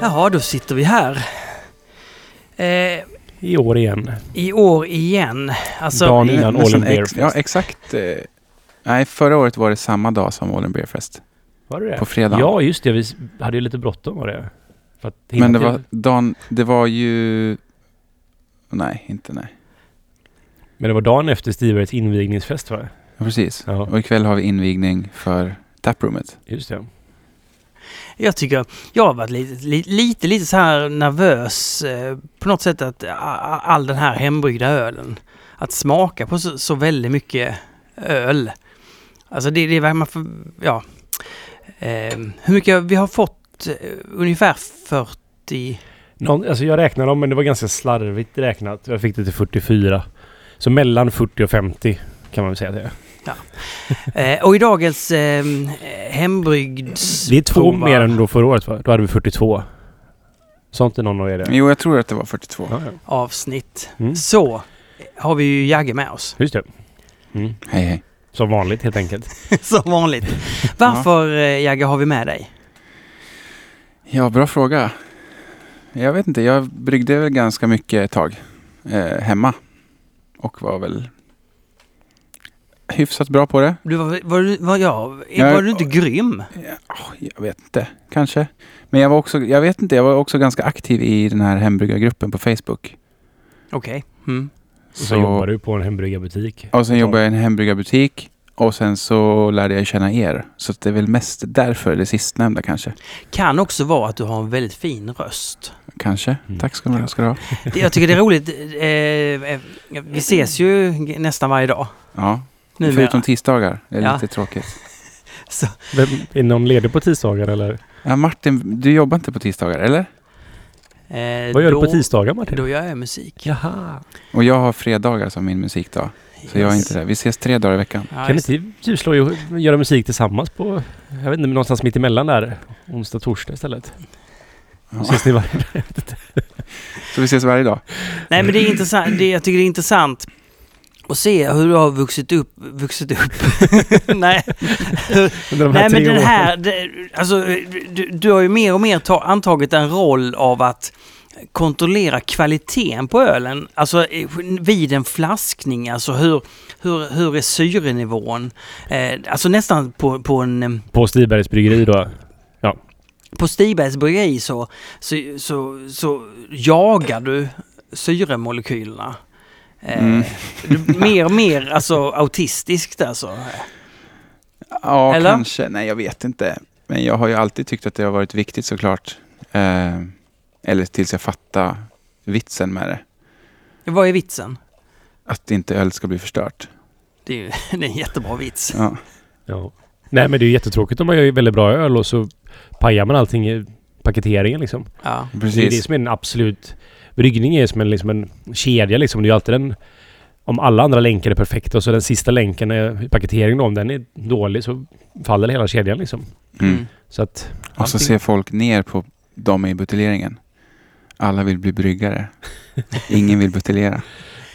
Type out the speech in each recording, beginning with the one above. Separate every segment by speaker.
Speaker 1: Ja, då sitter vi här. Eh,
Speaker 2: I år igen.
Speaker 1: I år igen. Alltså,
Speaker 2: Dagen innan All in
Speaker 3: Nästan
Speaker 2: Beer
Speaker 3: ex- Ja,
Speaker 2: Fest.
Speaker 3: exakt. eh, Nej, förra året var det samma dag som All in Beer Fest.
Speaker 2: Var det det?
Speaker 3: På fredagen.
Speaker 2: Ja, just det. Vi s- hade ju lite bråttom var det. För att hinna
Speaker 3: Men det
Speaker 2: till.
Speaker 3: var, dagen, det var ju... Nej, inte nej.
Speaker 2: Men det var dagen efter Stibergs invigningsfest va?
Speaker 3: Ja, precis.
Speaker 2: Ja.
Speaker 3: Och ikväll har vi invigning för Taproomet.
Speaker 2: Just det.
Speaker 1: Jag tycker, jag har varit lite, li- lite, lite så här nervös eh, på något sätt att a- a- all den här hembryggda ölen, att smaka på så, så väldigt mycket öl. Alltså det, det är vad man får, ja. Eh, hur mycket, vi har fått eh, ungefär 40,
Speaker 2: Någon, alltså jag räknade dem men det var ganska slarvigt räknat. Jag fick det till 44. Så mellan 40 och 50 kan man väl säga det. är.
Speaker 1: eh, och i dagens eh, hembryggd...
Speaker 2: Det är två mer än då förra året va? Då hade vi 42. Sånt är någon av er det.
Speaker 3: Jo, jag tror att det var 42.
Speaker 2: Ja, ja.
Speaker 1: avsnitt.
Speaker 2: Mm.
Speaker 1: Så har vi ju Jagge med oss.
Speaker 2: Just det. Mm.
Speaker 3: Hej, hej.
Speaker 2: Som vanligt helt enkelt.
Speaker 1: Som vanligt. Varför eh, Jagge har vi med dig?
Speaker 3: Ja, bra fråga. Jag vet inte, jag bryggde väl ganska mycket ett tag eh, hemma. Och var väl hyfsat bra på det.
Speaker 1: Du var, var, du- var, jag,
Speaker 3: Jag-
Speaker 1: var du inte grym?
Speaker 3: Ah, Jag vet inte, kanske. Men jag var också, jag vet inte, jag var också ganska aktiv i den här hembryggargruppen på Facebook.
Speaker 1: Okej. Mm.
Speaker 2: Och så jobbar du på en hembryggarbutik.
Speaker 3: Och sen jobbade jag i en hembryggarbutik. Och sen så lärde jag känna er. Så att det är väl mest därför, det sistnämnda kanske.
Speaker 1: Kan också vara att du har en väldigt fin röst.
Speaker 3: Kanske.
Speaker 2: Mm.
Speaker 3: Tack ska du ha. Ska du ha.
Speaker 1: Det- Jag tycker det är roligt. Eh, eh, vi ses ju g- nästan varje dag.
Speaker 3: Ja.
Speaker 1: Numera.
Speaker 3: Förutom tisdagar. Det är
Speaker 1: Ja.
Speaker 3: lite tråkigt.
Speaker 1: Så,
Speaker 2: Vem, är någon ledig på tisdagar eller?
Speaker 3: Ja, Martin, du jobbar inte på tisdagar, eller?
Speaker 1: eh,
Speaker 2: Vad gör
Speaker 1: då-
Speaker 2: du på tisdagar Martin?
Speaker 1: Då gör jag musik.
Speaker 2: Jaha.
Speaker 3: Och jag har fredagar som min musikdag. Så jag är inte där. Vi ses tre dagar i veckan.
Speaker 1: Ja,
Speaker 2: Kan ni
Speaker 1: just-
Speaker 2: inte typ slå ihop, göra musik tillsammans på, jag vet inte, någonstans mitt emellan där? Onsdag, torsdag istället.
Speaker 3: Ja.
Speaker 2: Ses ni varje
Speaker 3: Så vi ses varje dag.
Speaker 1: Nej men det är
Speaker 3: Mm.
Speaker 1: intressant. Det, jag tycker det är intressant att se hur du har vuxit upp. Vuxit upp? Nej.
Speaker 2: under de
Speaker 1: Nej
Speaker 2: här
Speaker 1: men
Speaker 2: tre
Speaker 1: den
Speaker 2: åren?
Speaker 1: här, det, alltså, du, du har ju mer och mer ta, antagit en roll av att kontrollera kvaliteten på ölen, alltså eh, vid en flaskning, alltså hur, hur, hur är syrenivån? Eh, alltså nästan på, på en eh,
Speaker 2: På Stibergs bryggeri då?
Speaker 1: på Stibergs bryggeri så, så, så, så jagar du syremolekylerna. Eh,
Speaker 3: Mm.
Speaker 1: du- mer och mer alltså autistiskt alltså.
Speaker 3: Ja,
Speaker 1: Eller?
Speaker 3: kanske. Nej, jag vet inte. Men jag har ju alltid tyckt att det har varit viktigt såklart. Eh, eller tills jag fattar vitsen med det.
Speaker 1: Vad är vitsen?
Speaker 3: Att inte öl ska bli förstört.
Speaker 1: Det är ju det är en jättebra vits.
Speaker 3: Ja.
Speaker 2: Ja. Nej men det är ju jättetråkigt om man gör väldigt bra öl och så pajar man allting i paketeringen liksom.
Speaker 1: Ja.
Speaker 2: Det är det
Speaker 3: Precis.
Speaker 2: som är en absolut... Bryggning är som en, liksom en kedja liksom. Det är ju alltid den... Om alla andra länkar är perfekta och så den sista länken är i paketeringen då, om den är dålig så faller hela kedjan liksom.
Speaker 3: Mm.
Speaker 2: Så att...
Speaker 3: Och så
Speaker 2: allting-
Speaker 3: ser folk ner på dem i buteljeringen. Alla vill bli bryggare. Ingen vill buteljera.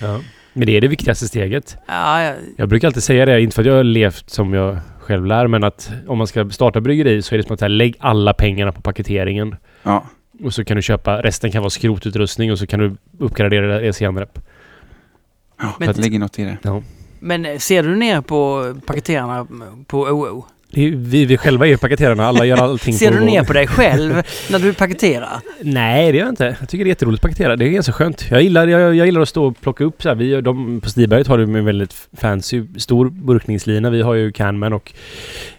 Speaker 2: Ja. Men det är det viktigaste steget.
Speaker 1: Ja, ja,
Speaker 2: Jag brukar alltid säga det, inte för att jag har levt som jag själv lär, men att om man ska starta bryggeri så är det som att så här, lägg alla pengarna på paketeringen.
Speaker 3: Ja,
Speaker 2: Och så kan du köpa, resten kan vara skrotutrustning och så kan du uppgradera det E senare.
Speaker 3: ja
Speaker 1: Men-
Speaker 3: det ligger något i det.
Speaker 1: Men eh, ser du ner på paketerarna på OO?
Speaker 2: Det är, ju- vi, vi själva är ju paketerarna, alla gör allting
Speaker 1: Ser
Speaker 2: på
Speaker 1: du ner på dig själv när du paketerar?
Speaker 2: Nej, det gör jag inte. Jag tycker det är jätteroligt att paketera. Det är ganska skönt. Jag gillar, jag, jag gillar att stå och plocka upp så här. Vi, gör- de, på Stiberget har du en väldigt fancy, stor burkningslina. Vi har ju Canman och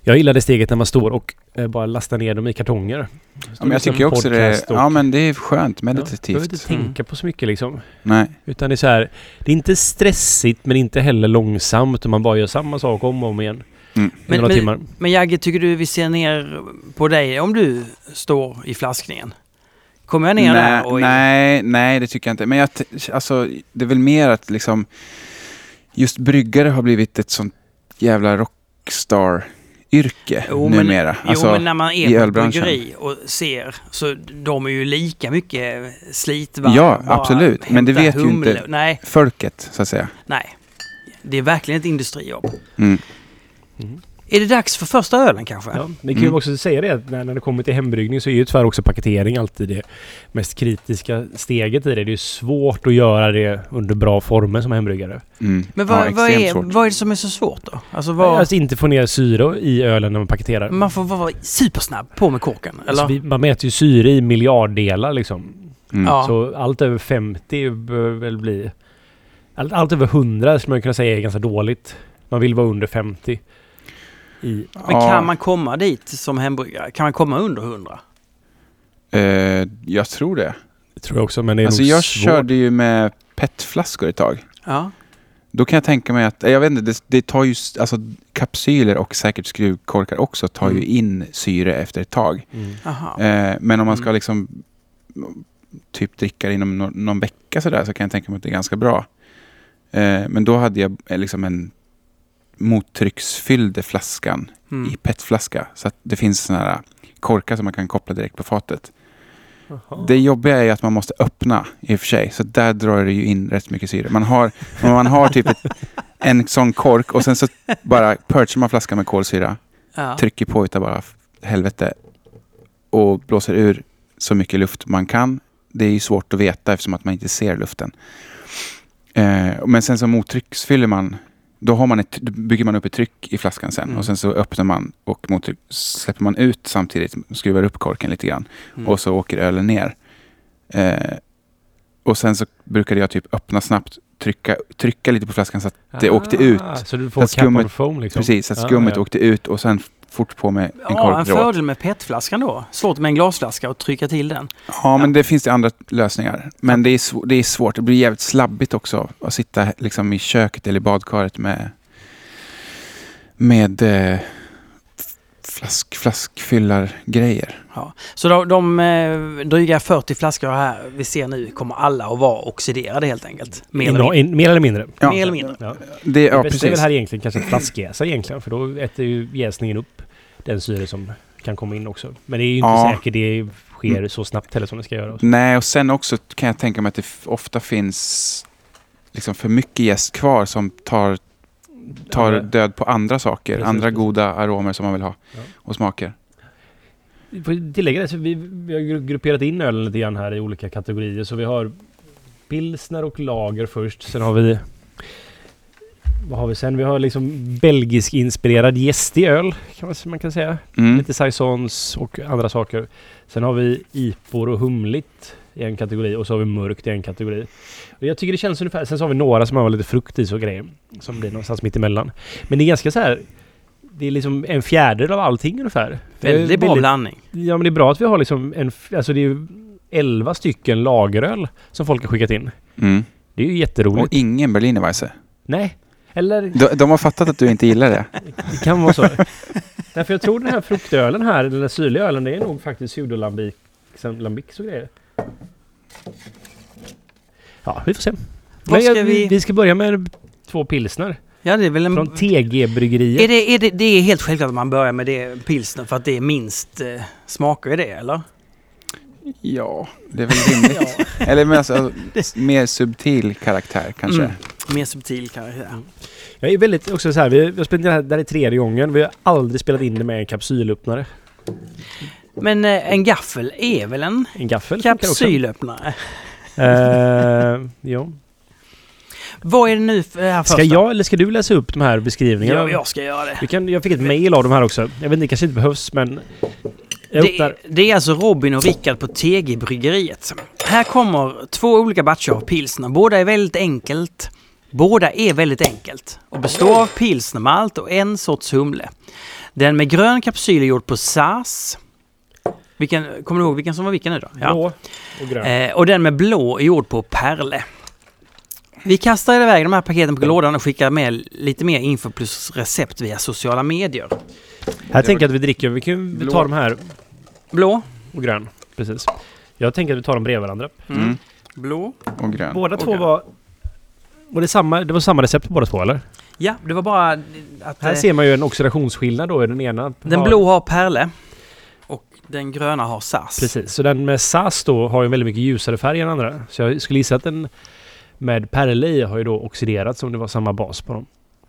Speaker 2: jag gillar det steget när man står och eh, bara lastar ner dem i kartonger.
Speaker 3: Ja, men jag tycker också det är, ja, men det är skönt,
Speaker 2: Ja, behöver inte
Speaker 3: meditativt.
Speaker 1: Mm.
Speaker 2: tänka på så mycket liksom.
Speaker 3: Nej,
Speaker 2: Utan det är så här, det är inte stressigt men inte heller långsamt och man bara gör samma sak om och om igen.
Speaker 3: Mm.
Speaker 2: I
Speaker 1: Men-
Speaker 2: några
Speaker 1: men-
Speaker 2: timmar.
Speaker 1: Men Jagge, tycker du vi ser ner på dig om du står i flaskningen? Kommer jag ner
Speaker 3: nej,
Speaker 1: där? Och
Speaker 3: nej, nej, det tycker jag inte. Men jag, t- alltså, det är väl mer att liksom, just bryggare har blivit ett sånt jävla rockstar-yrke
Speaker 1: Jo, men-
Speaker 3: numera.
Speaker 1: jo,
Speaker 3: Alltså,
Speaker 1: men när man
Speaker 3: i
Speaker 1: är på ett
Speaker 3: ölbranschen.
Speaker 1: bryggeri och ser så de är ju lika mycket slitvarma.
Speaker 3: Ja,
Speaker 1: bara
Speaker 3: absolut. Men det
Speaker 1: hämta
Speaker 3: vet ju
Speaker 1: humle.
Speaker 3: inte-
Speaker 1: Nej,
Speaker 3: folket, så att säga.
Speaker 1: nej. Det är verkligen ett industrijobb.
Speaker 3: Mm.
Speaker 2: Mm.
Speaker 1: Är det dags för första ölen kanske?
Speaker 2: Ja, det kan ju
Speaker 3: Mm.
Speaker 2: också säga det att när, när det kommer till hembryggning så är ju tyvärr också paketering alltid det mest kritiska steget i det. Det är ju svårt att göra det under bra former som hembryggare.
Speaker 3: Mm.
Speaker 1: Men vad,
Speaker 3: ja,
Speaker 1: vad,
Speaker 3: extremt
Speaker 1: är,
Speaker 3: svårt.
Speaker 1: vad är det som är så svårt då? Alltså vad,
Speaker 2: Alltså inte få ner syre i ölen när man paketerar.
Speaker 1: Eh, man får vara supersnabb på med korken, eller?
Speaker 2: Alltså, vi, man mäter ju syre i miljarddelar liksom.
Speaker 3: Mm.
Speaker 1: Ja.
Speaker 2: Så allt över 50 bör väl bli... Allt, allt över 100 skulle man kunna säga är ganska dåligt. Man vill vara under 50. I,
Speaker 1: Men
Speaker 3: Ja,
Speaker 1: kan man komma dit som hembryggare? Kan man komma under 100?
Speaker 3: eh, jag tror det.
Speaker 2: det tror jag också, men det är
Speaker 3: Alltså
Speaker 2: nog
Speaker 3: jag
Speaker 2: svårt.
Speaker 3: körde ju med PET-flaskor ett tag.
Speaker 1: Ja.
Speaker 3: Då kan jag tänka mig att, jag vet inte, det, det tar ju, s- alltså kapsyler och säkert skruvkorkar också tar ju
Speaker 2: Mm.
Speaker 3: in syre efter ett tag.
Speaker 2: Mm.
Speaker 1: Aha.
Speaker 3: Eh, men om man ska
Speaker 1: Mm.
Speaker 3: liksom mm, typ dricka det inom no någon vecka sådär så kan jag tänka mig att det är ganska bra. Eh, men då hade jag eh, liksom en mottrycksfylld flaskan
Speaker 1: Mm.
Speaker 3: i PET-flaska. Så att det finns sådana här korkar som man kan koppla direkt på fatet.
Speaker 2: Jaha.
Speaker 3: Det jobbiga är ju att man måste öppna i och för sig. Så där drar det ju in rätt mycket syre. Man har, men man har typ ett, en sån kork och sen så bara perchar man flaskan med kolsyra.
Speaker 1: Ja.
Speaker 3: Trycker på utav bara f- helvete. Och blåser ur så mycket luft man kan. Det är ju svårt att veta eftersom att man inte ser luften. Eh, men sen så mottrycksfyller man. Då, har man ett, då bygger man upp ett tryck i flaskan sen.
Speaker 1: Mm.
Speaker 3: Och sen så öppnar man och mottryck, släpper man ut samtidigt. Skruvar upp korken lite grann
Speaker 1: Mm.
Speaker 3: och så åker ölen ner. Eh, och sen så brukade jag typ öppna snabbt, trycka, trycka lite på flaskan så att, det åkte ut.
Speaker 2: Ah, Så du
Speaker 3: Så
Speaker 2: får
Speaker 3: att skummet-
Speaker 2: cap on foam liksom?
Speaker 3: precis, så att
Speaker 2: Ja,
Speaker 3: skummet
Speaker 2: ja.
Speaker 3: åkte ut och sen fort på med en
Speaker 1: Ja, en
Speaker 3: korkdråt.
Speaker 1: fördel med PET-flaskan då. Svårt med en glasflaska och trycka till den.
Speaker 3: Ja, men det finns det andra lösningar. Men det är, sv- det är svårt, det blir jävligt slabbigt också att sitta liksom i köket eller i badkaret med, med eh, f- flask, flaskfyllargrejer.
Speaker 1: Så de, de eh, dryga 40 flaskor här vi ser nu kommer alla att vara oxiderade helt enkelt. Mer eller
Speaker 2: Mer,
Speaker 1: mindre.
Speaker 2: in, mer eller mindre.
Speaker 3: Ja,
Speaker 1: Mer eller mindre.
Speaker 2: Ja.
Speaker 3: det,
Speaker 2: det
Speaker 3: ja
Speaker 2: bästa är väl
Speaker 3: precis.
Speaker 2: här egentligen kanske att flaskjäsa egentligen för då äter ju jäsningen upp den syre som kan komma in också. Men det är ju inte
Speaker 3: Ja. Mm.
Speaker 2: säkert det sker så snabbt heller som det ska göra.
Speaker 3: Nej, och sen också kan jag tänka mig att det f- ofta finns liksom för mycket jäst kvar som tar, tar
Speaker 2: Ja,
Speaker 3: död på andra saker.
Speaker 2: Precis,
Speaker 3: andra
Speaker 2: precis.
Speaker 3: goda aromer som man vill ha
Speaker 2: Ja.
Speaker 3: och smaker.
Speaker 2: Vi får tillägga det, så vi, vi har gru- grupperat in ölen lite grann här i olika kategorier. Så vi har pilsner och lager först. Sen har vi... Vad har vi sen? Vi har liksom belgisk inspirerad gästig öl kan man, man kan säga.
Speaker 3: Mm.
Speaker 2: Lite saisons och andra saker. Sen har vi ipor och humligt i en kategori och så har vi mörkt i en kategori. Och jag tycker det känns ungefär... Sen så har vi några som har lite frukt i så grejer. Som blir någonstans mitt emellan. Men det är ganska så här... Det är liksom en fjärdedel av allting ungefär. Det är
Speaker 1: Väldigt bra
Speaker 2: väldigt-
Speaker 1: blandning.
Speaker 2: Ja men det är bra att vi har liksom en... f- Alltså det är ju 11 stycken lageröl som folk har skickat in.
Speaker 3: Mm.
Speaker 2: Det är ju
Speaker 3: Och
Speaker 2: jätteroligt.
Speaker 3: ingen berlinerweisse.
Speaker 2: Nej. Eller
Speaker 3: De, de har fattat att du inte gillar det.
Speaker 2: det kan vara så. Nej för jag tror den här fruktölen här, den där syrliga ölen, det är nog faktiskt pseudolambik lambics och grejer. Ja, vi får se.
Speaker 1: Vad ska
Speaker 2: jag-
Speaker 1: vi-
Speaker 2: vi ska börja med två pilsner.
Speaker 1: Ja, det är väl en...
Speaker 2: Från TG-bryggeriet.
Speaker 1: är det, är det, det är helt självklart att man börjar med det pilsner för att det är minst eh, smaker i det, eller?
Speaker 3: Ja, det är väl rimligt.
Speaker 2: Ja.
Speaker 3: Eller men alltså, mer subtil karaktär kanske.
Speaker 1: Mm. Mer subtil karaktär.
Speaker 2: Jag är väldigt också så här, vi, vi har spelat in det här, det här är tredje gången. Vi har aldrig spelat in det med en kapsylöppnare.
Speaker 1: Men eh, en gaffel är väl en
Speaker 2: En gaffel funkar också.
Speaker 1: kapsylöppnare?
Speaker 2: Eh, ja.
Speaker 1: Vad är det nu för det här
Speaker 2: Ska
Speaker 1: första?
Speaker 2: jag eller ska du läsa upp de här beskrivningarna?
Speaker 1: Ja, jag ska göra det.
Speaker 2: Vi kan, jag fick ett mejl av de här också. Jag vet inte, det kanske inte behövs men... Jag öppnar.
Speaker 1: Det, det är alltså Robin och Rickard på TG-bryggeriet. Här kommer två olika batcher av pilsner. Båda är väldigt enkelt. Båda är väldigt enkelt och består av pilsnermalt och en sorts humle. Den med grön kapsyl är gjord på SAS. Vilken, kommer du ihåg vilken som var vilken nu då? Ja.
Speaker 2: Blå och grön.
Speaker 1: Eh, och den med blå är gjord på Perle. Vi kastar iväg de här paketen på lådan och skickar med lite mer info plus recept via sociala medier.
Speaker 2: här tänker jag att vi dricker. Vi kan vi
Speaker 3: Blå.
Speaker 2: ta de här
Speaker 1: Blå.
Speaker 2: och grön. Precis. Jag tänker att vi tar dem bredvid varandra.
Speaker 1: Mm.
Speaker 3: Mm.
Speaker 1: Blå.
Speaker 3: Och grön.
Speaker 2: Båda
Speaker 1: Och
Speaker 2: två
Speaker 1: grön.
Speaker 2: var... Och det, är samma, det var samma recept på båda två eller?
Speaker 1: Ja, det var bara att...
Speaker 2: Här
Speaker 1: eh,
Speaker 2: ser man ju en oxidationsskillnad då i den ena.
Speaker 1: Den
Speaker 2: har-
Speaker 1: blå har Perle och den gröna har SAS.
Speaker 2: Precis, så den med SAS då har ju en väldigt mycket ljusare färg än andra. Så jag skulle gissa att den med Perle i har ju då oxiderat som det var samma bas på dem.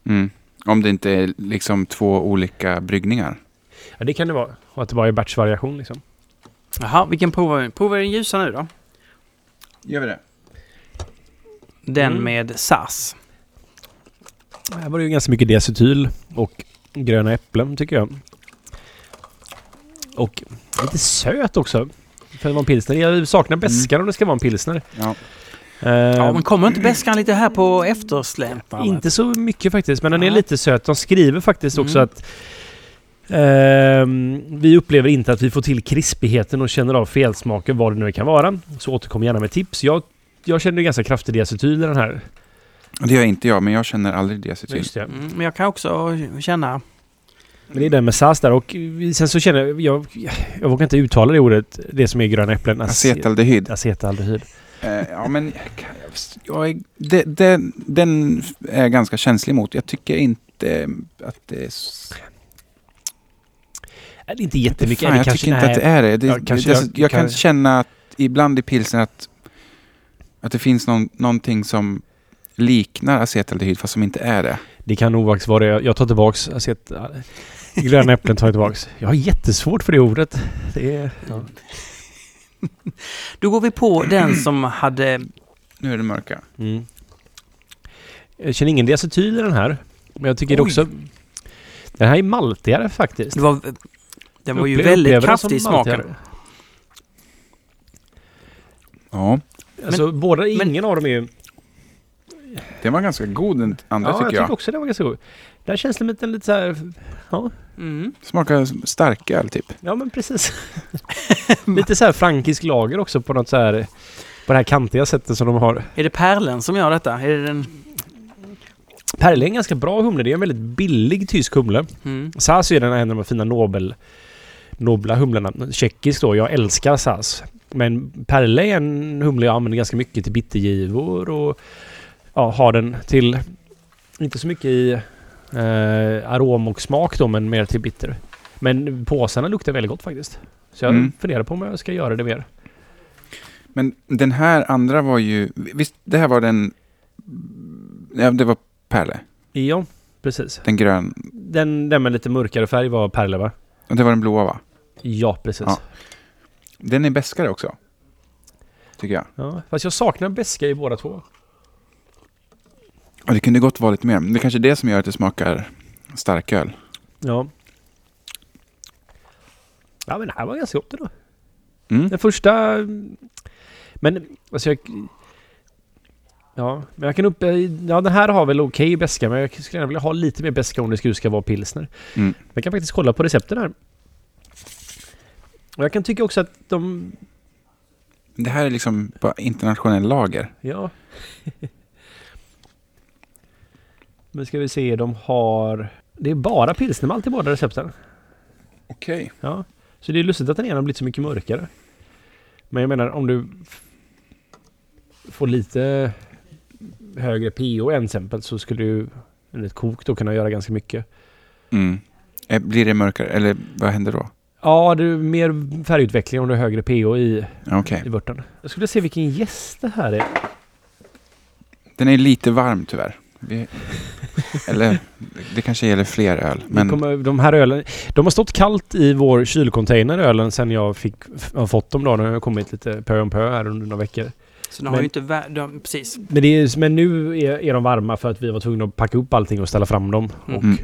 Speaker 3: Mm. Om det inte är liksom två olika bryggningar.
Speaker 2: Ja, det kan det vara. Och att det bara är batchvariation liksom.
Speaker 1: Jaha, vilken provar vi? Provar vi den ljusa nu då?
Speaker 3: Gör vi det?
Speaker 1: Den
Speaker 2: Mm.
Speaker 1: med SAS.
Speaker 2: Här var det ju ganska mycket diacetyl och gröna äpplen tycker jag. Och lite söt också. För att vara en pilsner. Jag saknar beskan om det ska vara en pilsner.
Speaker 3: Ja.
Speaker 1: Mm. Ja,
Speaker 2: Ehm,
Speaker 1: men kommer inte beskan lite här på eftersläntan?
Speaker 2: Inte så mycket faktiskt, men den är
Speaker 1: Nej.
Speaker 2: lite söt. De skriver faktiskt också
Speaker 1: Mm.
Speaker 2: att ehm, vi upplever inte att vi får till krispigheten och känner av felsmaker, vad det nu kan vara. Så återkom gärna med tips. Jag, jag känner ju ganska kraftig diacetyl i den här.
Speaker 3: Det gör inte jag, men jag känner aldrig diacetyl.
Speaker 2: Just det.
Speaker 1: Mm, men jag kan också känna...
Speaker 2: Men det är den med SAS där och sen så känner jag, jag, jag vågar inte uttala det ordet, det som är gröna äpplen. Alltså,
Speaker 3: Acetaldehyd.
Speaker 2: Acetaldehyd.
Speaker 3: Eh, ja, men kan jag, jag är, det, det, den är jag ganska känslig mot. Jag tycker inte att det är... s-
Speaker 2: Nej, Äh, Det är inte jättemycket.
Speaker 3: Fan,
Speaker 2: det
Speaker 3: jag
Speaker 2: kanske-
Speaker 3: tycker inte
Speaker 2: nej.
Speaker 3: att det är det. det,
Speaker 2: Ja,
Speaker 3: det
Speaker 2: kanske
Speaker 3: det- alltså,
Speaker 2: jag-
Speaker 3: jag, kan
Speaker 2: kanske-
Speaker 3: känna att ibland i pilsen att, att det finns någon, någonting som liknar acetaldehyd fast som inte är det.
Speaker 2: Det kan nog faktiskt vara det. Jag tar tillbaks... Jag ser att, gröna äpplen tar jag tillbaks. Jag har jättesvårt för det ordet. Det är, ja.
Speaker 1: Då går vi på den som hade...
Speaker 3: Nu är det mörka.
Speaker 2: mm. Jag känner ingen diacetyl i den här. Men jag tycker det
Speaker 1: Oj.
Speaker 2: också... Den här är maltigare faktiskt.
Speaker 1: Det var, den var ju
Speaker 2: Upple- upplever
Speaker 1: väldigt
Speaker 2: den som
Speaker 1: kraftig i smaken.
Speaker 2: maltigare.
Speaker 3: Ja,
Speaker 2: Alltså båda, ingen av dem är ju...
Speaker 3: den var ganska god den andra
Speaker 2: Ja, jag
Speaker 3: tycker
Speaker 2: tycker
Speaker 3: jag.
Speaker 2: också den var ganska god. Där känns det lite, lite så här... Ja,
Speaker 1: Mm.
Speaker 3: Smakar starköl typ.
Speaker 2: ja men precis. lite så här frankisk lager också på något så här... På det här kantiga sättet som de har.
Speaker 1: Är det pärlen som gör detta? Är det den...
Speaker 2: Perle är en ganska bra humle. Det är en väldigt billig tysk humle.
Speaker 1: Mm.
Speaker 2: SAS är ju den här en av de fina Nobel, nobla humlorna. Tjeckisk då. Jag älskar SAS. Men Perle är en humle jag använder ganska mycket till bittergivor och ja, har den till... Inte så mycket i eh, arom och smak då, men mer till bitter. Men påsarna luktar väldigt gott faktiskt. Så jag
Speaker 3: Mm.
Speaker 2: funderar på om jag ska göra det mer.
Speaker 3: Men den här andra var ju, visst det här var den, ja det var Perle,
Speaker 2: Ja, precis.
Speaker 3: den grön,
Speaker 2: Den, den med lite mörkare färg var Perle va?
Speaker 3: och det var den blåa va?
Speaker 2: Ja, precis.
Speaker 3: Ja. Den är beskare också, tycker jag.
Speaker 2: Ja, fast jag saknar beska i båda två.
Speaker 3: Och det kunde gott vara lite mer, det är kanske är det som gör att det smakar starköl.
Speaker 2: Ja. Ja men det här var ganska gott då.
Speaker 3: Mm.
Speaker 2: Den första... Men alltså jag... Ja, men jag kan upp... eh, Ja den här har väl okej beska men jag skulle gärna vilja ha lite mer beska om det skulle ska vara pilsner.
Speaker 3: Mm.
Speaker 2: Jag kan faktiskt kolla på recepten här. Och jag kan tycka också att de...
Speaker 3: Det här är liksom på internationell lager.
Speaker 2: Ja. men ska vi se, de har... Det är bara pilsnermalt i båda recepten.
Speaker 3: Okej.
Speaker 2: Ja. Så det är lustigt att den ena har blivit så mycket mörkare. Men jag menar om du f- får lite högre PO än exempel så skulle ju ett kok då kunna göra ganska mycket.
Speaker 3: Mm. Eh, Blir det mörkare, eller vad händer då?
Speaker 2: Ja, det är mer färgutveckling om du har högre PO i,
Speaker 3: Ja, Okej.
Speaker 2: i vörten. Jag skulle se vilken gäst det här är.
Speaker 3: Den är lite varm tyvärr. Vi, eller, det kanske gäller fler öl.
Speaker 2: Men...
Speaker 3: Men
Speaker 2: Kommer, de här ölen, de har stått kallt i vår kylcontainer ölen sen jag fick, f- har fått dem då. De har kommit lite pö om pö här under några veckor.
Speaker 1: Så den
Speaker 2: Men-
Speaker 1: har ju inte... vä- De, precis.
Speaker 2: Men, det är, men nu är, är de varma för att vi var tvungna att packa upp allting och ställa fram dem.
Speaker 1: Mm.
Speaker 2: Och
Speaker 3: Mm.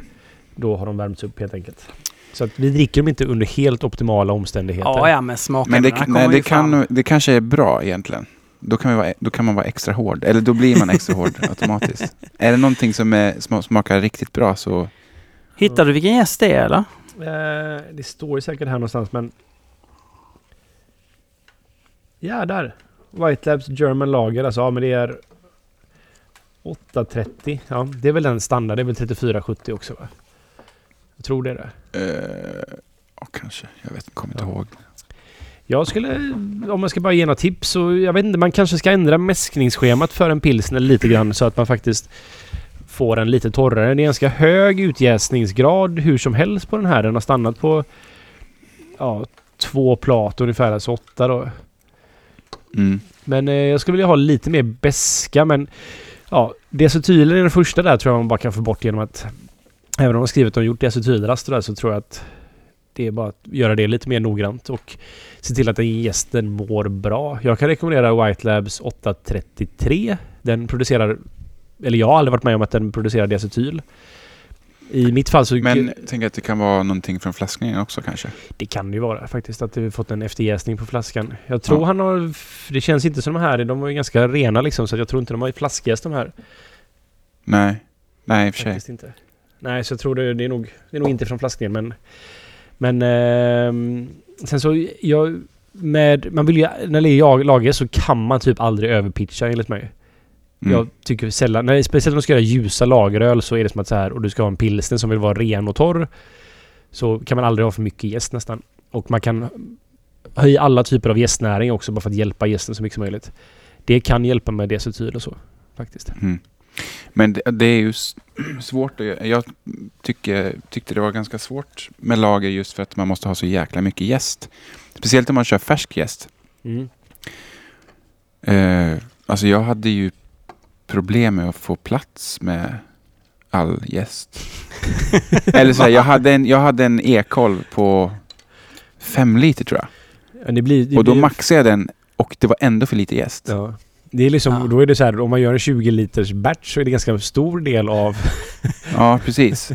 Speaker 2: då har de värmts upp helt enkelt. Så att vi dricker dem inte under helt optimala omständigheter.
Speaker 1: Ja, ja, men smakerna
Speaker 3: Men det,
Speaker 1: kommer
Speaker 3: nej,
Speaker 1: ju
Speaker 3: det,
Speaker 1: fram.
Speaker 3: kan, det kanske är bra egentligen. Då kan, vi vara, då kan man vara extra hård, eller då blir man extra hård automatiskt. Är det någonting som är, sma- smakar riktigt bra så...
Speaker 1: Hittar du vilken gäst det är eller?
Speaker 2: Eh, det står ju säkert här någonstans men... Ja, där! White Labs German Lager. Alltså, ja men det är... 8.30. Ja, det är väl den standard. Det är väl 34.70 också va? Jag tror det är det.
Speaker 3: eh, ja, kanske. Jag vet, kommer inte
Speaker 2: Ja.
Speaker 3: ihåg.
Speaker 2: Jag skulle, om jag ska bara ge några tips, så jag vet inte, man kanske ska ändra mäskningsschemat för en pilsner lite grann så att man faktiskt får en lite torrare. Det är ganska hög utjäsningsgrad hur som helst på den här. Den har stannat på ja, två plat ungefär, alltså åtta då.
Speaker 3: Mm.
Speaker 2: Men eh, jag skulle vilja ha lite mer beska men ja, det är så tydligt i den första där tror jag man bara kan få bort genom att Även om de har skrivit och gjort i acetylrast och där så tror jag att det är bara att göra det lite mer noggrant och se till att den gästen mår bra. Jag kan rekommendera White Labs 833. Den producerar... Eller jag har aldrig varit med om att den producerar diacetyl. I mitt fall så...
Speaker 3: Men tänk att det kan vara någonting från flaskningen också kanske.
Speaker 2: Det kan det ju vara faktiskt, att vi fått en efterjäsning på flaskan. Jag tror
Speaker 3: Ja.
Speaker 2: han har... Det känns inte som de här, de var ju ganska rena liksom, så att jag tror inte de har flaskjäst de här.
Speaker 3: Nej, nej i och för sig.
Speaker 2: Faktiskt inte. Nej, så jag tror det, det, är, nog, det är nog inte från flaskningen, men... Men... ehm, sen så, jag... Med, man vill ju, när det är jag, lager så kan man typ aldrig överpitcha enligt mig.
Speaker 3: Mm.
Speaker 2: Jag tycker sällan, nej, speciellt om du ska göra ljusa lageröl så är det som att så här, och du ska ha en pilsner som vill vara ren och torr. Så kan man aldrig ha för mycket jäst nästan. Och man kan höja alla typer av jästnäring också bara för att hjälpa jästen så mycket som möjligt. Det kan hjälpa med diacetyl och så faktiskt.
Speaker 3: Mm. Men det, det är ju s- svårt att göra. Jag tycker, tyckte det var ganska svårt med lager just för att man måste ha så jäkla mycket jäst. Speciellt om man kör färsk jäst.
Speaker 2: Mm.
Speaker 3: Eh, alltså jag hade ju problem med att få plats med all jäst. Eller så här, jag hade en, jag hade en e-kolv på fem liter tror jag.
Speaker 2: Ja, Det blir, det
Speaker 3: Och då
Speaker 2: blir,
Speaker 3: maxade jag den och det var ändå för lite jäst.
Speaker 2: ja. Det är liksom,
Speaker 1: Ja.
Speaker 2: då är det så här, om man gör en 20 liters batch så är det ganska stor del av...
Speaker 3: Ja, precis.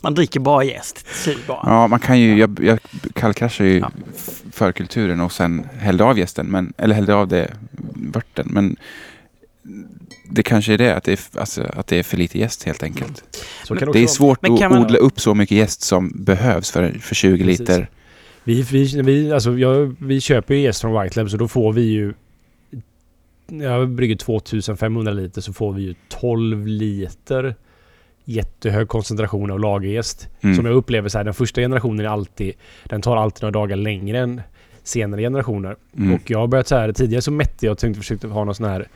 Speaker 1: Man dricker bara jäst till slut bara.
Speaker 3: Ja, man kan ju, jag, jag kallkraschade ju
Speaker 1: Ja.
Speaker 3: f- förkulturen och sen hällde av gästen, men, eller hällde av det, vörten. Men det kanske är det, att det är, f- alltså, att det är för lite gäst helt enkelt.
Speaker 2: Mm. Så kan det
Speaker 3: Det
Speaker 2: också
Speaker 3: är
Speaker 2: vara.
Speaker 3: svårt
Speaker 1: Men
Speaker 3: att
Speaker 1: kan man-
Speaker 3: odla upp så mycket gäst som behövs för, för 20
Speaker 2: Precis.
Speaker 3: liter.
Speaker 2: Vi, vi, vi, alltså, jag, vi köper ju jäst från White Lab så då får vi ju... Jag brygger 2500 liter så får vi ju 12 liter jättehög koncentration av lagerjäst.
Speaker 3: Mm.
Speaker 2: Som jag upplever så här, den första generationen är alltid... Den tar alltid några dagar längre än senare generationer.
Speaker 3: Mm.
Speaker 2: Och jag har börjat så här, tidigare så mätte jag och tänkte försökte ha någon sån här...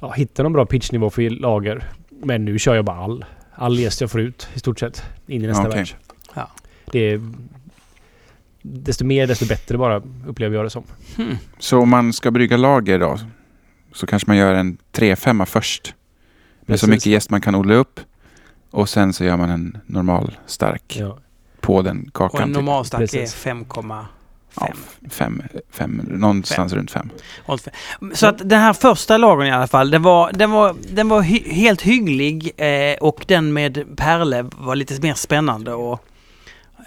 Speaker 2: Ja, hitta någon bra pitchnivå för lager. Men nu kör jag bara all. All jäst jag får ut i stort sett. In i nästa
Speaker 3: Ja, okej.
Speaker 2: batch.
Speaker 1: Ja.
Speaker 2: Det är... Desto mer desto bättre bara upplever jag det som.
Speaker 1: Hmm.
Speaker 3: Så om man ska brygga lager då, så kanske man gör en 3-5 först. Med så
Speaker 2: Precis.
Speaker 3: mycket gäst man kan odla upp. Och sen så gör man en normal stark
Speaker 2: Ja.
Speaker 3: på den
Speaker 1: Och en
Speaker 3: kakan. typ.
Speaker 1: normal stark är
Speaker 2: Precis.
Speaker 1: 5,5.
Speaker 3: Ja, f- fem, fem, någonstans runt fem.
Speaker 1: Och så- Så att den här första lagern i alla fall, den var, den var, den var hy- helt hygglig eh, och den med pärle var lite mer spännande och,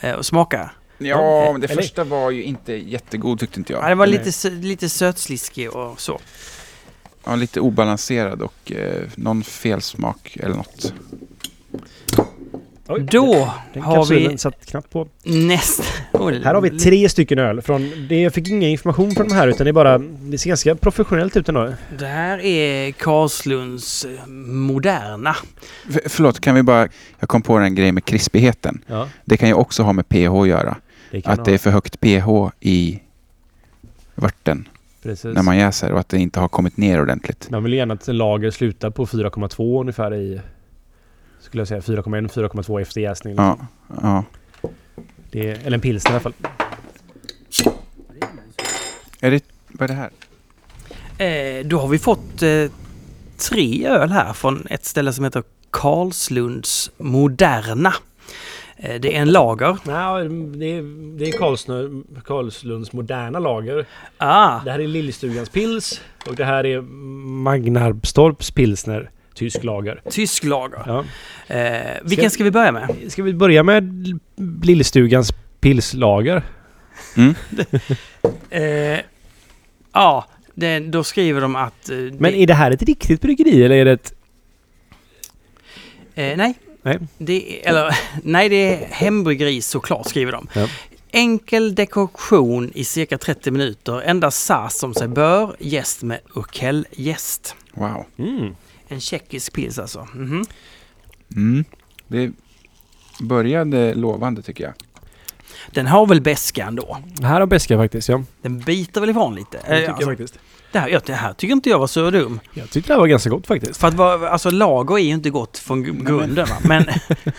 Speaker 1: eh, att smaka.
Speaker 3: Ja, men det
Speaker 2: Eller-
Speaker 3: första var ju inte jättegod tyckte inte
Speaker 1: Ja,
Speaker 3: jag.
Speaker 1: den var
Speaker 2: den är-
Speaker 1: lite, sö- lite sötsliskig och så.
Speaker 3: Ja, lite obalanserad och eh, någon felsmak eller något.
Speaker 2: Oj,
Speaker 1: Då
Speaker 2: den
Speaker 1: har
Speaker 2: kapsylen
Speaker 1: vi-
Speaker 2: satt knappt på.
Speaker 1: nästa... Oj,
Speaker 2: Här har vi tre stycken öl. Från, det, jag fick ingen information från de här utan det är bara... Det ser ganska professionellt ut ändå.
Speaker 1: Det här är Karlslunds eh, Moderna.
Speaker 3: F- förlåt, kan vi bara... Jag kom på en grej med krispigheten.
Speaker 2: Ja,
Speaker 3: Det kan ju också ha med pH att göra.
Speaker 2: det kan
Speaker 3: Att det är för högt pH i vörten
Speaker 2: Precis.
Speaker 3: när man jäser och att det inte har kommit ner ordentligt.
Speaker 2: Man vill gärna att en lager slutar på 4,2 ungefär i... Skulle jag säga 4,1-4,2 efter jäsning.
Speaker 3: Ja, ja.
Speaker 2: Det är, eller en pilsner i alla fall.
Speaker 3: Är det... Vad är det här?
Speaker 1: Eh, då har vi fått eh, tre öl här från ett ställe som heter Karlslunds Moderna. Eh, det är en lager.
Speaker 2: Nej, det är, det är Karlsnö, Karlslunds moderna lager.
Speaker 1: Ah,
Speaker 2: Det här är Lillstugans pils och det här är Magnarpstorps pilsner. Tysk lager.
Speaker 1: tysk lager.
Speaker 2: Ja.
Speaker 1: Eh, vilken ska vi börja med?
Speaker 2: Ska vi börja med Lillstugans pilslager?
Speaker 3: Mm.
Speaker 1: Eh, ja, det, då skriver de att... eh,
Speaker 2: Men
Speaker 1: det,
Speaker 2: är det här ett riktigt bryggeri eller är det ett...
Speaker 1: eh, nej.
Speaker 2: Nej.
Speaker 1: Det, är- eller, nej, det är hembryggeri såklart skriver de.
Speaker 2: Ja.
Speaker 1: Enkel dekoktion i cirka 30 minuter. Endast sass som sig bör. Jäst med urkeljäst.
Speaker 3: Wow.
Speaker 2: Mm.
Speaker 1: En tjeckisk pils alltså. Mhm.
Speaker 3: Mm. Det började lovande tycker jag.
Speaker 1: Den har väl bäskan då?
Speaker 2: Här har beska faktiskt ja.
Speaker 1: Den biter väl ifrån lite?
Speaker 2: Det tycker
Speaker 1: Eh, alltså,
Speaker 2: jag faktiskt.
Speaker 1: det, här, ja, det här tycker inte jag var så dum.
Speaker 2: Jag tyckte det här var ganska gott faktiskt.
Speaker 1: För att vara, alltså lager är ju inte gott från
Speaker 3: men-
Speaker 1: gru- grunden va? Men
Speaker 3: Jag tyckte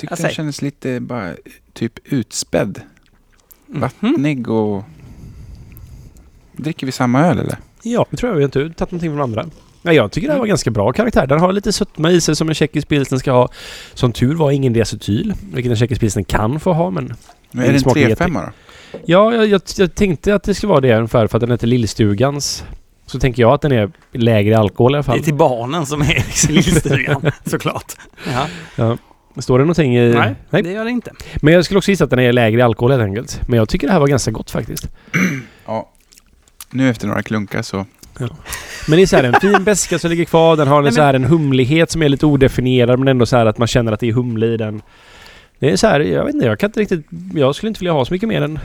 Speaker 1: Jag
Speaker 3: den
Speaker 1: säger-
Speaker 3: kändes lite bara typ utspädd.
Speaker 1: Mhm.
Speaker 3: vattnig och... Dricker vi samma öl eller?
Speaker 2: Ja, det tror jag. Vi har inte tagit någonting från andra. Ja, jag tycker det här var ganska bra karaktär. Den har lite sötma i sig som en tjeckisk pilsner ska ha. Som tur var ingen diacetyl, vilket en tjeckisk pilsner kan få ha men...
Speaker 3: Men är
Speaker 2: Det
Speaker 3: det en
Speaker 2: smakar
Speaker 3: 3-5 då?
Speaker 2: Ja, jag, jag, jag tänkte att det skulle vara det ungefär för att den heter Lillstugans. Så tänker jag att den är lägre i alkohol i alla
Speaker 1: Det är
Speaker 2: fall.
Speaker 1: till barnen som är i lillstugan, såklart. Ja.
Speaker 2: Står det någonting i...
Speaker 1: Nej, det gör det inte.
Speaker 2: Men jag skulle också gissa att den är lägre i alkohol helt enkelt. Men jag tycker det här var ganska gott faktiskt.
Speaker 3: Ja. Nu efter några klunkar så...
Speaker 2: Men det är så här en fin beska som ligger kvar. Den har en, så här, en humlighet som är lite odefinierad men ändå så här att man känner att det är humle i den. Det är så här, jag vet inte, jag kan inte riktigt... Jag skulle inte vilja ha så mycket mer än...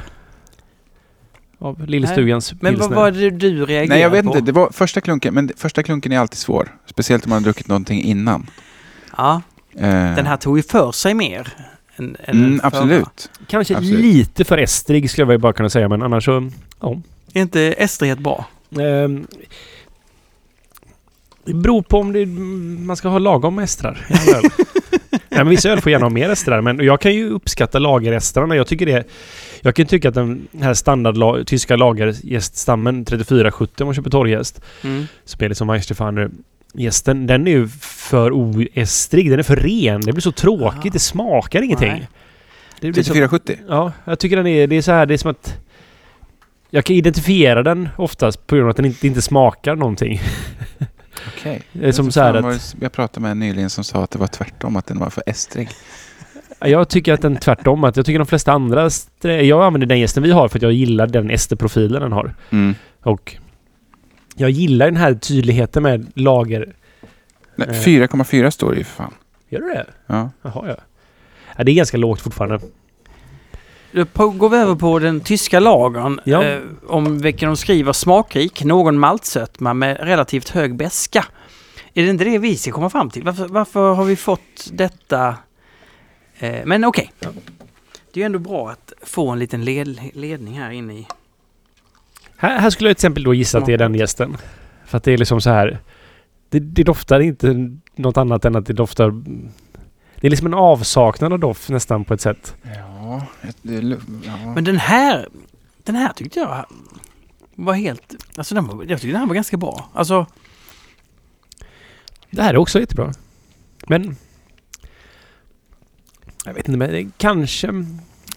Speaker 2: Av Lillstugans
Speaker 1: Men vad
Speaker 2: pilsner.
Speaker 1: var det du reagerade på?
Speaker 3: Nej, jag vet inte. Det var första klunken, men första klunken är alltid svår. Speciellt om man har druckit någonting innan.
Speaker 1: Ja,
Speaker 3: Eh,
Speaker 1: den här tog ju för sig mer. Än, än den
Speaker 3: Mm,
Speaker 1: förra.
Speaker 3: absolut.
Speaker 2: Kanske
Speaker 3: Absolut.
Speaker 2: lite för estrig skulle jag väl bara kunna säga men annars så... Ja.
Speaker 1: Är inte estrighet bra?
Speaker 2: Ehm, det beror på om det, man ska ha lagom med estrar. i alla öl. Nej, men vissa öl får gärna ha mer estrar, men jag kan ju uppskatta lagerestrarna. Jag, tycker det, jag kan tycka att den här standard la- tyska lagergäststammen 3470 om man köper torrjäst,
Speaker 1: Mm.
Speaker 2: som är liksom Weichstefaner gästen, den är ju för oestrig. Den är för ren. Det blir så tråkigt.
Speaker 1: Ah.
Speaker 2: Det smakar ingenting.
Speaker 1: Nej.
Speaker 2: Det
Speaker 3: Typ
Speaker 2: blir så
Speaker 3: 3470.
Speaker 2: Ja, jag tycker den är... Det är så här, det är som att... Jag kan identifiera den oftast på grund av att den inte, inte smakar någonting.
Speaker 3: Okej.
Speaker 2: Det är som så här att...
Speaker 3: Jag pratade med en nyligen som sa att det var tvärtom, att den var för estrig.
Speaker 2: Jag tycker att den tvärtom. Att jag tycker de flesta andra... strä- Jag använder den gästen vi har för att jag gillar den esterprofilen den har.
Speaker 3: Mm.
Speaker 2: Och... Jag gillar den här tydligheten med lager...
Speaker 3: Nej,
Speaker 2: Eh.
Speaker 3: 4,4 står det ju för fan.
Speaker 2: Gör du det?
Speaker 3: Ja.
Speaker 2: Jaha, ja. ja. Det är ganska lågt fortfarande.
Speaker 1: Då på- går vi över på den tyska lagern.
Speaker 2: Ja.
Speaker 1: Eh, om vilken de skriver smakrik, någon maltsötma med relativt hög beska. Är det inte det vi ska komma fram till? Varför, varför har vi fått detta? Eh, men okej.
Speaker 2: Ja.
Speaker 1: Det är ju ändå bra att få en liten led, ledning här inne i...
Speaker 2: Här, här skulle jag till exempel då gissa att det är den gästen. För att det är liksom så här. Det, det doftar inte något annat än att det doftar... Det är liksom en avsaknad av doft nästan på ett sätt.
Speaker 3: Ja, det är lu- ja.
Speaker 1: Men den här, den här tyckte jag var helt... Alltså den var, jag tyckte den här var ganska bra. Alltså,
Speaker 2: Det här är också jättebra. Men... Jag vet inte, men det kanske...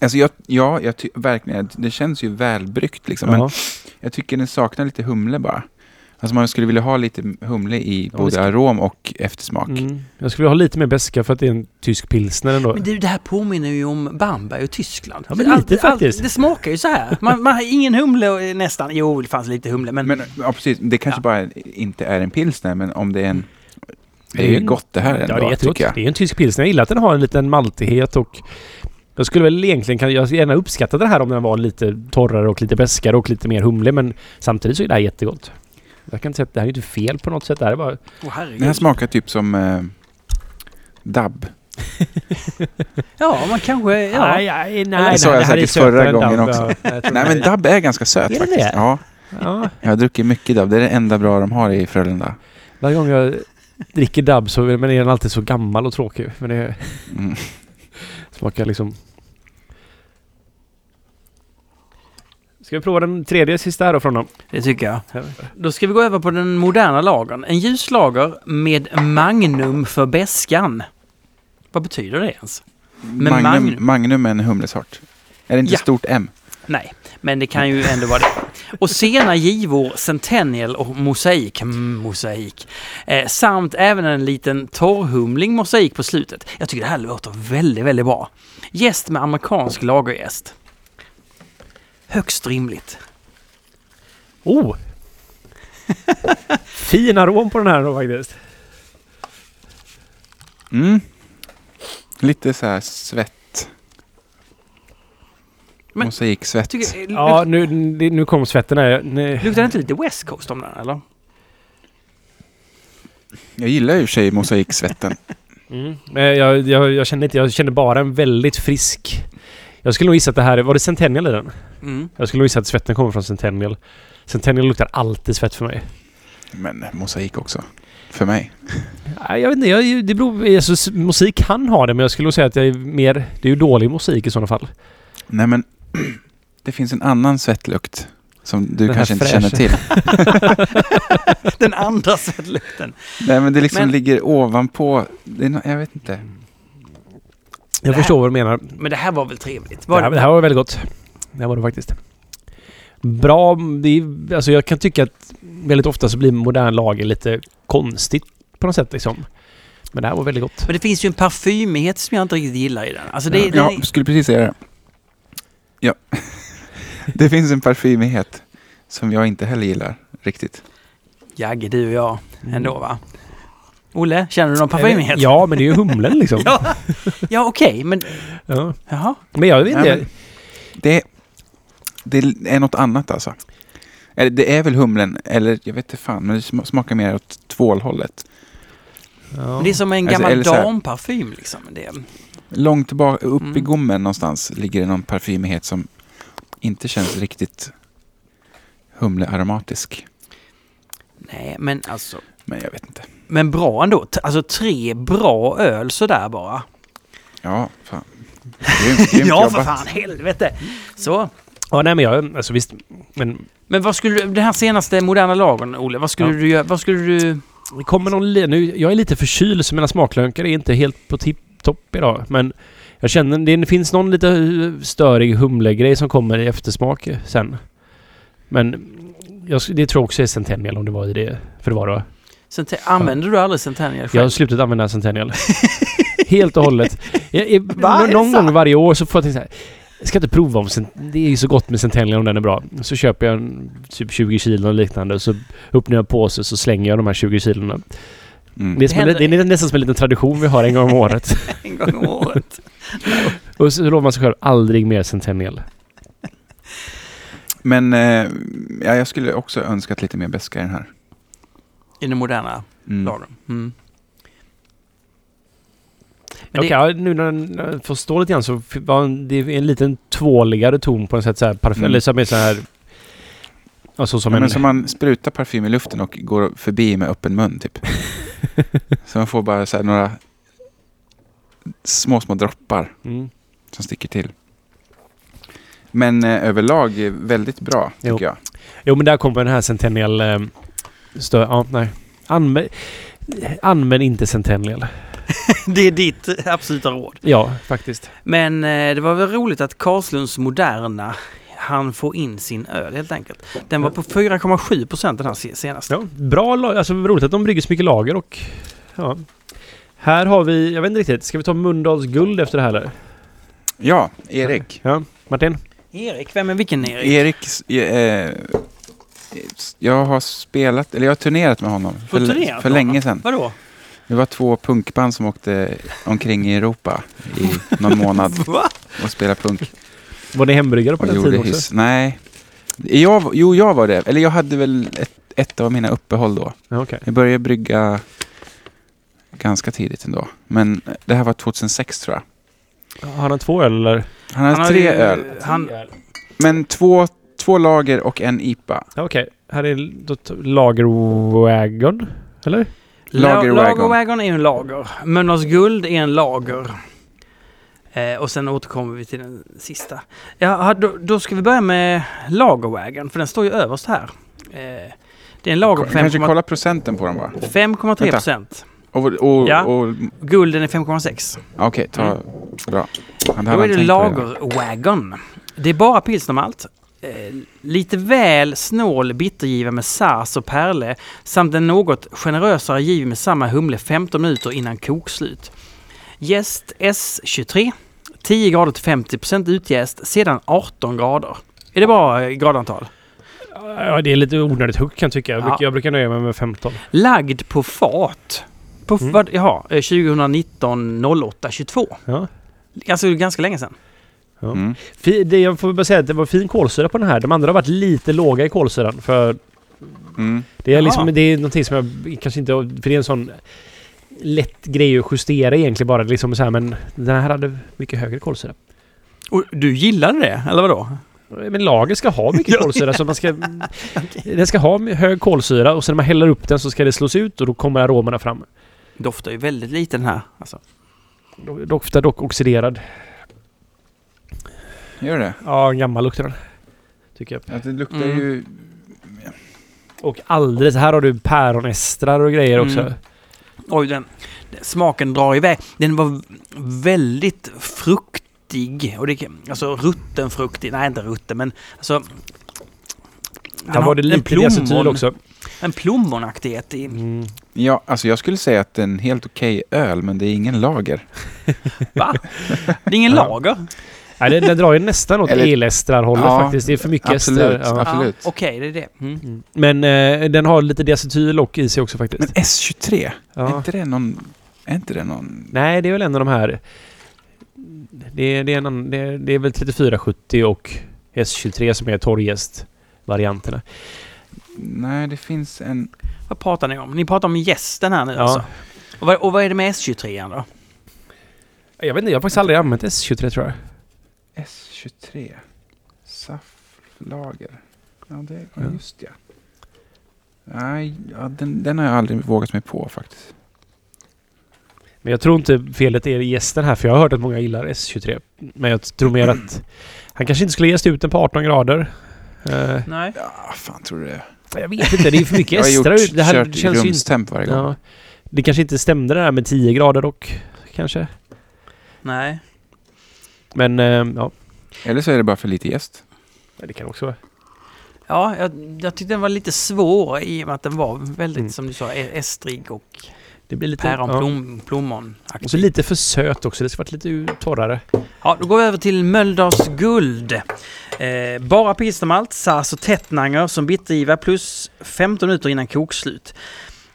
Speaker 3: Alltså jag, ja, jag ty- verkligen. Det känns ju välbryggt liksom. Men
Speaker 2: ja,
Speaker 3: jag tycker den saknar lite humle bara. Alltså man skulle vilja ha lite humle i
Speaker 2: det
Speaker 3: både
Speaker 2: ska-
Speaker 3: arom och eftersmak.
Speaker 2: mm, jag skulle ha lite mer beska för att det är en tysk pilsner ändå.
Speaker 1: Men du, det här påminner ju om Bamberg och Tyskland.
Speaker 2: Ja, men lite faktiskt.
Speaker 1: det smakar ju så här. Man, man har ingen humle och nästan. Jo, det fanns lite humle, men...
Speaker 3: Men ja, precis, det kanske
Speaker 1: Ja.
Speaker 3: bara inte är en pilsner, men om det är en... Det
Speaker 2: Det är
Speaker 3: är ju
Speaker 2: en-
Speaker 3: gott det här ändå,
Speaker 2: ja, det är jättegott.
Speaker 3: tycker jag.
Speaker 2: Det är en tysk pilsner. Jag gillar att den har en liten maltighet och jag skulle väl egentligen kan, jag skulle gärna uppskatta den här om den var lite torrare och lite beskare och lite mer humlig men samtidigt så är det här jättegott. Jag kan inte säga att det här är inte fel på något sätt. Det här är bara...
Speaker 1: Åh, herregud.
Speaker 3: Den här smakar typ som eh, dabb.
Speaker 1: Ja, man kanske... Ja.
Speaker 2: nej,
Speaker 3: Det sa
Speaker 2: här
Speaker 3: jag
Speaker 2: är
Speaker 3: säkert
Speaker 2: sötare
Speaker 3: förra
Speaker 2: än
Speaker 3: gången
Speaker 2: dabb.
Speaker 3: också.
Speaker 2: Ja, jag tror
Speaker 3: Nej,
Speaker 2: det.
Speaker 3: men dabb är ganska söt
Speaker 2: Är det
Speaker 3: faktiskt.
Speaker 2: det?
Speaker 3: Ja,
Speaker 2: Ja,
Speaker 3: jag har druckit mycket dabb. Det är det enda bra de har i Frölunda.
Speaker 2: varje gång jag dricker dabb så men är den alltid så gammal och tråkig. Men det
Speaker 3: Mm.
Speaker 2: smakar liksom... Ska vi prova den tredje sista här då från dem?
Speaker 1: Det tycker jag. Då ska vi gå över på den moderna lagern. En ljus lager med magnum för beskan. Vad betyder det ens? Men
Speaker 3: Magnum,
Speaker 1: Magnum-
Speaker 3: magnum. är en humlesort. Är det inte
Speaker 1: Ja.
Speaker 3: stort M?
Speaker 1: Nej, men det kan ju ändå vara det. Och sena givor, Centennial och mosaik, mm, mosaik. Eh, samt även en liten torrhumling mosaik på slutet. Jag tycker det här låter väldigt, väldigt bra. Gäst med amerikansk lagerjäst. Högst rimligt.
Speaker 2: Oh! fin arom på den här då faktiskt.
Speaker 3: Mm. Lite så här svett.
Speaker 1: Men-
Speaker 3: Mosaiksvett.
Speaker 1: Tycker, eh,
Speaker 2: Ja, nu, nu nu kom svetten här. Nu-
Speaker 1: luk- luktar det inte lite West Coast om den eller?
Speaker 3: Jag gillar ju i och för sig mosaiksvetten.
Speaker 2: Mm. Eh, Jag, jag, jag kände inte, jag kände bara en väldigt frisk... Jag skulle nog gissa att det här, var det Centennial i den?
Speaker 1: Mm.
Speaker 2: Jag skulle nog gissa att svetten kommer från Centennial. Centennial luktar alltid svett för mig.
Speaker 3: Men mosaik också. För mig.
Speaker 2: Nej, Jag vet inte, jag, det beror... Alltså, s- musik kan ha det, men jag skulle nog säga att jag är mer... Det är ju dålig musik i sådana fall.
Speaker 3: Nej men, det finns en annan svettlukt Som
Speaker 2: Den
Speaker 3: du
Speaker 2: här
Speaker 3: kanske inte
Speaker 2: fräscha.
Speaker 3: känner till.
Speaker 1: Den andra svettlukten.
Speaker 3: Nej, men det liksom
Speaker 1: Men-
Speaker 3: ligger ovanpå. Det är nå- jag vet inte.
Speaker 2: Jag
Speaker 1: Det här-
Speaker 2: förstår vad du menar.
Speaker 1: Men det här var väl trevligt?
Speaker 2: Det
Speaker 1: Var
Speaker 2: här, det här var väldigt gott. Det här var det faktiskt. Bra, det är, alltså jag kan tycka att väldigt ofta så blir modern lager lite konstigt på något sätt liksom. Men det här var väldigt gott.
Speaker 1: Men det finns ju en parfymighet som jag inte riktigt gillar i den. Alltså det, det,
Speaker 3: Jag skulle precis säga det. Ja. det finns en parfymighet som jag inte heller gillar riktigt.
Speaker 1: Jagge, du och jag ändå va? Olle, känner du någon parfymighet?
Speaker 2: Ja, men Mm. det är ju humlen liksom. ja.
Speaker 1: Ja, ja okej, men jaha.
Speaker 2: Men jag vet inte.
Speaker 3: Nej, men- Det, det är något annat alltså. Eller Det är väl humlen, eller jag vet inte fan, men det sm- smakar mer åt tvålhållet.
Speaker 2: ja.
Speaker 1: Men det är som en
Speaker 3: Alltså,
Speaker 1: gammal
Speaker 3: eller så här-
Speaker 1: damparfym liksom. Det,
Speaker 3: Långt tillbaka, upp i
Speaker 1: Mm.
Speaker 3: gommen någonstans ligger det någon parfymighet som inte känns riktigt humlearomatisk.
Speaker 1: nej, men alltså.
Speaker 3: Men jag vet inte.
Speaker 1: Men bra ändå. T- Alltså tre bra öl sådär bara.
Speaker 3: Ja, fan. Grymt, grymt
Speaker 1: ja, för
Speaker 3: jobbat.
Speaker 1: fan, helvete. Så.
Speaker 2: ja, nej men jag, alltså visst. Men
Speaker 1: Men vad skulle du, den här senaste moderna lagern, Olle, vad skulle
Speaker 2: Ja.
Speaker 1: du göra, vad skulle du...
Speaker 2: det kommer någon, li- nu, jag är lite förkyld så mina smaklökar är inte helt på tipptopp idag. Men jag känner, det finns någon lite eh, störig humlegrej som kommer i eftersmak sen. Men jag, sk- det tror jag också är Centennial om det var i det. För det var det va?
Speaker 1: Centen- använder du aldrig Centennial
Speaker 2: Jag har
Speaker 1: själv?
Speaker 2: slutat använda Centennial. Helt och hållet. Jag, jag,
Speaker 1: Va? Är det
Speaker 2: någon
Speaker 1: sant?
Speaker 2: gång varje år så får jag tänka så här. Jag ska inte prova om Cent- Det är ju så gott med Centennial om den är bra. Så köper jag en, typ 20 kilo och liknande. Så öppnar jag en påse så slänger jag de här 20 kilona.
Speaker 3: Mm.
Speaker 2: Det är, som en,
Speaker 1: händer-
Speaker 2: det är nästan som en liten tradition vi har en gång om året.
Speaker 1: en gång om året.
Speaker 2: Och så lovar man sig själv aldrig mer Centennial.
Speaker 3: Men eh, ja, jag skulle också önskat lite mer beska i den här.
Speaker 1: I den moderna
Speaker 3: Mm.
Speaker 1: lagern. Mm. Men
Speaker 2: Okej,
Speaker 1: det,
Speaker 2: ja, nu när den- när jag förstår lite grann så f- var en- det är en liten tvåligare ton på något sätt. Så här, parfym,
Speaker 3: Mm.
Speaker 2: Eller som är så här... Alltså som
Speaker 3: Ja,
Speaker 2: en...
Speaker 3: men som man sprutar parfym i luften och går förbi med öppen mun typ. så man får bara så här några små, små droppar
Speaker 2: Mm.
Speaker 3: som sticker till. Men eh, överlag eh, väldigt bra,
Speaker 2: Jo.
Speaker 3: tycker jag.
Speaker 2: Jo, men där kommer den här Centennial... Eh, stö- ja, nej. Anvä- använd inte Centennial.
Speaker 1: det är ditt absoluta råd.
Speaker 2: Ja, faktiskt.
Speaker 1: Men eh, det var väl roligt att Karlslunds Moderna han får in sin öl helt enkelt. Den var på 4,7 procent den här se- senaste.
Speaker 2: Ja, bra la- Alltså roligt att de brygger så mycket lager och... Ja. Här har vi... Jag vet inte riktigt. Ska vi ta Mölndals guld efter det här eller?
Speaker 3: Ja, Erik.
Speaker 2: Ja, Martin?
Speaker 1: Erik, vem är vilken Erik?
Speaker 3: Erik, s- eh, eh, s- jag har spelat, eller jag har turnerat med honom för, l-
Speaker 1: turnerat
Speaker 3: för
Speaker 1: med
Speaker 3: länge
Speaker 1: honom?
Speaker 3: sedan.
Speaker 1: Vadå?
Speaker 3: Det var två punkband som åkte omkring i Europa i någon månad
Speaker 1: Va?
Speaker 3: och spelade punk.
Speaker 2: Var ni hembryggare på
Speaker 3: Och
Speaker 2: den
Speaker 3: gjorde
Speaker 2: tiden också?
Speaker 3: hyss. Nej. Jag, jo, jag var det. Eller jag hade väl ett, ett av mina uppehåll då.
Speaker 2: Ja, okej.
Speaker 3: Jag började brygga ganska tidigt ändå. Men det här var 2006 tror jag.
Speaker 2: Har han två öl eller?
Speaker 3: Han hade
Speaker 1: har
Speaker 3: tre
Speaker 1: ju-
Speaker 3: öl.
Speaker 1: Han,
Speaker 3: Men två, två lager och en IPA.
Speaker 2: Ja, Okej, här är då t- Lagerwagon, eller?
Speaker 1: Lager
Speaker 3: Lagerwagon.
Speaker 1: Lagerwagon är en lager. Mölndals Guld är en lager. Eh, och sen återkommer vi till den sista. Ja, då, då ska vi börja med Lagerwagon, för den står ju överst här. Eh, det är en lager på
Speaker 3: Kanske
Speaker 1: 5,3
Speaker 3: kolla procenten på dem bara.
Speaker 1: 5,3
Speaker 3: Vänta.
Speaker 1: procent.
Speaker 3: Och, och,
Speaker 1: Ja.
Speaker 3: och,
Speaker 1: Gulden är 5,6.
Speaker 3: Okej, ta... Bra. Han
Speaker 1: Då är det Lagerwagon. Det är bara pilsnermalt. Eh, lite väl snål bittergiva med sars och pärle samt en något generösare giv med samma humle 15 minuter innan kokslut. Jäst S23. 10 grader till 50 utjäst, sedan 18 grader. Är det bra eh, gradantal?
Speaker 2: Ja, det är lite onödigt högt kan jag tycka. Jag, bruk,
Speaker 1: Ja.
Speaker 2: jag brukar nöja mig med 15.
Speaker 1: Lagd på fat. På,
Speaker 2: Mm.
Speaker 1: vad, jaha, eh, 2019 08 22.
Speaker 2: Ja.
Speaker 1: Alltså ganska länge sedan.
Speaker 3: Mm.
Speaker 2: Fi, det, jag får bara säga att det var fin kolsyra på den här. De andra har varit lite låga i kolsyran. För
Speaker 3: Mm.
Speaker 2: det är,
Speaker 1: Jaha.
Speaker 2: liksom, det är någonting som jag kanske inte... För det är en sån lätt grej att justera egentligen bara. Liksom så här, men den här hade mycket högre kolsyra.
Speaker 1: Och du gillade det, eller vadå?
Speaker 2: Men lager ska ha mycket kolsyra så man ska... Den ska ha hög kolsyra och sen när man häller upp den så ska det slås ut och då kommer aromerna fram.
Speaker 1: Doftar ju väldigt lite den här. Alltså.
Speaker 2: Doftar dock oxiderad.
Speaker 3: Gör det?
Speaker 2: Ja, en gammal luktar den. Tycker jag.
Speaker 3: Att det luktar
Speaker 1: Mm.
Speaker 3: ju...
Speaker 2: Och alldeles, här har du päronestrar och grejer också.
Speaker 1: Mm. Oj, den, den- smaken drar iväg. Den var väldigt fruktig. Och det, kan- alltså rutten fruktig. Nej, inte rutten, men alltså...
Speaker 2: Där var det lite diacetyl också.
Speaker 1: en plommonaktighet i...
Speaker 2: Mm.
Speaker 3: Ja, alltså jag skulle säga att det är en helt okej öl, men det är ingen lager.
Speaker 1: Va? Det är ingen
Speaker 2: Ja.
Speaker 1: lager?
Speaker 2: Nej, den, den drar ju nästan åt
Speaker 3: Eller-
Speaker 2: elestrarhållet
Speaker 3: Ja,
Speaker 2: faktiskt. Det är för mycket
Speaker 3: Absolut.
Speaker 2: estrar. Ja.
Speaker 3: absolut.
Speaker 1: Ja, Okej, det är det. Mm.
Speaker 2: Mm. Men eh, den har lite diacetyl och i sig också faktiskt.
Speaker 3: Men S23, är,
Speaker 2: ja.
Speaker 3: inte det någon, är inte det någon...
Speaker 2: Nej, det är väl en av de här... Det är, det är, en, annan- det är, det är väl 3470 och S23 som är torrjäst-varianterna.
Speaker 3: Nej, det finns en...
Speaker 1: Vad pratar ni om? Ni pratar om gästen här nu
Speaker 2: Ja.
Speaker 1: alltså? Och vad, och vad är det med S23 då?
Speaker 2: Jag vet inte, jag har faktiskt aldrig använt S23 tror jag.
Speaker 3: S23. Safflager. Ja, det,
Speaker 2: Ja.
Speaker 3: ja. just ja. Nej, ja, den, den har jag aldrig vågat mig på faktiskt.
Speaker 2: Men jag tror inte felet är gästen här, för jag har hört att många gillar S23. Men jag tror mer att han kanske inte skulle jästa ut den på 18 grader. Eh,
Speaker 1: Nej.
Speaker 3: Ja, fan tror du det?
Speaker 2: jag vet inte, det är för mycket
Speaker 3: Jag har gjort,
Speaker 2: estrar. Det här
Speaker 3: kört i
Speaker 2: känns ju inte...
Speaker 3: rumstemp varje gång.
Speaker 2: Ja, det kanske inte stämde det där med 10 grader dock, kanske.
Speaker 1: Nej.
Speaker 2: Men eh, ja,
Speaker 3: Eller så är det bara för lite gäst.
Speaker 2: det kan också vara.
Speaker 1: Ja, jag, jag tyckte den var lite svår i och med att den var väldigt,
Speaker 2: Mm.
Speaker 1: som du sa, e- estrig och
Speaker 2: Det blir lite...
Speaker 1: päron,
Speaker 2: ja.
Speaker 1: plom, plommon.
Speaker 2: Och så lite för söt också. Det ska varit lite torrare.
Speaker 1: Ja, då går vi över till Mölndals guld. Eh, bara pilsnermalt, sars och tättnanger som bittergiva plus 15 minuter innan kokslut.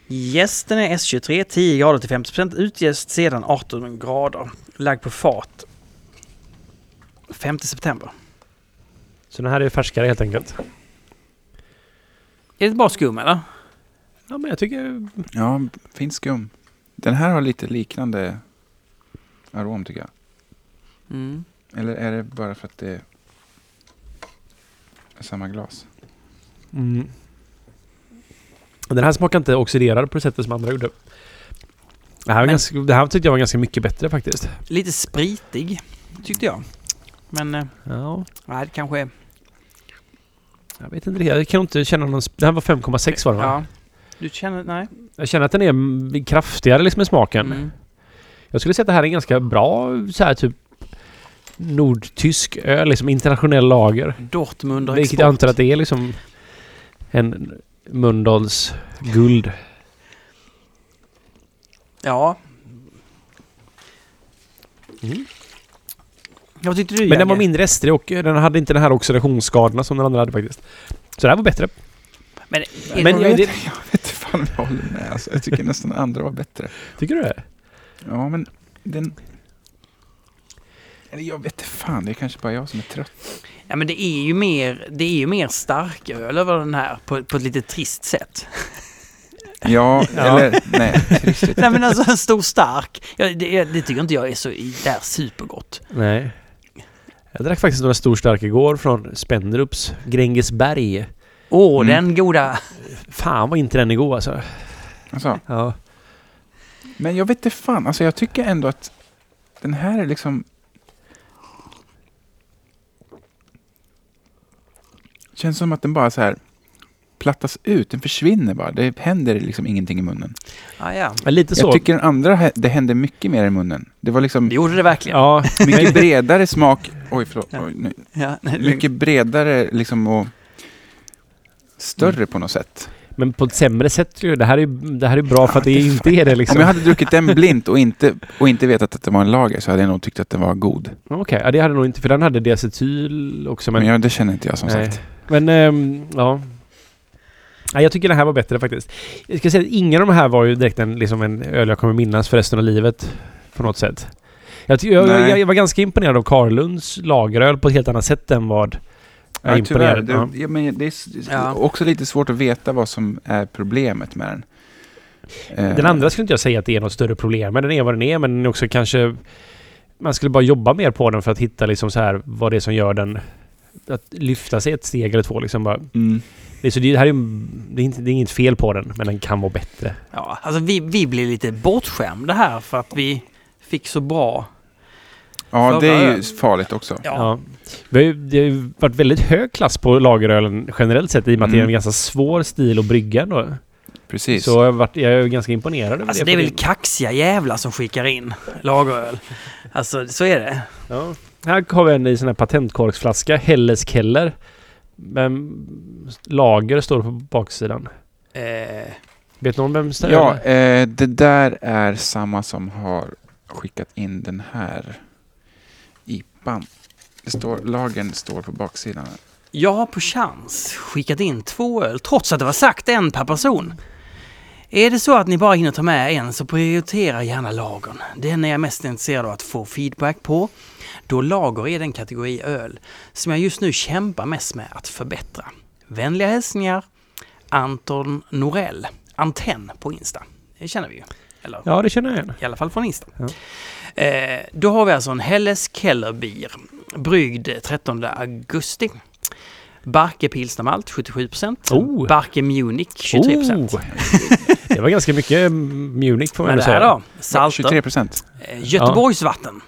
Speaker 1: Gästen är S23, 10 grader till 50 Utgäst sedan 18 grader. Lagd på fat 5 september.
Speaker 2: Så den här är färskare helt enkelt.
Speaker 1: Är det bara skum eller?
Speaker 2: Ja, men jag tycker...
Speaker 3: Ja, fin skum. Den här har lite liknande arom tycker jag.
Speaker 1: Mm.
Speaker 3: Eller är det bara för att det är samma glas?
Speaker 2: Mm. Den här smakar inte oxiderad på det sättet som andra gjorde. Det här, var
Speaker 1: Men-
Speaker 2: ganska, det här tyckte jag var ganska mycket bättre faktiskt.
Speaker 1: Lite spritig, tyckte jag. Men eh,
Speaker 2: Ja,
Speaker 1: nej, det kanske är...
Speaker 2: jag vet inte det. Jag kan inte känna någon... sp- Den här var 5,6 var den va?
Speaker 1: Ja. Du känner... Nej.
Speaker 2: Jag känner att den är mm, kraftigare liksom i smaken.
Speaker 1: Mm.
Speaker 2: Jag skulle säga att det här är en ganska bra så här typ nordtysk öl, liksom internationell lager.
Speaker 1: Dortmund och
Speaker 2: Vilket jag antar att det är liksom en Mölndals guld.
Speaker 1: Ja.
Speaker 2: Mm.
Speaker 1: Vad tyckte du
Speaker 2: Men den var
Speaker 1: Jagge?
Speaker 2: mindre estrig och den hade inte den här oxidationsskadorna som den andra hade faktiskt. Så det här var bättre.
Speaker 1: Men, är det-
Speaker 2: Men
Speaker 3: jag,
Speaker 2: jag-
Speaker 3: vet,
Speaker 2: det-
Speaker 3: jag vet inte fan om jag håller med. Alltså, jag tycker nästan andra var bättre.
Speaker 2: Tycker du det?
Speaker 3: Ja, men den... Eller jag vet inte fan, det är kanske bara jag som är trött.
Speaker 1: ja, men det är ju mer, det är ju mer starköl över den här på, på ett lite trist sätt.
Speaker 3: Ja, eller nej.
Speaker 1: Nej men alltså en stor stark, ja, det, det tycker inte jag är så i- där supergott.
Speaker 2: Nej. Jag drack faktiskt några stor stark igår från Spenderups Grängesberg.
Speaker 1: Åh,
Speaker 3: Mm.
Speaker 1: den goda.
Speaker 2: Fan var inte den igår alltså.
Speaker 3: Alltså,
Speaker 2: Ja.
Speaker 3: men jag vet inte fan, alltså jag tycker ändå att den här är liksom... Känns som att den bara så här plattas ut, den försvinner bara. Det händer liksom ingenting i munnen.
Speaker 1: Ah, ja.
Speaker 2: Men lite så.
Speaker 3: Jag tycker den andra, hä- det hände mycket mer i munnen. Det var liksom
Speaker 1: Det gjorde det verkligen. Ja.
Speaker 2: Ja,
Speaker 3: mycket bredare smak. Oj, förlåt. Oj, nu,
Speaker 1: nej, det-
Speaker 3: mycket bredare liksom och större på något sätt.
Speaker 2: men på ett sämre sätt. tror jag. Det här är, det här är bra för att det inte är det liksom.
Speaker 3: Om jag hade druckit den blint och inte, och inte vetat att det var en lager så hade jag nog tyckt att den var god.
Speaker 2: Okej, ja, det hade jag nog inte för den hade diacetyl också.
Speaker 3: Men
Speaker 2: Men,
Speaker 3: jag, det känner inte jag som
Speaker 2: Nej.
Speaker 3: sagt.
Speaker 2: men ehm, ja. Nej, jag tycker den här var bättre faktiskt. Jag ska säga att ingen av de här var ju direkt en, liksom en öl jag kommer minnas för resten av livet. På något sätt. Jag, ty- jag,
Speaker 3: Nej.
Speaker 2: jag, jag var ganska imponerad av Karlunds lageröl på ett helt annat sätt än vad jag
Speaker 3: Ja,
Speaker 2: är
Speaker 3: tyvärr.
Speaker 2: imponerad
Speaker 3: Det,
Speaker 2: ja.
Speaker 3: ja, men det är s- s-
Speaker 1: Ja.
Speaker 3: också lite svårt att veta vad som är problemet med den. Eh,
Speaker 2: Den andra skulle inte jag säga att det är något större problem med. Den är vad den är, men den är också kanske... Man skulle bara jobba mer på den för att hitta liksom så här vad det är som gör den... Att lyfta sig ett steg eller två liksom bara.
Speaker 3: Mm.
Speaker 2: Det, är så det, här är, det, är inte, det är inget fel på den, men den kan vara bättre.
Speaker 1: Ja, alltså vi, vi blev lite bortskämda här för att vi fick så bra
Speaker 3: Ja,
Speaker 1: Förra
Speaker 3: det är ju
Speaker 1: ölen.
Speaker 3: farligt också.
Speaker 1: Ja.
Speaker 2: Ja. Vi har ju, det har ju varit väldigt hög klass på lagerölen generellt sett i och med att det är
Speaker 3: Mm.
Speaker 2: en ganska svår stil att brygga då.
Speaker 3: Precis.
Speaker 2: Så jag, har varit, jag är ju ganska imponerad över
Speaker 1: Alltså det är
Speaker 2: på
Speaker 1: väl kaxiga jävlar som skickar in lageröl. Alltså så är det.
Speaker 2: Ja. Här har vi en i sån här patentkorksflaska, Helles Keller. Men lager står det på baksidan.
Speaker 1: Eh,
Speaker 2: Vet någon vem det är?
Speaker 3: Ja, eh, det där är samma som har skickat in den här IPan. Det står, lagen står på baksidan.
Speaker 1: jag har på chans skickat in två öl trots att det var sagt en per person. Är det så att ni bara hinner ta med en så prioritera gärna lagern. Den är jag mest intresserad av att få feedback på. Då lager är den kategori öl som jag just nu kämpar mest med att förbättra. Vänliga hälsningar Anton Norell, Antenn på Insta. Det känner vi ju. Eller?
Speaker 2: Ja, det känner jag igen.
Speaker 1: i alla fall från Insta.
Speaker 2: Ja.
Speaker 1: Eh, då har vi alltså en Helles Kellerbier, bryggd 13 augusti. Barke Pilsnermalt 77%,
Speaker 2: Oh.
Speaker 1: Barke Munich 23%.
Speaker 2: Oh! det var ganska mycket mm, Munich får man
Speaker 1: Men
Speaker 2: ändå
Speaker 1: det här
Speaker 2: säga.
Speaker 1: då, salter,
Speaker 3: 23 procent.
Speaker 1: eh, Göteborgsvatten.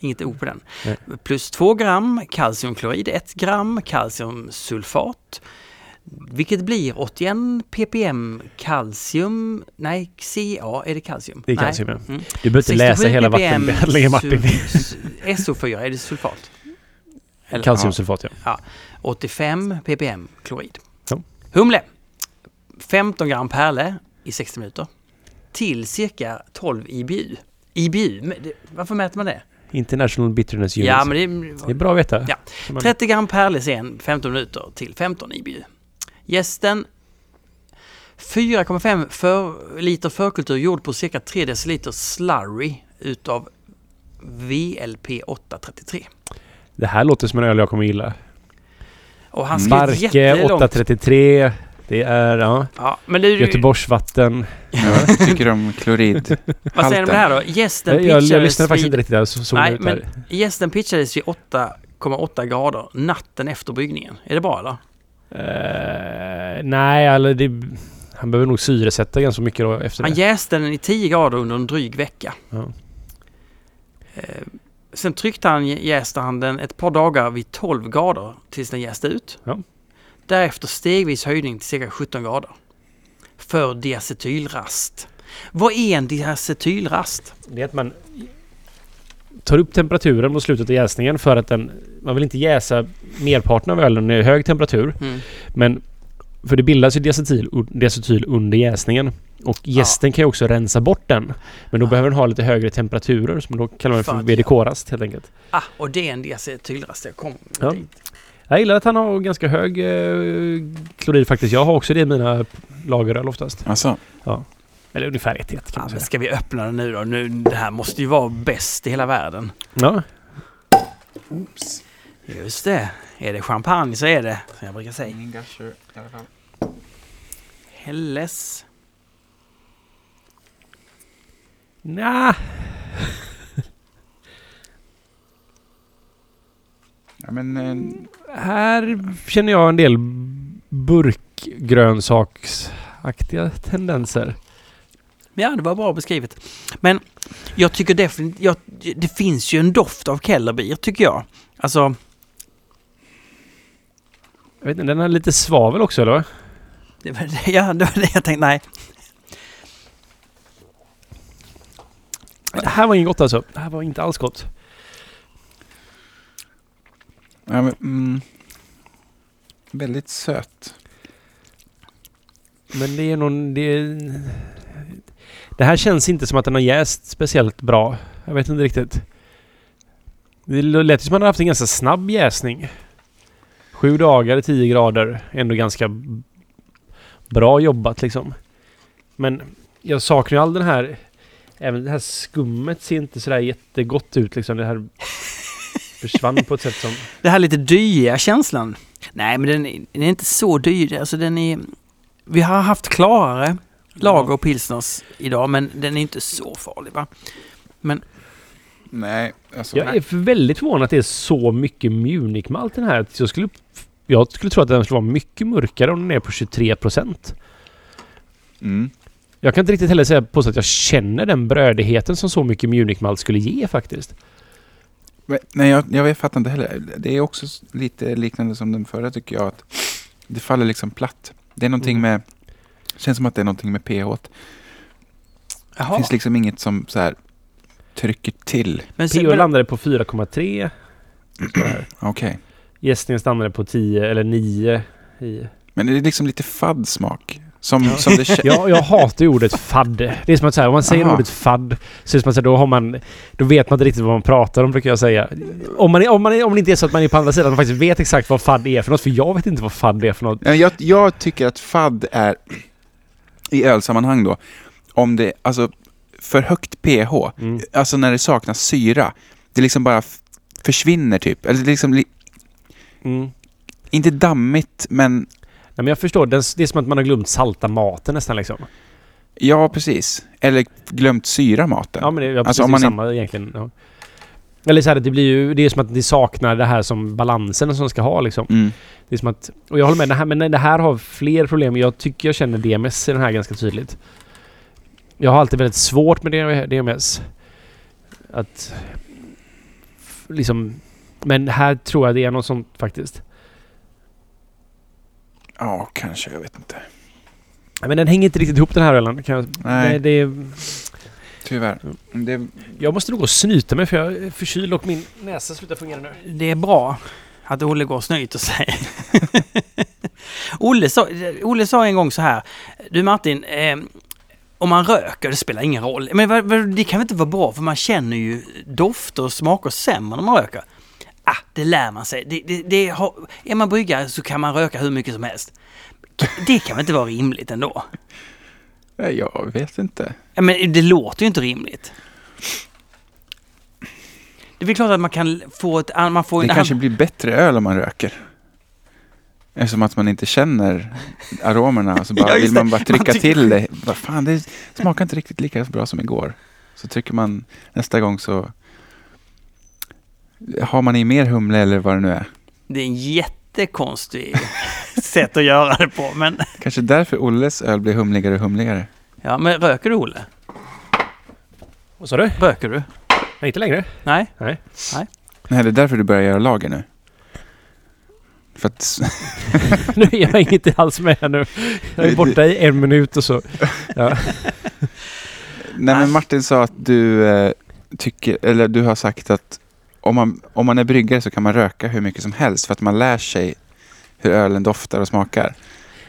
Speaker 1: Inget O på den.
Speaker 2: Nej.
Speaker 1: Plus 2 gram kalciumklorid, 1 gram kalciumsulfat. Vilket blir 81 ppm kalcium, nej Ca, är det kalcium?
Speaker 2: Det är
Speaker 1: Nej.
Speaker 2: kalcium, ja.
Speaker 1: Mm.
Speaker 2: Du behöver inte läsa
Speaker 1: 67
Speaker 2: hela
Speaker 1: ppm
Speaker 2: vattenbehandlingen Martin.
Speaker 1: su- su- SO4, är det sulfat? Eller-
Speaker 2: Kalciumsulfat ja.
Speaker 1: 85 ppm klorid.
Speaker 2: Ja.
Speaker 1: Humle. 15 gram perle i 60 minuter. Till cirka 12 IBU. IBU, men det- varför mäter man det?
Speaker 2: International Bitterness Unit.
Speaker 1: Ja, men det,
Speaker 2: alltså, Det är bra att veta.
Speaker 1: Ja.
Speaker 2: Men-
Speaker 1: 30 gram perlesen, 15 minuter till 15 IBU. Gästen 4,5 för, liter förkultur gjord på cirka 3 deciliter slurry utav VLP 833.
Speaker 2: Det här låter som en öl jag kommer gilla.
Speaker 1: Och han skrev ett
Speaker 2: Barke
Speaker 1: jättelångt...
Speaker 2: 833. Det är ja,
Speaker 1: Ja, men du,
Speaker 2: Göteborgsvatten.
Speaker 3: Ja, vad tycker du om klorid?
Speaker 1: vad säger du om det här då?
Speaker 2: Jag,
Speaker 1: Gästen
Speaker 2: jag,
Speaker 1: pitchades
Speaker 2: jag lyssnade faktiskt
Speaker 1: vid,
Speaker 2: inte riktigt där. Så, såg
Speaker 1: Nej,
Speaker 2: ut
Speaker 1: men
Speaker 2: där.
Speaker 1: gästen pitchades vid 8,8 grader natten efter bryggningen. Är det bra eller?
Speaker 2: Eh, nej, eller det, han behöver nog syresätta ganska mycket då efter
Speaker 1: Han
Speaker 2: det.
Speaker 1: jäste den i 10 grader under en dryg vecka.
Speaker 2: Ja.
Speaker 1: Eh, Sen tryckte han, jäste han den ett par dagar vid 12 grader tills den jäste ut.
Speaker 2: Ja.
Speaker 1: Därefter stegvis höjning till cirka 17 grader. För diacetylrast. Vad är en diacetylrast?
Speaker 2: Det är att man tar upp temperaturen mot slutet av jäsningen för att den... Man vill inte jäsa merparten av ölen i hög temperatur.
Speaker 1: Mm.
Speaker 2: Men... För det bildas ju diacetyl, diacetyl under jäsningen. Och jästen kan ju också rensa bort den. Men då
Speaker 1: Ah.
Speaker 2: behöver den ha lite högre temperaturer som då kallar man för
Speaker 1: Fan,
Speaker 2: VDK-rast helt enkelt.
Speaker 1: Ah, och det är en diacetylrast. Jag kom
Speaker 2: Ja.
Speaker 1: dit.
Speaker 2: Jag gillar att han har ganska hög eh, klorid faktiskt. Jag har också det i mina lageröl oftast.
Speaker 3: Alltså,
Speaker 2: Eller ungefär ett i ett kan
Speaker 1: Ah,
Speaker 2: man
Speaker 1: men
Speaker 2: säga.
Speaker 1: ska vi öppna den nu då? Nu, det här måste ju vara bäst i hela världen.
Speaker 2: Ja.
Speaker 1: Just det. Är det champagne så är det, som jag brukar säga.
Speaker 3: ingen gasher i alla fall.
Speaker 1: Helles.
Speaker 2: Nja.
Speaker 3: Ja, men, eh,
Speaker 2: Här känner jag en del burkgrönsaksaktiga tendenser.
Speaker 1: Ja, det var bra beskrivet. Men jag tycker definitivt... Jag, det finns ju en doft av Kellerbier, tycker jag. Alltså,
Speaker 2: Jag vet inte, den har lite svavel också eller? va?
Speaker 1: det var det, ja, det, var det jag tänkte. Nej.
Speaker 2: Det här var inget gott alltså. Det här var inte alls gott.
Speaker 3: ja, men, mm, väldigt söt.
Speaker 2: Men det är någon... Det, är... det här känns inte som att den har jäst speciellt bra. Jag vet inte riktigt. Det lät ju som att den har haft en ganska snabb jäsning. Sju dagar, tio grader. Ändå ganska bra jobbat liksom. Men jag saknar ju all den här... Även det här skummet ser inte sådär jättegott ut liksom. Det här försvann på ett sätt som...
Speaker 1: Det här lite dyiga känslan. Nej, men den, är- den är inte så dyr. Alltså, den är... Vi har haft klarare lager och pilsners idag, men den är inte så farlig, va?
Speaker 3: Nej, alltså,
Speaker 2: Jag är för- väldigt förvånad att det är så mycket Munich-malt i den här. Jag skulle, jag skulle tro att den skulle vara mycket mörkare om den är på 23 procent.
Speaker 3: Mm.
Speaker 2: Jag kan inte riktigt heller säga på så att jag känner den brödigheten som så mycket Munich-malt skulle ge faktiskt.
Speaker 3: Men- Nej, jag, jag vet- fattar inte heller. Det är också s- lite liknande som den förra tycker jag. Att det faller liksom platt. Det är någonting
Speaker 2: Mm.
Speaker 3: med... känns som att det är någonting med pH. -t. Det
Speaker 1: Jaha.
Speaker 3: finns liksom inget som så här trycker till.
Speaker 1: Men, sen-
Speaker 2: PO
Speaker 1: men,
Speaker 2: landade på 4,3. Sådär.
Speaker 3: Okej.
Speaker 2: Gästningen stannade på 10 eller 9. I.
Speaker 3: Men det är liksom lite fadd smak. Som,
Speaker 2: Ja.
Speaker 3: som det känns.
Speaker 2: Jag, jag hatar ju ordet fadd. Det är som att säga, om man säger
Speaker 3: Aha.
Speaker 2: ordet fadd så är det som att säga, då, har man, då vet man inte riktigt vad man pratar om brukar jag säga. Om, man är, om, man är, om det inte är så att man är på andra sidan och faktiskt vet exakt vad fadd är för något. För jag vet inte vad fadd är för något.
Speaker 3: Nej, Jag, jag tycker att fadd är, i ölsammanhang då, om det, alltså för högt pH,
Speaker 2: Mm.
Speaker 3: alltså när det saknas syra, det liksom bara f- försvinner typ. Eller det liksom, li-
Speaker 2: Mm.
Speaker 3: inte dammigt, men
Speaker 2: Nej, men jag förstår, det är det är som att man har glömt salta maten nästan liksom.
Speaker 3: ja precis. Eller glömt syra maten.
Speaker 2: Ja, men det är ja,
Speaker 3: Alltså,
Speaker 2: precis
Speaker 3: om man
Speaker 2: samma egentligen. Ja. Eller så här, det blir ju... Det är som att det saknar det här som balansen som ska ha liksom.
Speaker 3: Mm.
Speaker 2: Det är som att... Och jag håller med, det här, men nej, det här har fler problem. Jag tycker jag känner DMS i den här ganska tydligt. Jag har alltid väldigt svårt med DMS. Att... f- Liksom... Men här tror jag det är något sånt faktiskt.
Speaker 3: Ja, kanske. Jag vet inte.
Speaker 2: Men den hänger inte riktigt ihop den här ölen. Kan jag,
Speaker 3: Nej,
Speaker 2: det, det,
Speaker 3: tyvärr.
Speaker 2: Mm.
Speaker 3: Det,
Speaker 2: jag måste nog gå och snyta mig för jag är förkyld och min näsa slutar fungera nu.
Speaker 1: det är bra att Olle går och snyter sig. Olle, sa, Olle sa en gång så här. Du Martin, eh, om man röker, det spelar ingen roll. Men vad- vad- det kan väl inte vara bra för man känner ju dofter och smaker sämre när man röker. Ah, det lär man sig. Det, det, det har, är man bryggare så kan man röka hur mycket som helst. Det kan väl inte vara rimligt ändå?
Speaker 3: nej, jag vet inte.
Speaker 1: Ja, Men det låter ju inte rimligt. Det är väl klart att man kan få ett... an- Man får
Speaker 3: Det
Speaker 1: en,
Speaker 3: kanske blir bättre öl om man röker. Eftersom att man inte känner aromerna så bara,
Speaker 1: Ja, just
Speaker 3: vill man bara
Speaker 1: det.
Speaker 3: trycka
Speaker 1: Man tycker-
Speaker 3: till det. Vad fan, det smakar inte riktigt lika bra som igår. Så trycker man nästa gång så har man i mer humle eller vad det nu är.
Speaker 1: det är en jättekonstig sätt att göra det på. Men,
Speaker 3: Kanske därför Olles öl blir humligare och humligare.
Speaker 1: ja, men röker du Olle?
Speaker 2: Vad sa du?
Speaker 1: Röker du?
Speaker 2: Nej, inte längre.
Speaker 1: Nej?
Speaker 3: Nej, det är därför du börjar göra lager nu. För att,
Speaker 2: nu är jag inte alls med här nu. Jag är borta i en minut och så.
Speaker 3: nej men Martin sa att du eh, tycker, eller du har sagt att om man, om man är bryggare så kan man röka hur mycket som helst för att man lär sig hur ölen doftar och smakar.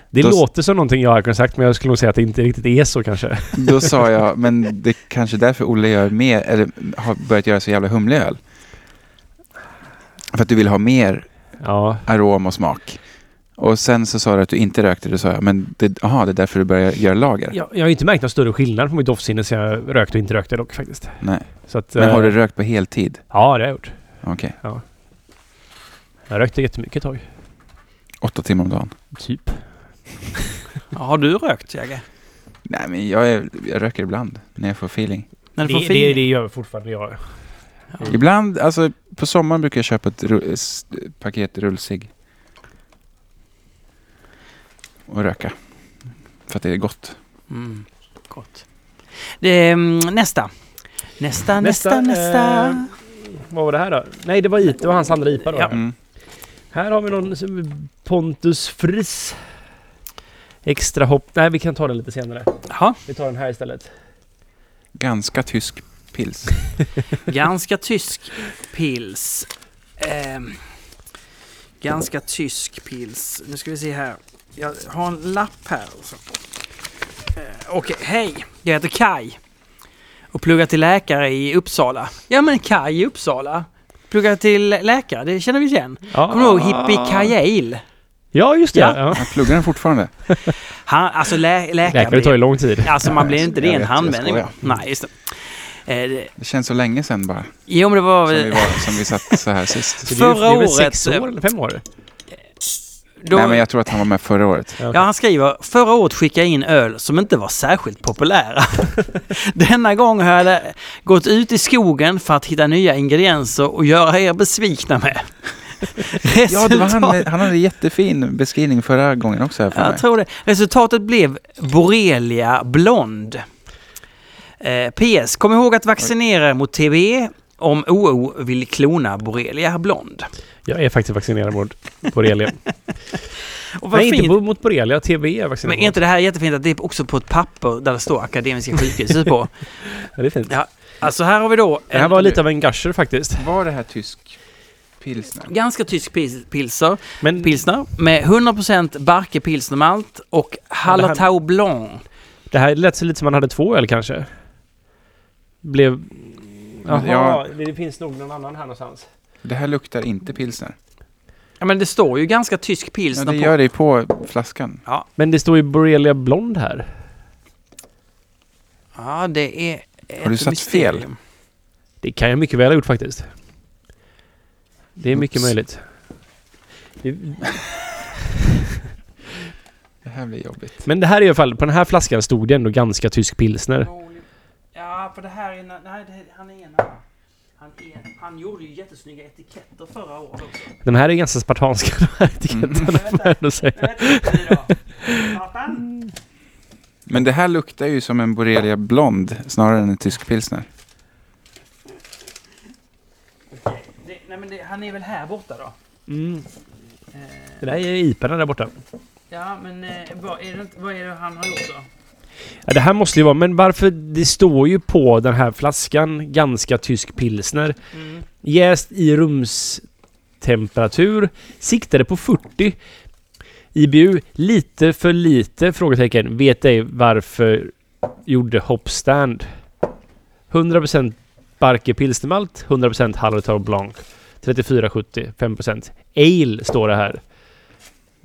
Speaker 2: Det
Speaker 3: Då-
Speaker 2: låter som någonting jag har kunnat sagt men jag skulle nog säga att det inte riktigt är så kanske.
Speaker 3: Då sa jag, men det är kanske är därför Olle gör mer, eller har börjat göra så jävla humlig öl. För att du vill ha mer
Speaker 2: Ja,
Speaker 3: arom och smak. Och sen så sa du att du inte rökte, då sa jag, men det, aha, det är därför du börjar göra lager.
Speaker 2: jag, jag har inte märkt någon större skillnad på mitt doftsinne sen jag rökte och inte rökte dock faktiskt.
Speaker 3: Nej.
Speaker 2: Så att,
Speaker 3: Men har
Speaker 2: eh,
Speaker 3: du rökt på heltid?
Speaker 2: Ja, det har jag gjort.
Speaker 3: Okej,
Speaker 2: Jag rökte jättemycket ett tag.
Speaker 3: åtta timmar om dagen.
Speaker 2: Typ.
Speaker 1: Ja, har du rökt Jagge?
Speaker 3: Nej, men jag, är, jag röker ibland när jag får feeling.
Speaker 1: När du
Speaker 2: Det,
Speaker 1: får
Speaker 2: det,
Speaker 1: feeling?
Speaker 2: det gör fortfarande jag.
Speaker 3: Ibland, alltså på sommaren brukar jag köpa ett ru- s- paket rullsig. Och röka. För att det är gott.
Speaker 1: Mm, gott. Det, är, mm, nästa. Nästa, nästa,
Speaker 2: Nästa,
Speaker 1: nästa.
Speaker 2: eh, Vad var det här då? Nej, det var IT. Det var hans andra IPA då.
Speaker 1: Ja.
Speaker 3: Mm.
Speaker 2: Här har vi någon som- Pontus Fris. Extra hopp. Nej, vi kan ta den lite senare.
Speaker 1: Jaha,
Speaker 2: Vi tar den här istället.
Speaker 3: Ganska tysk pils.
Speaker 1: ganska tysk pils. Ehm, ganska tysk pils. Nu ska vi se här. Jag har en lapp här. Alltså. Eh, Okej, hej. Jag heter Kai och pluggar till läkare i Uppsala. Ja, men Kai i Uppsala. Pluggar till läkare, det känner vi igen.
Speaker 2: Ja.
Speaker 1: Kommer du ihåg
Speaker 3: Ah.
Speaker 1: Hippie Kajail?
Speaker 2: Ja, just det.
Speaker 1: Ja.
Speaker 2: Ja. Ja.
Speaker 3: Han pluggar den fortfarande.
Speaker 1: Han, alltså lä- läkare...
Speaker 2: Läkare tar ju lång tid.
Speaker 1: Alltså man blir inte det i
Speaker 3: Jag
Speaker 1: en
Speaker 3: vet,
Speaker 1: handvändning.
Speaker 3: jag
Speaker 1: Nej, just det. Eh, det-
Speaker 3: Det känns så länge sedan bara,
Speaker 1: Jo, men det var
Speaker 3: som vi,
Speaker 1: väl...
Speaker 3: var, som vi satt så här sist.
Speaker 2: Så det är ju-
Speaker 1: Förra
Speaker 2: det är väl
Speaker 1: året,
Speaker 2: sex
Speaker 1: eh,
Speaker 2: år eller fem år?
Speaker 1: Då,
Speaker 3: Nej, men jag tror att han var med förra året.
Speaker 1: Ja, han skriver förra året skickade jag in öl som inte var särskilt populära. Denna gång har jag lä- gått ut i skogen för att hitta nya ingredienser och göra er besvikna med.
Speaker 3: Ja, det var han,
Speaker 1: Resultat-
Speaker 3: han hade jättefin beskrivning förra gången också här för
Speaker 1: Ja,
Speaker 3: mig.
Speaker 1: Jag tror det. Resultatet blev Borrelia Blond. Eh, PS. Kom ihåg att vaccinera er mot TBE om OO vill klona borrelia blond.
Speaker 2: Jag är faktiskt vaccinerad mot borrelia.
Speaker 1: Och vad
Speaker 2: Nej, inte
Speaker 1: fint.
Speaker 2: bo- mot borrelia. TB är jag vaccinerad
Speaker 1: Men är inte det här jättefint att det är också på ett papper där det står Akademiska sjukhuset på?
Speaker 2: mot. Ja, det är fint.
Speaker 1: Ja. Alltså här har vi då...
Speaker 2: Det här
Speaker 1: en-
Speaker 2: var lite av en gusher faktiskt.
Speaker 3: Var det här tysk pilsner?
Speaker 1: Ganska tysk pils- pilser,
Speaker 2: Men
Speaker 1: pilsner med 100% Barke pilsnermalt och Hallertau Blanc.
Speaker 2: det här lät så lite som man hade två öl kanske. Blev... Jaha,
Speaker 3: Ja.
Speaker 2: det finns nog någon annan här någonstans.
Speaker 3: Det här luktar inte pilsner.
Speaker 1: Ja men det står ju ganska tysk
Speaker 3: Ja,
Speaker 1: pilsner
Speaker 3: det
Speaker 1: på.
Speaker 3: gör det ju på flaskan.
Speaker 2: Men det står ju borrelia blond här.
Speaker 1: Ja det är ett
Speaker 3: Har du satt
Speaker 1: mysterium.
Speaker 3: fel?
Speaker 2: Det kan jag mycket väl ha gjort faktiskt. Det är mycket
Speaker 3: Oops.
Speaker 2: möjligt. Det-
Speaker 3: Det här blir jobbigt.
Speaker 2: Men det här är i alla fall, på den här flaskan stod det ändå ganska tysk pilsner.
Speaker 1: Ja, för det här är... Nej, det, han är en han, är, han gjorde ju jättesnygga etiketter förra året också.
Speaker 2: Den här är ganska spartanska, de här etiketterna får jag ändå säga.
Speaker 3: Men det här luktar ju som en borrelia blond snarare än en tysk pilsner.
Speaker 1: nej, men han är väl här borta då?
Speaker 2: Det där är iparna där borta.
Speaker 1: Ja, men eh, vad, är det, vad är det han har gjort då?
Speaker 2: Ja, det här måste ju vara, men varför? Det står ju på den här flaskan ganska tysk pilsner.
Speaker 1: Mm.
Speaker 2: Jäst i rumstemperatur. Siktade på 40. IBU, lite för lite? Frågetecken. Vet ej varför gjorde Hopstand. 100% Barke Pilsnermalt, 100% Hallertau Blanc. 34,70, 5%. Ale står det här.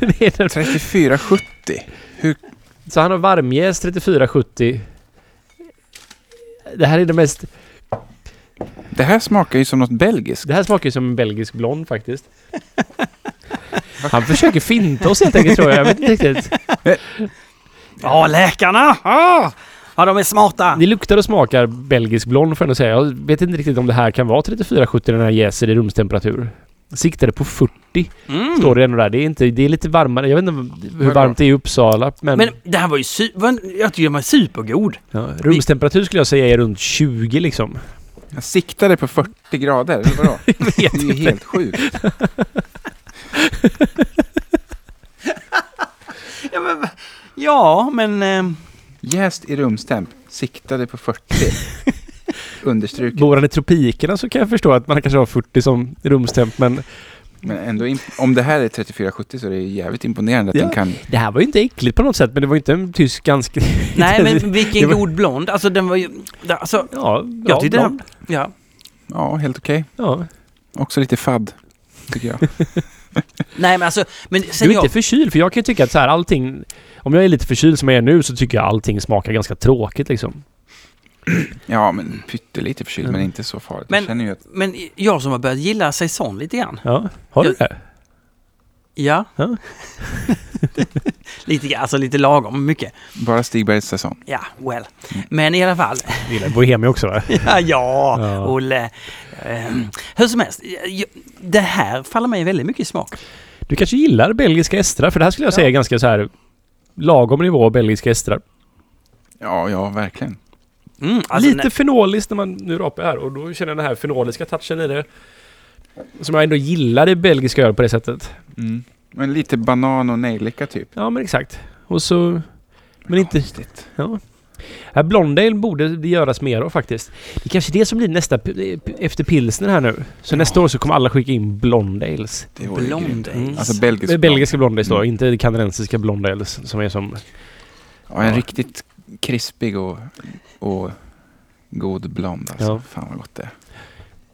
Speaker 2: det är den
Speaker 3: 34,70.
Speaker 2: så han har varmjäst 3470. Det här är det mest...
Speaker 3: Det här smakar ju som något belgiskt.
Speaker 2: Det här smakar ju som en belgisk blond faktiskt. Han försöker finta oss helt enkelt tror jag. Jag vet inte riktigt.
Speaker 1: Ja, läkarna! Ah! Ja, de är smarta!
Speaker 2: Det luktar och smakar belgisk blond får jag ändå säga. Jag vet inte riktigt om det här kan vara 3470 den här jäser i rumstemperatur. Siktade på 40
Speaker 1: Mm.
Speaker 2: står det ändå där. Det är, inte, det är lite varmare. Jag vet inte hur
Speaker 3: Vadå?
Speaker 2: varmt det är i Uppsala. Men,
Speaker 1: Men det här var ju su- vad- Jag tycker den var supergod.
Speaker 2: ja, rumstemperatur skulle jag säga är runt 20 liksom.
Speaker 3: Jag siktade på 40 grader, eller vadå? Det är ju helt sjukt.
Speaker 1: Ja, men... Ja, men eh,
Speaker 3: Jäst i rumstemp, siktade på 40. Understruket.
Speaker 2: Bor han i tropikerna så kan jag förstå att man kanske har 40 som rumstemp men
Speaker 3: Men ändå, imp- om det här är 34,70 så är det ju jävligt imponerande att
Speaker 2: Ja.
Speaker 3: den kan...
Speaker 2: Det här var ju inte äckligt på något sätt, men det var ju inte en tysk ganska...
Speaker 1: nej, men vilken
Speaker 2: Det var-
Speaker 1: god blond. Alltså den var ju... Alltså,
Speaker 2: Ja,
Speaker 1: jag
Speaker 2: ja,
Speaker 1: tyckte
Speaker 2: ja,
Speaker 1: den... Ja.
Speaker 3: Ja, helt okej.
Speaker 2: ja.
Speaker 3: Också lite fadd, tycker jag.
Speaker 1: Nej men alltså, men
Speaker 2: Du är
Speaker 1: sen
Speaker 2: inte
Speaker 1: jag...
Speaker 2: förkyld, för jag kan ju tycka att så här, allting... Om jag är lite förkyld som jag är nu så tycker jag allting smakar ganska tråkigt liksom.
Speaker 3: Ja, men pyttelite förkyld,
Speaker 2: Mm.
Speaker 3: men inte så farligt.
Speaker 1: Men-
Speaker 3: Jag känner ju att...
Speaker 1: Men jag som har börjat gilla saison lite grann.
Speaker 2: Ja, har du
Speaker 1: Jag-
Speaker 2: det?
Speaker 1: Ja.
Speaker 2: Ja.
Speaker 1: lite grann, alltså lite lagom mycket.
Speaker 3: Bara Stigbergs säsong.
Speaker 1: Ja, well. Men i alla fall.
Speaker 2: Du gillar Bohemia också va?
Speaker 1: ja, ja,
Speaker 2: Ja.
Speaker 1: Olle. Ehm, hur som helst, jag, det här faller mig väldigt mycket i smak.
Speaker 2: Du kanske gillar belgiska estrar, för det här skulle jag
Speaker 1: Ja.
Speaker 2: säga är ganska så här... Lagom nivå av belgiska estrar.
Speaker 3: Ja, ja, verkligen.
Speaker 1: Mm, alltså,
Speaker 2: lite
Speaker 1: nej,
Speaker 2: fenoliskt när man nu rapar här och då känner jag den här fenoliska touchen i det. Som jag ändå gillar i belgiska öl på det sättet. Mm.
Speaker 3: Men lite banan och nejlika typ.
Speaker 2: Ja, men exakt. Och så... Men inte...
Speaker 3: Konstigt.
Speaker 2: Ja. Här, Blondale borde det göras mer av faktiskt. Det är kanske är det som blir nästa... p- eh, p- Efter pilsner här nu. Så
Speaker 3: Ja.
Speaker 2: nästa år så kommer alla skicka in Blondales.
Speaker 3: Det vore ju grymt.
Speaker 1: Blond
Speaker 2: Mm.
Speaker 1: mm.
Speaker 3: Alltså belgisk.
Speaker 2: Belgiska, belgiska Blondales då,
Speaker 3: Mm.
Speaker 2: inte kanadensiska Blondales som är som...
Speaker 3: Ja, en
Speaker 2: Ja.
Speaker 3: riktigt krispig och, och god blond alltså.
Speaker 2: Ja.
Speaker 3: Fan vad gott det är.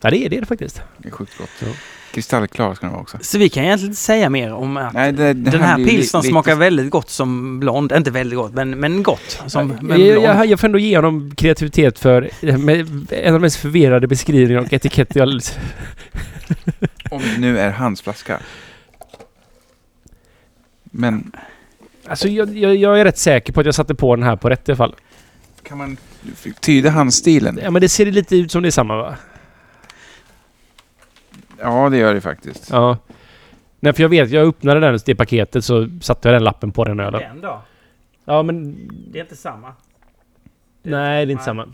Speaker 2: Ja, det är det faktiskt.
Speaker 3: Det är sjukt gott.
Speaker 2: Ja.
Speaker 3: Kristallklar ska den vara också.
Speaker 1: Så vi kan egentligen inte säga mer om att
Speaker 3: Nej, det, det
Speaker 1: den här
Speaker 3: blir ju li-
Speaker 1: pilsnern
Speaker 3: lite-
Speaker 1: smakar väldigt gott som blond. Inte väldigt gott, men, men gott. Som, men
Speaker 2: Eh, Jag, jag,
Speaker 1: blond.
Speaker 2: jag får ändå ge honom kreativitet för eh, med, en av de mest förvirrade beskrivningar och etiketter jag...
Speaker 3: Om det nu är hans flaska. Men
Speaker 2: Alltså jag, jag, jag är rätt säker på att jag satte på den här på rätt i alla fall.
Speaker 3: kan man tyda handstilen?
Speaker 2: Ja men det ser lite ut som det är samma va?
Speaker 3: Ja, det gör det faktiskt.
Speaker 2: Ja. Nej, för jag vet, jag öppnade den, det paketet så satte jag den lappen på den ölen.
Speaker 1: Den då?
Speaker 2: Ja, men...
Speaker 1: Det är inte samma.
Speaker 2: Nej, det är inte samma.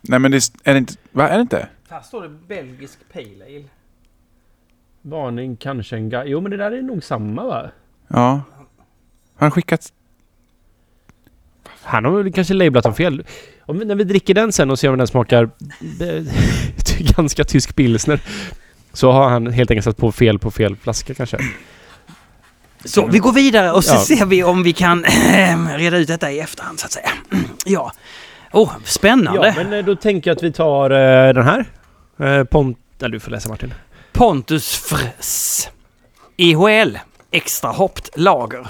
Speaker 3: Nej men det är- är det inte... Va, är det inte?
Speaker 1: Här står det belgisk pale ale.
Speaker 2: Varning, kanske en guide. Jo, men det där är nog samma va?
Speaker 3: Ja. Har han skickat...
Speaker 2: Han har väl kanske lablat dem fel. Om, vi- när vi dricker den sen och ser om den smakar eh, ganska tysk pilsner. Så har han helt enkelt satt på fel på fel flaska kanske.
Speaker 1: Så vi går vidare och så
Speaker 2: Ja.
Speaker 1: ser vi om vi kan eh, reda ut detta i efterhand så att säga. Ja. Åh, oh, spännande.
Speaker 2: Ja, men eh, då tänker jag att vi tar eh, den här. Eh, Pont... Ja, du får läsa Martin.
Speaker 1: Pontus Fräs. IHL. Extra hoppt lager.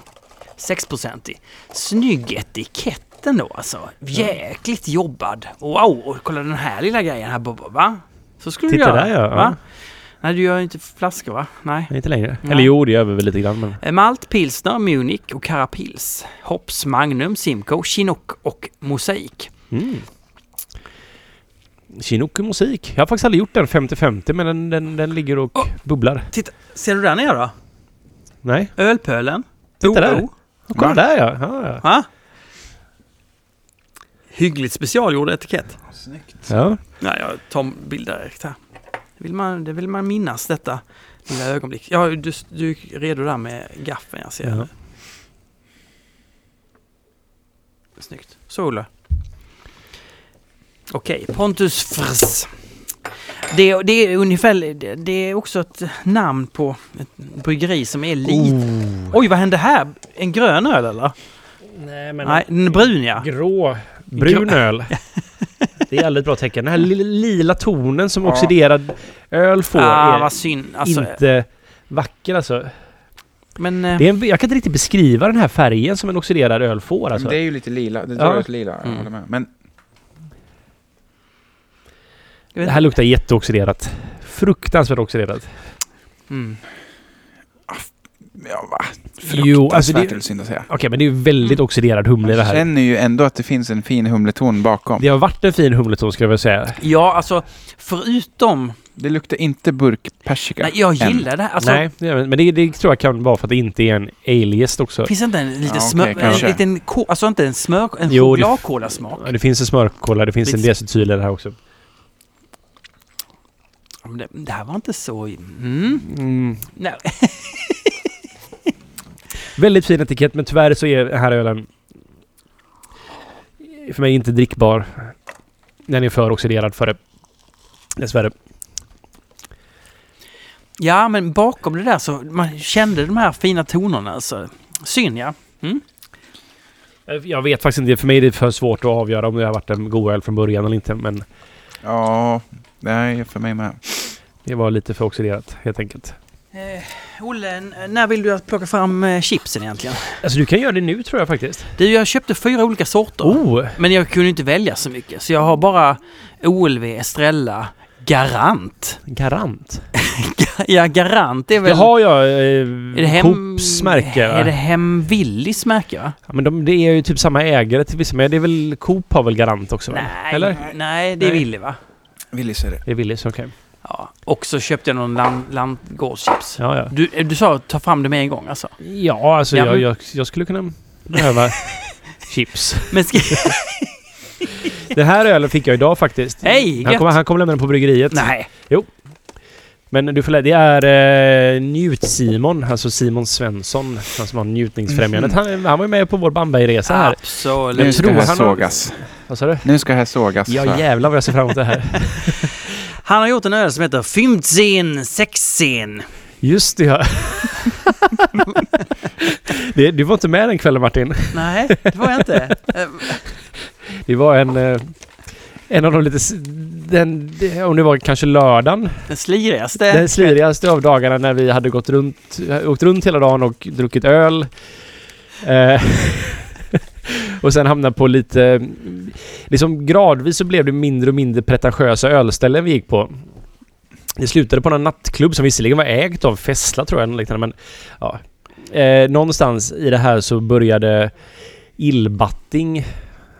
Speaker 1: 6-procentig. Snygg etikett ändå alltså. Jäkligt jobbad. Wow, och kolla den här lilla grejen här Bobba, va? Så skulle
Speaker 2: Titta
Speaker 1: du göra.
Speaker 2: där, ja.
Speaker 1: Va? Nej, du gör ju inte flaskor va? Nej.
Speaker 2: Nej, inte längre.
Speaker 1: Nej.
Speaker 2: Eller jo, det gör vi väl lite grann men...
Speaker 1: Malt, pilsner, Munich och Carapils. Hops, Magnum, Simcoe, Chinook och Mosaik.
Speaker 2: Mm. Chinook och musik. Jag har faktiskt aldrig gjort den 50-50 men den, den, den ligger och
Speaker 1: Åh!
Speaker 2: bubblar.
Speaker 1: Titta, ser du där nere då?
Speaker 2: Nej.
Speaker 1: Ölpölen.
Speaker 2: Titta där.
Speaker 1: OO.
Speaker 2: Och kolla
Speaker 3: Va?
Speaker 2: där ja. ja,
Speaker 1: Va? Hyggligt specialgjord etikett.
Speaker 3: Snyggt.
Speaker 2: ja. ja.
Speaker 1: Nej, jag tar en bild direkt här. Det vill man, det vill man minnas detta lilla ögonblick. Ja, du, du är redo där med gaffen jag ser.
Speaker 2: Ja.
Speaker 1: Snyggt. Så Olle. Okej, Pontus Friss. Det, det är ungefär, det, det är också ett namn på ett bryggeri som är lite... Oj, vad hände här? En grön öl eller?
Speaker 2: Nej, men
Speaker 1: Nej, en brun ja.
Speaker 2: Ah. grå, brun öl. Det är aldrig ett bra tecken. Den här lilla, lila tonen som
Speaker 3: Ja.
Speaker 2: oxiderad öl får
Speaker 1: Ah,
Speaker 2: är
Speaker 1: vad synd. Alltså,
Speaker 2: inte vacker alltså.
Speaker 1: men... eh,
Speaker 2: Det är en, jag kan inte riktigt beskriva den här färgen som en oxiderad öl får alltså.
Speaker 3: Men det är ju lite lila. Det
Speaker 2: Ja.
Speaker 3: drar ut lila. Jag
Speaker 1: Mm.
Speaker 3: håller med. Men
Speaker 1: jag
Speaker 2: Det
Speaker 1: vet-
Speaker 2: här luktar jätteoxiderat. Fruktansvärt oxiderat.
Speaker 1: Mm.
Speaker 3: ja, va?
Speaker 2: Jo, alltså det-
Speaker 3: Fruktansvärt är synd att säga.
Speaker 2: Okej, men det är ju väldigt oxiderad humle det
Speaker 3: Jag
Speaker 2: här.
Speaker 3: känner ju ändå att det finns en fin humleton bakom.
Speaker 2: Det har varit en fin humleton skulle jag vilja säga.
Speaker 1: Ja, alltså förutom...
Speaker 3: Det luktar inte burkpersika.
Speaker 1: Nej, jag
Speaker 3: än.
Speaker 1: gillar det här. Alltså,
Speaker 2: Nej, det är- men det, det tror jag kan vara för att det inte är en aliest också.
Speaker 1: Finns det inte en liten
Speaker 3: Ja, okej,
Speaker 1: smör...
Speaker 3: kanske.
Speaker 1: en liten ko, alltså inte en smör... En
Speaker 2: Jo, det-
Speaker 1: chokladkolasmak.
Speaker 2: Ja, Det finns en smörkola, det finns en
Speaker 1: Lite-
Speaker 2: desityl i det här också.
Speaker 1: Ja, men Det, det här var inte så... Mm. Nej.
Speaker 2: Väldigt fin etikett, men tyvärr så är den här ölen för mig inte drickbar. Den är för oxiderad för det. Dessvärre.
Speaker 1: Ja, men bakom det där så... Man kände de här fina tonerna. Alltså. Synd ja.
Speaker 2: Jag vet faktiskt inte, för mig är det för svårt att avgöra om det har varit en god öl från början eller inte. Men
Speaker 3: Ja, nej, för mig med.
Speaker 2: det var lite för oxiderat helt enkelt.
Speaker 1: Olle, n- när vill du att plocka fram eh, chipsen egentligen?
Speaker 2: Alltså du kan göra det nu tror jag faktiskt.
Speaker 1: Du, jag köpte fyra olika sorter.
Speaker 2: Oh!
Speaker 1: Men jag kunde inte välja så mycket. Så jag har bara OLV, Estrella, Garant.
Speaker 2: Garant.
Speaker 1: Ja, Garant är
Speaker 2: Det
Speaker 1: väl...
Speaker 2: har jag.
Speaker 1: Är det
Speaker 2: Eh,
Speaker 1: hem...
Speaker 2: Coops märke. va?
Speaker 1: Är det Hemvillis märke va?
Speaker 2: Ja, men de, det är ju typ samma ägare till vissa, men det är väl Coop har väl Garant också? va?
Speaker 1: Nej,
Speaker 2: Eller?
Speaker 1: nej det är
Speaker 2: Nej.
Speaker 1: Willy va?
Speaker 3: Willys är det.
Speaker 2: Det är Willys, okej.
Speaker 1: Ja. Och så köpte jag någon land, landgårdschips.
Speaker 2: Ja, ja.
Speaker 1: Du, eh, du sa ta fram det med en gång alltså.
Speaker 2: Ja, alltså
Speaker 1: Ja,
Speaker 2: jag,
Speaker 1: men-
Speaker 2: jag, jag skulle kunna behöva chips.
Speaker 1: Men ska...
Speaker 2: Den här ölen fick jag idag faktiskt.
Speaker 1: Hej,
Speaker 2: han
Speaker 1: gött.
Speaker 2: kommer han kommer lämna den på bryggeriet.
Speaker 1: nej.
Speaker 2: Men du får lä- det är eh, Njut-Simon, alltså Simon Svensson, han som har njutningsfrämjandet. Han, han var ju med på vår Bambergresa här.
Speaker 3: Nu
Speaker 1: Absolut.
Speaker 3: ska
Speaker 2: tror
Speaker 3: här
Speaker 2: han har-
Speaker 3: sågas.
Speaker 2: Vad sa du? Alltså.
Speaker 3: Nu ska här sågas. sa
Speaker 2: Ja
Speaker 3: jag.
Speaker 2: jävlar vad jag ser fram emot det här.
Speaker 1: Han har gjort en öl som heter Fymtzin Sexin.
Speaker 2: Just det ja. det, du var inte med den kvällen Martin.
Speaker 1: Nej, det var jag inte. Eh,
Speaker 2: Det var en... Eh, en av de lite... s- Den, det- om det var kanske lördagen.
Speaker 1: Den slirigaste.
Speaker 2: Den slirigaste av dagarna när vi hade gått runt, åkt runt hela dagen och druckit öl. Eh, och sen hamnade på lite... Liksom gradvis så blev det mindre och mindre pretentiösa ölställen vi gick på. Det slutade på någon nattklubb som visserligen var ägt av Fessla tror jag, eller liknande, men ja. Eh, någonstans i det här så började Illbatting...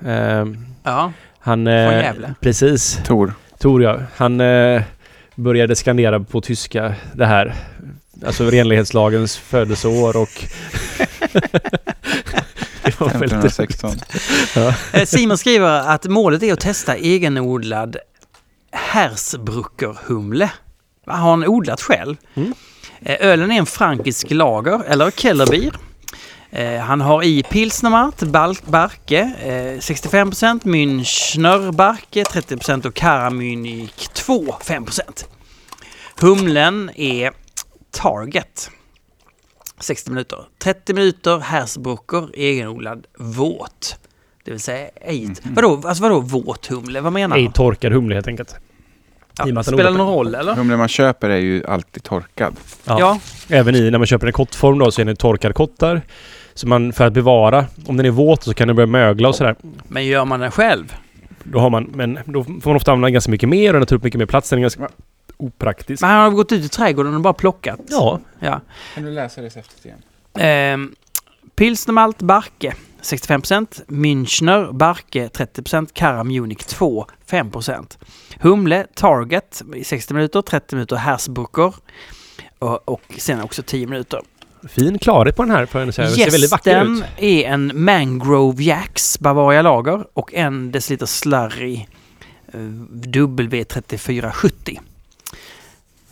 Speaker 2: Eh,
Speaker 1: Ja,
Speaker 2: han...
Speaker 1: från
Speaker 2: Eh,
Speaker 1: Gävle.
Speaker 2: precis.
Speaker 3: Tor.
Speaker 2: Tor ja, han eh, började skandera på tyska det här. Alltså renlighetslagens födelseår och... var väldigt roligt.
Speaker 3: 1516.
Speaker 1: Eh, Simon skriver att målet är att testa egenodlad Hersbruckerhumle. Vad har han odlat själv?
Speaker 2: Mm.
Speaker 1: Eh, Ölen är en frankisk lager, eller kellerbier. Eh, Han har i pilsnermalt, balk- barke eh, 65%, münchner barke 30% och karamynik 2 5%. Humlen är target. 60 minuter. 30 minuter Hersbrucker egenodlad våt. Det vill säga ej. Vadå, alltså vadå våt humle? Vad menar
Speaker 2: Ej
Speaker 1: han?
Speaker 2: torkad humle helt enkelt. i och med
Speaker 1: Ja,
Speaker 2: att den
Speaker 1: spelar det
Speaker 2: odlar-
Speaker 1: någon roll eller?
Speaker 3: Humlen man köper är ju alltid torkad.
Speaker 2: Ja. Även i när man köper en kottform då så är den torkad kottar. Så man, för att bevara, om den är våt så kan den börja mögla och sådär.
Speaker 1: Men gör man den själv?
Speaker 2: Då har man, men då får man ofta använda ganska mycket mer och den tar upp mycket mer plats. Den är ganska opraktisk.
Speaker 1: Men han har gått ut i trädgården och bara plockat.
Speaker 2: Ja.
Speaker 1: ja.
Speaker 3: Kan du läsa receptet igen?
Speaker 1: Ehm, Pilsnermalt Barke 65%, Münchner Barke 30%, Karam Munich 2 5%. Humle Target i 60 minuter, 30 minuter Hersbucker och, och sen också 10 minuter.
Speaker 2: Fin klarhet på den här. För den ser, ser väldigt vacker
Speaker 1: Gästen
Speaker 2: ut.
Speaker 1: är en Mangrove Jacks Bavaria Lager och en deciliter Slurry eh, W3470.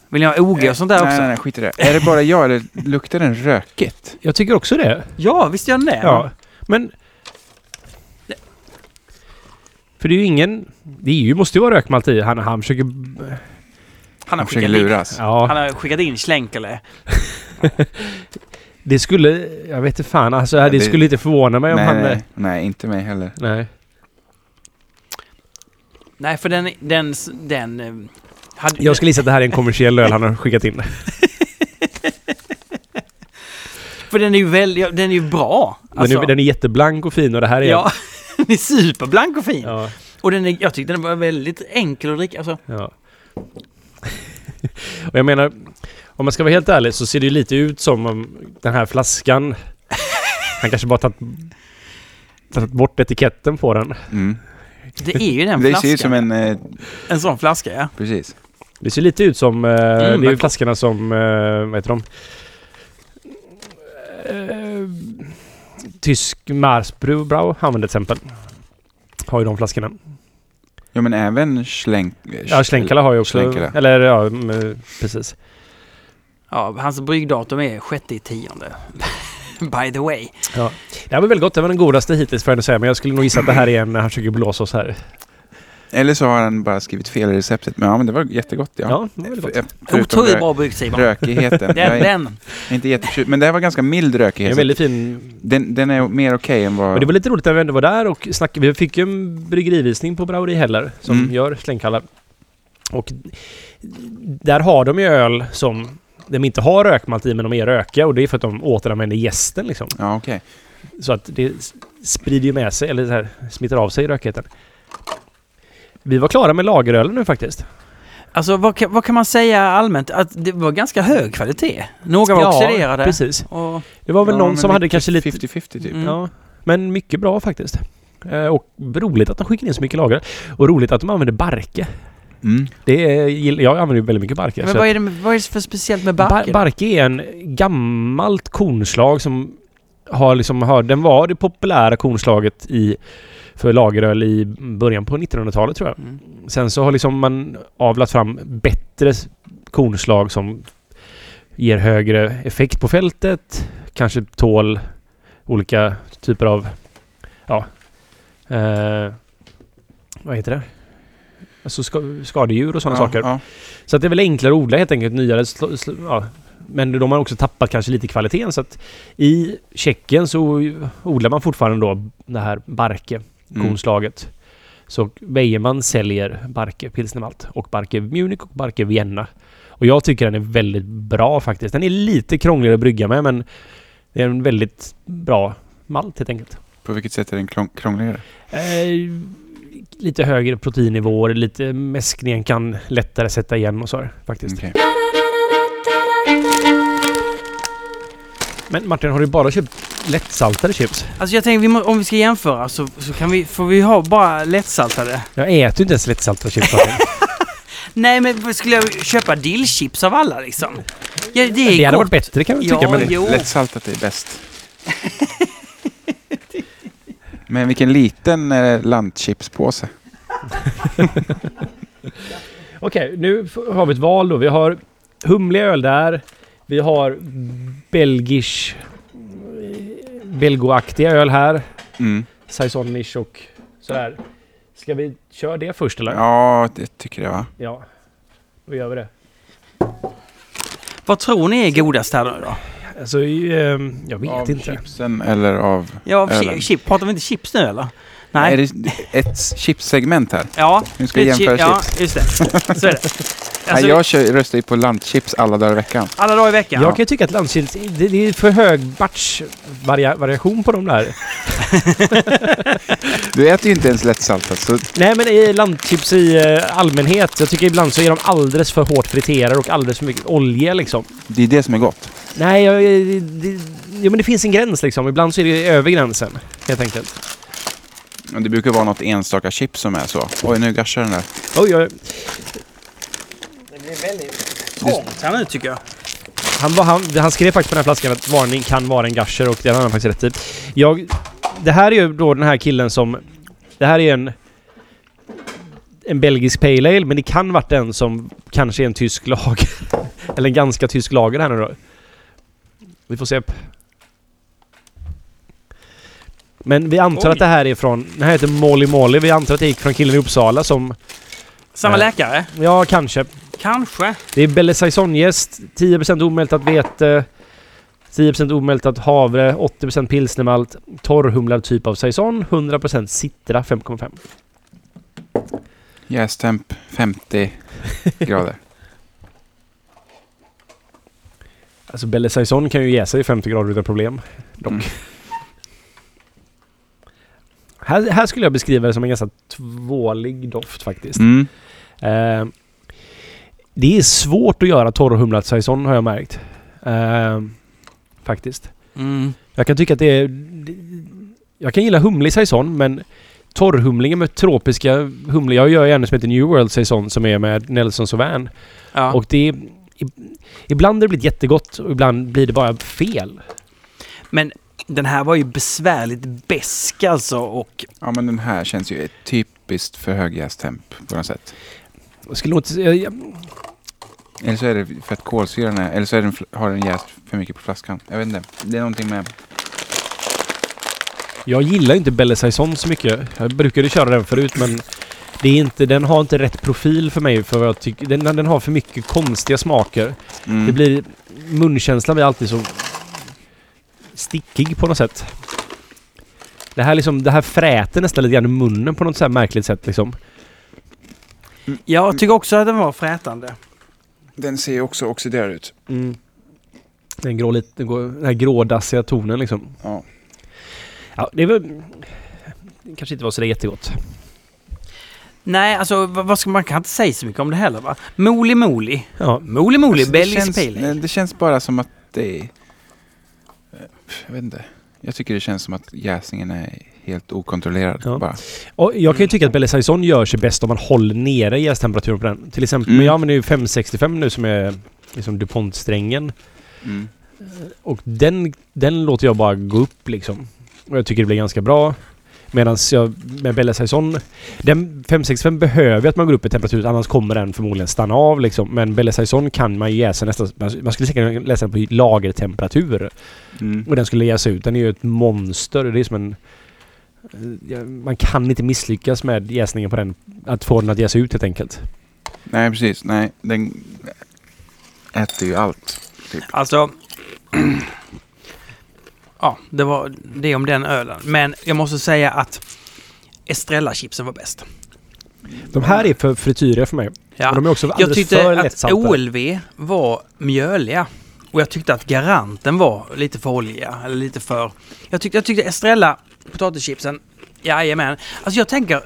Speaker 1: Vill ni ha OG och sånt där
Speaker 3: Eh, nej,
Speaker 1: också?
Speaker 3: Nej, nej, skit i det. Är det bara jag eller luktar den rökigt?
Speaker 2: Jag tycker också det.
Speaker 1: Ja, visst gör den det?
Speaker 2: Ja. Men... För det är ju ingen... Det är ju, måste ju vara rökmalt i. Han, han försöker...
Speaker 1: Han har
Speaker 3: Jag försöker
Speaker 1: skickat in,
Speaker 3: luras.
Speaker 2: Ja.
Speaker 1: han har skickat in Schlenkele.
Speaker 2: Det skulle... Jag vet inte fan. Alltså,
Speaker 3: Ja,
Speaker 2: det,
Speaker 3: det-
Speaker 2: skulle inte förvåna mig om
Speaker 3: nej,
Speaker 2: han... eh,
Speaker 3: nej, nej, inte mig heller.
Speaker 2: nej.
Speaker 1: Nej, för den... den, den eh, hade,
Speaker 2: Jag skulle gissa att det här är en kommersiell öl han har skickat in.
Speaker 1: För den är ju väl, ja, den är ju bra.
Speaker 2: Den, är, den är jätteblank och fin och det här är...
Speaker 1: Alltså- ja, den är superblank och fin.
Speaker 2: Ja.
Speaker 1: Och den är, jag tyckte den var väldigt enkel att dricka. Alltså,
Speaker 2: ja. och jag menar, om man ska vara helt ärlig så ser det ju lite ut som om den här flaskan... han kanske bara tagit, tagit bort etiketten på den.
Speaker 3: Mm.
Speaker 1: det är ju den
Speaker 3: Det
Speaker 1: flaskan.
Speaker 3: ser ut som en... Eh,
Speaker 1: En sån flaska, ja.
Speaker 3: precis.
Speaker 2: Det ser lite ut som... Eh,
Speaker 3: Mm,
Speaker 2: det är ju
Speaker 1: men-
Speaker 2: flaskorna som... Eh, vad heter de? Eh, tysk Marsbrau använder till exempel. Har ju de flaskorna.
Speaker 3: Ja, men även slänk...
Speaker 2: Ja, Schlenkala har ju också...
Speaker 3: Schlenkala.
Speaker 2: Eller ja, mm, precis.
Speaker 1: ja hans bryggdatum är sjätte i tionde. By the way.
Speaker 2: Det här var väldigt gott. Det var den godaste hittills får jag ändå säga. Men jag skulle nog gissa att det här är en när han försöker blåsa oss här.
Speaker 3: Eller så har han bara skrivit fel i receptet. Men ja, men det var jättegott.
Speaker 2: Ja,
Speaker 3: Ja.
Speaker 2: det var väldigt gott.
Speaker 3: F- förutom
Speaker 1: Otroligt
Speaker 3: rö-
Speaker 1: bra bryggt Simon.
Speaker 3: Rökigheten. jag
Speaker 1: Den,
Speaker 3: är
Speaker 1: den.
Speaker 3: inte jätteförtjust. Men det här var ganska mild
Speaker 2: Det är en
Speaker 3: rökighet.
Speaker 2: väldigt fin...
Speaker 3: Den, den är mer okej än vad...
Speaker 2: Men det var lite roligt att vi ändå var där och snackade. Vi fick ju en bryggerivisning på Brauri Heller som
Speaker 3: Mm.
Speaker 2: gör slängkallar. Och där har de ju öl som de inte har rökmalt i men de är rökiga och det är för att de återanvänder jästen liksom.
Speaker 3: Ja, okej.
Speaker 2: Så att det s- sprider ju med sig, eller så här, smittar av sig rökigheten. Vi var klara med lagerölen nu faktiskt.
Speaker 1: Alltså vad kan, vad kan man säga allmänt? Att det var ganska hög kvalitet. Några var oxiderade.
Speaker 2: precis.
Speaker 1: Och,
Speaker 2: Det var väl
Speaker 3: Ja,
Speaker 2: någon
Speaker 3: men
Speaker 2: som hade
Speaker 3: lite
Speaker 2: kanske lite...
Speaker 3: 50-50 typ.
Speaker 1: Mm.
Speaker 2: Ja, men mycket bra faktiskt. Eh, Och roligt att de skickar in så mycket lager. Och roligt att de använder barke.
Speaker 3: Mm.
Speaker 2: Det är, gill- jag använder ju väldigt mycket barke.
Speaker 1: men
Speaker 2: så
Speaker 1: vad
Speaker 2: att-
Speaker 1: är, det, med- vad är det för speciellt med
Speaker 2: Bar-
Speaker 1: barken?
Speaker 2: barke är en gammalt kornslag som har liksom hör, den var det populära kornslaget i, för lageröl i början på 1900-talet tror jag.
Speaker 1: Mm.
Speaker 2: Sen så har liksom man avlat fram bättre s- kornslag som ger högre effekt på fältet. Kanske tål olika typer av... Ja. Eh, vad heter det? Alltså ska, skadedjur och sådana
Speaker 3: ja,
Speaker 2: saker.
Speaker 3: Ja.
Speaker 2: Så att det är väl enklare att odla helt enkelt. Nyare sl- sl- ja. Men de har också tappat kanske lite kvaliteten. Så att i Tjeckien så odlar man fortfarande då det här barke
Speaker 3: Mm.
Speaker 2: konslaget. Så Weyermann säljer Barke Pilsnermalt och Barke Munich och Barke Vienna. Och jag tycker den är väldigt bra faktiskt. Den är lite krångligare att brygga med men det är en väldigt bra malt helt enkelt.
Speaker 3: På vilket sätt är den klång- krångligare?
Speaker 2: Eh, lite högre proteinnivåer, lite mäskningen kan lättare sätta igen och så här, faktiskt.
Speaker 3: Okej.
Speaker 2: Men Martin, har du bara köpt lättsaltade chips?
Speaker 1: Alltså jag tänker, vi må, om vi ska jämföra så, så kan vi, får vi ha bara lättsaltade.
Speaker 2: Jag äter ju inte ens lättsaltade chips Martin.
Speaker 1: Nej men skulle jag köpa dillchips av alla liksom? Ja, det är
Speaker 2: Det hade
Speaker 1: gott.
Speaker 2: vatt bättre kan jag
Speaker 1: Ja,
Speaker 2: tycka. men
Speaker 1: jo.
Speaker 3: Lättsaltat är bäst. Men vilken liten eh, lantchipspåse.
Speaker 2: Okej, nu f- har vi ett val då. Vi har humlig öl där. Vi har belgisk... eh, Belgoaktiga öl här.
Speaker 3: Mm.
Speaker 2: Saisonish och sådär. Ska vi köra det först eller?
Speaker 3: Ja, det tycker jag va.
Speaker 2: ja. Då gör vi det.
Speaker 1: Vad tror ni är godast här nu då?
Speaker 2: Alltså, ehm, jag vet
Speaker 3: Av
Speaker 2: inte.
Speaker 3: chipsen eller av...
Speaker 1: Ja,
Speaker 3: Ölen.
Speaker 1: chi- chip, pratar vi inte chips nu eller?
Speaker 3: Nej. Är
Speaker 1: Nej.
Speaker 3: det ett chipssegment här?
Speaker 1: Ja,
Speaker 3: Nu ska
Speaker 1: det
Speaker 3: vi
Speaker 1: är ett
Speaker 3: jämföra
Speaker 1: chi- Ja,
Speaker 3: chips.
Speaker 1: just det. Så är det. Alltså,
Speaker 3: Nej, jag kör, röstar ju på lantchips alla dagar i veckan.
Speaker 1: Alla dagar i veckan.
Speaker 2: Jag kan ju tycka att landskilt, det, det är för hög batch-variation på de där.
Speaker 3: Du äter ju inte ens lättsaltat så
Speaker 2: Nej men i landchips i eh, allmänhet, jag tycker ibland så är de alldeles för hårt friterade och alldeles för mycket olja liksom.
Speaker 3: det är det som är gott.
Speaker 2: Nej, jag, eh, det, det, jo, men det finns en gräns liksom. Ibland så är det över gränsen, helt enkelt.
Speaker 3: Men det brukar vara något enstaka chips som är så. Oj, nu gaschar den där.
Speaker 2: Oj, oj,
Speaker 1: Det blir väldigt trångt här nu tycker jag.
Speaker 2: han, var, han, han skrev faktiskt på den här flaskan att varning kan vara en gasher och det har han faktiskt rätt i. Jag, det här är ju då den här killen som... Det här är en... En belgisk pale ale, men det kan varit den som kanske är en tysk lager. Eller en ganska tysk lager här nu då. Vi får se. Men vi antar
Speaker 1: Oj.
Speaker 2: att det här är från... Den här heter Molly Molly. Vi antar att det gick från killen i Uppsala som
Speaker 1: Samma
Speaker 2: Ja.
Speaker 1: läkare?
Speaker 2: Ja, kanske.
Speaker 1: Kanske.
Speaker 2: Det är Belle Saison-jäst, 10% omältat vete, 10% omältat havre, 80% pilsnermalt, torrhumlad typ av saison, 100% citra 5,5.
Speaker 3: Jästemp 50 grader.
Speaker 2: Alltså Belle Saison kan ju jäsa i 50 grader utan problem. Dock.
Speaker 3: Mm.
Speaker 2: Här, här skulle jag beskriva det som en ganska tvålig doft faktiskt.
Speaker 3: Mm.
Speaker 2: Eh, det är svårt att göra torrhumlad saison har jag märkt. Eh, faktiskt.
Speaker 1: Mm.
Speaker 2: Jag kan tycka att det är... Jag kan gilla humlig saison, men torrhumlingen med tropiska humlor. Jag gör ju en som heter New World saison som är med Nelson Sauvin.
Speaker 1: Ja.
Speaker 2: Och det är... i- Ibland har det blivit jättegott och ibland blir det bara fel.
Speaker 1: Men den här var ju besvärligt besk alltså och
Speaker 3: Ja, men den här känns ju typiskt för hög jästemp på något sätt.
Speaker 2: Jag skulle nog inte... jag- jag-
Speaker 3: Eller så är det för att kolsyran är... Eller så är den, fl- har den jäst för mycket på flaskan. Jag vet inte. Det är någonting med...
Speaker 2: Jag gillar ju inte Belle Saison så mycket. Jag brukade köra den förut men det är inte, den har inte rätt profil för mig för vad jag tycker. Den, den har för mycket konstiga smaker.
Speaker 3: Mm.
Speaker 2: Det blir... Munkänslan blir alltid så stickig på något sätt. Det här, liksom, det här fräter nästan lite grann i munnen på något så här märkligt sätt. Liksom.
Speaker 3: Mm.
Speaker 1: jag tycker också att den var frätande.
Speaker 3: Den ser ju också oxiderad ut.
Speaker 2: Den, grå, lite, den, går, den här grådassiga tonen liksom.
Speaker 3: Ja.
Speaker 2: Ja, det är väl... Det kanske inte var så där jättegott.
Speaker 1: Nej, alltså vad vad ska, man kan inte säga så mycket om det heller va? Moli Moli.
Speaker 2: Ja,
Speaker 1: Moli Moli,
Speaker 3: Alltså, det
Speaker 1: belgisk
Speaker 3: känns-
Speaker 1: pale
Speaker 3: nej,
Speaker 1: ale.
Speaker 3: Det känns bara som att det är... Eh, Jag vet inte. Jag tycker det känns som att jäsningen är helt okontrollerad.
Speaker 2: Ja.
Speaker 3: Bara.
Speaker 2: och jag kan ju tycka att Belle Saison gör sig bäst om man håller nere jästemperaturen på den. Till exempel,
Speaker 3: Mm.
Speaker 2: men jag använder ju 565 nu som är liksom DuPont-strängen.
Speaker 3: Mm.
Speaker 2: Och den, den låter jag bara gå upp liksom. Och jag tycker det blir ganska bra. Medan jag med Bella Saison, den 565 behöver ju att man går upp i temperatur annars kommer den förmodligen stanna av liksom. Men Bella Saison kan man ju jäsa nästan, man skulle säkert kunna läsa den på lagertemperatur.
Speaker 3: Mm.
Speaker 2: Och den skulle jäsa ut, den är ju ett monster. Det är som en... eh, ja, Man kan inte misslyckas med jäsningen på den. Att få den att jäsa ut helt enkelt.
Speaker 3: Nej, precis. Nej, den äter ju allt.
Speaker 1: Alltså... ja, det var det om den ölen. Men jag måste säga att Estrella-chipsen var bäst.
Speaker 2: De här är för frityriga för mig. Och
Speaker 1: Ja.
Speaker 2: de är också
Speaker 1: Jag
Speaker 2: alldeles för
Speaker 1: tyckte att
Speaker 2: lättsalta.
Speaker 1: OLV var mjöliga. Och jag tyckte att Garanten var lite för olja. Eller lite för... Jag tyckte, jag tyckte Estrella, potatischipsen, jajamän. Alltså jag tänker,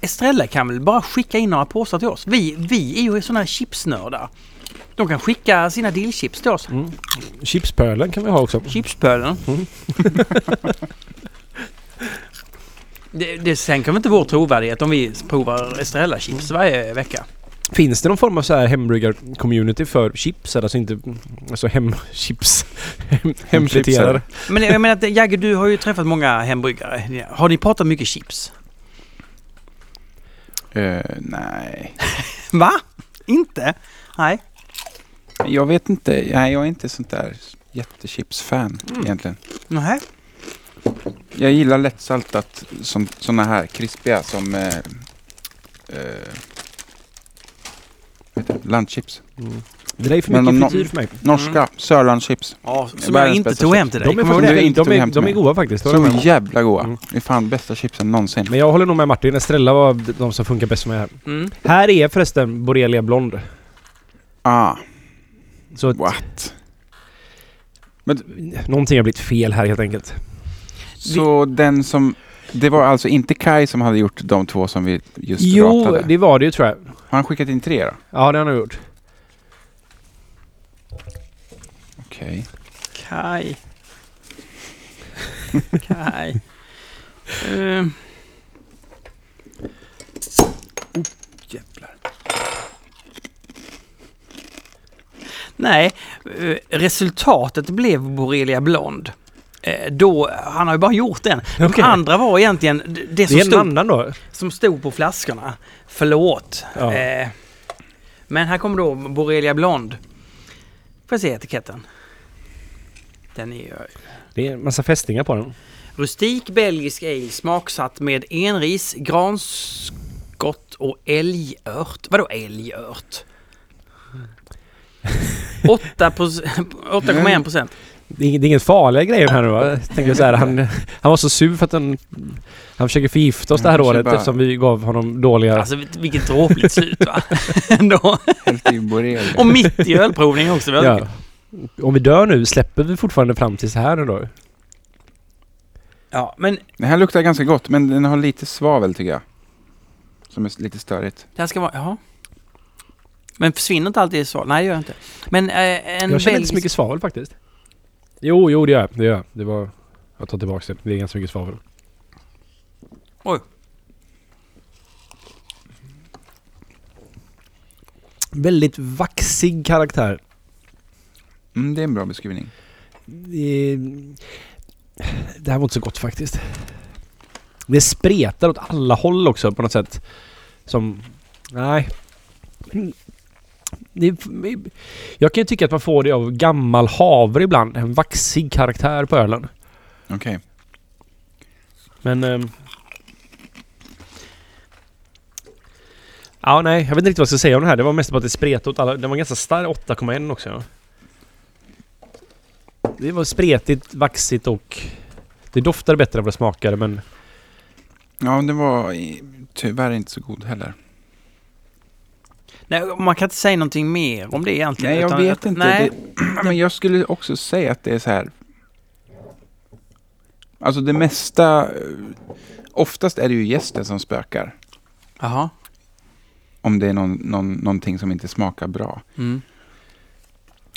Speaker 1: Estrella kan väl bara skicka in några påsar till oss. Vi, vi är ju sådana här chipsnördar. De kan skicka sina dillchips till oss.
Speaker 2: Mm. Chipspölen kan vi ha också.
Speaker 1: Chipspölen.
Speaker 2: Mm.
Speaker 1: det, det sänker väl inte vår trovärdighet om vi provar Estrella-chips varje vecka?
Speaker 2: Finns det någon form av så här hembryggar-community för chips? Alltså inte alltså hemchips?
Speaker 3: Hemchipsare.
Speaker 1: Men jag menar, att, Jagge, du har ju träffat många hembryggare. Har ni pratat mycket chips?
Speaker 3: Eh, nej.
Speaker 1: Va? Inte? Nej.
Speaker 3: Jag vet inte. Nej, jag är inte sånt där jättechipsfan egentligen.
Speaker 1: Nej.
Speaker 3: Jag gillar lättsaltat, som, såna här krispiga som... Eh, eh, vad heter det? Landchips.
Speaker 2: Det där är för
Speaker 3: Men
Speaker 2: mycket
Speaker 3: om nå-
Speaker 2: frityr för mig.
Speaker 3: Norska Sörlandschips.
Speaker 1: Ja, som jag
Speaker 3: Världens
Speaker 1: inte
Speaker 3: bästa
Speaker 1: tog
Speaker 3: chips.
Speaker 1: hem till dig.
Speaker 2: De är,
Speaker 1: Kommer du ihåg
Speaker 3: faktiskt-
Speaker 1: det?
Speaker 3: det är inte
Speaker 2: de, är,
Speaker 3: hem till
Speaker 2: de är
Speaker 3: mig.
Speaker 2: goda faktiskt. det håller jag
Speaker 3: Så
Speaker 2: med om.
Speaker 3: jävla goda.
Speaker 2: Mm.
Speaker 3: Det är fan bästa chipsen någonsin.
Speaker 2: Men jag håller nog med Martin. Estrella var de som funkar bäst för mig här.
Speaker 1: Mm.
Speaker 2: Här är förresten Borrelia Blond.
Speaker 3: Ah,
Speaker 2: Så att
Speaker 3: what?
Speaker 2: någonting har blivit fel här helt enkelt.
Speaker 3: Så den som... Det var alltså inte Kai som hade gjort de två som vi just
Speaker 2: Jo,
Speaker 3: ratade?
Speaker 2: det var det ju tror jag.
Speaker 3: Har han skickat in tre då?
Speaker 2: Ja, det har han nog gjort.
Speaker 3: Okej.
Speaker 1: Kaj. Kaj. Eh,
Speaker 3: Jävlar.
Speaker 1: nej, eh, resultatet blev Borrelia Blond. Eh, då, han har ju bara gjort en. De
Speaker 2: Okej.
Speaker 1: andra var egentligen det, det
Speaker 2: Det
Speaker 1: som,
Speaker 2: är en
Speaker 1: stod,
Speaker 2: annan då.
Speaker 1: som stod på flaskorna. Förlåt.
Speaker 2: Ja.
Speaker 1: Eh, men här kommer då Borrelia Blond. Får jag se etiketten? Den är ju
Speaker 2: Det är en massa fästingar på den.
Speaker 1: Rustik belgisk ale smaksatt med enris, granskott och älgört. Vadå älgört? 8 proc- 8,1 procent.
Speaker 2: Det är, ing- det är ingen farliga grejer här nu va? Jag tänker så här, han, han var så sur för att han, han försöker förgifta oss det här
Speaker 3: Han försöker
Speaker 2: året
Speaker 3: bara-
Speaker 2: eftersom vi gav honom dåliga...
Speaker 1: Alltså vil- vilket dråpligt slut va? Ändå.
Speaker 3: Helt i borrelia.
Speaker 1: Och mitt i ölprovningen också. väl?
Speaker 2: ja. Om vi dör nu, släpper vi fortfarande fram till så här nu då?
Speaker 1: ja, men
Speaker 3: Den här luktar ganska gott, men den har lite svavel tycker jag. Som är s- lite störigt.
Speaker 1: det här ska vara... Jaha. Men försvinner inte alltid så? Nej, det gör det inte. Men eh, en
Speaker 2: jag känner inte så
Speaker 1: belgisk...
Speaker 2: mycket svavel faktiskt. Jo, jo det gör jag. Det gör jag. Det var... Jag tar tillbaka det. Det är ganska mycket svavel.
Speaker 1: Oj.
Speaker 2: Väldigt vaxig karaktär.
Speaker 3: Mm, det är en bra beskrivning.
Speaker 2: Det, det här var inte så gott faktiskt. Det spretar åt alla håll också på något sätt. Som... Nej. Det, jag kan ju tycka att man får det av gammal havre ibland. En vaxig karaktär på ölen.
Speaker 3: Okej.
Speaker 2: Men... ehm, Ja, nej. Jag vet inte riktigt vad jag ska säga om den här. Det var mest bara att det spretade åt alla... Den var ganska stark. 8,1 också. Ja. Det var spretigt, vaxigt och... Det doftade bättre än vad det smakade, men...
Speaker 3: Ja, men den var i- tyvärr inte så god heller.
Speaker 1: Nej, man kan inte säga någonting mer om det egentligen.
Speaker 3: Nej, jag
Speaker 1: utan
Speaker 3: vet
Speaker 1: att-
Speaker 3: inte.
Speaker 1: Nej,
Speaker 3: Det, men jag skulle också säga att det är så här. Alltså det mesta, eh, oftast är det ju gästen som spökar.
Speaker 1: Jaha.
Speaker 3: Om det är någon, någon, någonting som inte smakar bra.
Speaker 1: Mm.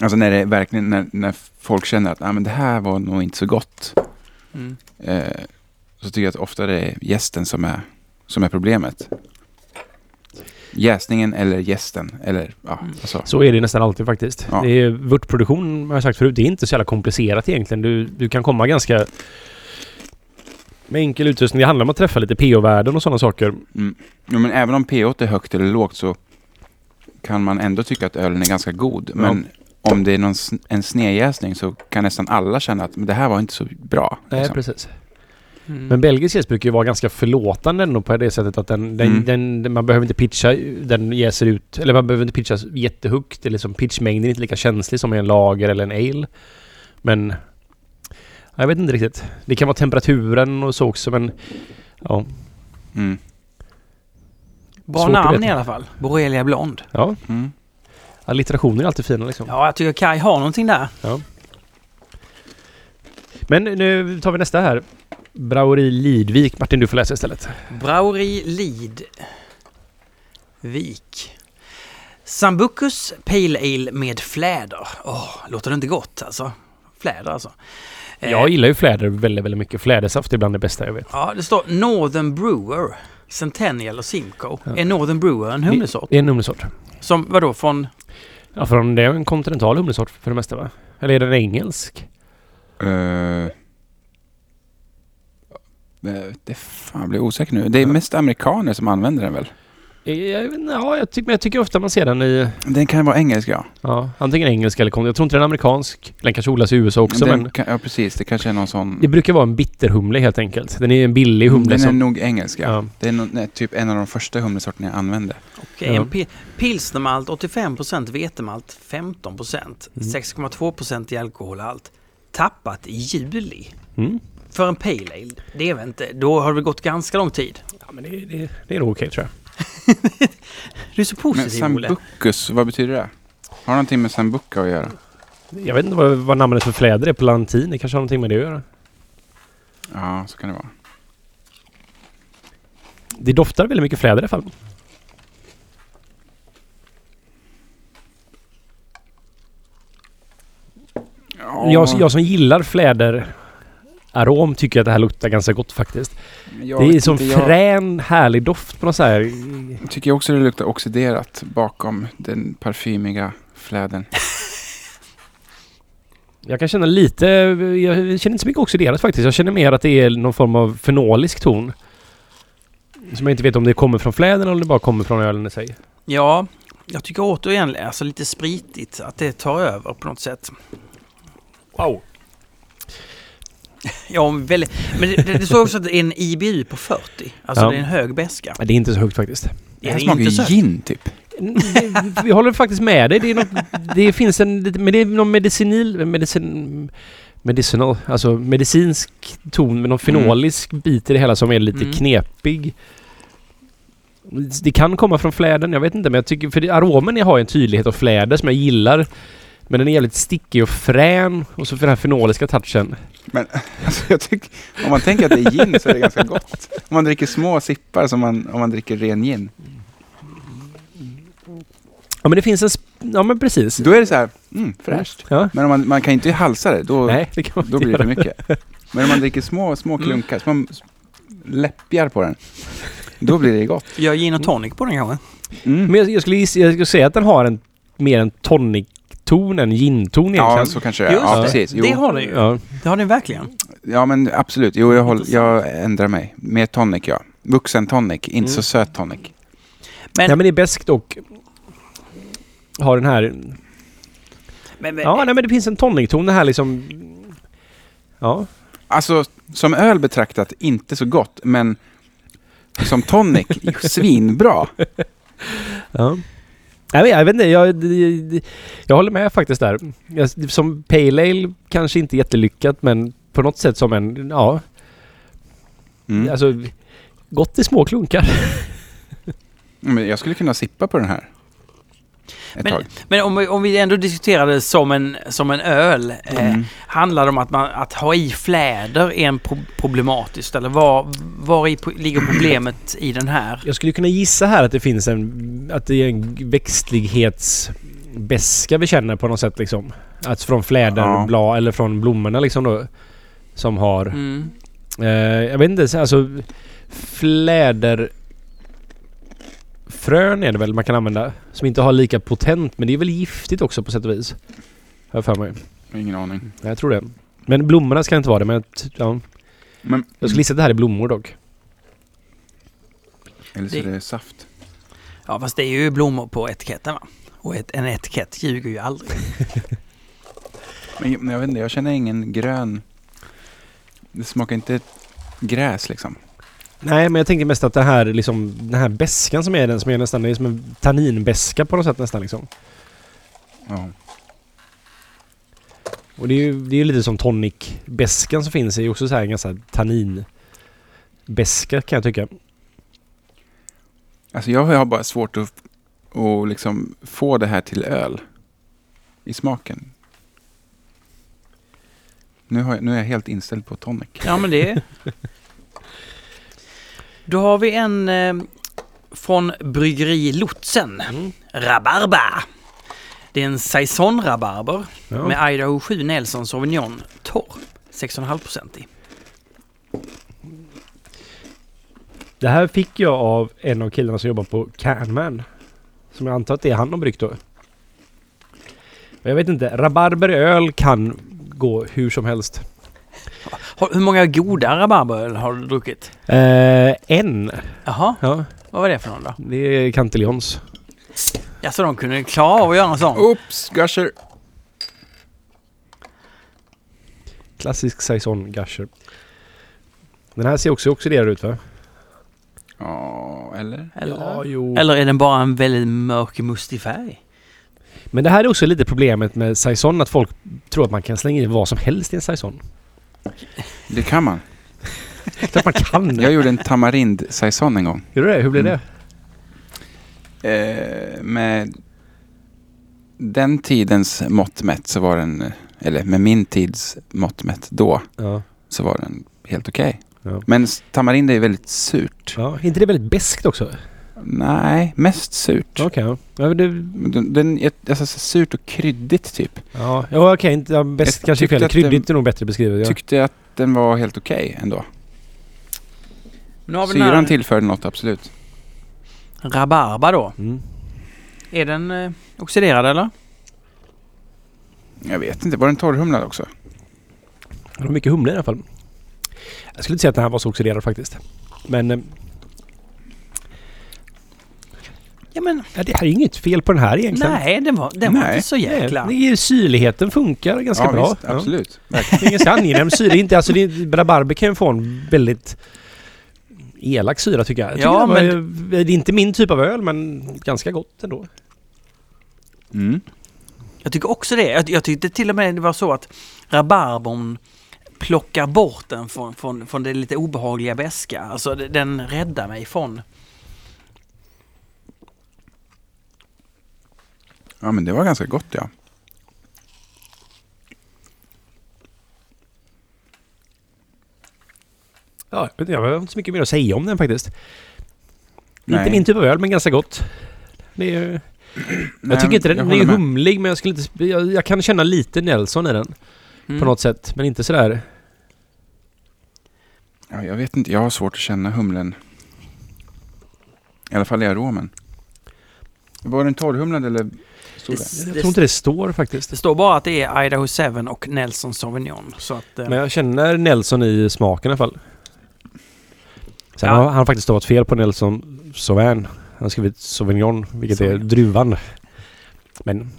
Speaker 3: Alltså när det verkligen, när, när folk känner att ah, men det här var nog inte så gott.
Speaker 1: Mm.
Speaker 3: Eh, så tycker jag att ofta det är gästen som är, som är problemet. Jäsningen eller gästen eller ja,
Speaker 1: Mm.
Speaker 3: alltså.
Speaker 2: Så är det nästan alltid faktiskt.
Speaker 3: Ja.
Speaker 2: Det är vörtproduktion, har jag sagt förut, det är inte så jävla komplicerat egentligen. Du, du kan komma ganska... Med enkel utrustning. Det handlar om att träffa lite PO-värden och sådana saker.
Speaker 3: Jo, men även om pH är högt eller lågt så kan man ändå tycka att ölen är ganska god.
Speaker 2: Ja.
Speaker 3: Men om det är någon, sn- en snedjäsning så kan nästan alla känna att men det här var inte så bra.
Speaker 2: Nej,
Speaker 3: liksom.
Speaker 2: precis.
Speaker 1: Mm.
Speaker 2: Men belgisk jäst brukar ju vara ganska förlåtande ändå på det sättet att den, den,
Speaker 3: Mm.
Speaker 2: den, den, man behöver inte pitcha den jäser ut, eller man behöver inte pitcha jättehögt. Det är liksom pitchmängden är inte lika känslig som i en lager eller en ale. Men ja, jag vet inte riktigt. Det kan vara temperaturen och så också men ja,
Speaker 3: Mm.
Speaker 1: Bra
Speaker 2: Svårt att
Speaker 1: namn
Speaker 2: veta.
Speaker 1: i alla fall. Borrelia Blond.
Speaker 2: ja
Speaker 3: Mm.
Speaker 2: alliterationer är alltid fina liksom.
Speaker 1: Ja, jag tycker Kai har någonting där.
Speaker 2: Men nu tar vi nästa här. Brauri Lidvik. Martin du får läsa istället.
Speaker 1: Brauri Lid. Vik. Sambucus Pale Ale med fläder. Åh, låter det inte gott alltså? Fläder alltså. Eh,
Speaker 2: Jag gillar ju fläder väldigt, väldigt mycket. Flädersaft är bland det bästa jag vet.
Speaker 1: Ja, det står Northern Brewer. Centennial och Simcoe. Är Northern Brewer en humlesort?
Speaker 2: Det är en humlesort.
Speaker 1: Som vadå från...
Speaker 2: Ja, från det är en kontinental humlesort för det mesta va? Eller är den engelsk?
Speaker 3: Eh, eh, det fan, jag blir osäker nu. Det är mest amerikaner som använder den väl?
Speaker 2: Eh, jag vet inte, Ja, jag, tycker- men jag tycker ofta man ser den i...
Speaker 3: Den kan vara engelsk ja.
Speaker 2: Ja, antingen engelska eller kon- Jag tror inte den är amerikansk. Den kanske odlas i USA också
Speaker 3: den
Speaker 2: men...
Speaker 3: kan, ja precis, det kanske är någon sån...
Speaker 2: Det brukar vara en bitterhumle helt enkelt. Den är en billig humle
Speaker 3: den är
Speaker 2: som...
Speaker 3: nog engelsk ja.
Speaker 2: ja.
Speaker 3: Det är nog, nej, typ en av de första humlesorterna jag använde.
Speaker 1: Okej,
Speaker 2: Ja.
Speaker 1: en pi- pilsnermalt 85%, vetemalt 15%,
Speaker 2: Mm.
Speaker 1: 6,2% i alkoholhalt. Tappat i juli.
Speaker 2: Mm.
Speaker 1: För en pale ale, det är väl inte... Då har det gått ganska lång tid.
Speaker 2: ja, men det, det, det är nog okej tror jag.
Speaker 1: Du är så
Speaker 3: Men
Speaker 1: positiv Olle.
Speaker 3: sambucus, vad betyder det? Har någonting med sambuca att göra?
Speaker 2: Jag vet inte vad, vad namnet för fläder är på latin. Det kanske har någonting med det att göra.
Speaker 3: Ja, så kan det vara.
Speaker 2: Det doftar väldigt mycket fläder i alla fall.
Speaker 3: Ja,
Speaker 2: Jag, jag som gillar fläderarom tycker att det här luktar ganska gott faktiskt.
Speaker 3: men jag
Speaker 2: det är
Speaker 3: vet
Speaker 2: som
Speaker 3: inte, jag-
Speaker 2: frän, härlig doft på något så här.
Speaker 3: tycker jag också det luktar oxiderat bakom den parfymiga fläden.
Speaker 2: Jag kan känna lite, jag känner inte så mycket oxiderat faktiskt. Jag känner mer att det är någon form av fenolisk ton. Som jag inte vet om det kommer från fläden eller om det bara kommer från ölen i sig.
Speaker 1: Ja, jag tycker återigen alltså lite spritigt att det tar över på något sätt.
Speaker 2: Wow!
Speaker 1: Ja, om väldigt, men det, det, det står också att det är en IBU på 40. Alltså
Speaker 2: Ja.
Speaker 1: det är en hög beska.
Speaker 2: Det är inte så högt faktiskt.
Speaker 1: Det
Speaker 3: Det
Speaker 1: är
Speaker 3: här smakar
Speaker 1: inte så
Speaker 3: ju
Speaker 1: högt.
Speaker 3: gin typ.
Speaker 2: Det- Vi håller faktiskt med dig. Det, är något, det finns en... lite- Men det är någon medicinil... Medicin, medicinal... Alltså medicinsk ton med
Speaker 3: Mm.
Speaker 2: någon fenolisk bit i det hela som är lite
Speaker 1: Mm.
Speaker 2: knepig. Det kan komma från fläden, jag vet inte. Men jag tycker... För det, aromen har ju en tydlighet av fläder som jag gillar. Men den är jävligt stickig och frän. Och så för den här fenoliska touchen.
Speaker 3: Alltså, jag tycker, om man tänker att det är gin så är det ganska gott. Om man dricker små sippar som man, om man dricker ren gin.
Speaker 2: Ja men det finns en... sp- Ja men precis.
Speaker 3: Då är det så här, mm, fräscht.
Speaker 2: Ja.
Speaker 3: Men om man, man kan ju inte halsa det, då,
Speaker 2: Nej, det kan man
Speaker 3: då
Speaker 2: inte
Speaker 3: blir det
Speaker 2: göra.
Speaker 3: för mycket. Men om man dricker små, små
Speaker 1: Mm.
Speaker 3: klunkar, små läppjar på den, då blir det gott.
Speaker 1: Gör gin och tonic på den kanske?
Speaker 3: Mm.
Speaker 2: Men jag, jag, skulle, gissa- jag skulle säga att den har en mer en tonic-ton än gin-ton
Speaker 3: Ja,
Speaker 2: egentligen.
Speaker 3: så kanske det är.
Speaker 1: Just
Speaker 3: Ja,
Speaker 2: det.
Speaker 3: precis.
Speaker 1: Det
Speaker 3: Jo.
Speaker 1: har den ju.
Speaker 2: Ja.
Speaker 1: Det har den verkligen.
Speaker 3: Ja, men absolut. Jo, jag, håller,
Speaker 1: Intressant.
Speaker 3: jag ändrar mig. Mer tonic, ja. Vuxen tonic, inte så
Speaker 2: Mm.
Speaker 3: söt tonic.
Speaker 1: Men-
Speaker 2: nej men det är beskt och har den här...
Speaker 1: Men, men,
Speaker 2: Ja, nej men det finns en tonic-ton det här liksom... Ja.
Speaker 3: Alltså, som öl betraktat, inte så gott, men som tonic, svinbra.
Speaker 2: ja. Jag vet, jag vet inte, jag, det- det- jag håller med faktiskt där. Jag, som Pale Ale kanske inte jättelyckat men på något sätt som en... Ja,
Speaker 3: Mm.
Speaker 2: alltså... Gott i små klunkar.
Speaker 3: Men jag skulle kunna sippa på den här. Ett
Speaker 1: Men-
Speaker 3: tag.
Speaker 1: men om, vi, om vi ändå diskuterade som en, som en öl. Eh,
Speaker 3: Mm.
Speaker 1: handlar det om att, man, att ha i fläder är en pro- problematiskt? Eller var, var i, po- ligger problemet i den här?
Speaker 2: Jag skulle kunna gissa här att det finns en... Att det är en växtlighetsbeska vi känner på något sätt liksom. Att från fläderblad eller från blommorna liksom då. Som har...
Speaker 1: Mm.
Speaker 2: Eh, jag vet inte, alltså... Fläderfrön är det väl man kan använda. Som inte har lika potent, men det är väl giftigt också på sätt och vis. Har jag för mig.
Speaker 3: Ingen aning.
Speaker 2: Jag tror det. Men blommorna ska inte vara det, men... t- Ja.
Speaker 3: Men,
Speaker 2: Jag skulle gissa att det här är blommor dock.
Speaker 3: eller så
Speaker 1: Det-
Speaker 3: är det saft.
Speaker 1: Ja, fast det är ju blommor på etiketten va? Och ett, en etikett ljuger ju aldrig.
Speaker 3: Men jag- jag vet inte, jag känner ingen grön... Det smakar inte gräs liksom.
Speaker 2: Nej, men jag tänker mest att det här liksom, den här beskan som är den som är nästan, det är som en tanninbeska på något sätt nästan liksom.
Speaker 3: Ja.
Speaker 2: Och det är ju, det är ju lite som tonicbeskan som finns, det är ju också så här en ganska tanninbeska kan jag tycka.
Speaker 3: Alltså jag har bara svårt att, att liksom få det här till öl i smaken. Nu, har jag, nu är jag helt inställd på tonic.
Speaker 1: Ja, men det... Då har vi en eh, från bryggeri Lotsen.
Speaker 2: Mm.
Speaker 1: Rabarba. Det är en saisonrabarber
Speaker 2: Ja.
Speaker 1: med Idaho 7 Nelson Sauvignon torr. 6,5% i.
Speaker 2: Det här fick jag av en av killarna som jobbar på Canman. Som jag antar att det är han de bryggt då. Men Jag vet inte, rabarberöl kan gå hur som helst.
Speaker 1: Har, hur många goda rabarberöl har du druckit?
Speaker 2: Eh, en.
Speaker 1: Jaha,
Speaker 2: Ja,
Speaker 1: vad var det för någon då?
Speaker 2: det är Cantillons.
Speaker 1: Ja, så de kunde klara av att göra en sån?
Speaker 3: Oops, gusher.
Speaker 2: Klassisk saison gusher. Den här ser också oxiderad ut va?
Speaker 3: Ja, eller?
Speaker 1: Eller,
Speaker 2: jo.
Speaker 1: eller är den bara en väldigt mörk mustig färg?
Speaker 2: Men det här är också lite problemet med saison, att folk tror att man kan slänga i vad som helst i en saison.
Speaker 3: Det kan man.
Speaker 2: Klart att man kan!
Speaker 3: Jag gjorde en tamarind saison en gång.
Speaker 2: Gör du det? Hur blir
Speaker 3: Mm.
Speaker 2: det?
Speaker 3: Eh, med den tidens mått mätt så var den, eh, eller med min tids mått mätt då,
Speaker 2: Ja.
Speaker 3: så var den helt okej.
Speaker 2: Ja.
Speaker 3: Men s- tamarind är ju väldigt surt.
Speaker 2: ja. Är inte det väldigt beskt också?
Speaker 3: Nej, mest surt.
Speaker 2: Okej. ja. Ja, men det-
Speaker 3: Men Den, den, är- alltså, så surt och kryddigt typ.
Speaker 2: ja. ja okej. Inte ja, beskt
Speaker 3: Jag
Speaker 2: kanske är
Speaker 3: tyckte
Speaker 2: fel.
Speaker 3: att eh, det-
Speaker 2: Kryddigt är nog bättre beskrivet. Ja.
Speaker 3: Tyckte jag att den var helt okej ändå.
Speaker 1: Nu har vi den här
Speaker 3: Syran tillförde något, absolut.
Speaker 1: rabarber då.
Speaker 2: Mm.
Speaker 1: Är den eh, oxiderad eller?
Speaker 3: Jag vet inte, var den torrhumlad också?
Speaker 2: Det var mycket humle i alla fall. Jag skulle inte säga att den här var så oxiderad faktiskt. Men eh,
Speaker 1: Ja, men
Speaker 2: ja, det här är ju inget fel på den här egentligen.
Speaker 1: nej, den var, den var
Speaker 3: Nej.
Speaker 1: inte så jäkla...
Speaker 2: Det är ju- syrligheten funkar ganska
Speaker 3: ja,
Speaker 2: bra.
Speaker 3: Visst,
Speaker 2: Ja.
Speaker 3: absolut.
Speaker 2: Det är en ganska angenäm syra. Inte, alltså, det, är- rabarber kan ju få en väldigt elak syra tycker jag. jag
Speaker 1: Ja,
Speaker 2: tycker det, var, det är inte min typ av öl men ganska gott ändå.
Speaker 3: Mm.
Speaker 1: Jag tycker också det. Jag, jag tyckte till och med det var så att rabarbon plockar bort den från, från, från det lite obehagliga beska. Alltså det- den räddar mig från...
Speaker 3: Ja, men det var ganska gott ja.
Speaker 2: Ja, jag vet inte, jag har inte så mycket mer att säga om den faktiskt.
Speaker 3: Nej.
Speaker 2: Inte min typ av öl men ganska gott. Det är, jag
Speaker 3: Nej,
Speaker 2: tycker inte den, den
Speaker 3: håller
Speaker 2: är
Speaker 3: med.
Speaker 2: humlig men jag, skulle inte, jag, jag kan känna lite Nelson i den
Speaker 1: Mm.
Speaker 2: på något sätt. Men inte sådär...
Speaker 3: Ja, jag vet inte, jag har svårt att känna humlen. I alla fall i aromen. Var den torrhumlad eller stod det?
Speaker 1: Det,
Speaker 2: Jag
Speaker 1: det,
Speaker 2: tror inte det står faktiskt.
Speaker 1: det står bara att det är Idaho 7 och Nelson Sauvignon. Så att, eh,
Speaker 2: Men jag känner Nelson i smaken i alla fall. Sen
Speaker 1: Ja.
Speaker 2: har han faktiskt stavat fel på Nelson Sauvin. Han har skrivit Sauvignon, vilket är
Speaker 1: Sauvignon.
Speaker 2: druvan. Men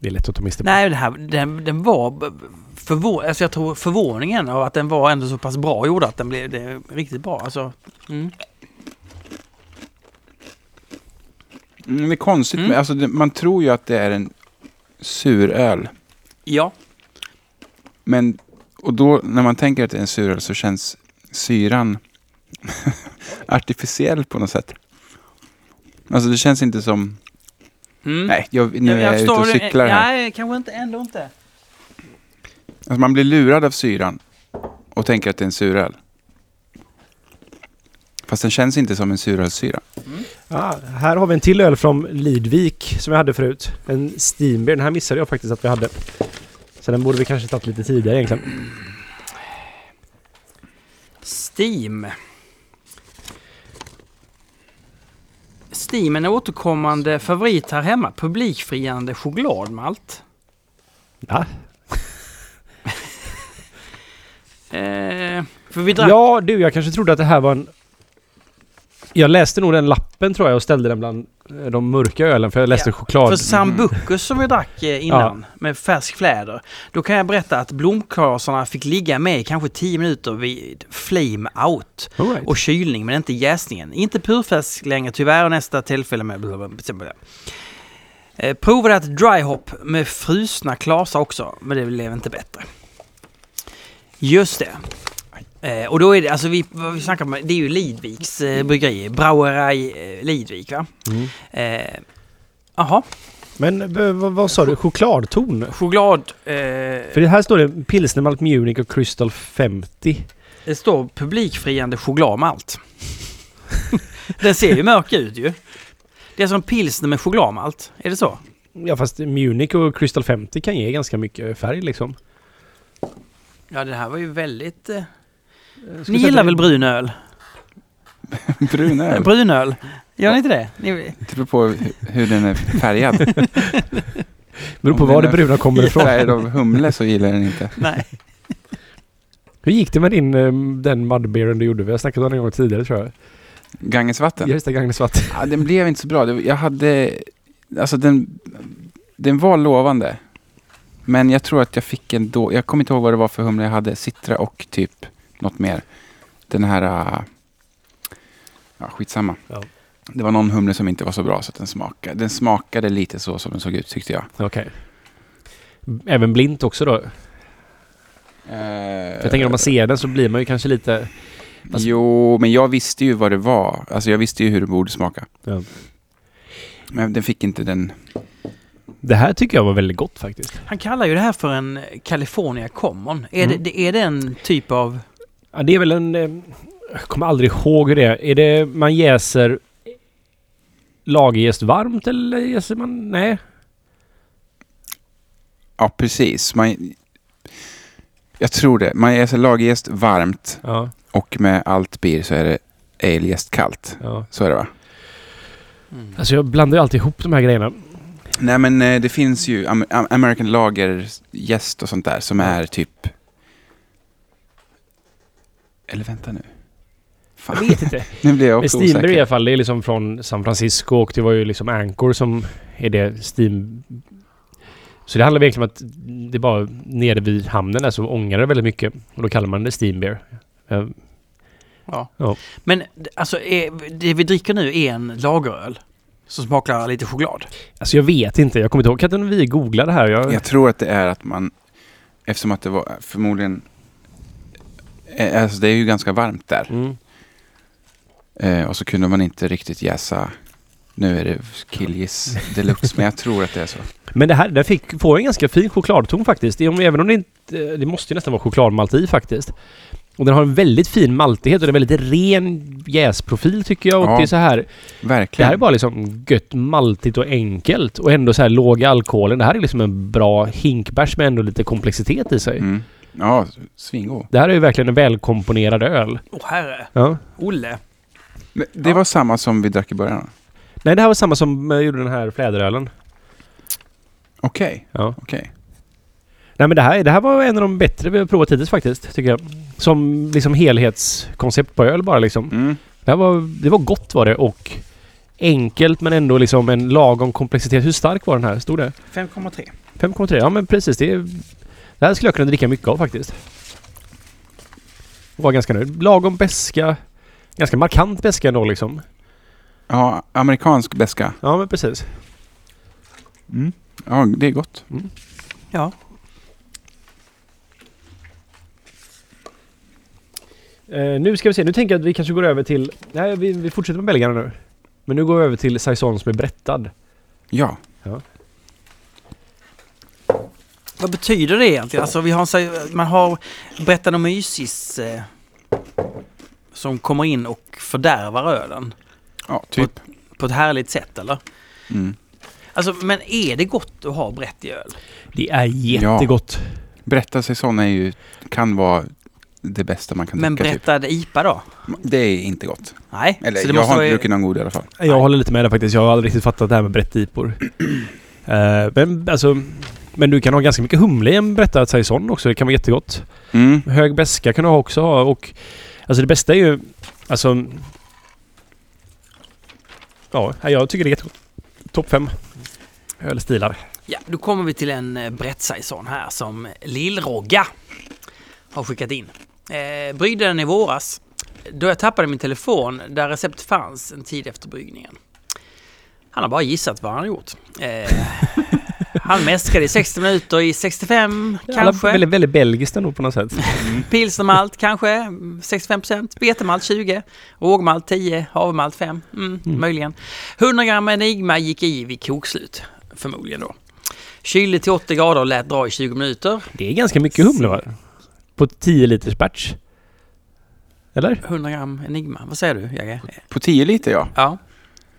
Speaker 2: det är lätt att ta miste på.
Speaker 1: nej, det här, den, den var... b- b- Förvå- alltså jag tror förvåningen av att den var ändå så pass bra gjorde att den blev det, riktigt bra. Alltså, mm.
Speaker 3: Mm, det är konstigt,
Speaker 1: Mm.
Speaker 3: men alltså, det, man tror ju att det är en suröl.
Speaker 1: Ja,
Speaker 3: Men, och då när man tänker att det är en suröl så känns syran artificiell på något sätt. Alltså det känns inte som...
Speaker 1: mm.
Speaker 3: Nej, jag, nu är jag, ute och
Speaker 1: förstår det.
Speaker 3: cyklar här.
Speaker 1: Nej, kanske inte, ändå inte.
Speaker 3: Alltså, man blir lurad av syran och tänker att det är en suröl. Fast den känns inte som en surölssyra.
Speaker 2: Ah, här har vi en till öl från Lidvik som jag hade förut. En Steambeer. Den här missade jag faktiskt att vi hade. Så den borde vi kanske tagit lite tidigare egentligen.
Speaker 1: Steam. Steam är en återkommande favorit här hemma. Publikfriande chokladmalt.
Speaker 2: Ja,
Speaker 1: Eh, för vi drack...
Speaker 2: ja du, jag kanske trodde att det här var en... Jag läste nog den lappen tror jag och ställde den bland eh, de mörka ölen för jag läste
Speaker 1: Ja,
Speaker 2: choklad.
Speaker 1: För Sambucus som vi drack eh, innan med färsk fläder. Då kan jag berätta att blomklasarna fick ligga med i kanske 10 minuter vid flame out.
Speaker 2: All right.
Speaker 1: Och kylning men inte jäsningen. Inte purfärsk längre tyvärr och nästa tillfälle med... blablabla. Eh, provade att dryhop med frusna klasar också men det blev inte bättre. Just det. Eh, och då är det, alltså vi, vad vi snackar om, det är ju Lidviks eh, bryggeri, Brauerei eh, Lidvik va?
Speaker 2: Mm.
Speaker 1: Eh, Jaha,
Speaker 2: Men v- vad, vad sa du? Chokladton?
Speaker 1: choklad. Eh,
Speaker 2: För det här står det pilsner, malt Munich och Crystal 50.
Speaker 1: det står publikfriande chokladmalt. Den ser ju mörk ut ju. Det är som pilsner med chokladmalt, är det så?
Speaker 2: Ja fast Munich och Crystal 50 kan ge ganska mycket färg liksom.
Speaker 1: Ja, det här var ju väldigt... Eh,
Speaker 2: Jag skulle
Speaker 1: ni
Speaker 2: säga
Speaker 1: gillar
Speaker 2: att det-
Speaker 1: väl brunöl?
Speaker 3: Brunöl.
Speaker 1: Brunöl? Gör ni inte det? Ni,
Speaker 3: Det beror på hu- hur den är färgad.
Speaker 2: Beror på
Speaker 3: Om den
Speaker 2: var det
Speaker 3: är
Speaker 2: bruna kommer ifrån.
Speaker 3: Färgad av humle så gillar jag den inte.
Speaker 1: nej.
Speaker 2: Hur gick det med din, ehm, den mudbeeren du gjorde? Vi har snackat om den en gång tidigare tror jag.
Speaker 3: Gangesvatten?
Speaker 2: Just det, Gagnesvart.
Speaker 3: Ja, den blev inte så bra. Det- Jag hade... Alltså den, den var lovande. Men jag tror att jag fick en då... Jag kommer inte ihåg vad det var för humle jag hade. Citra och typ något mer. Den här... äh, Ja, skitsamma.
Speaker 2: Ja.
Speaker 3: Det var någon humle som inte var så bra så att den smakade. Den smakade lite så som den såg ut tyckte jag.
Speaker 2: Okej. Även blint också då? För jag tänker om
Speaker 3: Eh.
Speaker 2: man ser den så blir man ju kanske lite... fast-
Speaker 3: Jo, men jag visste ju vad det var. Alltså jag visste ju hur det borde smaka.
Speaker 2: Ja.
Speaker 3: Men den fick inte den...
Speaker 2: Det här tycker jag var väldigt gott faktiskt.
Speaker 1: Han kallar ju det här för en California Common. Är,
Speaker 2: Mm.
Speaker 1: det, det, är det en typ av...
Speaker 2: Ja, det är väl en... eh, Jag kommer aldrig ihåg hur det är. Är det man jäser lagerjäst varmt eller jäser man... Nej.
Speaker 3: Ja, precis. Man, jag tror det. Man jäser lagerjäst varmt
Speaker 2: Ja,
Speaker 3: och med allt bir så är det alejäst kallt.
Speaker 2: ja.
Speaker 3: Så är det va?
Speaker 1: Mm.
Speaker 2: Alltså jag blandar ju alltid ihop de här grejerna.
Speaker 3: Nej men eh, det finns ju am- am- American lagerjäst och sånt där som är typ... Eller vänta nu.
Speaker 2: Jag
Speaker 3: Fan,
Speaker 2: vet inte.
Speaker 3: nu blir jag
Speaker 2: Men
Speaker 3: också
Speaker 2: Steamberg i
Speaker 3: osäker.
Speaker 2: alla fall, det är liksom från San Francisco och det var ju liksom Anchor som är det Steam... Så det handlar verkligen om att det är bara nere vid hamnen där så ångar det väldigt mycket. Och då kallar man det Steam Beer. Eh,
Speaker 1: Ja.
Speaker 2: Ja.
Speaker 1: Men d- alltså, är, det vi dricker nu är en lageröl som smakar lite choklad.
Speaker 2: Alltså jag vet inte, jag kommer inte ihåg. Kan inte vi googla det här? Jag,
Speaker 3: Jag tror att det är att man... Eftersom att det var förmodligen... eh, Alltså det är ju ganska varmt där.
Speaker 2: Mm.
Speaker 3: Eh, och så kunde man inte riktigt jäsa. Nu är det killgiss deluxe, men jag tror att det är så.
Speaker 2: Men det här, den fick, får en ganska fin chokladton faktiskt. Det är om- Även om det inte... Det måste ju nästan vara chokladmalt i faktiskt. Och den har en väldigt fin maltighet och det är väldigt ren jäsprofil tycker jag. Och
Speaker 3: Ja.
Speaker 2: det är så här... Det
Speaker 3: Verkligen.
Speaker 2: här är bara liksom gött, maltigt och enkelt. Och ändå så här låg i alkoholen. Det här är liksom en bra hinkbärs med ändå lite komplexitet i sig.
Speaker 3: Mm. Ja, svingod.
Speaker 2: Det här är ju verkligen en välkomponerad öl.
Speaker 1: Åh herre,
Speaker 2: Ja.
Speaker 1: Olle.
Speaker 3: Men det var samma som vi drack i början.
Speaker 2: Nej, det här var samma som eh, gjorde den här fläderölen.
Speaker 3: Okej,
Speaker 2: Ja.
Speaker 3: okej.
Speaker 2: Nej, men det här, det här var en av de bättre vi har provat hittills faktiskt, tycker jag. Som liksom helhetskoncept på öl bara liksom.
Speaker 3: Mm.
Speaker 2: Det, här var, det var gott var det och enkelt men ändå liksom en lagom komplexitet. Hur stark var den här? Stod det?
Speaker 1: 5,3.
Speaker 2: 5,3. Ja men precis. Det, är- det här skulle jag kunna dricka mycket av faktiskt. Och var ganska nöjd. Lagom beska. Ganska markant beska ändå liksom.
Speaker 3: Ja, amerikansk beska.
Speaker 2: Ja men precis.
Speaker 3: Mm. Ja, det är gott.
Speaker 1: Ja.
Speaker 2: Eh, nu ska vi se. Nu tänker jag att vi kanske går över till... Nej vi, vi fortsätter med belgarna nu. Men nu går vi över till saison som är brättad.
Speaker 3: Ja.
Speaker 1: Vad betyder det egentligen? Alltså vi har, en sä- man har Brettanomyces eh, som kommer in och fördärvar ölen
Speaker 3: Ja, typ.
Speaker 1: på ett härligt sätt eller?
Speaker 3: Mm.
Speaker 1: Alltså men är det gott att ha brett i öl?
Speaker 2: Det är jättegott.
Speaker 3: Berätta säsong är ju, kan vara det bästa man kan
Speaker 1: Men
Speaker 3: dricka.
Speaker 1: brettad IPA då?
Speaker 3: Typ. Det är inte gott.
Speaker 1: Nej.
Speaker 3: typ. Eller
Speaker 1: så
Speaker 3: jag
Speaker 1: det
Speaker 3: har
Speaker 1: måste
Speaker 3: inte
Speaker 1: vara...
Speaker 3: druckit någon god i alla fall.
Speaker 2: Jag håller lite med där faktiskt. Jag har aldrig riktigt fattat det här med brättipor. Eh, men alltså... Men du kan ha ganska mycket humle i en brättad saison också. Det kan vara jättegott.
Speaker 3: Mm.
Speaker 2: Hög beska kan du ha också ha och... Alltså det bästa är ju... Alltså... Ja, nej, jag tycker det är jättegott. Topp fem. Ölstilar.
Speaker 1: Ja, då kommer vi till en eh, Brett-saison här som Lillrogga har skickat in. Eh, bryggde den i våras då jag tappade min telefon där recept fanns en tid efter bryggningen. Han har bara gissat vad han har gjort. Eh, han mäskade i 60 minuter i 65 kanske.
Speaker 2: Alla väldigt, väldigt belgiskt ändå på något sätt.
Speaker 1: Pilsnermalt kanske, mm, 65%. Betemalt 20%. Rågmalt 10%. Havremalt 5%. Mm, Möjligen. 100 gram Enigma gick i vid kokslut. Förmodligen då. Kylde till 80 grader och lät dra i 20 minuter.
Speaker 2: Det är ganska mycket humle va? På 10 liters batch. Eller?
Speaker 1: 100 gram Enigma. Vad säger du Jagge?
Speaker 3: På 10 liter ja.
Speaker 1: Ja.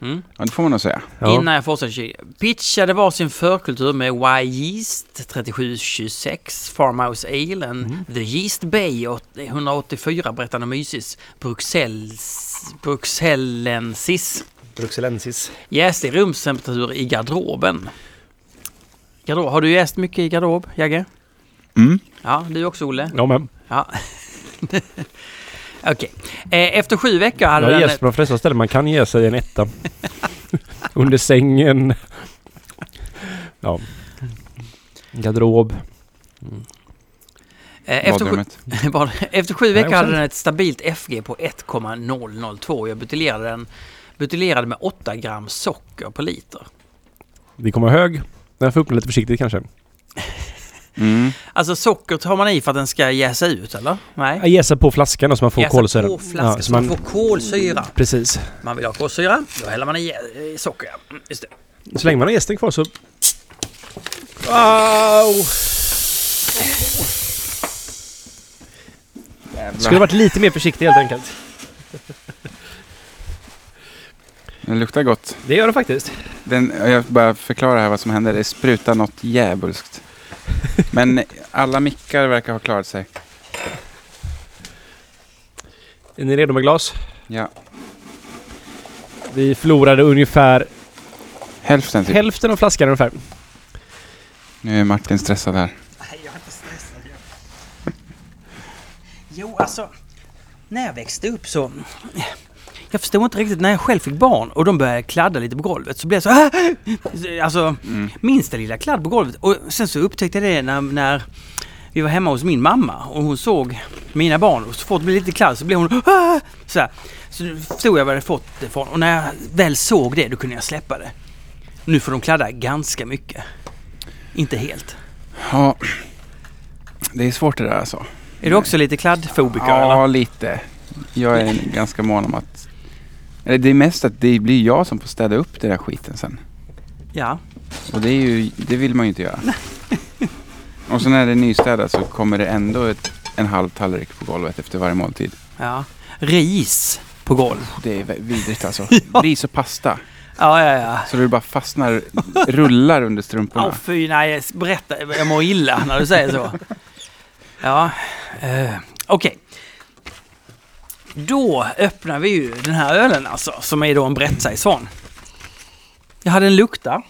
Speaker 1: Mm.
Speaker 3: ja. Det får man nog säga.
Speaker 1: Innan jag fortsätter kyla. Pitchade varsin förkultur med Y-Yeast 3726 Farmhouse Ale and The Yeast Bay åt- 184 Brettanomyces Bruxelles, Bruxellensis.
Speaker 2: Bruxellensis.
Speaker 1: Jäst i rumstemperatur i garderoben. Garderob. Har du jäst mycket i garderob, Jagge?
Speaker 3: Mm.
Speaker 1: Ja, du också Olle?
Speaker 2: Ja men.
Speaker 1: Ja. Okej. Eh, Efter sju veckor hade
Speaker 2: Jag
Speaker 1: den...
Speaker 2: jäser på de flesta ställen. Man kan jäsa i en etta. Under sängen. Ja. Garderob.
Speaker 1: eh, efter, sju,
Speaker 3: badrummet.
Speaker 1: bara- efter sju
Speaker 2: Nej,
Speaker 1: veckor hade
Speaker 2: också.
Speaker 1: den ett stabilt FG på 1,002. Jag buteljerade den buteljerade med 8 gram socker på liter.
Speaker 2: Det kommer hög. Den får upp den lite försiktigt kanske.
Speaker 3: Mm.
Speaker 1: Alltså socker tar man i för att den ska jäsa ut eller?
Speaker 2: Jag
Speaker 1: Nej.
Speaker 2: jäser på flaskan då så man får
Speaker 1: Jäsa
Speaker 2: kolsyra.
Speaker 1: på flaskan, så man får kolsyra.
Speaker 2: Precis.
Speaker 1: Man vill ha kolsyra, då häller man i eh, socker. ja. Mm, Just det.
Speaker 2: Så länge man har jästen kvar så... Wow! Skulle varit lite mer försiktig helt enkelt.
Speaker 3: Den luktar gott.
Speaker 2: Det gör det faktiskt.
Speaker 3: Den, jag bara förklara här vad som händer. Det sprutar något djävulskt. Men alla mickar verkar ha klarat sig.
Speaker 2: Är ni redo med glas?
Speaker 3: Ja.
Speaker 2: Vi förlorade ungefär
Speaker 3: Hälften typ.
Speaker 2: hälften av flaskan ungefär.
Speaker 3: Nu är Martin stressad här.
Speaker 1: Nej, jag är inte stressad. Jag... Jo, alltså. När jag växte upp så... Jag förstod inte riktigt när jag själv fick barn och de började kladda lite på golvet så blev jag så "Ah!" Alltså, minsta lilla kladd på golvet. Och sen så upptäckte jag det när, när vi var hemma hos min mamma och hon såg mina barn och så fort det blev lite kladd så blev hon "Ah!" så, här. så nu förstod jag var jag hade fått det ifrån och när jag väl såg det då kunde jag släppa det. Nu får de kladda ganska mycket. Inte helt.
Speaker 3: Ja. Det är svårt det där alltså.
Speaker 1: Är du också lite kladdfobiker eller?
Speaker 3: Ja, lite. Jag är ganska mån om att... Eller det är mest att det blir jag som får städa upp den där skiten sen.
Speaker 1: Ja.
Speaker 3: Och det, är ju, det vill man ju inte göra. Och så när det är nystädat så kommer det ändå ett, en halv tallrik på golvet efter varje måltid.
Speaker 1: ja. Ris på golv.
Speaker 3: Det är vidrigt alltså. Ris och pasta.
Speaker 1: Ja, ja, ja.
Speaker 3: Så du bara fastnar, rullar under strumporna.
Speaker 1: Åh fy, nej, berätta. Jag mår illa när du säger så. Ja, eh, okej. Då öppnar vi ju den här ölen alltså, som är då en Brett Saison. Jag hade en lukta.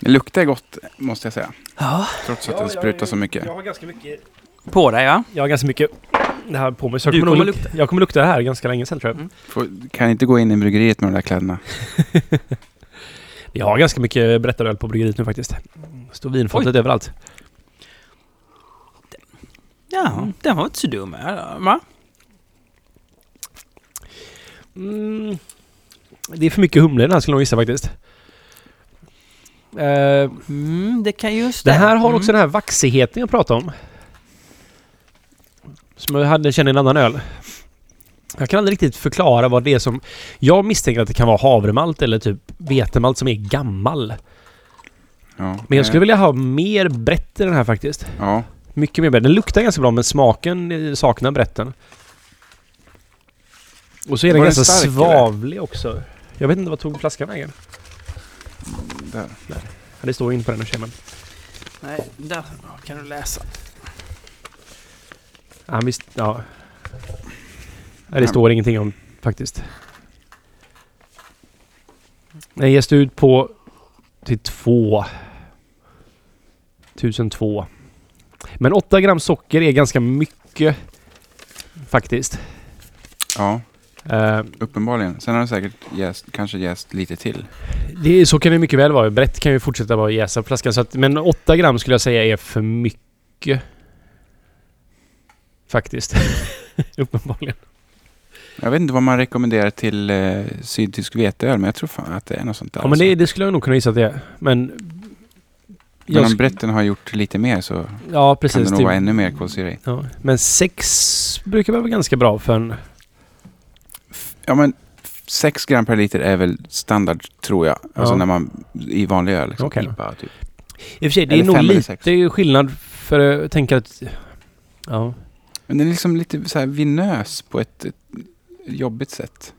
Speaker 3: Det luktar gott måste jag säga.
Speaker 1: Ja.
Speaker 3: Trots att den sprutar så mycket.
Speaker 2: har ganska mycket.
Speaker 1: På dig ja.
Speaker 2: Jag har ganska mycket det här på mig. Så jag
Speaker 1: Du
Speaker 2: kommer,
Speaker 1: kommer
Speaker 2: nog lukta. Jag kommer lukta det här ganska länge sen tror jag.
Speaker 3: Får, kan inte gå in i bryggeriet med de där kläderna.
Speaker 2: Vi har ganska mycket berättaröl på bryggeriet nu faktiskt. Står vinfatet överallt.
Speaker 1: Ja, den var inte så dum. ja, Va?
Speaker 2: Mm. Det är för mycket humle i den här skulle jag nog gissa faktiskt. Eh,
Speaker 1: Mm, det kan just
Speaker 2: det här har också
Speaker 1: Mm.
Speaker 2: den här vaxigheten jag pratade om. Som jag hade känner i en annan öl. Jag kan aldrig riktigt förklara vad det är som... Jag misstänker att det kan vara havremalt eller typ vetemalt som är gammal.
Speaker 3: Ja,
Speaker 2: Men jag skulle vilja ha mer brett i den här faktiskt.
Speaker 3: Ja,
Speaker 2: Mycket mer brett. Den luktar ganska bra men smaken eh, saknar bretten. Och så är den
Speaker 3: Var den
Speaker 2: ganska
Speaker 3: stark,
Speaker 2: svavlig också. Jag vet inte vad tog flaskan vägen.
Speaker 3: där.
Speaker 2: Ja, det står ju inte på den och ser man.
Speaker 1: Nej, där kan du läsa.
Speaker 2: Ja, han visst, ja. Nej, det står ingenting om faktiskt. Den ges ut på till två. 1002. Men 8 gram socker är ganska mycket faktiskt.
Speaker 3: ja,
Speaker 2: Eh,
Speaker 3: uppenbarligen. Sen har den säkert jäst, kanske jäst lite till.
Speaker 2: det, så kan det mycket väl vara. Brett kan ju fortsätta vara jäsa på flaskan. Så att, men 8 gram skulle jag säga är för mycket. Faktiskt. Uppenbarligen.
Speaker 3: Jag vet inte vad man rekommenderar till eh, sydtysk veteöl, men jag tror fan att det är något sånt där.
Speaker 2: Ja, men det,
Speaker 3: alltså.
Speaker 2: det skulle jag nog kunna gissa att det är. Men...
Speaker 3: men
Speaker 2: Jag
Speaker 3: om
Speaker 2: sk-
Speaker 3: bretten har gjort lite mer så
Speaker 2: ja,
Speaker 3: kan
Speaker 2: precis.
Speaker 3: det nog
Speaker 2: typ.
Speaker 3: vara ännu mer kolsyra i.
Speaker 2: ja. Men sex brukar väl vara ganska bra för en...
Speaker 3: Ja, men 6 gram per liter är väl standard, tror jag. Alltså
Speaker 2: Ja.
Speaker 3: när man, i vanlig öl. Liksom,
Speaker 2: Okej.
Speaker 3: IPA, typ.
Speaker 2: I och för sig, det är
Speaker 3: Eller
Speaker 2: nog
Speaker 3: fem eller
Speaker 2: lite
Speaker 3: sex.
Speaker 2: det är ju skillnad för eh, jag tänker att... Ja.
Speaker 3: Men den är liksom lite så här vinös på ett, ett jobbigt sätt.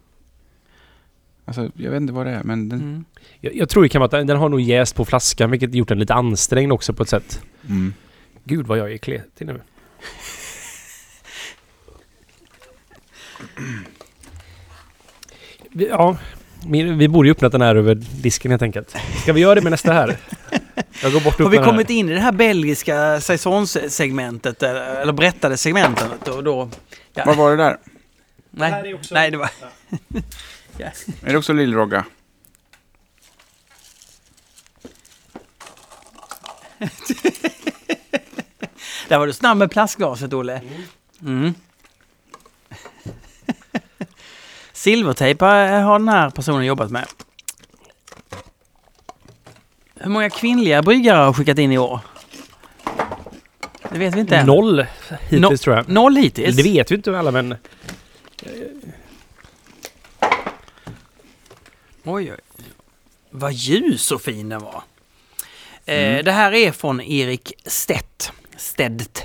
Speaker 3: Alltså, jag vet inte vad det är, men den...
Speaker 1: Mm.
Speaker 2: Jag, jag tror det kan vara att den- den har nog jäst på flaskan vilket gjort den lite ansträngd också på ett sätt.
Speaker 3: Mm.
Speaker 2: Gud vad jag är kletig nu. Vi- Ja, vi, vi borde ju öppnat den här över disken helt enkelt. Ska vi göra det med nästa här? Jag går bort
Speaker 1: Har
Speaker 2: upp
Speaker 1: vi
Speaker 2: med den
Speaker 1: kommit in i det här belgiska säsongssegmentet, eh, eller, eller berättade segmentet? Och då, ja.
Speaker 3: Vad var det där?
Speaker 2: här är
Speaker 1: nej,
Speaker 2: också-
Speaker 1: nej, det var... ja.
Speaker 3: Är det också lillrogga?
Speaker 1: Där var du snabb med plastglaset, Olle. Mm. Silvertejp eh, har den här personen jobbat med. Hur många kvinnliga bryggare har skickat in i år? Det vet vi inte
Speaker 2: här.
Speaker 1: än.
Speaker 2: Noll hittills
Speaker 1: No-
Speaker 2: tror jag.
Speaker 1: Noll hittills?
Speaker 2: Det vet vi inte alla men... eh,
Speaker 1: Oj, oj. Vad ljus och fin den var. Eh, det här är från Erik Stedt. Stedt.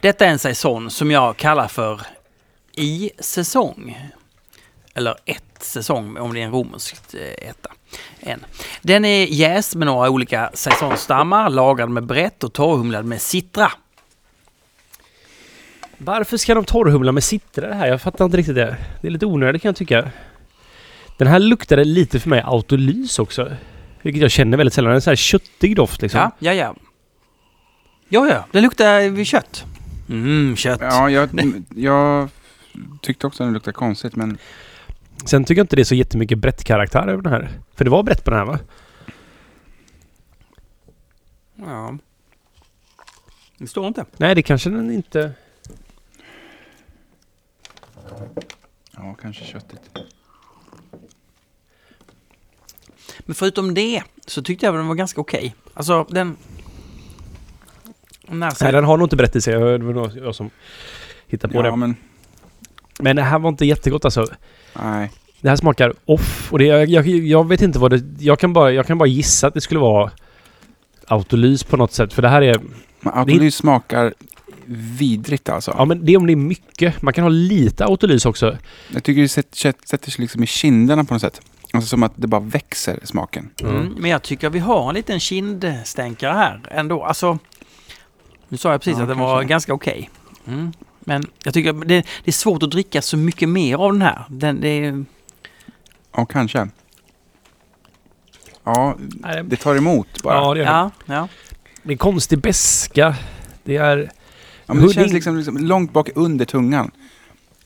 Speaker 1: Detta är en säsong som jag kallar för i säsong. Eller ett säsong om det är en romersk eh, etta. En. Den är jäst med några olika säsongstammar, lagad med brett och torrhumlad med citra.
Speaker 2: Varför ska de torrhumla med citra det här? Jag fattar inte riktigt det. Det är lite onödigt kan jag tycka. Den här luktade lite för mig autolys också. Vilket jag känner väldigt sällan. En sån här köttig doft liksom.
Speaker 1: Ja, ja, ja. Ja, ja, den luktar kött. Mm, kött.
Speaker 3: Ja, jag, jag tyckte också att den luktade konstigt, men
Speaker 2: Sen tycker jag inte det är så jättemycket brett-karaktär över den här. För det var brett på den här va?
Speaker 1: ja. Det står inte.
Speaker 2: Nej, det kanske den inte...
Speaker 3: ja, kanske köttigt.
Speaker 1: Men förutom det så tyckte jag att den var ganska okej. Alltså den... Den här
Speaker 2: Nej,
Speaker 1: sen-
Speaker 2: den har nog inte brett i sig. Jag- Det var nog jag som hittade på
Speaker 3: Ja,
Speaker 2: det.
Speaker 3: men
Speaker 2: Men det här var inte jättegott alltså.
Speaker 3: nej.
Speaker 2: Det här smakar off. Och det, jag, jag, jag vet inte vad det... Jag kan, bara, jag kan bara gissa att det skulle vara autolys på något sätt. För det här är...
Speaker 3: Men autolys smakar vidrigt alltså.
Speaker 2: Ja, men det är om det är mycket. Man kan ha lite autolys också.
Speaker 3: Jag tycker det sätt- sätt- sätter sig liksom i kinderna på något sätt. Alltså som att det bara växer smaken.
Speaker 1: mm, men jag tycker vi har en liten kindstänkare här ändå. Alltså... Nu sa jag precis
Speaker 3: Ja,
Speaker 1: att den var
Speaker 3: kanske.
Speaker 1: ganska okej. Mm. Men jag tycker att det, det är svårt att dricka så mycket mer av den här. Den, det är,
Speaker 3: Ja, kanske. Ja,
Speaker 2: Nej,
Speaker 3: det tar emot bara.
Speaker 2: Ja,
Speaker 3: Ja,
Speaker 2: det, ja.
Speaker 1: ja, ja.
Speaker 2: det är konstig beska. Det är...
Speaker 3: men det känns
Speaker 2: Hudding-
Speaker 3: liksom, liksom långt bak under tungan.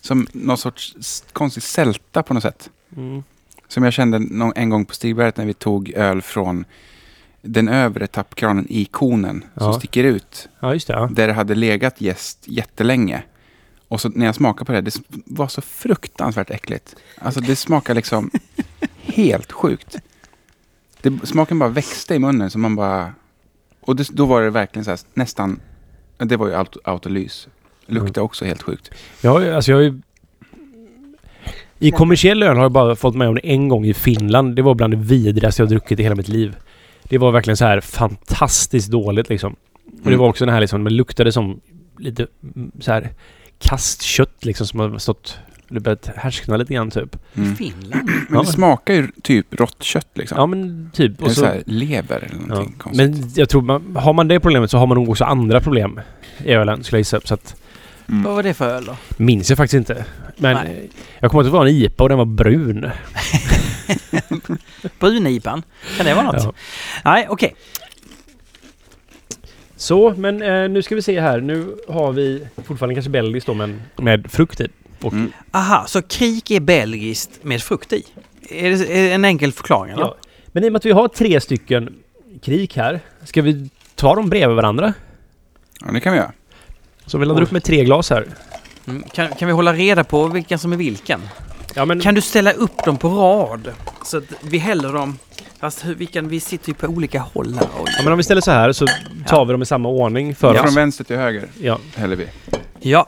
Speaker 3: Som någon sorts s- konstig sälta på något sätt.
Speaker 2: Mm.
Speaker 3: Som jag kände någon, en gång på Stigberget när vi tog öl från den övre tappkranen i konen
Speaker 2: Ja.
Speaker 3: som sticker ut.
Speaker 2: Ja, just det. Ja.
Speaker 3: Där det hade legat gäst jättelänge. Och så när jag smakade på det, det s- var så fruktansvärt äckligt. Alltså det smakade liksom helt sjukt. Det, smaken bara växte i munnen så man bara... Och det, då var det verkligen så här, nästan... Det var ju aut- autolys. Luktade också helt sjukt.
Speaker 2: Jag har ju, alltså jag har ju... I kommersiell öl har jag bara fått med om det en gång i Finland. Det var bland det vidrigaste jag har druckit i hela mitt liv. Det var verkligen så här fantastiskt dåligt liksom. Och
Speaker 3: Mm.
Speaker 2: det var också den här liksom, det luktade som lite mm, så här kastkött liksom som har stått... Det börjat härskna lite grann typ.
Speaker 3: Mm.
Speaker 1: Finland.
Speaker 3: Men det smakar ju typ rått kött liksom.
Speaker 2: Ja men typ.
Speaker 3: Eller så här lever eller
Speaker 2: Ja.
Speaker 3: någonting konstigt.
Speaker 2: Men jag tror man, har man det problemet så har man nog också andra problem i ölen skulle jag gissa. Så att,
Speaker 3: Mm.
Speaker 1: Vad var det för öl då?
Speaker 2: minns jag faktiskt inte. Men
Speaker 1: Nej.
Speaker 2: jag kommer ihåg att det var en IPA och den var brun.
Speaker 1: Brunipan? Kan det vara något?
Speaker 2: Ja.
Speaker 1: Nej, okej.
Speaker 2: Så, men eh, nu ska vi se här. Nu har vi fortfarande kanske belgiskt då, men med frukt i. Och,
Speaker 3: Mm.
Speaker 1: Aha, så krik är belgiskt med frukt i? Är det är det en enkel förklaring? Eller?
Speaker 2: ja. Men i och med att vi har tre stycken krik här, ska vi ta dem bredvid varandra?
Speaker 3: Ja, det kan vi göra.
Speaker 2: Så vi laddar upp med tre glas här.
Speaker 1: Mm. Kan, kan vi hålla reda på vilka som är vilken?
Speaker 2: Ja, men
Speaker 1: Kan du ställa upp dem på rad? Så att vi häller dem... Fast hur, vilken, vi sitter ju på olika håll här. Oj.
Speaker 2: ja, men om vi ställer så här så tar vi dem i samma ordning för
Speaker 3: Från
Speaker 2: oss.
Speaker 3: vänster till höger
Speaker 2: Ja,
Speaker 3: häller vi.
Speaker 1: Ja,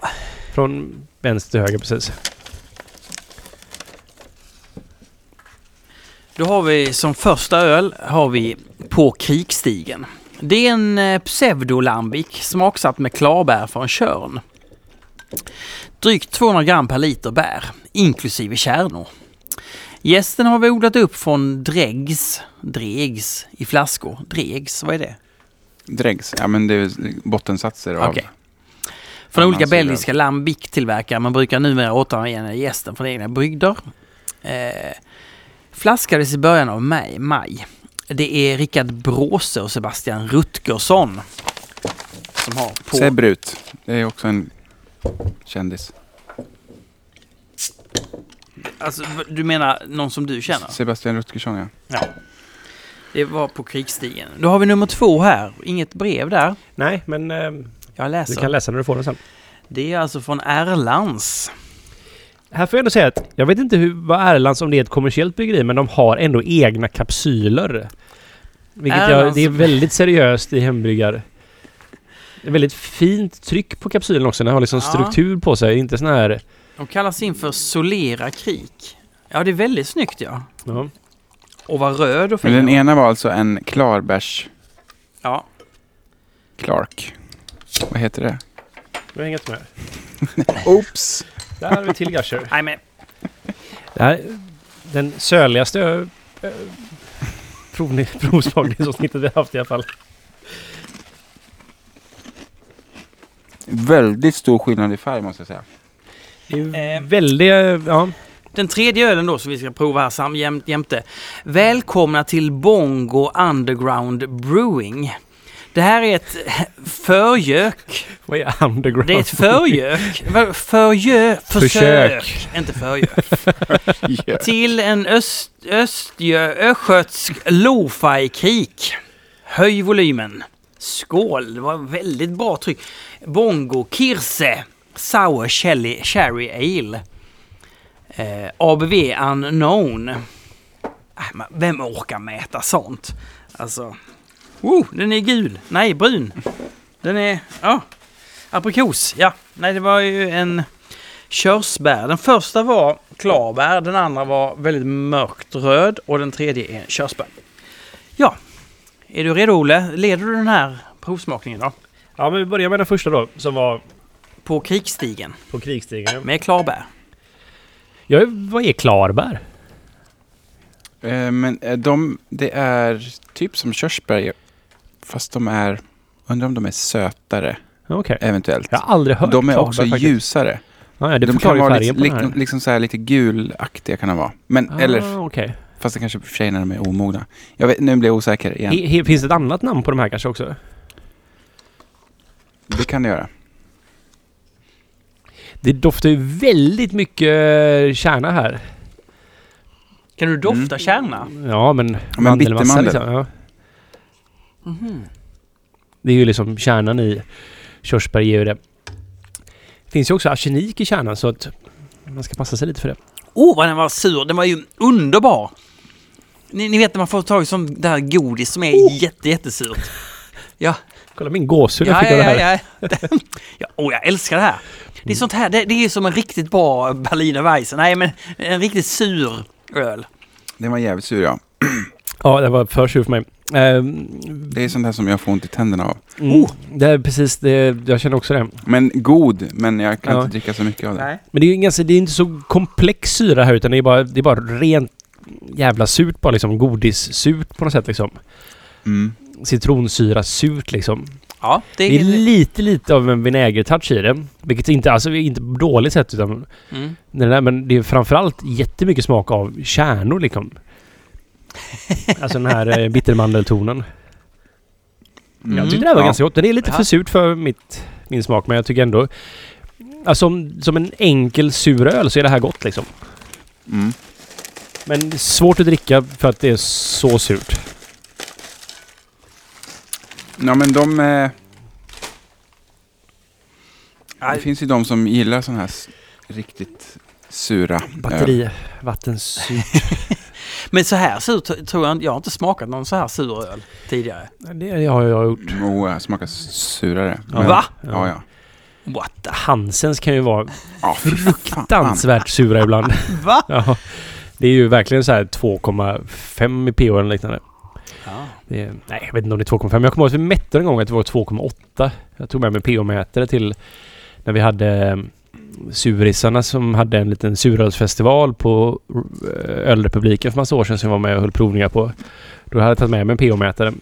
Speaker 2: från vänster till höger precis.
Speaker 1: då har vi som första öl har vi På krikstigen. Det är en eh, pseudolambic smaksatt med klarbär från Tjörn. Drygt 200 gram per liter bär, inklusive kärnor. Gästen har vi odlat upp från dregs, dregs i flaskor. Dregs, vad är det?
Speaker 3: Dregs. Ja, men det är bottensatser av...
Speaker 1: Okej. Från
Speaker 3: Ja,
Speaker 1: olika
Speaker 3: man ser det.
Speaker 1: belgiska lambic-tillverkare. Man brukar numera återanvända gästen från egna brygder. Eh, flaskades i början av maj. maj. Det är Rickard Bråse och Sebastian Rutgersson. Som har på...
Speaker 3: Sebrut. Det är också en kändis.
Speaker 1: Alltså, v- du menar någon som du känner?
Speaker 3: Sebastian Rutgersson, ja.
Speaker 1: Det var på krigsstigen. Då har vi nummer två här. Inget brev där.
Speaker 2: Nej, men eh,
Speaker 1: Jag
Speaker 2: du
Speaker 1: läser.
Speaker 2: kan läsa när du får den sen.
Speaker 1: Det är alltså från Erlands.
Speaker 2: Här får jag ändå säga att jag vet inte hur, vad Erlands, om det är ett kommersiellt bryggeri, men de har ändå egna kapsyler. Vilket jag,
Speaker 1: Erlands-
Speaker 2: det är väldigt seriöst i hembryggar. Det är väldigt fint tryck på kapsylen också. Den har liksom
Speaker 1: Ja.
Speaker 2: struktur på sig. Inte sån här...
Speaker 1: De kallas in för Solera Krik. Ja, det är väldigt snyggt ja.
Speaker 2: Ja.
Speaker 1: Och vad röd och
Speaker 3: Men
Speaker 1: fin.
Speaker 3: den ena var alltså en klarbärs
Speaker 1: Ja,
Speaker 3: Clark. Vad heter det?
Speaker 2: Du har hängt med.
Speaker 3: Oops!
Speaker 2: Där har vi till Gusher.
Speaker 1: nej men
Speaker 2: Det här, den söligaste eh, ö, ö, provni- provsmakningsavsnittet vi har haft i alla fall.
Speaker 3: Väldigt stor skillnad i färg måste jag säga.
Speaker 2: Det är ju
Speaker 1: Eh.
Speaker 2: väldigt... Ja.
Speaker 1: Den tredje ölen då som vi ska prova här sam, jäm, jämte. Välkomna till Bongo Underground Brewing. Det här är ett förgök.
Speaker 2: Vad är underground?
Speaker 1: Det är ett förgök. Va- Förgö... Försök.
Speaker 2: Försök.
Speaker 1: Inte förgök. Till en öst, östgö, östgötsk lo-fi-krik. Höj volymen. Skål! Det var väldigt bra tryck. Bongo Kirse Sour Shelly Cherry Ale. Eh, ABV Unknown. Äh, men Vem orkar mäta sånt? Alltså... Oh, den är gul! Nej, brun! Den är... Ja. Aprikos, ja. Nej, det var ju en körsbär. Den första var klarbär, den andra var väldigt mörkt röd och den tredje är körsbär. Ja, är du redo Olle? Leder du den här provsmakningen då?
Speaker 2: Ja, men vi börjar med den första då, som var
Speaker 1: På krigsstigen
Speaker 2: på krigsstigen.
Speaker 1: med klarbär.
Speaker 2: Ja, vad är klarbär?
Speaker 3: Eh, men eh, de, det är typ som körsbär, fast de är... Undrar om de är sötare,
Speaker 2: Okej.
Speaker 3: eventuellt.
Speaker 2: Jag har aldrig hört
Speaker 3: De är
Speaker 2: klarbär
Speaker 3: också
Speaker 2: faktiskt.
Speaker 3: ljusare.
Speaker 2: Ja, ja, det
Speaker 3: de
Speaker 2: förklarar ju
Speaker 3: kan vara
Speaker 2: färgen
Speaker 3: lite,
Speaker 2: på den här.
Speaker 3: lik, liksom så här lite gulaktiga kan de vara. Men, eller,
Speaker 2: Ah, okej.
Speaker 3: fast det kanske är för sig när de är omogna. Jag vet, nu blir jag osäker igen.
Speaker 2: He- he- Finns det ett annat namn på de här kanske också?
Speaker 3: Det kan det göra.
Speaker 2: Det doftar ju väldigt mycket eh, kärna här.
Speaker 1: Kan du dofta
Speaker 3: Mm.
Speaker 1: kärna?
Speaker 2: Ja, men...
Speaker 3: Men bittermandel.
Speaker 2: liksom, ja.
Speaker 1: Mhm.
Speaker 2: Det är ju liksom kärnan i körsbär ger ju det. Det finns ju också arsenik i kärnan så att man ska passa sig lite för det.
Speaker 1: Oh, vad den var sur! Den var ju underbar! Ni, ni vet när man får tag i sånt där godis som är jätte, jättesurt.
Speaker 2: Kolla min gåshud Oh! jag
Speaker 1: Ja,
Speaker 2: fick av det
Speaker 1: ja,
Speaker 2: här. Mm.
Speaker 1: ja, ja. ja. Oh, jag älskar det här. Det är sånt här, det, det är som en riktigt bra Berliner Weisse. Nej, men en riktigt sur öl.
Speaker 3: Den var jävligt sur ja.
Speaker 2: Ja, det var för sur för mig. Ehm,
Speaker 3: Det är sånt här som jag får ont i tänderna av.
Speaker 2: mm, Det är precis det, jag känner också det.
Speaker 3: Men god, men jag kan
Speaker 2: Ja.
Speaker 3: inte dricka så mycket av den.
Speaker 2: Men det är ju ganska, det är inte så komplex syra här utan det är bara, det är bara rent jävla surt bara liksom. Godissurt på något sätt liksom.
Speaker 3: Mm.
Speaker 2: Citronsyra surt liksom.
Speaker 1: Ja, det
Speaker 2: Det är
Speaker 1: är...
Speaker 2: lite, lite av en vinägertouch i det. Vilket inte, alltså inte på dåligt sätt utan
Speaker 1: Mm.
Speaker 2: Den där, men det är framförallt jättemycket smak av kärnor liksom. Alltså den här eh, bittermandeltonen.
Speaker 3: Mm.
Speaker 2: Jag tyckte det här var
Speaker 3: Ja.
Speaker 2: ganska gott. Det är lite
Speaker 1: Ja.
Speaker 2: för surt för mitt, min smak men jag tycker ändå... Alltså som, som en enkel sur öl så är det här gott liksom.
Speaker 3: Mm.
Speaker 2: Men det är svårt att dricka för att det är så surt.
Speaker 3: Ja men de... Eh,
Speaker 1: Aj.
Speaker 3: det finns ju de som gillar sån här s- riktigt sura eh, öl.
Speaker 2: Batterivattensurt.
Speaker 1: Men så här sur t- tror jag inte- Jag har inte smakat någon så här sur öl tidigare.
Speaker 2: det har jag gjort.
Speaker 3: Jo, jag oh, smakar surare.
Speaker 2: Ja.
Speaker 3: Men-
Speaker 1: Va?
Speaker 3: Ja, ja.
Speaker 1: What the...
Speaker 2: Hansens kan ju vara
Speaker 3: Ja, fruktansvärt.
Speaker 2: fruktansvärt sura ibland.
Speaker 1: Va?
Speaker 2: ja. Det är ju verkligen så här 2,5 i pH eller liknande.
Speaker 1: Ja.
Speaker 2: Det är, nej, jag vet inte om det är 2,5. men Jag kommer ihåg att vi mätte en gång att det var 2,8. Jag tog med mig pH-mätare till när vi hade eh, surisarna som hade en liten surölsfestival på eh, Ölrepubliken för massa år sedan som jag var med och höll provningar på. Då hade jag tagit med mig en pH-mätare.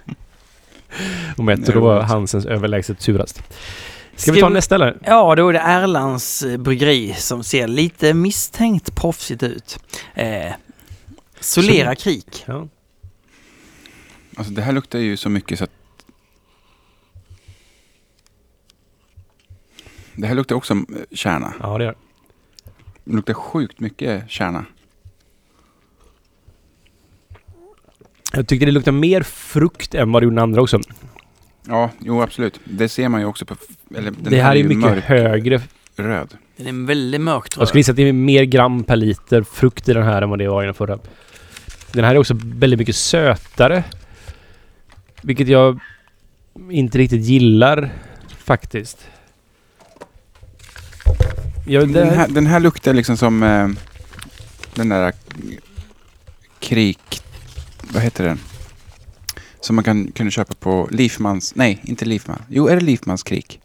Speaker 2: och mätte, då var
Speaker 3: Roligt.
Speaker 2: Hansens överlägset surast. Ska
Speaker 1: Ska
Speaker 2: vi ta
Speaker 1: vi-
Speaker 2: nästa eller?
Speaker 1: Ja, då är det Erlands eh, bryggeri som ser lite misstänkt proffsigt ut. Eh, Solera krik.
Speaker 2: Ja.
Speaker 3: Alltså det här luktar ju så mycket så att... Det här luktar också eh, kärna.
Speaker 2: ja, det gör det.
Speaker 3: Det luktar sjukt mycket kärna.
Speaker 2: Jag tyckte det luktade mer frukt än vad det gjorde den andra också.
Speaker 3: Ja, jo absolut. Det ser man ju också på... f- Eller, den
Speaker 2: det här är ju mycket
Speaker 3: mörk
Speaker 2: högre.
Speaker 3: röd.
Speaker 1: Den är väldigt mörkt
Speaker 2: Jag
Speaker 1: röd.
Speaker 2: skulle gissa att det är mer gram per liter frukt i den här än vad det var i den förra. Den här är också väldigt mycket sötare. Vilket jag inte riktigt gillar faktiskt. Jag, det,
Speaker 3: Den här, den här luktar liksom som eh, den där krik... Vad heter den? Som man kan, kunde köpa på Leafmans... Nej, inte Leafman. Jo, är det Leafmans krik?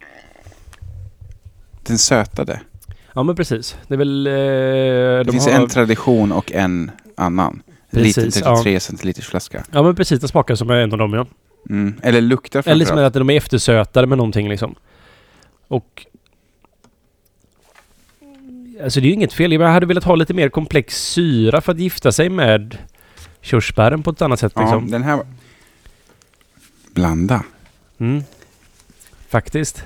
Speaker 3: Den sötade.
Speaker 2: Ja men precis. Det är väl... Eh,
Speaker 3: Det
Speaker 2: de
Speaker 3: finns
Speaker 2: har,
Speaker 3: en tradition och en annan. En liten
Speaker 2: Precis, ja.
Speaker 3: 33 centiliters flaska.
Speaker 2: Ja men precis, den smakar som en av dem ja.
Speaker 3: Mm. Eller luktar
Speaker 2: Eller som
Speaker 3: framförallt.
Speaker 2: att de är eftersötade med någonting liksom. Och... Alltså det är ju inget fel. Jag hade velat ha lite mer komplex syra för att gifta sig med körsbären på ett annat sätt
Speaker 3: Ja,
Speaker 2: liksom.
Speaker 3: den här... Blanda.
Speaker 2: Mm. Faktiskt.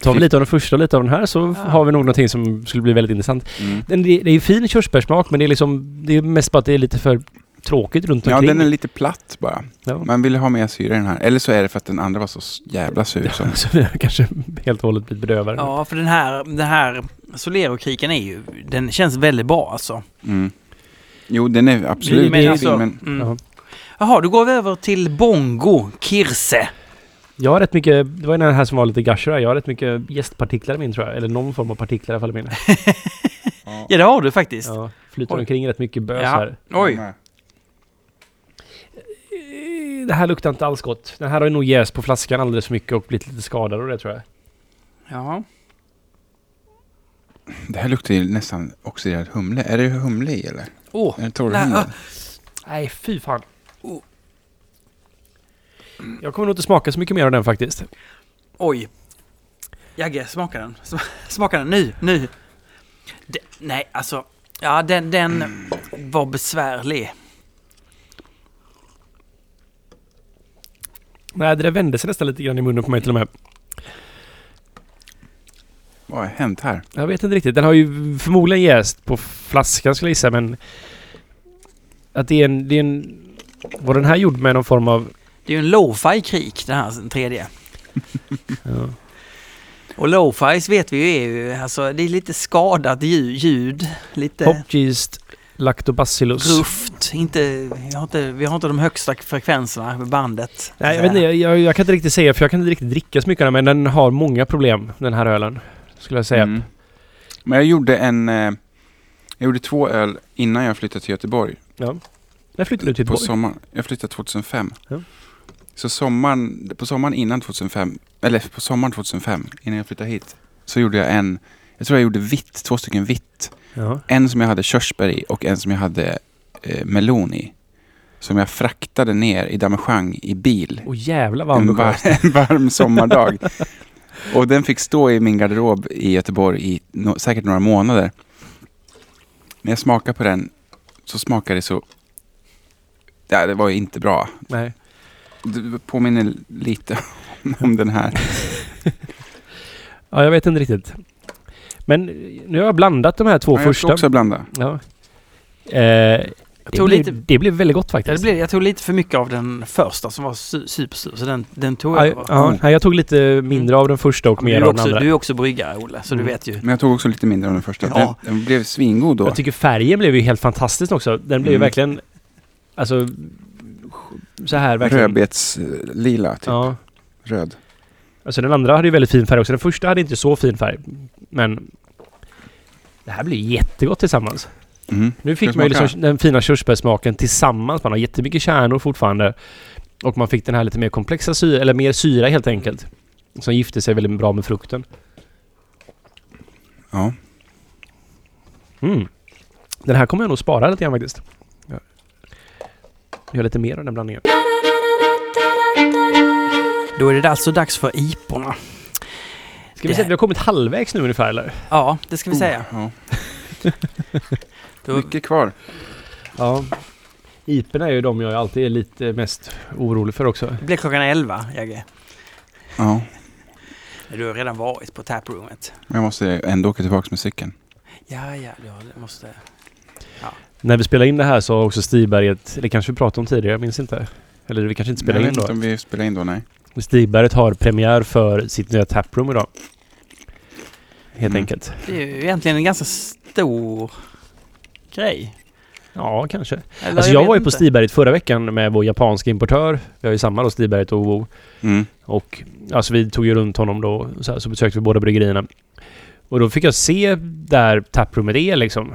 Speaker 2: Tar vi lite av den första och lite av den här så
Speaker 1: Ja.
Speaker 2: har vi nog någonting som skulle bli väldigt intressant.
Speaker 3: Mm.
Speaker 2: Den, det det är ju fin körsbärssmak men det är liksom... Det är mest bara att det är lite för tråkigt runt
Speaker 3: Ja,
Speaker 2: omkring.
Speaker 3: den är lite platt bara.
Speaker 2: Ja.
Speaker 3: Man ville ha mer syra i den här. Eller så är det för att den andra var så s- jävla sur. Som.
Speaker 2: Så vi har kanske helt och hållet blivit bedövade.
Speaker 1: Ja, för den här, den här Solero-kriken är ju, den känns väldigt bra alltså.
Speaker 3: Mm. Jo, den är absolut
Speaker 1: Men
Speaker 3: fin,
Speaker 1: alltså,
Speaker 3: men
Speaker 1: mm.
Speaker 2: Ja.
Speaker 1: Jaha, då går vi över till Bongo Kirse.
Speaker 2: Jag har rätt mycket, det var ju den här som var lite gusher här. jag har rätt mycket gästpartiklar i min tror jag. Eller någon form av partiklar i alla fall i min.
Speaker 1: Ja, det har du faktiskt.
Speaker 2: Ja, flyter
Speaker 1: Oj.
Speaker 2: omkring rätt mycket bös
Speaker 1: Ja.
Speaker 2: här.
Speaker 1: Oj.
Speaker 2: Eh, Det här luktar inte alls gott. Den här har ju nog jäst på flaskan alldeles för mycket och blivit lite skadad och det tror jag.
Speaker 1: Ja.
Speaker 3: Det här luktar ju nästan oxiderad humle. Är det humle i eller?
Speaker 1: Åh,
Speaker 3: Är det torrhumle?
Speaker 2: Nej, fy fan. Jag kommer nog inte smaka så mycket mer av den faktiskt.
Speaker 1: oj. Jagge, smaka den. Sm- Smaka den nu, nu. De, nej, alltså. Ja, den, den var besvärlig.
Speaker 2: Nej, det där vände sig nästan lite grann i munnen på mig till och med.
Speaker 3: Vad har hänt här?
Speaker 2: Jag vet inte riktigt. Den har ju förmodligen jäst på flaskan skulle jag gissa men... Att det är en... Det är en var den här gjord med någon form av...
Speaker 1: Det är ju en lo-fi-krik, den här den tredje.
Speaker 2: Ja.
Speaker 1: Och lo-fi vet vi ju är ju, alltså det är lite skadat ljud, ljud lite
Speaker 2: Hop yeast lactobacillus.
Speaker 1: ruft, inte, vi, har inte, vi har inte de högsta frekvenserna med bandet.
Speaker 3: Alltså,
Speaker 2: Nej, jag, vet inte, jag, jag, jag kan inte riktigt säga för jag kan inte riktigt dricka så mycket av den men den har många problem den här ölen. Skulle jag säga.
Speaker 3: Mm. Men jag gjorde en... eh, Jag gjorde två öl innan jag flyttade till Göteborg.
Speaker 2: När flyttade du till
Speaker 3: På
Speaker 2: Göteborg?
Speaker 3: sommaren. Jag flyttade 2005.
Speaker 2: Typ Ja.
Speaker 3: Så sommaren, på sommaren innan 2005, eller på sommaren 2005, innan jag flyttade hit, så gjorde jag en, jag tror jag gjorde vitt, två stycken vitt.
Speaker 2: Ja.
Speaker 3: En som jag hade körsbär i och en som jag hade eh, melon i. Som jag fraktade ner i Damejeanne i bil.
Speaker 2: Och jävla vad
Speaker 3: En, var,
Speaker 2: ambitiöst.
Speaker 3: en varm sommardag. och den fick stå i min garderob i Göteborg i no, säkert några månader. När jag smakade på den så smakade det så... Ja, det var ju inte bra.
Speaker 2: Nej.
Speaker 3: Det påminner lite om den här.
Speaker 2: Ja, jag vet inte riktigt. Men nu har jag blandat de här två
Speaker 3: Ja, jag
Speaker 2: första.
Speaker 3: ska också blanda.
Speaker 2: Ja. Eh, det,
Speaker 1: tog
Speaker 2: blev,
Speaker 1: lite-
Speaker 2: det blev väldigt gott
Speaker 1: Ja, det
Speaker 2: faktiskt.
Speaker 1: blev, jag tog lite för mycket av den första som var su- supersur, så den, den tog jag
Speaker 2: Ja,
Speaker 1: över.
Speaker 3: Mm.
Speaker 2: ja, nej, jag tog lite mindre av den första och
Speaker 1: du,
Speaker 2: mer
Speaker 1: är
Speaker 2: av den
Speaker 1: också,
Speaker 2: andra.
Speaker 1: du är också bryggare, Olle, så du
Speaker 2: Mm.
Speaker 1: vet ju.
Speaker 3: Men jag tog också lite mindre av den första.
Speaker 1: Ja.
Speaker 3: Den, den blev svingod då.
Speaker 2: Jag tycker färgen blev ju helt fantastisk också. Den blev ju
Speaker 3: Mm.
Speaker 2: verkligen... Alltså... Så här verkligen.
Speaker 3: Rödbetslila, typ.
Speaker 2: Ja.
Speaker 3: Röd.
Speaker 2: Alltså den andra hade ju väldigt fin färg också. Den första hade inte så fin färg. Men... Det här blir jättegott tillsammans.
Speaker 3: Mm.
Speaker 2: Nu
Speaker 3: Ska
Speaker 2: fick
Speaker 3: jag
Speaker 2: man ju
Speaker 3: smaka?
Speaker 2: liksom den fina körsbärssmaken tillsammans. Man har jättemycket kärnor fortfarande. Och man fick den här lite mer komplexa syra, eller mer syra helt enkelt. Som gifte sig väldigt bra med frukten.
Speaker 3: Ja.
Speaker 2: Mm. Den här kommer jag nog spara lite grann faktiskt. Ja. Jag har lite mer av den blandningen.
Speaker 1: Då är det alltså dags för iporna.
Speaker 2: Ska vi säga att vi har kommit halvvägs nu ungefär eller?
Speaker 1: Ja, det ska vi säga.
Speaker 3: Oh, ja.
Speaker 1: Då-
Speaker 3: Mycket kvar.
Speaker 2: Ja. Iperna är ju de jag alltid är lite mest orolig för också.
Speaker 1: Det blir klockan 11, Jagge.
Speaker 3: Ja,
Speaker 1: Du har redan varit på taproomet.
Speaker 3: men jag måste ändå åka tillbaka med cykeln.
Speaker 1: Ja, ja, jag måste...
Speaker 2: När vi spelade in det här så har också Stigberg ett, det kanske vi pratade om tidigare, jag minns inte. Eller vi kanske inte spelade
Speaker 3: jag
Speaker 2: in
Speaker 3: vet inte
Speaker 2: då.
Speaker 3: om vi spelar in då, nej.
Speaker 2: Stigberget har premiär för sitt nya taproom idag. Helt
Speaker 3: Mm.
Speaker 2: enkelt.
Speaker 1: Det är ju egentligen en ganska stor grej.
Speaker 2: Ja, kanske.
Speaker 1: Eller
Speaker 2: Alltså jag
Speaker 1: vet
Speaker 2: var ju på
Speaker 1: inte.
Speaker 2: Stigberget förra veckan med vår japanska importör. Vi har ju samma då, Stigberget och Wo.
Speaker 3: Mm.
Speaker 2: Och alltså vi tog ju runt honom då, så, här, så besökte vi båda bryggerierna. Och då fick jag se där taprummet är liksom.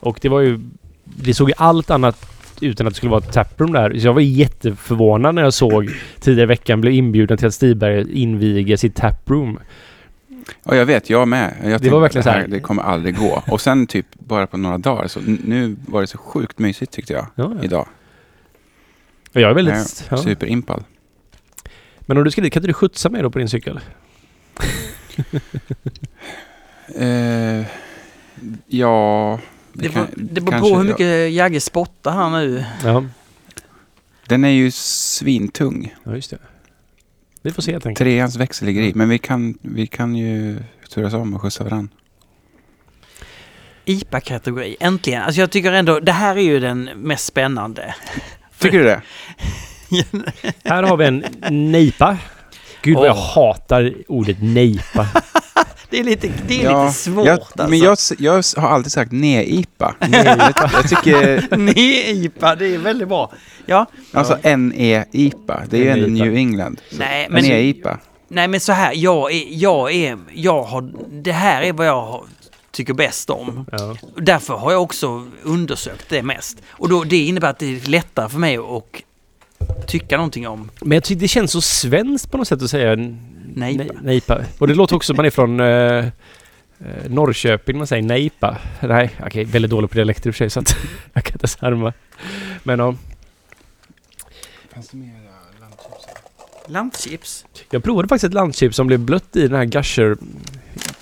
Speaker 2: Och det var ju... Det såg ju allt annat ut än att det skulle vara ett taproom där. Så jag var jätteförvånad när jag såg tidigare i veckan blev inbjuden till att Stigberg inviger sitt taproom.
Speaker 3: Ja, jag vet, jag med. Jag tänkte,
Speaker 2: var verkligen så här-
Speaker 3: Det kommer aldrig gå. Och sen typ bara på några dagar, så n- nu var det så sjukt mysigt tyckte jag.
Speaker 2: Ja, ja.
Speaker 3: Idag.
Speaker 2: Och Jag är väldigt... Ja.
Speaker 3: Superimpad.
Speaker 2: Men om du ska dit, kan inte du skjutsa mig då på din cykel?
Speaker 3: Eh, ja...
Speaker 1: Det,
Speaker 3: kan-
Speaker 1: beror- det beror
Speaker 3: kanske
Speaker 1: på hur
Speaker 3: jag-
Speaker 1: mycket Jagge spottar här nu.
Speaker 2: Ja,
Speaker 3: Den är ju svintung.
Speaker 2: ja just det. Vi får se helt enkelt.
Speaker 3: Treans växel ligger i. Men vi kan, vi kan ju turas om och skjutsa varann.
Speaker 1: IPA-kategori, äntligen. Alltså jag tycker ändå, det här är ju den mest spännande.
Speaker 3: Tycker du det?
Speaker 2: Här har vi en nejpa. Gud vad jag
Speaker 1: Åh.
Speaker 2: hatar ordet nejpa.
Speaker 1: Det är lite, det är
Speaker 3: Ja,
Speaker 1: lite svårt
Speaker 3: jag,
Speaker 1: alltså.
Speaker 3: Men jag, s- jag s- har alltid sagt ne-IPA. Jag, jag tycker,
Speaker 1: Nej, IPA, det är väldigt bra. Ja,
Speaker 3: alltså NE-IPA, det är ju ändå
Speaker 2: NE-IPA.
Speaker 3: New England. E
Speaker 1: nej men,
Speaker 3: NE-IPA.
Speaker 1: nej men så här, jag är, jag är, jag har, det här är vad jag har, tycker bäst om.
Speaker 2: Ja.
Speaker 1: Därför har jag också undersökt det mest. Och då, det innebär att det är lättare för mig att tycka någonting om
Speaker 2: Men jag tycker det känns så svenskt på något sätt att säga
Speaker 1: nejpa.
Speaker 2: nej- nejpa. Och det låter också som man är från eh, eh, Norrköping, man säger nejpa. Nej, okej, väldigt dålig på dialekter i och för sig så att jag kan inte sarma. Men ja,
Speaker 1: Lantchips.
Speaker 2: jag provade faktiskt ett landchips som blev blött i den här gusher.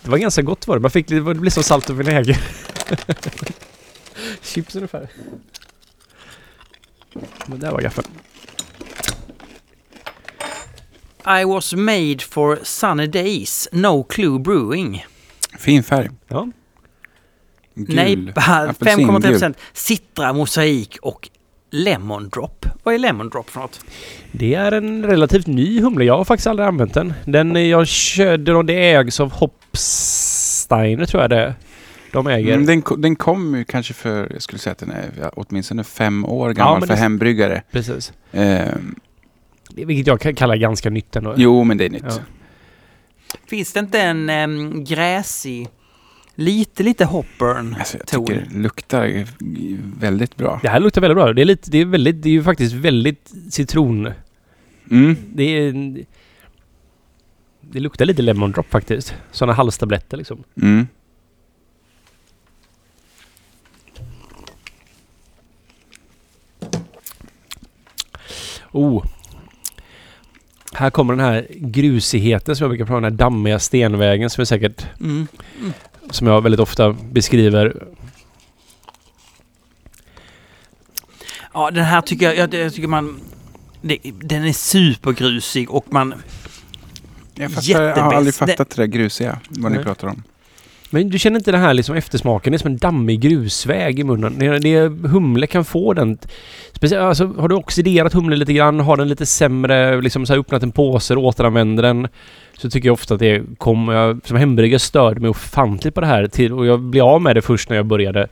Speaker 2: Det var ganska gott var det. Man fick, det var- det blev som salt och vinäger. Chips ungefär. Men där var gaffeln.
Speaker 1: I was made for sunny days, no clue brewing.
Speaker 3: Fin färg.
Speaker 2: Ja.
Speaker 3: Gul.
Speaker 1: Nejpa,
Speaker 3: Apelsin,
Speaker 1: 5,3 Citra, mosaik och lemon drop. Vad är lemon drop för något?
Speaker 2: Det är en relativt ny humle. Jag har faktiskt aldrig använt den. Den eh, jag körde och det ägs av Hopsteiner tror jag det är. De äger.
Speaker 3: Mm, den, ko- den kom ju kanske för, jag skulle säga att den är ja, åtminstone fem år gammal
Speaker 2: men
Speaker 3: för
Speaker 2: det-
Speaker 3: hembryggare.
Speaker 2: Precis.
Speaker 3: Ehm,
Speaker 2: Det- Vilket jag kan kalla ganska nytt ändå.
Speaker 3: jo, men det är nytt.
Speaker 2: Ja.
Speaker 1: Finns det inte en em, gräsig, lite, lite hopburn?
Speaker 3: Alltså, jag
Speaker 1: Ton.
Speaker 3: tycker det luktar eh, väldigt bra.
Speaker 2: Det här luktar väldigt bra. Det är, lite, det är, väldigt, det är ju faktiskt väldigt citron.
Speaker 3: Mm.
Speaker 2: Det är... en- Det luktar lite lemon drop faktiskt. Sådana halstabletter liksom.
Speaker 3: Mm.
Speaker 2: Oh. Här kommer den här grusigheten som jag brukar prata om. Den här dammiga stenvägen som är säkert
Speaker 1: Mm.
Speaker 2: som jag väldigt ofta beskriver.
Speaker 1: Ja, den här tycker jag, jag, jag tycker man... Det, den är supergrusig och man...
Speaker 3: Jag, fattar, jag har
Speaker 1: Jättebäst.
Speaker 3: aldrig fattat det där grusiga, vad
Speaker 2: Nej.
Speaker 3: ni pratar om.
Speaker 2: Men du känner inte den här liksom eftersmaken? Det är som en dammig grusväg i munnen. Det, det, humle kan få den. Speciellt, alltså, har du oxiderat humle lite grann, har den lite sämre, liksom så här, öppnat en påse och återanvänder den. Så tycker jag ofta att det kommer... Jag, som hembryggare störde mig ofantligt på det här. Till, och jag blev av med det först när jag började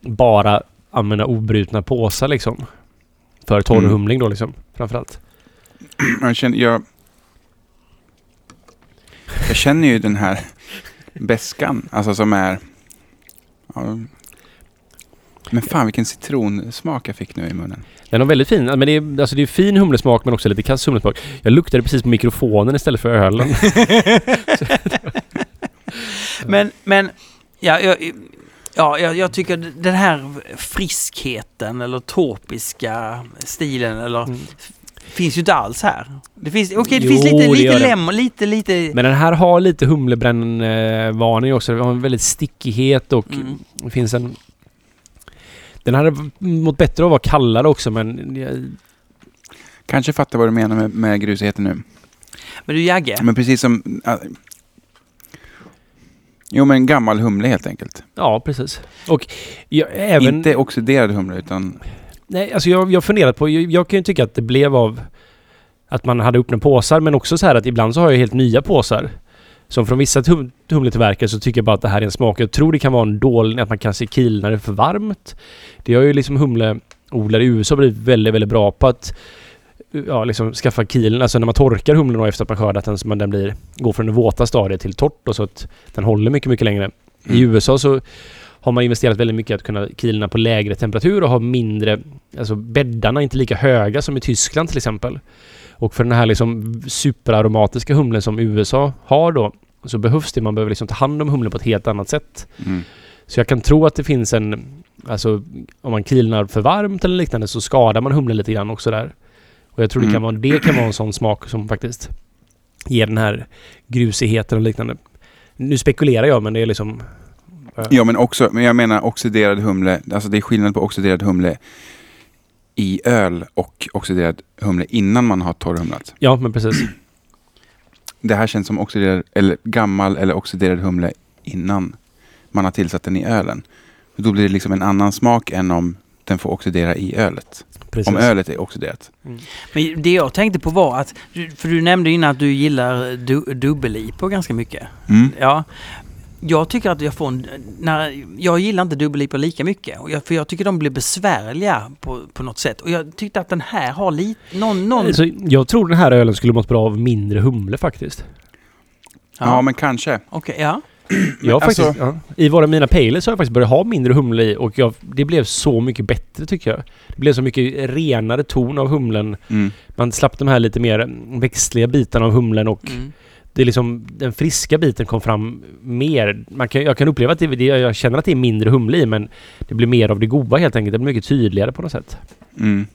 Speaker 2: bara använda obrutna påsar liksom. För torrhumling då liksom, framförallt.
Speaker 3: Jag känner, jag, jag känner ju den här beskan, alltså som är... Ja, men fan vilken citronsmak jag fick nu i munnen.
Speaker 2: Den var väldigt fin. Men det är, alltså det är fin humlesmak men också lite kass humlesmak. Jag luktade precis på mikrofonen istället för ölen.
Speaker 1: Men, men... Ja, jag, ja, jag, jag tycker den här friskheten eller tropiska stilen eller...
Speaker 2: Mm.
Speaker 1: Finns ju inte alls här. Det finns, okej, det
Speaker 2: Jo,
Speaker 1: finns lite,
Speaker 2: det gör
Speaker 1: lite
Speaker 2: det.
Speaker 1: lemon, lite, lite...
Speaker 2: Men den här har lite eh, humlebrännvarning också. Den har en väldigt stickighet och
Speaker 1: Mm.
Speaker 2: det finns en... Den hade mått bättre av att vara kallare också men... jag-
Speaker 3: Kanske fattar vad du menar med, med grusigheten nu.
Speaker 1: Men du Jagge,
Speaker 3: Men precis som... äh, Jo, men gammal humle helt enkelt.
Speaker 2: Ja, precis. Och jag, även...
Speaker 3: Inte oxiderad humle, utan...
Speaker 2: Nej, alltså jag, jag har funderat på... Jag, jag kan ju tycka att det blev av att man hade öppna påsar, men också så här att ibland så har jag helt nya påsar. Som från vissa tum, humletillverkare så tycker jag bara att det här är en smak. Jag tror det kan vara en dålig... Att man kanske kilnar det för varmt. Det har ju liksom humleodlare i USA blivit väldigt, väldigt bra på att ja, liksom skaffa kilen. Alltså när man torkar humlen då efter att man skördat den så man den blir... Går från det våta stadiet till torrt och så att den håller mycket, mycket längre. I USA så har man investerat väldigt mycket i att kunna kilna på lägre temperatur och ha mindre, alltså bäddarna är inte lika höga som i Tyskland till exempel. Och för den här liksom superaromatiska humlen som USA har då så behövs det, man behöver liksom ta hand om humlen på ett helt annat sätt.
Speaker 3: Mm.
Speaker 2: Så jag kan tro att det finns en, alltså om man kilnar för varmt eller liknande så skadar man humlen lite grann också där. Och jag tror det, kan vara, det kan vara en sån smak som faktiskt ger den här grusigheten och liknande. Nu spekulerar jag men det är liksom... eh,
Speaker 3: Ja, men också... Men jag menar oxiderad humle. Alltså det är skillnad på oxiderad humle i öl och oxiderad humle innan man har torrhumlat.
Speaker 2: Ja, men precis.
Speaker 3: Det här känns som oxiderad, eller gammal eller oxiderad humle innan man har tillsatt den i ölen. Då blir det liksom en annan smak än om den får oxidera i ölet.
Speaker 2: precis.
Speaker 3: Om ölet är oxiderat.
Speaker 1: men det jag tänkte på var att, du- för du nämnde innan att du gillar du, dubbel-IPA ganska mycket.
Speaker 3: Mm.
Speaker 1: Ja. Jag tycker att jag får en, när, Jag gillar inte dubbel-IPA lika mycket. Och jag, för jag tycker de blir besvärliga på, på något sätt. Och jag tyckte att den här har lite... Någon... någon
Speaker 2: Alltså, jag tror den här ölen skulle mått bra av mindre humle faktiskt.
Speaker 3: Ja. men kanske.
Speaker 1: Okej, ja.
Speaker 2: Jag har
Speaker 3: alltså-
Speaker 2: faktiskt ja, I våra mina pales har jag faktiskt börjat ha mindre humle i och jag, det blev så mycket bättre tycker jag. Det blev så mycket renare ton av humlen.
Speaker 3: Mm.
Speaker 2: Man slapp de här lite mer växtliga bitarna av humlen och
Speaker 1: Mm.
Speaker 2: det är liksom den friska biten kom fram mer. Man kan, jag kan uppleva att det, det, jag känner att det är mindre humle i men det blir mer av det goda helt enkelt. Det blir mycket tydligare på något sätt.
Speaker 3: Mm.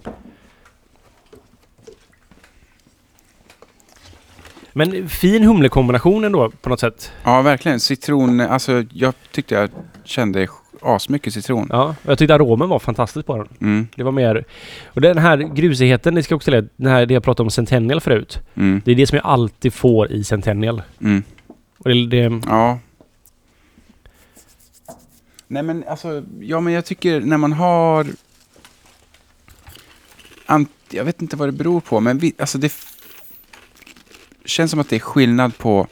Speaker 2: Men fin humlekombination ändå på något sätt.
Speaker 3: Ja, verkligen. Citron, alltså jag tyckte jag kände asmycket citron.
Speaker 2: Ja, och jag tyckte aromen var fantastisk på den.
Speaker 3: Mm,
Speaker 2: Det var mer... Och den här grusigheten, det ska jag också lägga, den här, det jag pratade om Centennial förut.
Speaker 3: mm,
Speaker 2: Det är det som jag alltid får i Centennial.
Speaker 3: mm.
Speaker 2: Och det, det,
Speaker 3: Ja. Nej men alltså, ja men jag tycker när man har... Ant, jag vet inte vad det beror på, men vi, alltså det f- känns som att det är skillnad på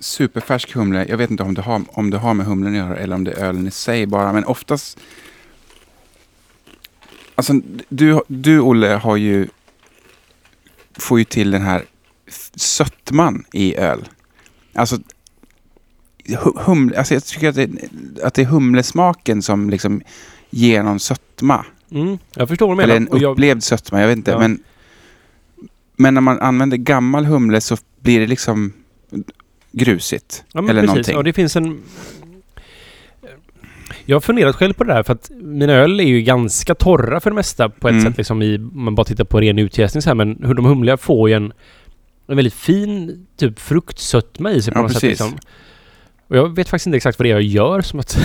Speaker 3: superfärsk humle. Jag vet inte om det har, om det har med humlen att göra eller om det är ölen i sig bara, men oftast... Alltså, du, du Olle har ju... Får ju till den här f- sötman i öl. Alltså, hu- humle, alltså jag tycker att det, att det är humlesmaken som liksom ger någon sötma.
Speaker 2: mm, jag förstår vad du
Speaker 3: Eller en
Speaker 2: menar. Och jag,
Speaker 3: upplevd sötma, jag vet inte.
Speaker 2: Ja.
Speaker 3: Men, men när man använder gammal humle så blir det liksom grusigt.
Speaker 2: ja, men
Speaker 3: eller
Speaker 2: precis,
Speaker 3: någonting.
Speaker 2: Och det finns en... Jag har funderat själv på det där för att mina öl är ju ganska torra för det mesta på ett
Speaker 3: Mm.
Speaker 2: sätt liksom i, om man bara tittar på ren utjäsning så här men hur de humliga får ju en, en väldigt fin typ fruktsötma i sig på
Speaker 3: Ja,
Speaker 2: något sätt
Speaker 3: precis.
Speaker 2: liksom. Och jag vet faktiskt inte exakt vad det är jag gör som att...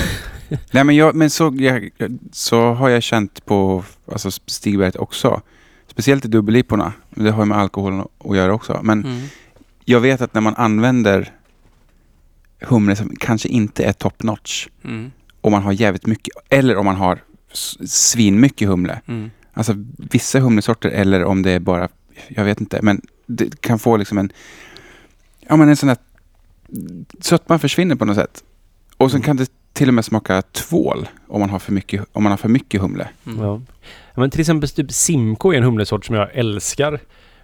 Speaker 3: Nej, men, jag, men så, jag, så har jag känt på alltså Stigberget också. Speciellt i dubbellipporna. Det har ju med alkoholen att göra också. Men
Speaker 1: Mm.
Speaker 3: jag vet att när man använder humle som kanske inte är top notch
Speaker 1: Mm.
Speaker 3: om man har jävligt mycket eller om man har s- svinmycket humle.
Speaker 1: Mm.
Speaker 3: Alltså vissa humlesorter eller om det är bara, jag vet inte, men det kan få liksom en, ja men en sån där sötman försvinner på något sätt. Och sen
Speaker 2: Mm.
Speaker 3: kan det till och med smaka tvål om man har för mycket, om man har för mycket humle.
Speaker 1: Mm.
Speaker 2: Ja. Ja, Men till exempel typ Simco är en humlesort som jag älskar.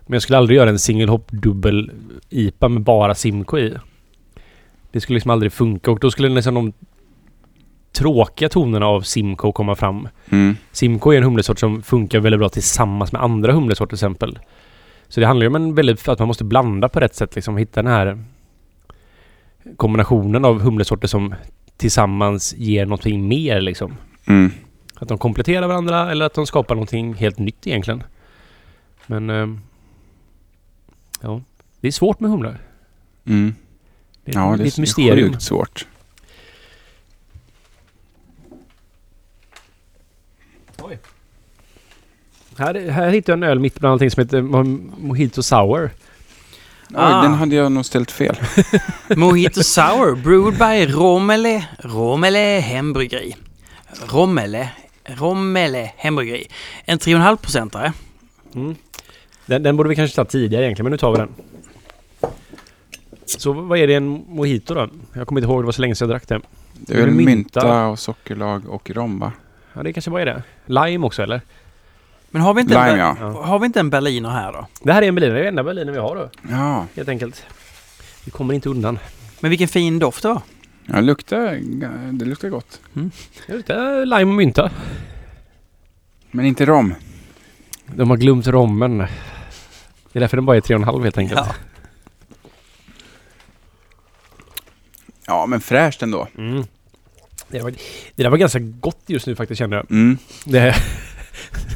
Speaker 2: Men jag skulle aldrig göra en single hop dubbel IPA med bara Simco i. Det skulle liksom aldrig funka och då skulle nästan de tråkiga tonerna av Simco komma fram.
Speaker 3: Mm.
Speaker 2: Simco är en humlesort som funkar väldigt bra tillsammans med andra humlesorter till exempel. Så det handlar ju om en väldigt, att man måste blanda på rätt sätt liksom. Hitta den här kombinationen av humlesorter som tillsammans ger någonting mer liksom.
Speaker 3: Mm.
Speaker 2: Att de kompletterar varandra eller att de skapar någonting helt nytt egentligen. Men... ehm, ja. Det är svårt med humlar.
Speaker 3: Mm.
Speaker 2: Det är,
Speaker 3: Ja,
Speaker 2: det är ett
Speaker 3: det är
Speaker 2: mysterium.
Speaker 3: sjukt svårt.
Speaker 2: Här, här hittade jag en öl mitt bland allting som heter Mo- Mojito Sour.
Speaker 1: Ah.
Speaker 3: Oj, den hade jag nog ställt fel.
Speaker 1: Mojito Sour, brewed by Romele, Romele Hembryggeri. Romele, Romele Hembryggeri. En 3,5-procentare.
Speaker 2: Den, den borde vi kanske ta tidigare egentligen, men nu tar vi den. Så vad är det i en mojito då? Jag kommer inte ihåg, det var så länge sedan jag drack den.
Speaker 3: Det
Speaker 2: Är
Speaker 3: är väl
Speaker 2: det mynta?
Speaker 3: mynta och sockerlag och rom va?
Speaker 2: Ja, det kanske bara är det. Lime också eller?
Speaker 1: Men har vi inte, en,
Speaker 3: Lime
Speaker 1: Ber-
Speaker 3: ja.
Speaker 2: Ja.
Speaker 1: har vi inte en berliner här då?
Speaker 2: Det här är en berliner, det är den enda berliner vi har då.
Speaker 3: Ja,
Speaker 2: Helt enkelt. Vi kommer inte undan.
Speaker 1: Men vilken fin doft det var.
Speaker 3: ja det, luktar, det luktar gott.
Speaker 2: Det luktar lime och mynta.
Speaker 3: Men inte rom.
Speaker 2: De har glömt rommen. Det är därför den bara är 3,5 helt enkelt.
Speaker 1: Ja.
Speaker 3: Ja, men fräscht ändå.
Speaker 2: Mm. Det, var, det där var ganska gott just nu faktiskt kände jag.
Speaker 3: Mm.
Speaker 2: Det,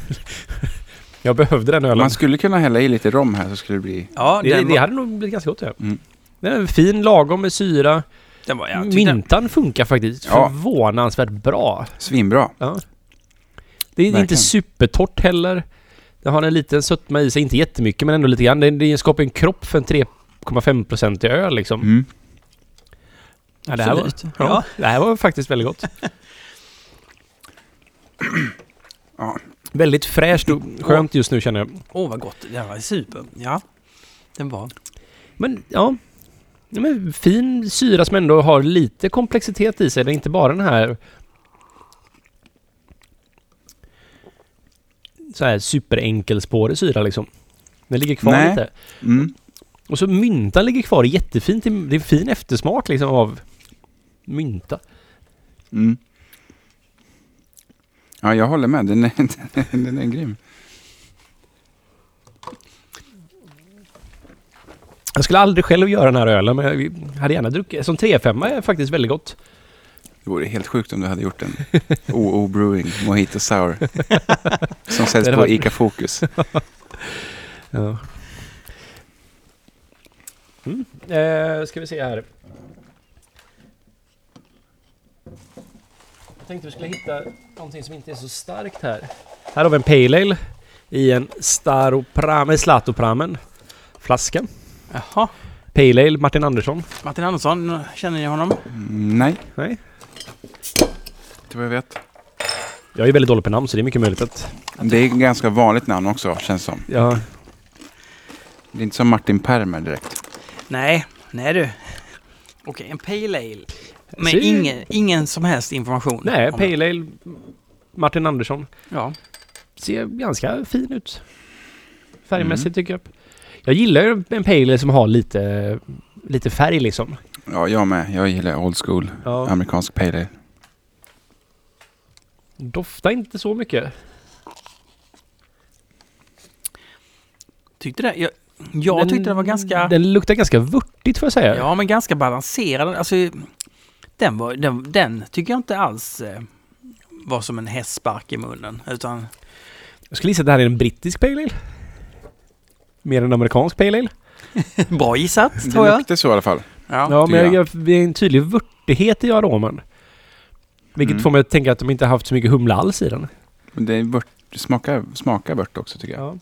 Speaker 2: jag behövde den ölen.
Speaker 3: Man skulle kunna hälla i lite rom här så skulle det bli...
Speaker 1: Ja,
Speaker 2: det,
Speaker 1: den,
Speaker 2: det
Speaker 1: var,
Speaker 2: hade nog blivit ganska gott. Ja.
Speaker 3: Mm.
Speaker 2: Den är fin, lagom med syra.
Speaker 1: den var, jag tyckte den,
Speaker 2: Myntan funkar faktiskt
Speaker 3: Ja.
Speaker 2: förvånansvärt bra.
Speaker 3: Svinbra.
Speaker 2: Det är inte
Speaker 3: Verkligen.
Speaker 2: supertorrt heller. Den har en liten sötma i sig, inte jättemycket men ändå lite grann. Det, det skapar en kropp för en 3,5% i öl liksom.
Speaker 3: Mm.
Speaker 2: Ja, det, här var,
Speaker 1: Absolut.
Speaker 2: ja.
Speaker 1: Ja.
Speaker 2: det här var faktiskt väldigt gott.
Speaker 3: Ja.
Speaker 2: Väldigt fräscht och skönt just nu känner jag.
Speaker 1: Åh, vad gott. Den var super. Ja, den var.
Speaker 2: Men ja. Ja, Men fin syra som ändå har lite komplexitet i sig. Det är inte bara den här... Så här superenkelspårig syra liksom. Den ligger kvar
Speaker 3: Nej.
Speaker 2: lite.
Speaker 3: Mm.
Speaker 2: Och så myntan ligger kvar jättefint. i- Det är fin eftersmak liksom av mynta.
Speaker 3: Mm. Ja, jag håller med. Den är, den är grym.
Speaker 2: Jag skulle aldrig själv göra den här ölen men jag hade gärna druckit. Som 3-5 är faktiskt väldigt gott.
Speaker 3: Det vore helt sjukt om du hade gjort en OO Brewing Mojito Sour. Som säljs
Speaker 2: Det hade
Speaker 3: på
Speaker 2: varit-
Speaker 3: ICA Fokus.
Speaker 2: Ja. Mm. Eh, ska vi se här. Jag tänkte vi skulle hitta någonting som inte är så starkt här. Här har vi en Pale Ale i en Staroprame, Zlatopramen flaska.
Speaker 1: Jaha.
Speaker 2: Pale Ale, Martin Andersson.
Speaker 1: Martin Andersson, känner ni honom?
Speaker 3: Mm, nej,
Speaker 2: Nej.
Speaker 3: inte vad jag vet.
Speaker 2: Jag är väldigt dålig på namn så det är mycket möjligt att...
Speaker 3: Det är ett ganska vanligt namn också, känns som.
Speaker 2: Ja.
Speaker 3: Det är inte som Martin Permer direkt.
Speaker 1: Nej, nej du. Okej, en Pale Ale. Men
Speaker 2: Ser-
Speaker 1: ingen, ingen som helst information.
Speaker 2: Nej,
Speaker 1: om-
Speaker 2: Pale Ale, Martin Andersson.
Speaker 1: Ja.
Speaker 2: ser ganska fin ut. Färgmässigt
Speaker 1: Mm.
Speaker 2: tycker jag. Jag gillar ju en pale ale som har lite, lite färg liksom.
Speaker 3: Ja, jag med. Jag gillar old school.
Speaker 2: Ja.
Speaker 3: Amerikansk pale ale.
Speaker 2: Doftar inte så mycket.
Speaker 1: Tyckte det. Jag, jag
Speaker 2: Den-
Speaker 1: tyckte det var ganska...
Speaker 2: Den luktar ganska vörtigt får jag säga.
Speaker 1: Ja, men ganska balanserad. Alltså, den, var, den, den tycker jag inte alls eh, var som en hästspark i munnen. Utan,
Speaker 2: Jag skulle gissa att det här är en brittisk pale ale. Mer än en amerikansk pale ale.
Speaker 1: bra gissat, tror
Speaker 3: Det
Speaker 1: jag.
Speaker 3: luktar så i alla fall.
Speaker 1: Ja.
Speaker 2: Ja, men
Speaker 3: det
Speaker 2: jag,
Speaker 3: gör
Speaker 2: jag, det är en tydlig vörtighet i aromen. Vilket
Speaker 3: Mm.
Speaker 2: får mig att tänka att de inte har haft så mycket humla alls i den.
Speaker 3: Men det är vört, det smakar, smakar vört också tycker jag.
Speaker 2: Ja.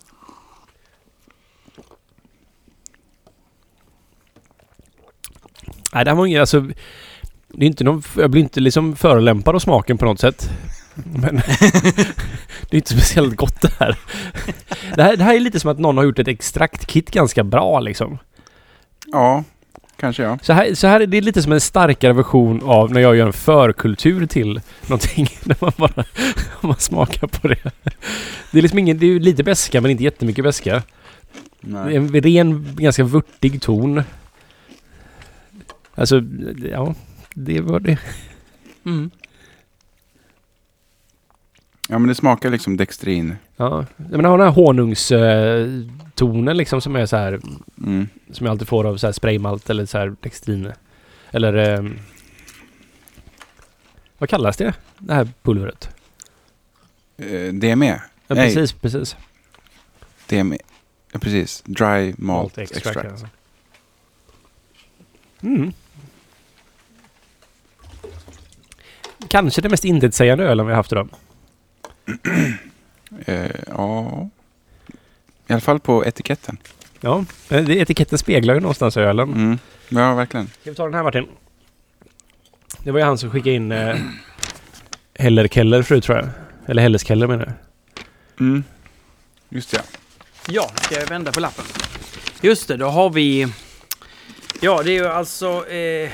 Speaker 2: Nej, det här var ingen, alltså, det är inte någon, jag blir inte liksom förolämpad av smaken på något sätt. Men det är inte speciellt gott det här. Det här, det här är lite som att någon har gjort ett extraktkit ganska bra liksom.
Speaker 3: Ja, kanske ja.
Speaker 2: Så här, så här är det lite som en starkare version av när jag gör en förkultur till någonting. När man bara om man smakar på det. Det är liksom ingen, det är ju lite beska men inte jättemycket beska. Det är
Speaker 3: Nej.
Speaker 2: En ren, ganska vörtig ton. Alltså, ja. Det var det.
Speaker 1: Mm.
Speaker 3: Ja, men det smakar liksom dextrin.
Speaker 2: Ja. Men har den här honungstonen liksom som är så här.
Speaker 3: Mm.
Speaker 2: Som jag alltid får av så här spraymalt eller så här dextrin. Eller... ehm, vad kallas det? Det här pulvret?
Speaker 3: Eh, Det är med.
Speaker 2: Ja,
Speaker 3: Nej.
Speaker 2: precis, precis.
Speaker 3: Det är med. Ja, precis. Dry malt extract.
Speaker 2: alltså. Mm. Kanske det mest intetsägande ölen vi har haft idag.
Speaker 3: Eh, ja, i alla fall på etiketten.
Speaker 2: Ja, eh, det- etiketten speglar ju någonstans ölen.
Speaker 3: Mm. Ja, verkligen.
Speaker 2: Ska vi ta den här Martin? Det var ju han som skickade in eh, Hellerkeller förut tror jag. Eller Helleskeller menar jag.
Speaker 3: Mm. Just det,
Speaker 1: Ja, ska jag vända på lappen. Just det, då har vi... Ja, det är ju alltså... Eh,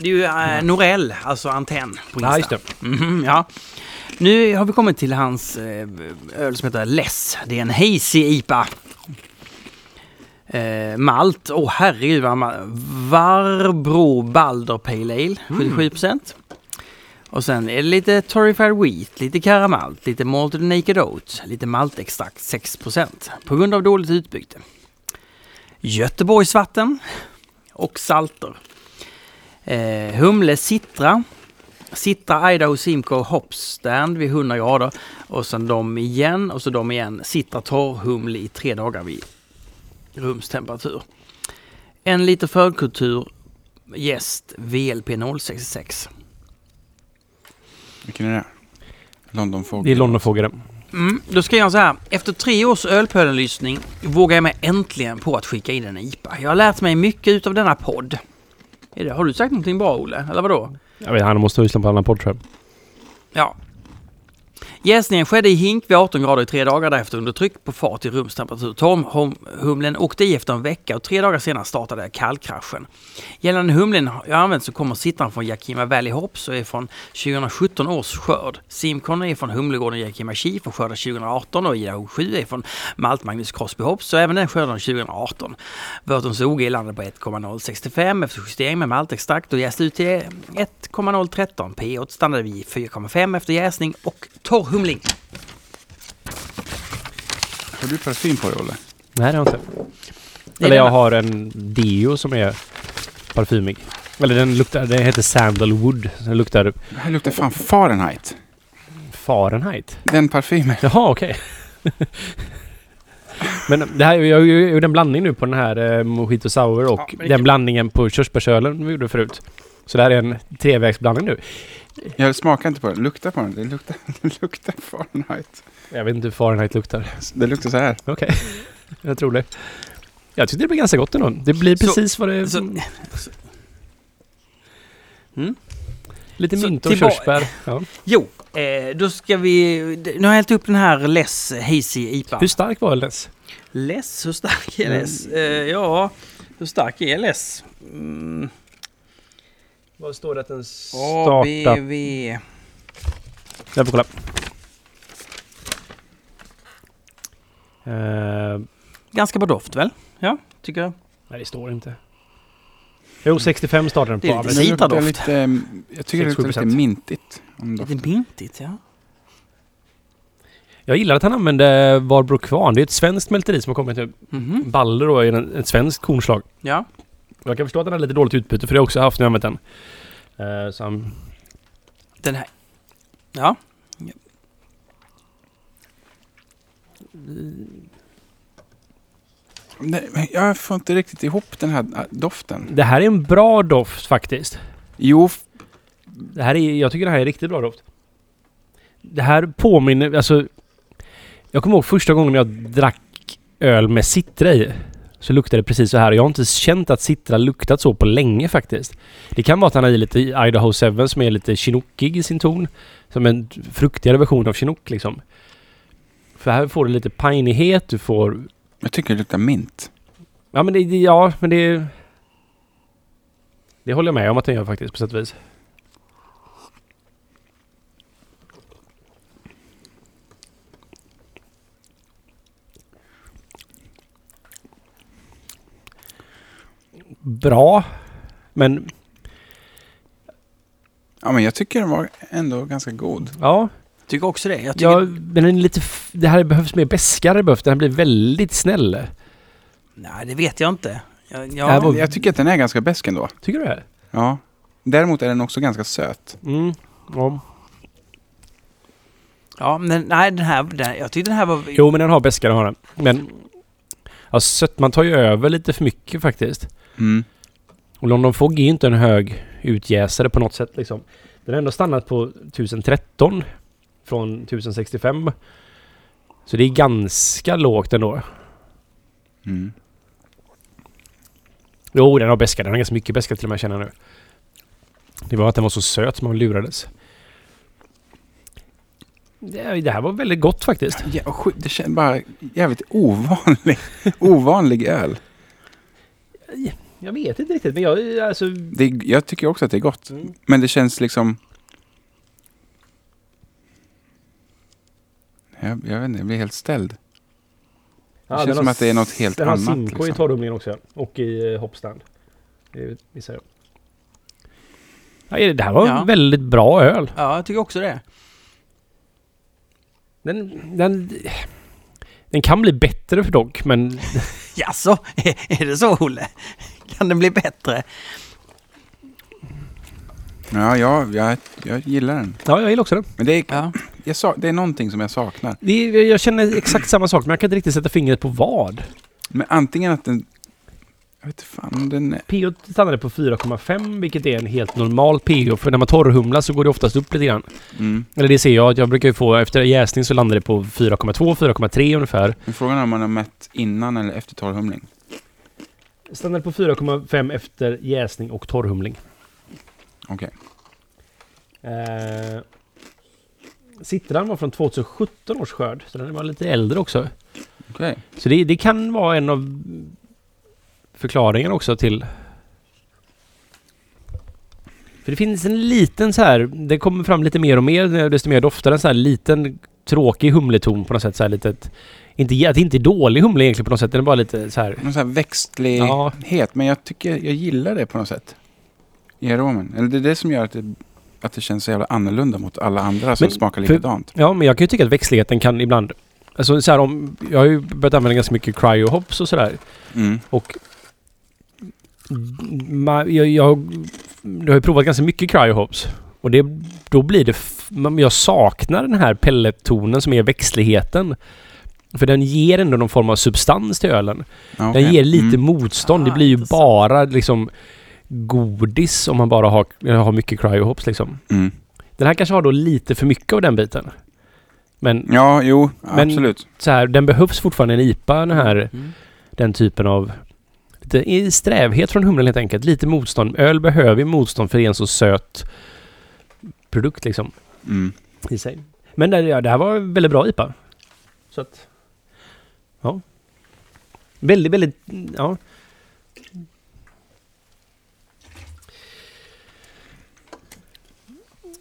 Speaker 1: det är ju eh, Norell, alltså antenn på Insta.
Speaker 2: Ja, just det.
Speaker 1: Mhm, ja. Nu har vi kommit till hans eh, öl som heter Less. Det är en hazy IPA. Eh, malt, åh oh, herregud vad malt. Varbro Balder Pale Ale, 77%. Och sen är det lite Torrified Wheat, lite karamalt, lite Malted Naked Oat, lite maltextrakt 6% på grund av dåligt utbyte. Göteborgsvatten och salter. Eh, humle Citra, Citra Idaho Simcoe Hopstand vid 100 grader och sen de igen och så de igen. Citra torrhumle i tre dagar vid rumstemperatur. En liter förkultur jäst VLP 066.
Speaker 3: vilken är det? London Fog.
Speaker 2: Det är Londonfågare.
Speaker 1: Mm, då ska jag så här. Efter tre års ölpölenlyssning vågar jag mig äntligen på att skicka in en IPA. Jag har lärt mig mycket utav denna podd. Är det, har du sagt någonting bra Olle? Eller vadå?
Speaker 2: Jag vet, han måste ha lyssnat på en annan podd tror jag.
Speaker 1: Ja. Jäsningen skedde i hink vid 18 grader i tre dagar därefter under tryck på fat i rumstemperatur. Torrhumlen åkte i efter en vecka och tre dagar senare startade kallkraschen. Gällande humlen jag använt så kommer sittaren från Yakima Valley Hops och är från 2017 års skörd. Simcon är från humlegården Yakima Chief och skördar 2018 och Idaho 7 är från Malt Magnus Crosby Hops så även den skördar 2018. Wörthons OG landade på 1,065 efter justering med maltextrakt och jäst ut till 1,013. pH stannade vid 4,5 efter jäsning och torrhumling.
Speaker 3: Har du parfym på dig, Olle?
Speaker 2: Nej, det har jag inte.
Speaker 1: Det är
Speaker 2: Eller jag
Speaker 1: denna.
Speaker 2: har en deo som är parfymig. Eller den luktar... Den heter Sandalwood. Den luktar
Speaker 3: Det här luktar fan Fahrenheit.
Speaker 2: Fahrenheit.
Speaker 3: Den parfymen.
Speaker 2: Jaha, okej. Men det här, jag gjorde en blandning nu på den här eh, Mojito Sour och
Speaker 1: Ja, men det-
Speaker 2: den blandningen på körsbärsölen vi gjorde förut. Så det här är en trevägsblandning nu.
Speaker 3: Jag smakar inte på den. Lukta på den. Det luktar, det luktar Fahrenheit.
Speaker 2: Jag vet inte hur Fahrenheit luktar.
Speaker 3: Det luktar så här.
Speaker 2: Okej, jag tror det. Jag tyckte det blev ganska gott ändå. Det blir
Speaker 1: Så-
Speaker 2: precis vad det...
Speaker 1: så- så- Mm.
Speaker 2: Lite
Speaker 1: så
Speaker 2: mynta och
Speaker 1: tillba-
Speaker 2: körsbär. Ja.
Speaker 1: Jo, eh, då ska vi... Nu har jag hällt upp den här Less Hazy IPA.
Speaker 2: Hur stark var Elnes?
Speaker 1: Less, hur stark är Less? Eh, ja, hur stark är Less? Mm.
Speaker 2: Vad står det att den startar?
Speaker 1: ABV...
Speaker 2: Jag får kolla. Eh,
Speaker 1: Ganska bra doft väl? Ja, tycker jag.
Speaker 2: nej, det står inte. Jo, 65 startar den på.
Speaker 1: Det är
Speaker 2: Ja,
Speaker 1: lite
Speaker 2: men-
Speaker 1: snyggt. Citradoft.
Speaker 3: luktar lite, mm, jag tycker det luktar lite
Speaker 2: 6-7%.
Speaker 3: mintigt. Om doften.
Speaker 1: Lite mintigt, ja.
Speaker 2: Jag gillar att han använde Varbro Kvarn. Det är ett svenskt mälteri som har kommit nu.
Speaker 1: Mhm.
Speaker 2: Baller då är en- ett svenskt kornslag.
Speaker 1: Ja.
Speaker 2: Jag kan förstå att han har lite dåligt utbyte för det har jag också haft när jag använt den. Eh, så han,
Speaker 1: Den här... Ja.
Speaker 3: Nej, men jag får inte riktigt ihop den här äh, doften.
Speaker 2: det här är en bra doft faktiskt.
Speaker 3: Jo, f-
Speaker 2: Det här är, jag tycker det här är riktigt bra doft. Det här påminner, alltså... Jag kommer ihåg första gången jag drack öl med citra i. Så luktade det precis så här. Jag har inte känt att citra luktat så på länge faktiskt. Det kan vara att han har i lite Idaho 7 som är lite chinookig i sin ton. Som en fruktigare version av chinook liksom. För här får du lite pinighet, du får...
Speaker 3: jag tycker det luktar mint.
Speaker 2: Ja men det, det- ja, men det... Det håller jag med om att den gör faktiskt på sätt och vis. Bra, men
Speaker 3: Ja, men jag tycker den var ändå ganska god.
Speaker 2: ja.
Speaker 1: Tycker också det. Jag tycker...
Speaker 2: ja men den är lite... f- Det här behövs mer beskare behövs. Den här blir väldigt snäll.
Speaker 1: Nej, det vet jag inte. Jag,
Speaker 2: Det här
Speaker 1: jag...
Speaker 2: var-
Speaker 3: Jag tycker att den är ganska besk ändå.
Speaker 2: Tycker du det?
Speaker 3: Ja. Däremot är den också ganska söt.
Speaker 2: Mm. Ja.
Speaker 1: Ja, men nej, den här... Den, jag tyckte den här var...
Speaker 2: Jo, men den har beskare har den. Men... Ja, sött, man tar ju över lite för mycket faktiskt.
Speaker 3: Mm.
Speaker 2: Och London Fog är ju inte en hög utjäsare på något sätt liksom. Den har ändå stannat på 1013 från 1065. Så det är ganska lågt ändå.
Speaker 3: Mm.
Speaker 2: Jo, den har beska. Den har ganska mycket beska till och med känner jag nu. Det var att den var så söt som man lurades. Det, det här var väldigt gott faktiskt.
Speaker 3: Ja, vad sjukt. det känns bara jävligt ovanlig, ovanlig öl.
Speaker 2: Jag vet inte riktigt men jag alltså...
Speaker 3: Det, är- jag tycker också att det är gott.
Speaker 2: Mm.
Speaker 3: Men det känns liksom... Jag, jag vet inte, jag blir helt ställd. känns
Speaker 2: den
Speaker 3: som
Speaker 2: har
Speaker 3: att det är något helt
Speaker 2: den har
Speaker 3: annat,
Speaker 2: Simco i
Speaker 3: liksom.
Speaker 2: torrumlingen också. Och i eh, hoppstand. Det missar jag. Nej, det här var
Speaker 1: Ja.
Speaker 2: en väldigt bra öl.
Speaker 1: Ja, jag tycker också det.
Speaker 2: Den, den, den kan bli bättre för dock men
Speaker 1: Jaså, är det så Olle? Kan den bli bättre?
Speaker 3: Ja, jag, jag, jag gillar den.
Speaker 2: ja, jag gillar också den.
Speaker 3: Men det är,
Speaker 1: Ja.
Speaker 3: jag sa, det är någonting som jag saknar.
Speaker 2: Det, är- jag känner exakt samma sak men jag kan inte riktigt sätta fingret på vad.
Speaker 3: Men antingen att den... Jag vet inte fan om den är...
Speaker 2: PO stannade på 4,5 vilket är en helt normal PO. För när man torrhumlar så går det oftast upp lite grann.
Speaker 3: Mm.
Speaker 2: Eller det ser jag. Jag brukar ju få, efter jäsning så landar det på 4,2, 4,3 ungefär.
Speaker 3: Men Frågan är om man har mätt innan eller efter torrhumling.
Speaker 2: Stannade på 4,5 efter jäsning och torrhumling.
Speaker 3: Okej.
Speaker 2: Eh, Citran var från 2017 års skörd, så den var lite äldre också.
Speaker 3: Okej.
Speaker 2: Så det, det kan vara en av förklaringarna också till... För det finns en liten så här, det kommer fram lite mer och mer, desto mer doftar den så här liten tråkig humleton på något sätt. Så här litet, inte, jä- det är inte dålig humle egentligen på något sätt, den är bara lite så här...
Speaker 3: Någon sån här växtlighet.
Speaker 2: Ja.
Speaker 3: Men jag tycker jag gillar det på något sätt. I aromen. Eller det är det som gör att det, att det känns så jävla annorlunda mot alla andra som
Speaker 2: Men
Speaker 3: smakar
Speaker 2: för-
Speaker 3: likadant.
Speaker 2: Ja, men jag kan ju tycka att växtligheten kan ibland... Alltså så här om... Jag har ju börjat använda ganska mycket cryo-hops och sådär.
Speaker 3: Mm.
Speaker 2: Och... Ma, jag, jag, jag har ju provat ganska mycket cryo-hops. Och det, då blir det... f- Man, jag saknar den här pellettonen som är växtligheten. För den ger ändå någon form av substans till ölen.
Speaker 3: Ja,
Speaker 2: Den
Speaker 3: okej.
Speaker 2: ger lite
Speaker 3: Mm.
Speaker 2: motstånd.
Speaker 1: Ah,
Speaker 2: det blir ju
Speaker 1: intressant.
Speaker 2: bara liksom godis om man bara har, har mycket cryo-hops liksom.
Speaker 3: Mm.
Speaker 2: Den här kanske har då lite för mycket av den biten. Men
Speaker 3: Ja, jo,
Speaker 2: Men-
Speaker 3: absolut.
Speaker 2: så här, den behövs fortfarande en IPA, den här,
Speaker 1: Mm.
Speaker 2: den typen av lite i strävhet från humlen helt enkelt. Lite motstånd. Öl behöver ju motstånd för det är en så söt produkt liksom
Speaker 3: Mm.
Speaker 2: i sig. Men det, ja, det här var en väldigt bra IPA. Så att, ja. Väldigt, väldigt, ja.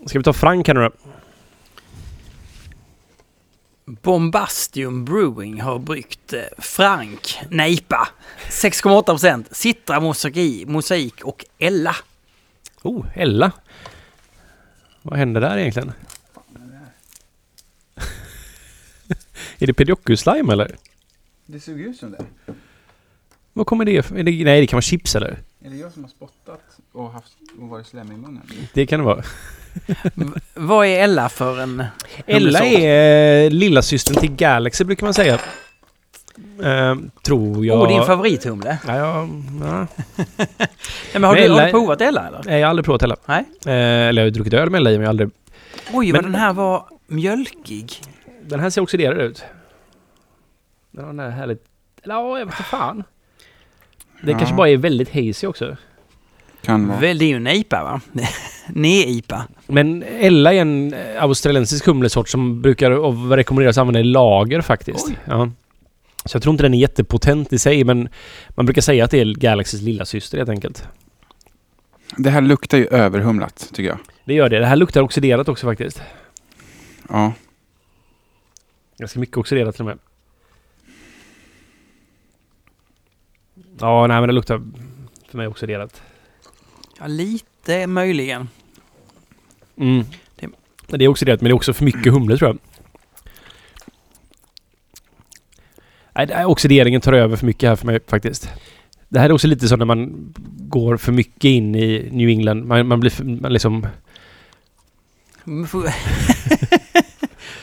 Speaker 2: Ska vi ta Frank här nu då?
Speaker 1: Bombastium Brewing har bryggt eh, Frank Neipa 6,8% Citra Mosaic- Mosaik och Ella.
Speaker 2: Oh, Ella. Vad hände där egentligen? är det pediocuslime eller?
Speaker 3: Det suger ut som det.
Speaker 2: Vad kommer det ifrån? Är det- Nej, det kan vara chips eller?
Speaker 3: Är det jag som har spottat och, haft, och varit slem i munnen?
Speaker 2: Det kan det vara.
Speaker 1: V- vad är Ella för en...
Speaker 2: Ella
Speaker 1: humlesort?
Speaker 2: är eh, lillasystern till Galaxy brukar man säga. Ehm, tror jag.
Speaker 1: Oh, din favorithumle.
Speaker 2: Ja, jag, ja.
Speaker 1: Nej, men har,
Speaker 2: Men
Speaker 1: du, har du
Speaker 2: Ella-
Speaker 1: provat Ella eller?
Speaker 2: Nej, jag har aldrig provat Ella.
Speaker 1: Nej.
Speaker 2: Eh, eller jag har ju druckit öl med Ella i, men jag har aldrig...
Speaker 1: Oj, vad
Speaker 2: Men-
Speaker 1: den här var mjölkig.
Speaker 2: Den här ser oxiderad ut. Den har den här härligt... Eller ja, jag vet inte fan. Det
Speaker 3: Ja.
Speaker 2: kanske bara är väldigt hazy också.
Speaker 3: Kan vara.
Speaker 1: Väl, det är ju en IPA va? Ne-IPA.
Speaker 2: Men Ella är en eh, australiensisk humlesort som brukar av- rekommenderas att använda i lager faktiskt.
Speaker 1: Oj.
Speaker 2: Ja. Så jag tror inte den är jättepotent i sig, men man brukar säga att det är Galaxys lilla syster helt enkelt.
Speaker 3: Det här luktar ju överhumlat, tycker jag.
Speaker 2: Det gör det. Det här luktar oxiderat också faktiskt.
Speaker 3: Ja.
Speaker 2: Ganska mycket oxiderat till och med. Ja, nej men det luktar för mig oxiderat.
Speaker 1: Ja, lite möjligen.
Speaker 2: Mm.
Speaker 1: Det-
Speaker 2: Det är oxiderat, men det är också för mycket humle tror jag. Nej, det här oxideringen tar över för mycket här för mig faktiskt. Det här är också lite som när man går för mycket in i New England. Man, man blir för, man liksom...
Speaker 1: Man får-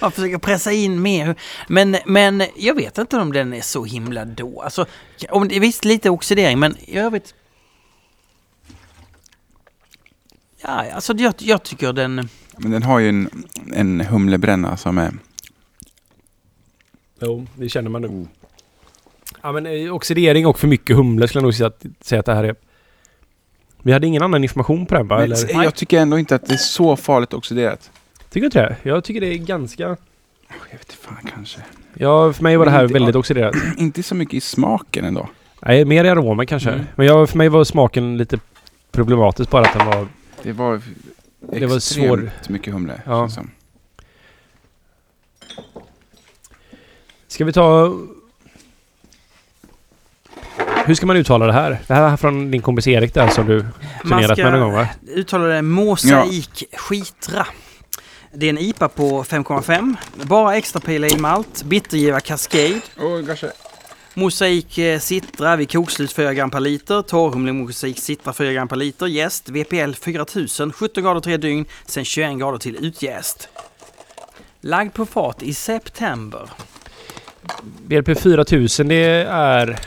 Speaker 1: Man försöker pressa in mer. Men, men jag vet inte om den är så himla då. Alltså, om, det- visst, lite oxidering, men i övrigt... Ja, alltså jag, jag tycker den...
Speaker 3: Men den har ju en, en humlebränna som är
Speaker 2: Jo, det känner man nu. Mm. Ja, men eh, oxidering och för mycket humle skulle jag nog säga att, säga att det här är. Vi hade ingen annan information på den va?
Speaker 3: Men
Speaker 2: Eller?
Speaker 3: s- jag tycker ändå inte att det är så farligt oxiderat.
Speaker 2: Tycker du inte det? Jag tycker det är ganska...
Speaker 3: Jag vet inte fan kanske.
Speaker 2: Ja, för mig var det här
Speaker 3: Inte-
Speaker 2: väldigt oxiderat.
Speaker 3: Inte så mycket i smaken ändå.
Speaker 2: Nej, mer i aromen kanske.
Speaker 3: Mm.
Speaker 2: Men jag, för mig var smaken lite problematisk bara att den var...
Speaker 3: Det var
Speaker 2: Det var svår-
Speaker 3: extremt mycket humle.
Speaker 2: Ja.
Speaker 3: känns som.
Speaker 2: Ska vi ta... Hur ska man uttala det här? Det här är från din kompis Erik där som du turnerat med någon gång va?
Speaker 1: uttalar det Mosaik Skitra. Det är en IPA på 5,5. Bara extra pale ale malt, bittergiva Cascade,
Speaker 3: Åh, kanske.
Speaker 1: mosaik eh, Citra vid kokslut 4 gram per liter, torrhumle mosaik Citra 4 gram per liter, jäst VPL 4000, 17 grader 3 dygn, sen 21 grader till utjäst. Lagd på fat i september.
Speaker 2: BLP 4000 det är...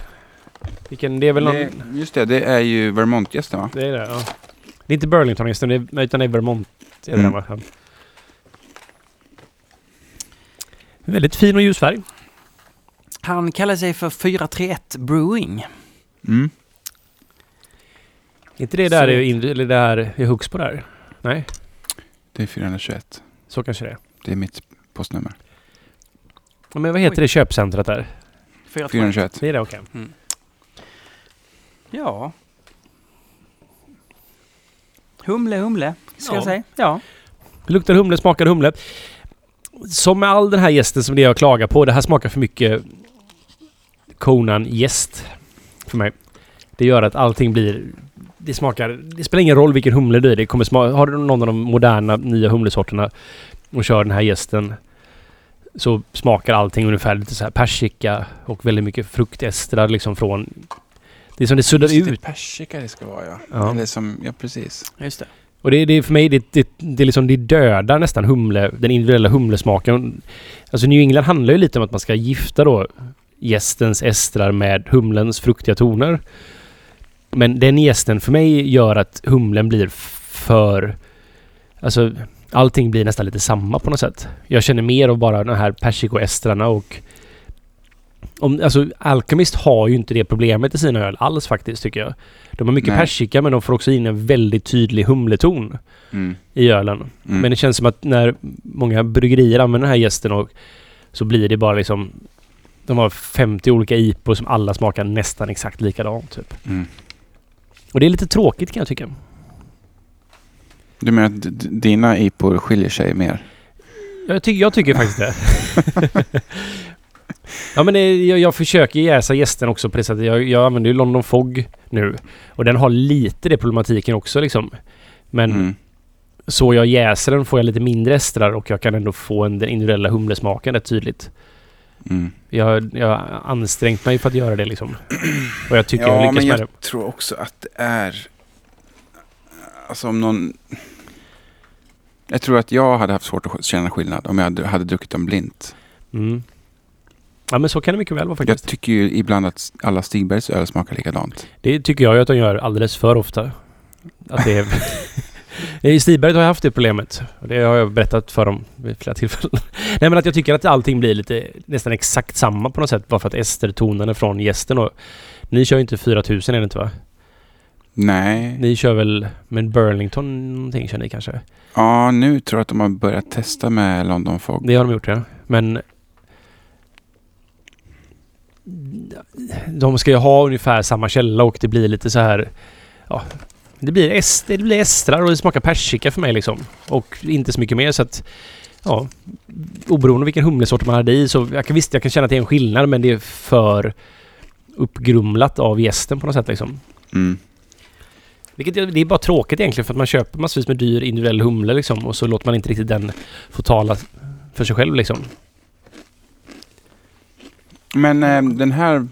Speaker 2: Vilken? Det är väl någon...
Speaker 3: Det, just det, det är ju Vermontgästen va?
Speaker 2: Det är det ja. Det är inte Burlington just nu, det är- utan det är Vermont. Är det
Speaker 3: Mm.
Speaker 2: den, va? Väldigt fin och ljus färg.
Speaker 1: Han kallar sig för 431 Brewing.
Speaker 3: Mm.
Speaker 2: inte det där,
Speaker 1: Så-
Speaker 2: är in, eller det här är hooks på där? Nej,
Speaker 3: Det är 421.
Speaker 2: så kanske det är.
Speaker 3: Det är mitt postnummer.
Speaker 2: Ja, Men vad heter
Speaker 1: Oj.
Speaker 2: det köpcentret där?
Speaker 1: 431.
Speaker 3: 421.
Speaker 2: Det är det okej.
Speaker 1: Ja. Humle, humle, ska
Speaker 2: Ja.
Speaker 1: jag säga. Ja.
Speaker 2: Det Luktar humle, smakar humle. Som med all den här gästen som det jag klagar på. Det här smakar för mycket Conan gäst för mig. Det gör att allting blir... Det smakar... Det spelar ingen roll vilken humle det är. Det kommer sma- har du någon av de moderna nya humlesorterna och kör den här gästen så smakar allting ungefär lite så här persika och väldigt mycket fruktestrar liksom från... Det är som det suddar
Speaker 3: Just det,
Speaker 2: ut.
Speaker 3: persika det ska vara ja.
Speaker 2: Ja.
Speaker 3: Eller som, ja precis.
Speaker 1: Just det.
Speaker 2: Och det, det är för mig, det, det, det, är liksom, det dödar nästan humle, den individuella humlesmaken. Alltså New England handlar ju lite om att man ska gifta då gästens estrar med humlens fruktiga toner. Men den gästen för mig gör att humlen blir f- för... Alltså allting blir nästan lite samma på något sätt. Jag känner mer av bara de här persikoestrarna och... Om, alltså Alchemist har ju inte det problemet i sina öl alls faktiskt tycker jag. De har mycket
Speaker 3: Nej.
Speaker 2: persika men de får också in en väldigt tydlig humleton
Speaker 3: Mm.
Speaker 2: i ölen.
Speaker 3: Mm.
Speaker 2: Men det känns som att när många bryggerier använder den här gästen och så blir det bara liksom... De har 50 olika IPO som alla smakar nästan exakt likadant typ.
Speaker 3: mm.
Speaker 2: Och det är lite tråkigt kan jag tycka.
Speaker 3: Du menar att d- d- dina ipor skiljer sig mer?
Speaker 2: Jag, ty- jag tycker faktiskt det. ja men det, jag, jag försöker jäsa gästen också på det sättet. Jag, jag använder ju London Fog nu. Och den har lite det problematiken också liksom. Men
Speaker 3: Mm.
Speaker 2: så jag jäser den får jag lite mindre estrar och jag kan ändå få en, den individuella humlesmaken rätt tydligt.
Speaker 3: Mm.
Speaker 2: Jag har- jag har ansträngt mig för att göra det liksom. Och jag tycker jag
Speaker 3: ja,
Speaker 2: lyckas
Speaker 3: men
Speaker 2: med
Speaker 3: jag
Speaker 2: det.
Speaker 3: tror också att det är... Alltså om någon... Jag tror att jag hade haft svårt att känna skillnad om jag hade, hade druckit dem blint.
Speaker 2: Mm. Ja men så kan det mycket väl vara faktiskt.
Speaker 3: Jag tycker ju ibland att alla Stigbergs öl smakar likadant.
Speaker 2: Det tycker jag ju att de gör alldeles för ofta. Att det är... I Stiberget har jag haft det problemet. Och det har jag berättat för dem vid flera tillfällen. Nej men att jag tycker att allting blir lite nästan exakt samma på något sätt. Bara för att estertonen är från gästen och... Ni kör ju inte 4000 är det inte va?
Speaker 3: Nej.
Speaker 2: Ni kör väl med Burlington någonting kör ni kanske?
Speaker 3: Ja, nu tror jag att de har börjat testa med London Fog.
Speaker 2: Det har de gjort ja. Men de ska ju ha ungefär samma källa och det blir lite så här... Ja, det blir, est, det blir estrar och det smakar persika för mig liksom. Och inte så mycket mer så att... Ja, oberoende vilken humlesort man hade i så jag kan, visst jag kan känna att det är en skillnad men det är för uppgrumlat av gästen på något sätt liksom.
Speaker 3: Mm.
Speaker 2: Vilket jag- det är bara tråkigt egentligen för att man köper massvis med dyr individuell humle liksom och så låter man inte riktigt den få tala för sig själv liksom.
Speaker 3: Men eh, den här...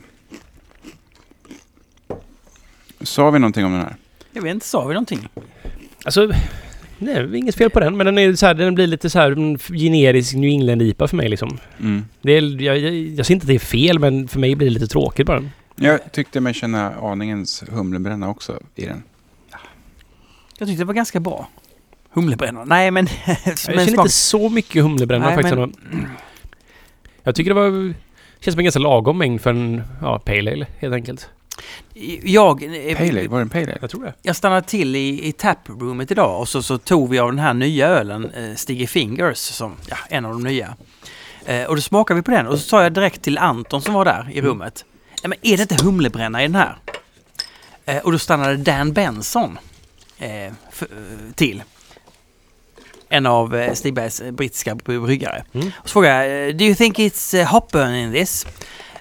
Speaker 3: Sa vi någonting om den här?
Speaker 1: Jag vet inte, sa vi någonting?
Speaker 2: Alltså, nej, inget fel på den. Men den, är så här, den blir lite så här en generisk New England-IPA för mig liksom.
Speaker 3: Mm.
Speaker 2: Det är, jag, jag, jag ser inte att det är fel, men för mig blir det lite tråkigt bara.
Speaker 3: Jag tyckte mig känna aningens humlebränna också i den.
Speaker 1: Jag tyckte det var ganska bra. Humlebränna. Nej men... men
Speaker 2: Jag känner
Speaker 1: smak-
Speaker 2: inte så mycket humlebränna
Speaker 1: Nej,
Speaker 2: faktiskt.
Speaker 1: men-
Speaker 2: ändå. Jag tycker det var... Känns som en ganska lagom mängd för en ja, pale ale helt enkelt.
Speaker 1: Jag, eh,
Speaker 3: Pale ale, var det en pale ale?
Speaker 2: Jag tror det.
Speaker 1: jag stannade till i, i taproomet idag och så, så tog vi av den här nya ölen, eh, Stiggy Fingers, som ja, en av de nya. Eh, och då smakade vi på den och så sa jag direkt till Anton som var där i rummet. Nej men är det inte humlebränna i den här? Eh, och då stannade Dan Benson eh, f- eh, till. En av eh, Stigbergs eh, brittiska bryggare.
Speaker 2: Mm.
Speaker 1: Och så frågade jag, eh, do you think it's eh, hopburn in this?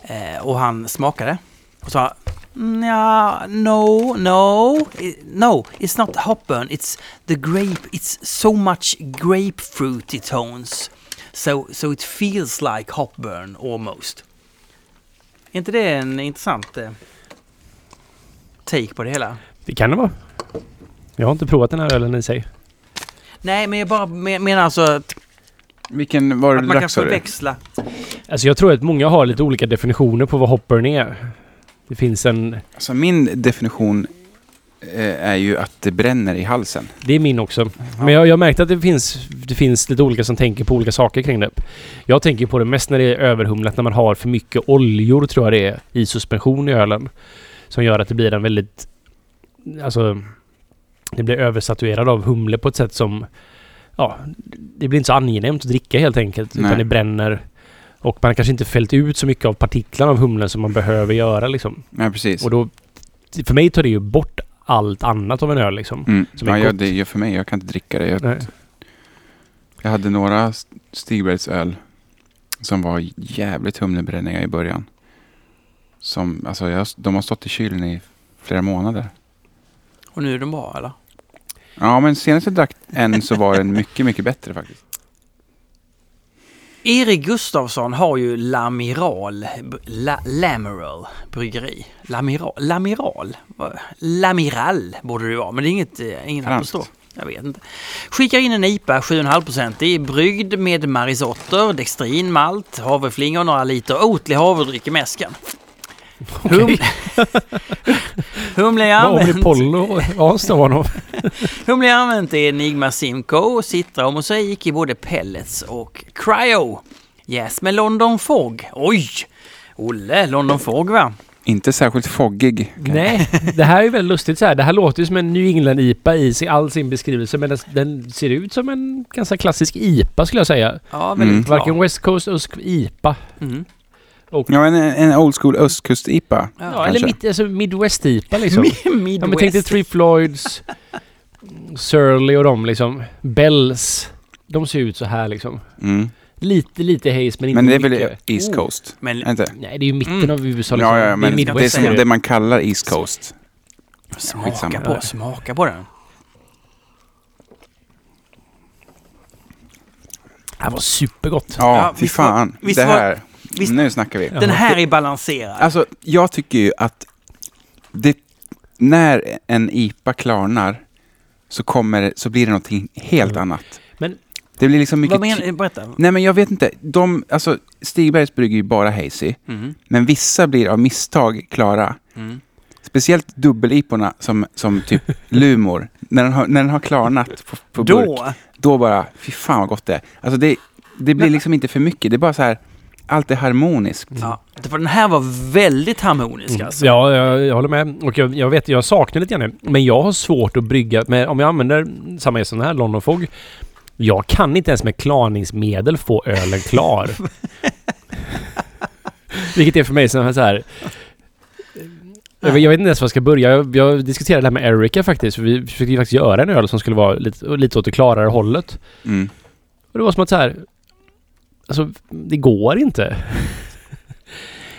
Speaker 1: Eh, och han smakade. Och sa, "Nja, no, no, i- no, it's not hopburn, it's the grape, it's so much grapefruity tones. So, so it feels like hopburn almost. Är inte det en intressant eh, take på det hela?
Speaker 2: Det kan det vara. Jag har inte provat den här ölen i sig.
Speaker 1: Nej, men jag bara men- menar alltså att,
Speaker 3: Vilken var det
Speaker 1: att
Speaker 3: du
Speaker 1: man kan
Speaker 3: drack sa du?
Speaker 1: förväxla.
Speaker 2: Alltså jag tror att många har lite olika definitioner på vad hoppern är. Det finns en...
Speaker 3: Alltså min definition eh, är ju att det bränner i halsen.
Speaker 2: Det är min också. Men jag, jag märkte att det finns, det finns lite olika som tänker på olika saker kring det. Jag tänker på det mest när det är överhumlat, när man har för mycket oljor tror jag det är, i suspension i ölen. Som gör att det blir en väldigt... Alltså... Det blir översatuerad av humle på ett sätt som... Ja, det blir inte så angenämt att dricka helt enkelt.
Speaker 3: Nej.
Speaker 2: Utan det bränner. Och man har kanske inte fällt ut så mycket av partiklarna av humlen som man behöver göra liksom.
Speaker 3: Nej, precis.
Speaker 2: Och då... För mig tar det ju bort allt annat av en öl liksom.
Speaker 3: Mm.
Speaker 2: som är
Speaker 3: Ja, jag,
Speaker 2: gott.
Speaker 3: det gör för mig. Jag kan inte dricka det. Jag,
Speaker 2: Nej.
Speaker 3: jag hade några Stigbergs öl som var jävligt humlebränniga i början. Som, alltså jag, de har stått i kylen i flera månader.
Speaker 1: Och nu är de bra eller?
Speaker 3: Ja, men senast jag drack en så var den mycket, mycket bättre faktiskt.
Speaker 1: Erik Gustafsson har ju Lamiral, La, Lamiral bryggeri. Lamiral, Lamiral? Vad- Lamiral borde det vara, men det är inget, eh, ingen
Speaker 3: Franskt.
Speaker 1: förstår. Jag vet inte. Skickar in en IPA 7,5% i bryggd med marisotter, dextrin, malt, havreflingor, några liter oatlig havredryck i mäsken. Hum- Humle är
Speaker 2: Vad har
Speaker 1: använt-
Speaker 2: vi Pollo Hans av honom?
Speaker 1: Humle är använt i Enigma Simco, Citra och Mosaik i både pellets och cryo. Yes, med London Fog. Oj! Olle, London Fog va?
Speaker 3: Inte särskilt foggig. kan jag-
Speaker 2: Nej, det här är väldigt lustigt så här. Det här låter ju som en New England-IPA i sin- all sin beskrivelse men den- den ser ut som en ganska klassisk IPA skulle jag säga.
Speaker 1: Ja, väldigt bra.
Speaker 2: Mm. Varken West Coast, Ösk, IPA.
Speaker 1: Mm.
Speaker 3: Ja, en, en old school östkust-IPA.
Speaker 1: Ja,
Speaker 2: Ja, eller
Speaker 3: kanske.
Speaker 2: mitt, alltså Midwest-IPA liksom.
Speaker 1: Midwest.
Speaker 2: Ja, men tänk dig Three Floyds, Surly och de liksom. Bells. De ser ut så här liksom.
Speaker 3: Mm.
Speaker 2: Lite, lite haze men inte
Speaker 3: Men det är
Speaker 2: mycket.
Speaker 3: väl East Coast?
Speaker 1: Oh, Men
Speaker 3: Inte?
Speaker 2: Nej, det är ju mitten
Speaker 1: Mm.
Speaker 2: av USA liksom.
Speaker 3: Ja, ja, men
Speaker 2: det är
Speaker 3: det är
Speaker 2: Midwest.
Speaker 3: som
Speaker 1: säger
Speaker 3: det man kallar East Coast.
Speaker 1: smaka
Speaker 3: Skitsamma.
Speaker 1: på, smaka på den.
Speaker 2: Det här var supergott.
Speaker 1: Ja,
Speaker 3: Ja, fy
Speaker 1: visst var-
Speaker 3: fan.
Speaker 1: visst
Speaker 3: Det
Speaker 1: var-
Speaker 3: här.
Speaker 1: visst-
Speaker 3: Nu snackar vi.
Speaker 1: Den här är balanserad.
Speaker 3: Alltså, jag tycker ju att det, när en IPA klarnar så, kommer, så blir det någonting helt
Speaker 2: Mm.
Speaker 3: annat.
Speaker 2: Men-
Speaker 3: det blir liksom mycket...
Speaker 1: Vad menar du? Berätta.
Speaker 2: Mm.
Speaker 3: Nej, men jag vet inte. De, alltså, Stigbergs brygger ju bara hazy,
Speaker 1: Mm.
Speaker 3: men vissa blir av misstag klara.
Speaker 1: Mm.
Speaker 3: Speciellt dubbel-IPorna som, som typ Lumor. När den har, när den har klarnat på, på burk,
Speaker 1: Då,
Speaker 3: då bara, fy fan vad gott det är. Alltså det, det blir
Speaker 1: Men-
Speaker 3: liksom inte för mycket. Det är bara så här, allt är harmoniskt.
Speaker 1: ja, för den här var väldigt harmonisk
Speaker 2: Mm.
Speaker 1: alltså.
Speaker 2: Ja, jag, jag håller med. Och jag, jag vet, jag saknar lite grann det. Men jag har svårt att brygga. Men om jag använder samma som den här, London Fog. Jag kan inte ens med klarningsmedel få ölen klar. Vilket är för mig som så här... Jag vet, jag vet inte ens var jag ska börja. Jag, jag diskuterade det här med Erica faktiskt. För vi försökte ju faktiskt göra en öl som skulle vara lite, lite åt det klarare hållet.
Speaker 3: Mm.
Speaker 2: Och det var som att så här... Alltså, det går inte.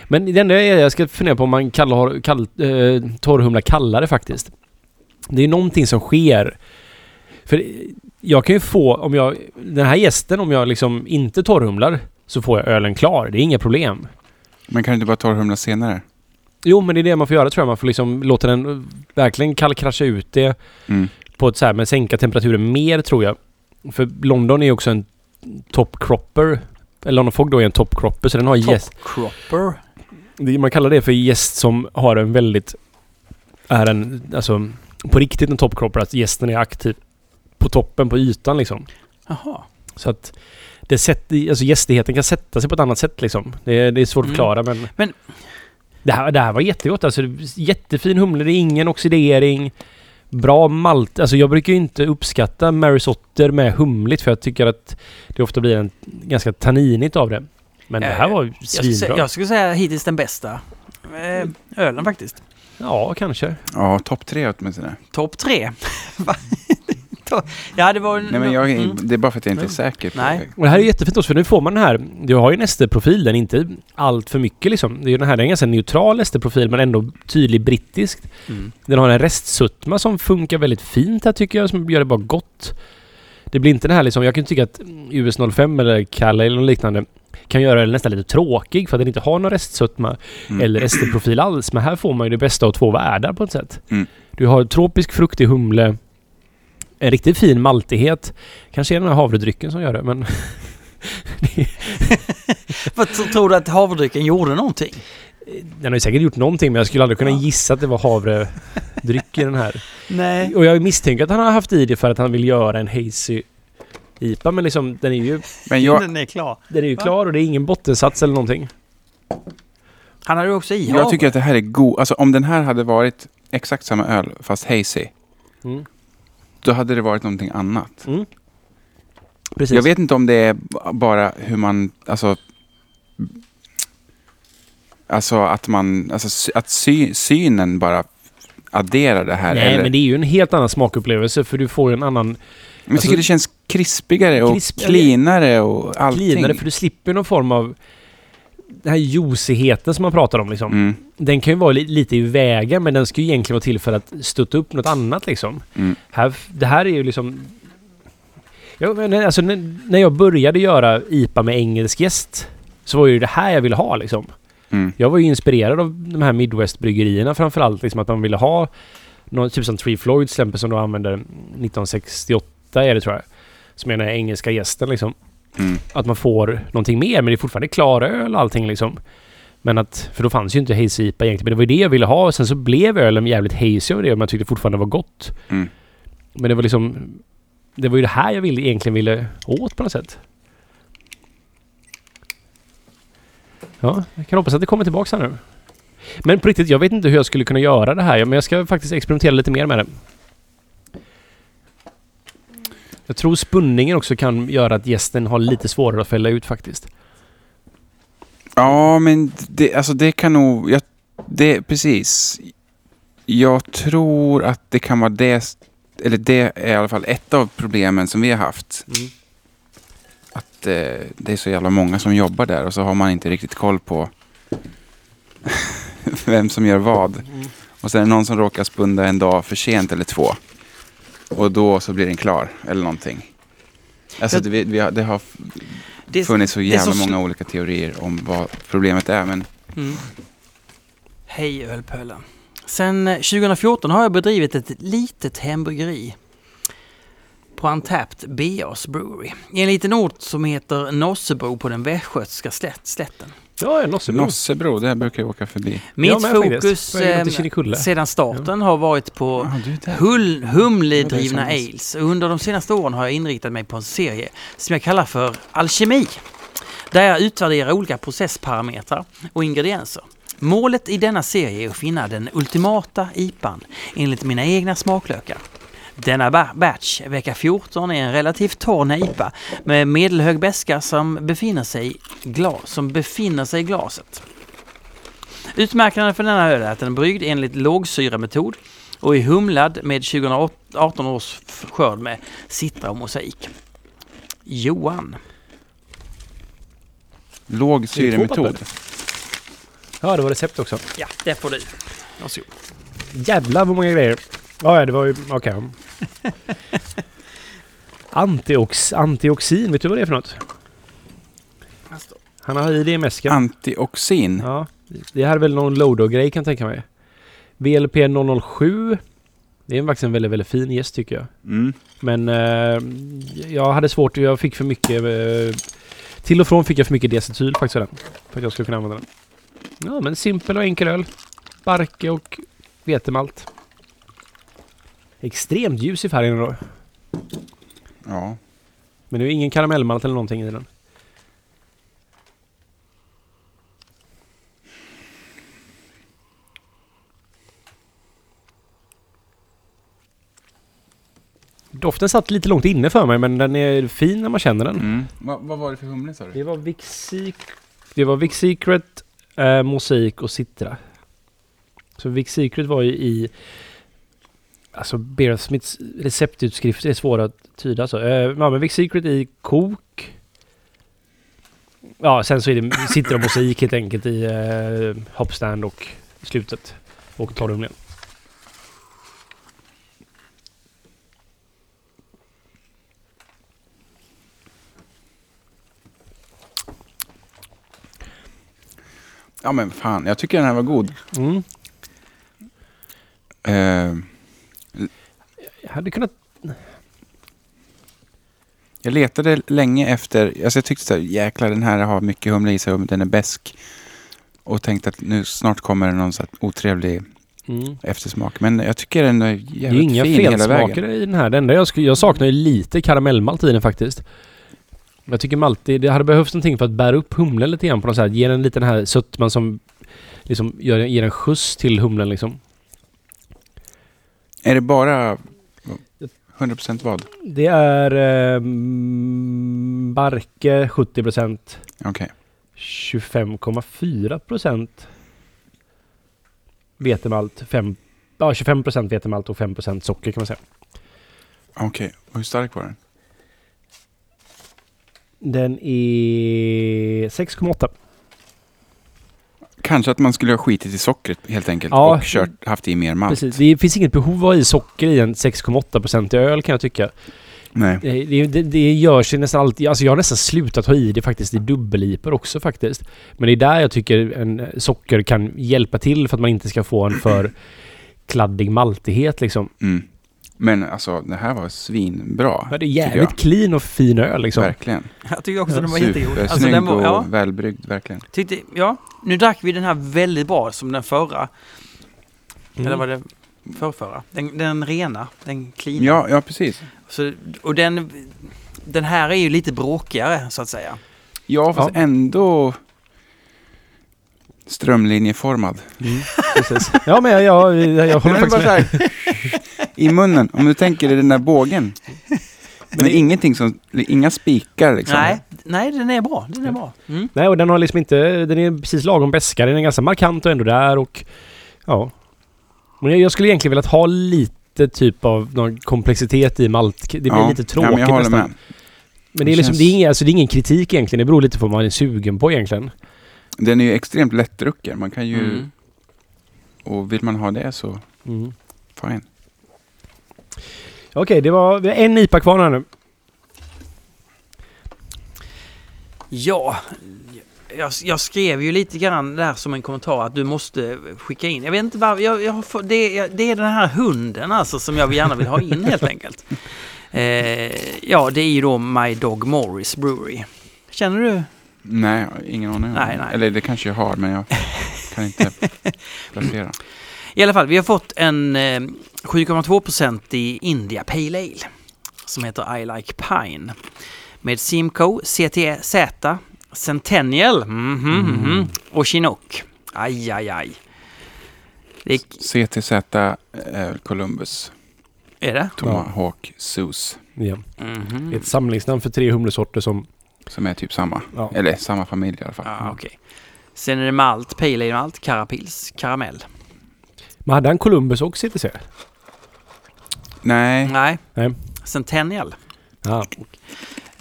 Speaker 2: Men det enda jag, jag ska fundera på om man kallar kall, eh, torrhumla kallare faktiskt. Det är någonting som sker. För jag kan ju få, om jag... Den här gästen, om jag liksom inte torrhumlar så får jag ölen klar. Det är inga problem.
Speaker 3: Man kan inte bara torrhumla senare.
Speaker 2: Jo, men det är det man får göra tror jag. Man får liksom låta den verkligen kallkrascha ut det
Speaker 3: Mm.
Speaker 2: på ett så här, men sänka temperaturen mer tror jag. För London är ju också en top cropper. Eller London Fog då är en top cropper så den har gäst.
Speaker 1: Top cropper.
Speaker 2: det- Man kallar det för gäst som har en väldigt... Är en, alltså på riktigt en top cropper, att gästen är aktiv på toppen på ytan liksom.
Speaker 1: Jaha.
Speaker 2: Så att det sätt, alltså gästigheten kan sätta sig på ett annat sätt liksom. Det, är- det är svårt
Speaker 1: Mm.
Speaker 2: att förklara men...
Speaker 1: Men-
Speaker 2: Det här, det här var jättegott alltså. Jättefin humle, det är ingen oxidering. Bra malt. Alltså jag brukar ju inte uppskatta marisotter med humligt för jag tycker att det ofta blir en ganska tanninigt av det. Men det här var ju
Speaker 1: Eh, Jag skulle, säga,
Speaker 2: svinbra.
Speaker 1: jag skulle säga hittills den bästa eh, ölen faktiskt.
Speaker 2: Ja, kanske.
Speaker 3: Ja, topp tre åtminstone.
Speaker 1: Topp tre. Va? To- ja, det var...
Speaker 3: Nej, men jag, är-
Speaker 1: Mm.
Speaker 3: Det är bara för att jag inte är
Speaker 1: Mm.
Speaker 3: säker. På
Speaker 1: Nej.
Speaker 2: Och det här är jättefint också för nu får man den här. Du har ju en SD-profil, den är inte allt för mycket liksom. Det är ju den här, den är en ganska neutral SD-profil men ändå tydlig brittisk.
Speaker 1: Mm.
Speaker 2: Den har en restsutma som funkar väldigt fint här tycker jag, som gör det bara gott. Det blir inte det här liksom, jag kan tycka att US 05 eller Kalle eller något liknande kan göra den nästan lite tråkig för att den inte har någon restsutma
Speaker 3: Mm.
Speaker 2: eller SD-profil alls. Men här får man ju det bästa av två världar på ett sätt.
Speaker 3: Mm.
Speaker 2: Du har tropisk fruktig humle, en riktigt fin maltighet. Kanske är det den här havredrycken som gör det, men
Speaker 1: Vad tro- tror du att havredrycken gjorde någonting?
Speaker 2: den har ju säkert gjort någonting. Men jag skulle aldrig kunna
Speaker 1: Ja.
Speaker 2: gissa att det var havredryck i den här.
Speaker 1: Nej.
Speaker 2: Och jag misstänker att han har haft i det för att han vill göra en hazy IPA, men liksom den är ju,
Speaker 3: Men jag,
Speaker 1: Den är klar.
Speaker 2: den är ju
Speaker 1: Va?
Speaker 2: klar och det är ingen bottensats eller någonting.
Speaker 1: Han hade ju också i
Speaker 3: jag tycker att det här är god. Alltså om den här hade varit exakt samma öl, fast hazy,
Speaker 2: Mm.
Speaker 3: då hade det varit någonting annat.
Speaker 2: Precis.
Speaker 3: Jag vet inte om det är b- bara hur man, alltså, alltså att man, alltså sy- att sy, synen bara adderar det här.
Speaker 2: Nej,
Speaker 3: eller,
Speaker 2: men
Speaker 3: men
Speaker 2: det är ju en helt annan smakupplevelse för du får ju en annan
Speaker 3: jag tycker
Speaker 2: alltså-
Speaker 3: det känns krispigare och
Speaker 2: Krisp-
Speaker 3: cleanare och allting.
Speaker 2: cleanare för du slipper någon form av den här juicigheten som man pratar om liksom.
Speaker 3: Mm,
Speaker 2: Den kan ju vara li- lite i vägen men den ska ju egentligen vara till för att stötta upp något annat liksom.
Speaker 3: mm,
Speaker 2: Här, det här är ju liksom... Ja, men, alltså, när, när jag började göra IPA med engelsk gäst så var ju det här jag ville ha liksom.
Speaker 3: mm,
Speaker 2: Jag var ju inspirerad av de här Midwest-bryggerierna framförallt. Liksom att man ville ha någon, typ som Three Floyds till exempel som de använde 1968 är det tror jag. Som är den här engelska gästen liksom.
Speaker 3: mm.
Speaker 2: Att man får någonting mer men det är fortfarande klara öl och allting liksom. Men att, för då fanns ju inte hazy IPA egentligen. Men det var ju det jag ville ha. Sen så blev ölen jävligt hazy av det men jag tyckte fortfarande det var gott.
Speaker 3: Mm.
Speaker 2: Men det var liksom... Det var ju det här jag ville, egentligen ville åt på något sätt. Ja, jag kan hoppas att det kommer tillbaka här nu. Men på riktigt, jag vet inte hur jag skulle kunna göra det här. Men jag ska faktiskt experimentera lite mer med det. Jag tror spunningen också kan göra att gästen har lite svårare att fälla ut faktiskt.
Speaker 3: Ja, men det, alltså det kan nog, jag, det, precis. Jag tror att det kan vara det, eller det är i alla fall ett av problemen som vi har haft. att eh, det är så jävla många som jobbar där och så har man inte riktigt koll på vem som gör vad. Och sen är det någon som råkar spunda en dag för sent eller två. Och då så blir den klar eller någonting. Alltså
Speaker 1: Jag-
Speaker 3: det, vi, vi har, det har
Speaker 1: Det är-
Speaker 3: funnits så
Speaker 1: är så
Speaker 3: jävla
Speaker 1: sl-
Speaker 3: många olika teorier om vad problemet är. Men
Speaker 1: Mm. Hej ölpölen. Sen eh, 2014 har jag bedrivit ett litet hembryggeri på Antapt BAs Brewery. I en liten ort som heter Nossebro på den västgötska slätt, slätten.
Speaker 2: Ja, en nossebro.
Speaker 3: Nossebro, där brukar jag åka förbi.
Speaker 1: Mitt
Speaker 2: men faktiskt.
Speaker 1: fokus
Speaker 2: På vägen till
Speaker 1: eh,
Speaker 2: Kinnekulle.
Speaker 1: sedan starten har varit på
Speaker 3: Ah, du är där.
Speaker 1: hull, humledrivna
Speaker 3: Ja, det är sant.
Speaker 1: ales. Under de senaste åren har jag inriktat mig på en serie som jag kallar för alkemi. Där jag utvärderar olika processparametrar och ingredienser. Målet i denna serie är att finna den ultimata IPAn enligt mina egna smaklökar. Denna ba- batch, vecka 14, är en relativt torr nejpa med medelhög beska som befinner sig i glas, som befinner sig i glaset. Utmärkande för denna öl är att den är bryggd enligt lågsyrametod och är humlad med 2018 års f- skörd med citra och mosaik. Johan.
Speaker 3: Låg
Speaker 2: Det är två
Speaker 3: syremetod.
Speaker 2: papper. Ja, det var recept också.
Speaker 1: Ja, det får du. Varsågod.
Speaker 2: Jävlar vad många grejer. Ja, ja, det var ju... Okej. Antiox, antioxin, vet du vad det är för något? Han har i det i mäsken.
Speaker 3: Antioxin.
Speaker 2: ja. Det här är väl någon Lodo-grej kan jag tänka mig. VLP 007. Det är faktiskt en väldigt, väldigt fin gäst tycker jag.
Speaker 3: Mm.
Speaker 2: Men eh, jag hade svårt, jag fick för mycket... Eh, till och från fick jag för mycket diacetyl faktiskt av den. För att jag skulle kunna använda den. Ja, men simpel och enkel öl. Barke och vetemalt. Extremt ljus i färgen då.
Speaker 3: Ja.
Speaker 2: Men det är ingen karamellmalt eller någonting i den. Doften satt lite långt inne för mig men den är fin när man känner den.
Speaker 3: Mm. Va, vad var det för humle sa du?
Speaker 2: Det var Vic Secret, det var Vic Secret eh, Mosaik och Citra. Så Vic Secret var ju i... Alltså Bear Smiths receptutskrifter är svåra att tyda. Så. Eh, ja, men Vic Secret i kok. Ja, sen så är det Citra och Mosaik helt enkelt i eh, Hopstand och i slutet. Och torrhumlen.
Speaker 3: Ja men fan, jag tycker den här var god.
Speaker 2: Mm.
Speaker 3: Eh,
Speaker 2: Jag hade kunnat...
Speaker 3: jag letade länge efter, alltså jag tyckte så här, jäklar den här har mycket humle i sig och den är besk Och tänkte att nu snart kommer det någon så här otrevlig
Speaker 2: Mm.
Speaker 3: eftersmak. Men jag tycker den är
Speaker 2: Det är ju
Speaker 3: jävligt
Speaker 2: inga
Speaker 3: fin hela vägen.
Speaker 2: felsmaker i den här. Det enda jag, sku- jag saknar ju lite karamellmalt i den faktiskt. Men Jag tycker maltig, det hade behövts någonting för att bära upp humlen lite grann på något sätt. Ge den lite den här sötman som liksom gör, ger en skjuts till humlen liksom.
Speaker 3: Är det bara 100% vad?
Speaker 2: Det är eh, mm, Barke 70%,
Speaker 3: Okej.
Speaker 2: 25,4% vetemalt, fem- ja, 25% vetemalt och 5% socker kan man säga.
Speaker 3: Okej, och hur stark var den?
Speaker 2: Den är 6,8.
Speaker 3: Kanske att man skulle ha skitit i sockret helt enkelt
Speaker 2: Ja.
Speaker 3: och kört, haft i mer malt.
Speaker 2: Precis. Det finns inget behov av i socker i en 6,8% öl kan jag tycka.
Speaker 3: Nej.
Speaker 2: Det, det, det- det gör sig nästan alltid... Alltså jag har nästan slutat ha i det faktiskt i dubbelliper också faktiskt. Men det är där jag tycker en eh, socker kan hjälpa till för att man inte ska få en för kladdig maltighet liksom.
Speaker 3: Mm. Men alltså det här var svinbra.
Speaker 2: Men det är
Speaker 3: tycker
Speaker 2: jävligt
Speaker 3: jag.
Speaker 2: clean och fin öl liksom.
Speaker 3: Verkligen.
Speaker 1: Jag tycker också den var jättegod.
Speaker 3: Supersnygg
Speaker 1: Alltså, den var,
Speaker 3: och
Speaker 1: ja,
Speaker 3: välbryggd, verkligen.
Speaker 1: tyckte, ja, nu drack vi den här väldigt bra som den förra.
Speaker 2: Mm.
Speaker 1: Eller var det förrförra? Den, den rena, den clean.
Speaker 3: Ja, ja, precis.
Speaker 1: Så, och den, den här är ju lite bråkigare så att säga.
Speaker 3: Ja, fast ändå strömlinjeformad.
Speaker 2: Mm, precis. Ja men jag, jag, jag, jag håller
Speaker 3: Den är
Speaker 2: faktiskt
Speaker 3: bara så
Speaker 2: med.
Speaker 3: här, I munnen, om du tänker dig den där bågen. Men det är ingenting som, inga spikar liksom.
Speaker 1: Nej, nej, den är bra. Den är bra. Mm.
Speaker 2: Nej och den har liksom inte... Den är precis lagom beska. Den är ganska markant och ändå där och... Ja. Men jag, jag skulle egentligen velat ha lite typ av någon komplexitet i malt. Det blir
Speaker 3: Ja,
Speaker 2: lite
Speaker 3: ja,
Speaker 2: tråkigt
Speaker 3: men jag håller
Speaker 2: nästan.
Speaker 3: med.
Speaker 2: Men det är
Speaker 3: Det
Speaker 2: liksom...
Speaker 3: känns-
Speaker 2: Det är, ingen, alltså, det är ingen kritik egentligen. Det beror lite på vad man är sugen på egentligen.
Speaker 3: Den är ju extremt lättdrucken. Man kan ju,
Speaker 1: Mm.
Speaker 3: och vill man ha det så,
Speaker 2: Mm.
Speaker 3: fine.
Speaker 2: Okej, det var... Vi har en IPA kvar här nu.
Speaker 1: Ja, jag, jag skrev ju lite grann där som en kommentar att du måste skicka in. Jag vet inte varför. Jag, jag har fått- det, är- det är den här hunden alltså som jag gärna vill ha in helt enkelt. Eh, ja, det är ju då My Dog Morris Brewery. Känner du?
Speaker 3: Nej, jag har ingen aning. om
Speaker 1: Nej,
Speaker 3: det.
Speaker 1: nej.
Speaker 3: Eller det kanske jag har, men jag kan inte placera.
Speaker 1: I alla fall, vi har fått en eh, 7,2% i India Pale Ale som heter I Like Pine med Simcoe, CTZ, Centennial mhm, mhm, och Chinook. Aj, aj, aj. Det
Speaker 3: CTZ eh, Columbus
Speaker 1: är det?
Speaker 3: Tomahawk Sus,
Speaker 2: Ja.
Speaker 1: Mhm.
Speaker 2: Ett samlingsnamn för tre humlesorter som...
Speaker 3: som är typ samma.
Speaker 2: Ja.
Speaker 3: Eller samma familj i alla fall.
Speaker 1: Ah, okej. Sen är det malt, Pale Ale malt, Carapils, Karamell.
Speaker 2: Men hade han Columbus och CTC?
Speaker 3: Nej,
Speaker 1: Nej,
Speaker 2: Nej.
Speaker 1: Centennial.
Speaker 2: Ja.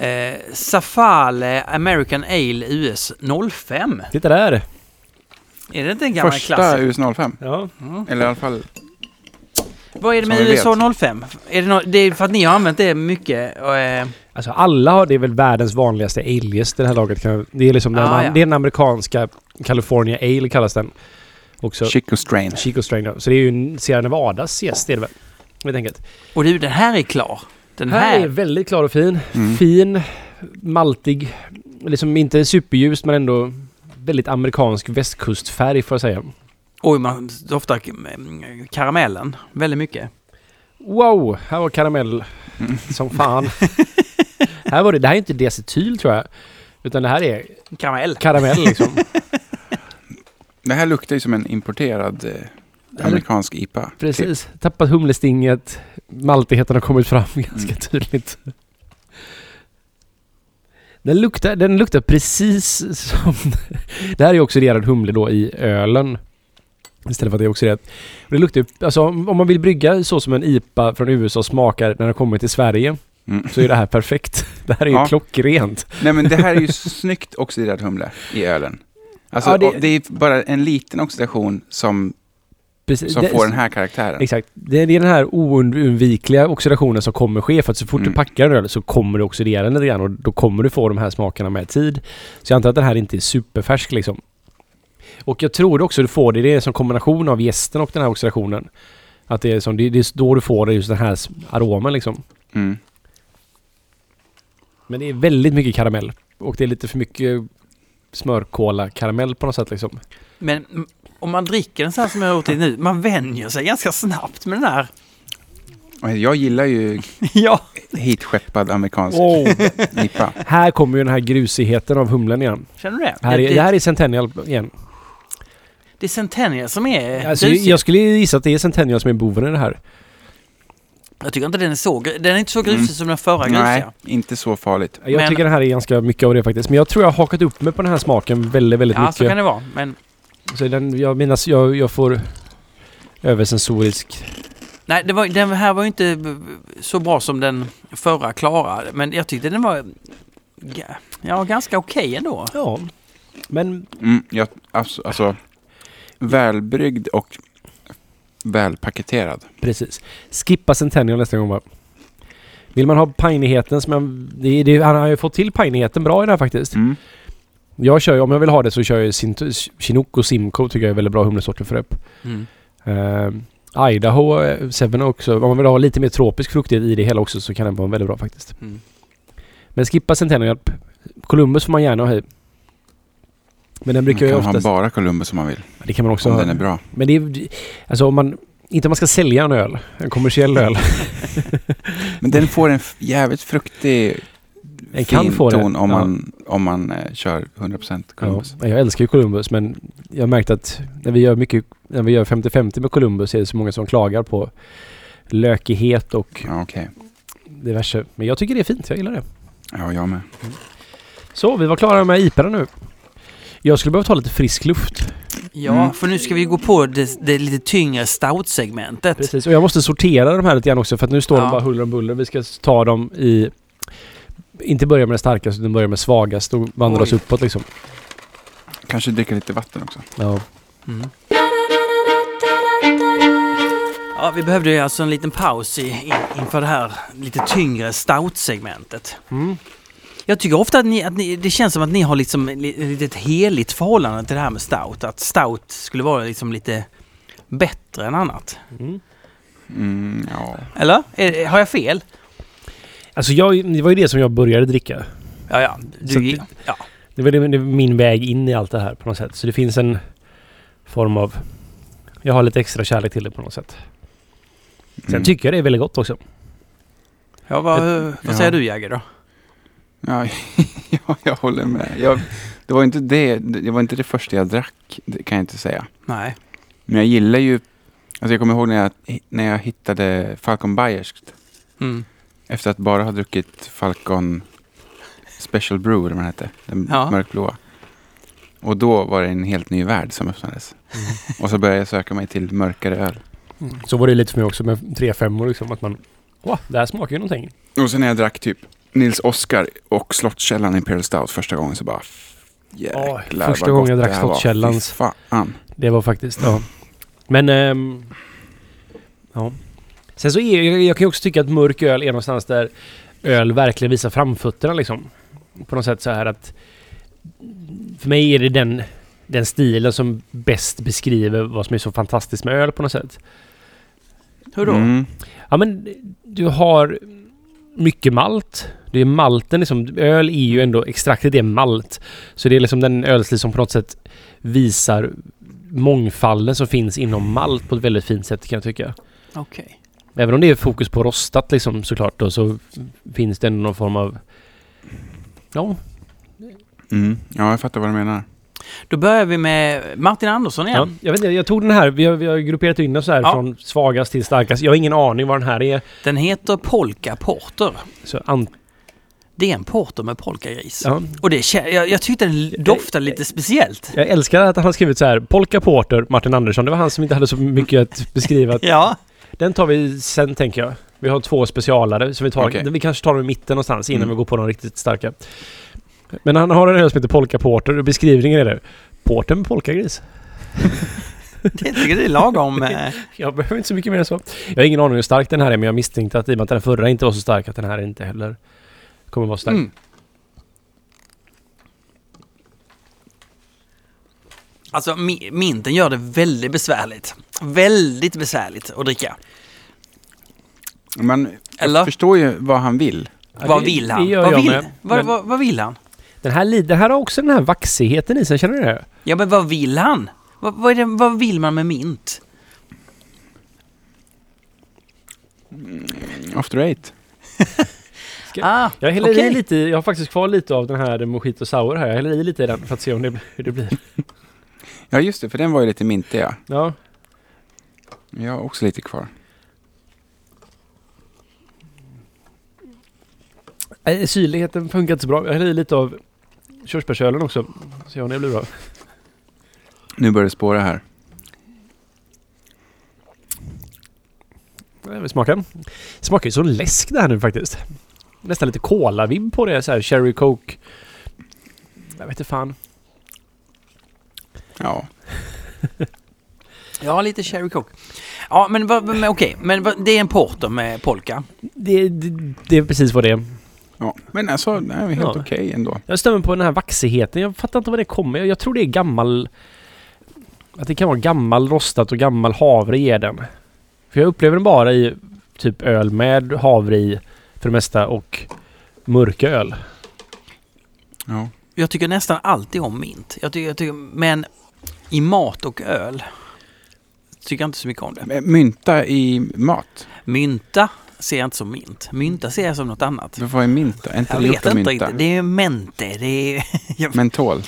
Speaker 1: Eh, Safale American Ale US 05.
Speaker 2: Titta där!
Speaker 1: Är det inte en gammal
Speaker 3: första
Speaker 1: klassiker?
Speaker 3: US 05.
Speaker 2: Ja.
Speaker 3: Eller i alla fall,
Speaker 1: Vad är det
Speaker 3: Som
Speaker 1: med
Speaker 3: vi
Speaker 1: USA 05? Är det, nå- det är för att ni har använt det mycket. Och, eh,
Speaker 2: Alltså alla har, det är väl världens vanligaste alegäst det här laget. Kan, jag- det är liksom den,
Speaker 1: Ah,
Speaker 2: man,
Speaker 1: ja.
Speaker 2: det är den amerikanska California Ale kallas den. Också.
Speaker 3: Chico Strain.
Speaker 2: Chico Strain då. Så det är ju en Sierra Nevadas gäst det är det väl. Helt enkelt.
Speaker 1: och du, den här är klar. Den
Speaker 2: Den här är
Speaker 1: Mm. här.
Speaker 2: väldigt klar och fin.
Speaker 3: Mm.
Speaker 2: Fin, maltig, liksom inte superljus men ändå väldigt amerikansk västkustfärg får jag säga.
Speaker 1: Oj, man doftar mm, karamellen väldigt mycket.
Speaker 2: Wow, här var karamell
Speaker 3: Mm.
Speaker 2: som fan. här var det, det här är inte diacetyl tror jag. Utan det här är
Speaker 1: Karamell.
Speaker 2: karamell liksom.
Speaker 3: Det här luktar ju som en importerad eh, amerikansk IPA. typ.
Speaker 2: Precis. Tappat humlestinget. Maltigheten har kommit fram ganska
Speaker 3: Mm.
Speaker 2: tydligt. Den luktar, den luktar precis som... Det här är ju oxiderad humle då i ölen. Istället för att det är oxiderat. Och det luktar ju... Alltså om om man vill brygga så som en IPA från USA smakar när den kommer till Sverige
Speaker 3: Mm.
Speaker 2: så är det här perfekt. Det här är ju
Speaker 3: Ja.
Speaker 2: klockrent.
Speaker 3: Nej men det här är ju snyggt oxiderad humle i ölen. Alltså,
Speaker 2: Ja, det-
Speaker 3: och det... är bara en liten oxidation som,
Speaker 2: Precis.
Speaker 3: som
Speaker 2: Det-
Speaker 3: får den här karaktären.
Speaker 2: Exakt. Det är det är den här oundvikliga oxidationen som kommer ske för att så fort
Speaker 3: Mm.
Speaker 2: du packar en öl så kommer du oxidera den lite grann och då kommer du få de här smakerna med tid. Så jag antar att den här inte är superfärsk liksom. Och jag tror också du får det, det är som kombination av gästen och den här oxidationen. Att det är som, det, det är då du får just den här s- aromen liksom.
Speaker 3: Mm.
Speaker 2: Men det är väldigt mycket karamell. Och det är lite för mycket smörkola-karamell på något sätt liksom.
Speaker 1: Men mm, om man dricker den så här som jag har gjort det nu, man vänjer sig ganska snabbt med den här.
Speaker 3: Och Jag gillar ju
Speaker 1: ja.
Speaker 3: hitskeppad amerikansk
Speaker 2: Wow.
Speaker 3: IPA.
Speaker 2: här kommer ju den här grusigheten av humlen igen.
Speaker 1: Känner du det?
Speaker 2: Här
Speaker 1: det,
Speaker 2: är,
Speaker 1: det,
Speaker 2: det här är Centennial igen.
Speaker 1: det är Centennial som är
Speaker 2: Alltså,
Speaker 1: busig.
Speaker 2: jag skulle gissa att det är Centennial som är boven i det här.
Speaker 1: Jag tycker inte den är så gru- Den är inte så grusig
Speaker 3: Mm.
Speaker 1: som den förra
Speaker 3: Nej,
Speaker 1: grusiga.
Speaker 3: inte så farligt.
Speaker 2: Jag
Speaker 1: Men-
Speaker 2: tycker den här är ganska mycket av det faktiskt. Men jag tror jag har hakat upp mig på den här smaken väldigt, väldigt
Speaker 1: Ja,
Speaker 2: mycket.
Speaker 1: så kan det vara. Men
Speaker 2: Så den, jag minns, jag, jag får översensorisk...
Speaker 1: nej, det var, den här var ju inte b- b- så bra som den förra klarade. Men jag tyckte den var ga- ja, ganska okej ändå.
Speaker 2: Ja. Men
Speaker 3: Mm, jag, alltså, alltså, välbryggd och välpaketerad.
Speaker 2: precis. Skippa Centennial nästa gång bara. Vill man ha pinigheten som jag... Det, det, han har ju fått till pinigheten bra i det här faktiskt.
Speaker 3: Mm.
Speaker 2: Jag kör ju, om jag vill ha det så kör jag Sint- Chinook och Simcoe tycker jag är väldigt bra humlesorter för det.
Speaker 1: Mm.
Speaker 2: Eh, Idaho eh, Seven också. Om man vill ha lite mer tropisk fruktighet i det hela också så kan den vara väldigt bra faktiskt.
Speaker 1: Mm.
Speaker 2: Men skippa Centennial. P- Columbus får man gärna ha i. Men den
Speaker 3: Man
Speaker 2: brukar
Speaker 3: kan
Speaker 2: ju
Speaker 3: ha
Speaker 2: oftast...
Speaker 3: bara Columbus om man vill,
Speaker 2: Det kan man också
Speaker 3: om
Speaker 2: ha.
Speaker 3: den är bra.
Speaker 2: Men det är... Alltså om man... Inte om man ska sälja en öl. En kommersiell öl.
Speaker 3: Men den får en f- jävligt fruktig
Speaker 2: Den kan
Speaker 3: fin
Speaker 2: få det.
Speaker 3: ton om
Speaker 2: Ja.
Speaker 3: man, om man eh, kör 100%
Speaker 2: Ja,
Speaker 3: Columbus.
Speaker 2: jag älskar ju Columbus men jag har märkt att när vi gör mycket... När vi gör 50-50 med Columbus är det så många som klagar på lökighet och
Speaker 3: Ja, okej.
Speaker 2: diverse. Men jag tycker det är fint. Jag gillar det.
Speaker 3: Ja, jag med.
Speaker 2: Så, vi var klara med IPA nu. Jag skulle behöva ta lite frisk luft.
Speaker 1: Ja,
Speaker 3: Mm.
Speaker 1: för nu ska vi gå på det, det lite tyngre stout-segmentet.
Speaker 2: Precis. Och jag måste sortera de här lite grann också för att nu står de
Speaker 1: Ja.
Speaker 2: bara huller om buller. Vi ska ta dem i... Inte börja med den starkaste utan börja med svagaste och vandra
Speaker 1: Oj.
Speaker 2: oss uppåt liksom.
Speaker 3: Kanske dricka lite vatten också.
Speaker 2: Ja.
Speaker 1: Mm. Ja, vi behövde ju alltså en liten paus i, in, inför det här lite tyngre stout-segmentet.
Speaker 2: Mm.
Speaker 1: Jag tycker ofta att, ni, att ni, det känns som att ni har liksom li- ett heligt förhållande till det här med stout. Att stout skulle vara liksom lite bättre än annat.
Speaker 2: Mm.
Speaker 3: Mm, ja.
Speaker 1: Eller? Eh, Har jag fel?
Speaker 2: Alltså jag, det var ju det som jag började dricka.
Speaker 1: Ja, ja.
Speaker 2: Så
Speaker 1: Du,
Speaker 2: att-
Speaker 1: ja.
Speaker 2: Det var, det, det var min väg in i allt det här på något sätt. Så det finns en form av... Jag har lite extra kärlek till det på något sätt. Sen
Speaker 3: Mm.
Speaker 2: tycker jag det är väldigt gott också.
Speaker 1: ja vad, vad säger
Speaker 3: ja.
Speaker 1: du Jagger då?
Speaker 3: Ja, ja, jag håller med. Jag, det, var inte det, det var inte det första jag drack, det kan jag inte säga.
Speaker 1: Nej.
Speaker 3: Men jag gillar ju... Alltså jag kommer ihåg när jag, när jag hittade Falcon Bayerskt.
Speaker 1: Mm.
Speaker 3: Efter att bara ha druckit Falcon Special Brew, eller vad den hette. Den
Speaker 1: Ja.
Speaker 3: mörkblåa. Och då var det en helt ny värld som öppnades.
Speaker 2: Mm.
Speaker 3: Och så började jag söka mig till mörkare öl.
Speaker 2: Så var det lite för mig också med tre femmor liksom. Att man... Åh, det här smakar ju någonting.
Speaker 3: Och sen när jag drack typ Nils Oskar och Slottskällan Imperial Stout första gången så bara...
Speaker 2: Ja,
Speaker 3: Jäklar
Speaker 2: första
Speaker 3: vad
Speaker 2: gången
Speaker 3: gott
Speaker 2: jag drack
Speaker 3: det här var.
Speaker 2: Slottkällans.
Speaker 3: Fy Fan.
Speaker 2: Det var faktiskt, ja. Men... ehm, ja. Sen så är jag, jag kan ju också tycka att mörk öl är någonstans där öl verkligen visar framfötterna liksom. På något sätt så här att... För mig är det den, den stilen som bäst beskriver vad som är så fantastiskt med öl på något sätt.
Speaker 1: Hur då?
Speaker 3: Mm.
Speaker 2: Ja men du har mycket malt. Det är malten liksom. Öl är ju ändå, extraktet är malt. Så det är liksom den ölstil som på något sätt visar mångfalden som finns inom malt på ett väldigt fint sätt kan jag tycka.
Speaker 1: Okej.
Speaker 2: Även om det är fokus på rostat liksom såklart då så finns det ändå någon form av Ja.
Speaker 3: Mm. Ja, jag fattar vad du menar.
Speaker 1: Då börjar vi med Martin Andersson
Speaker 2: ja.
Speaker 1: igen.
Speaker 2: Jag vet inte, jag tog den här. Vi har, vi har grupperat in den så här
Speaker 1: Ja.
Speaker 2: från svagast till starkast. Jag har ingen aning vad den här är.
Speaker 1: Den heter Polka Porter.
Speaker 2: Så an,
Speaker 1: Det är en porter med polkagris.
Speaker 2: ja.
Speaker 1: Och det, kä- jag, jag tyckte den doftade lite speciellt.
Speaker 2: Jag älskar att han har skrivit så här. Polka Porter, Martin Andersson. Det var han som inte hade så mycket att beskriva.
Speaker 1: Ja.
Speaker 2: Den tar vi sen tänker jag. Vi har två specialare som vi tar.
Speaker 3: Okej.
Speaker 2: Vi kanske tar dem i mitten någonstans innan
Speaker 3: Mm.
Speaker 2: vi går på de riktigt starka. Men han har en öl som heter Polka Porter och beskrivningen är det. Porter med polkagris.
Speaker 1: Det tycker jag det är lagom. eh,
Speaker 2: Jag behöver inte så mycket mer än så. Jag har ingen aning hur stark den här är men jag misstänkte att i och med att den förra inte var så stark att den här inte heller kommer vara stark.
Speaker 3: Mm.
Speaker 1: Alltså mi- minten gör det väldigt besvärligt. Väldigt besvärligt att dricka.
Speaker 3: Men
Speaker 1: Eller?
Speaker 3: jag förstår ju vad han vill.
Speaker 2: Ja,
Speaker 1: vad
Speaker 2: det-
Speaker 1: vill
Speaker 2: Det
Speaker 1: han?
Speaker 2: gör
Speaker 1: Vad
Speaker 2: jag
Speaker 1: vill,
Speaker 2: med.
Speaker 1: vad,
Speaker 2: Men
Speaker 1: vad, vad vill han?
Speaker 2: den, här, li- den här har också den här vaxigheten i sig, känner du det?
Speaker 1: Ja men vad vill han? Vad, vad, är det, vad vill man med mint?
Speaker 3: After eight.
Speaker 2: Ja,
Speaker 1: Ah,
Speaker 2: Jag häller
Speaker 1: okej.
Speaker 2: i lite, i- jag har faktiskt kvar lite av den här Mojito Sour här. Jag häller i lite i den för att se om det, hur det blir.
Speaker 3: Ja, just det, för den var ju lite mintig ja.
Speaker 2: Ja.
Speaker 3: Jag har också lite kvar.
Speaker 2: Nej, Syrligheten funkar inte så bra. Jag häller i lite av körsbärsölen också. Se om det blir bra.
Speaker 3: Nu börjar det spåra här.
Speaker 2: Nej, Vi smakar. Smakar ju som läsk det här nu faktiskt. Nästan lite kolavabb på det. Så här cherry coke. Jag vet inte fan.
Speaker 3: Ja.
Speaker 1: Ja, lite cherry coke. Ja, men, vad- men okej. Men vad- det är en porter med polka.
Speaker 2: Det, det, det är precis vad det är.
Speaker 3: ja. Men alltså, det är helt
Speaker 2: Ja.
Speaker 3: okej ändå.
Speaker 2: Jag stämmer på den här vaxigheten. Jag fattar inte var det kommer. Jag, jag tror det är gammal... Att det kan vara gammal rostat och gammal havre i den. För jag upplever den bara i typ öl med havre i för det mesta och mörköl.
Speaker 3: Ja.
Speaker 1: Jag tycker nästan alltid om mint. Jag tycker, jag tycker, men i mat och öl tycker jag inte så mycket om det.
Speaker 3: Men Eh, Mynta i mat.
Speaker 1: Mynta ser jag inte som mint. Mynta ser jag som något annat.
Speaker 3: Vad är mynta? Är inte
Speaker 1: Jag
Speaker 3: det gjort
Speaker 1: vet
Speaker 3: av
Speaker 1: inte
Speaker 3: mynta?
Speaker 1: riktigt. Det är mente. Det är...
Speaker 3: Mentol.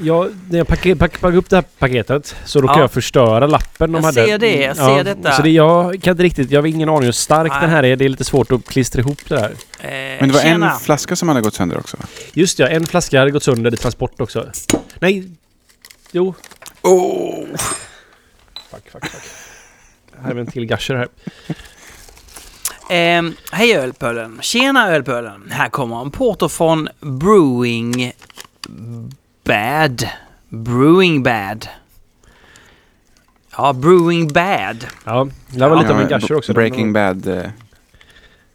Speaker 2: Ja, när jag packade, pack, packade upp det här paketet så råkade
Speaker 1: Ja.
Speaker 2: jag förstöra lappen de
Speaker 1: Jag
Speaker 2: hade. Mm,
Speaker 1: ser det, jag ser detta.
Speaker 2: Så det, jag kan inte riktigt, jag har ingen aning hur stark
Speaker 1: Nej.
Speaker 2: den här är. Det är lite svårt att klistra ihop det här.
Speaker 1: Eh,
Speaker 3: Men det var
Speaker 1: tjena.
Speaker 3: en flaska som hade gått sönder också.
Speaker 2: Just ja, en flaska hade gått sönder i transport också. Nej! Jo.
Speaker 3: Oh.
Speaker 2: Fuck, fuck, fuck. Här är vi en till gasher här.
Speaker 1: Ehm, hej Ölpölen! Tjena Ölpölen! Här kommer en porter från Brewing Bad. Brewing Bad. Ja, Brewing Bad.
Speaker 2: Ja, det här var lite av en gasher också.
Speaker 3: Breaking Bad. eh,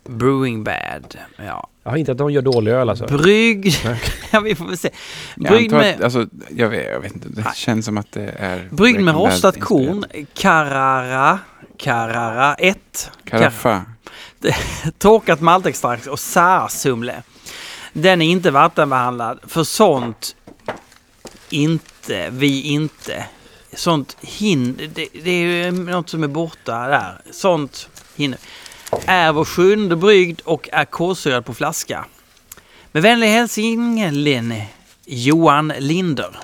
Speaker 1: Brewing Bad. Ja.
Speaker 2: Ja, inte att de gör dålig öl alltså.
Speaker 1: Brygg...
Speaker 2: Nej.
Speaker 1: ja, vi får väl se.
Speaker 3: Jag
Speaker 1: Bryggd
Speaker 3: antar att,
Speaker 1: med,
Speaker 3: alltså, jag vet, jag vet inte.
Speaker 1: Nej.
Speaker 3: Det känns som att det är...
Speaker 1: bryggd med
Speaker 3: Breaking Bad
Speaker 1: rostat korn,
Speaker 3: inspirerat.
Speaker 1: Carrara, Carrara 1,
Speaker 3: Karaffa.
Speaker 1: torkat maltextrakt och särsumle. Den är inte vattenbehandlad, för sånt inte, vi inte. Sånt hinner, det, det är ju något som är borta där. Sånt hinner. Är vår sjunde brygd och är kolsyrad på flaska. Med vänlig hälsning Lenny. Johan Linder.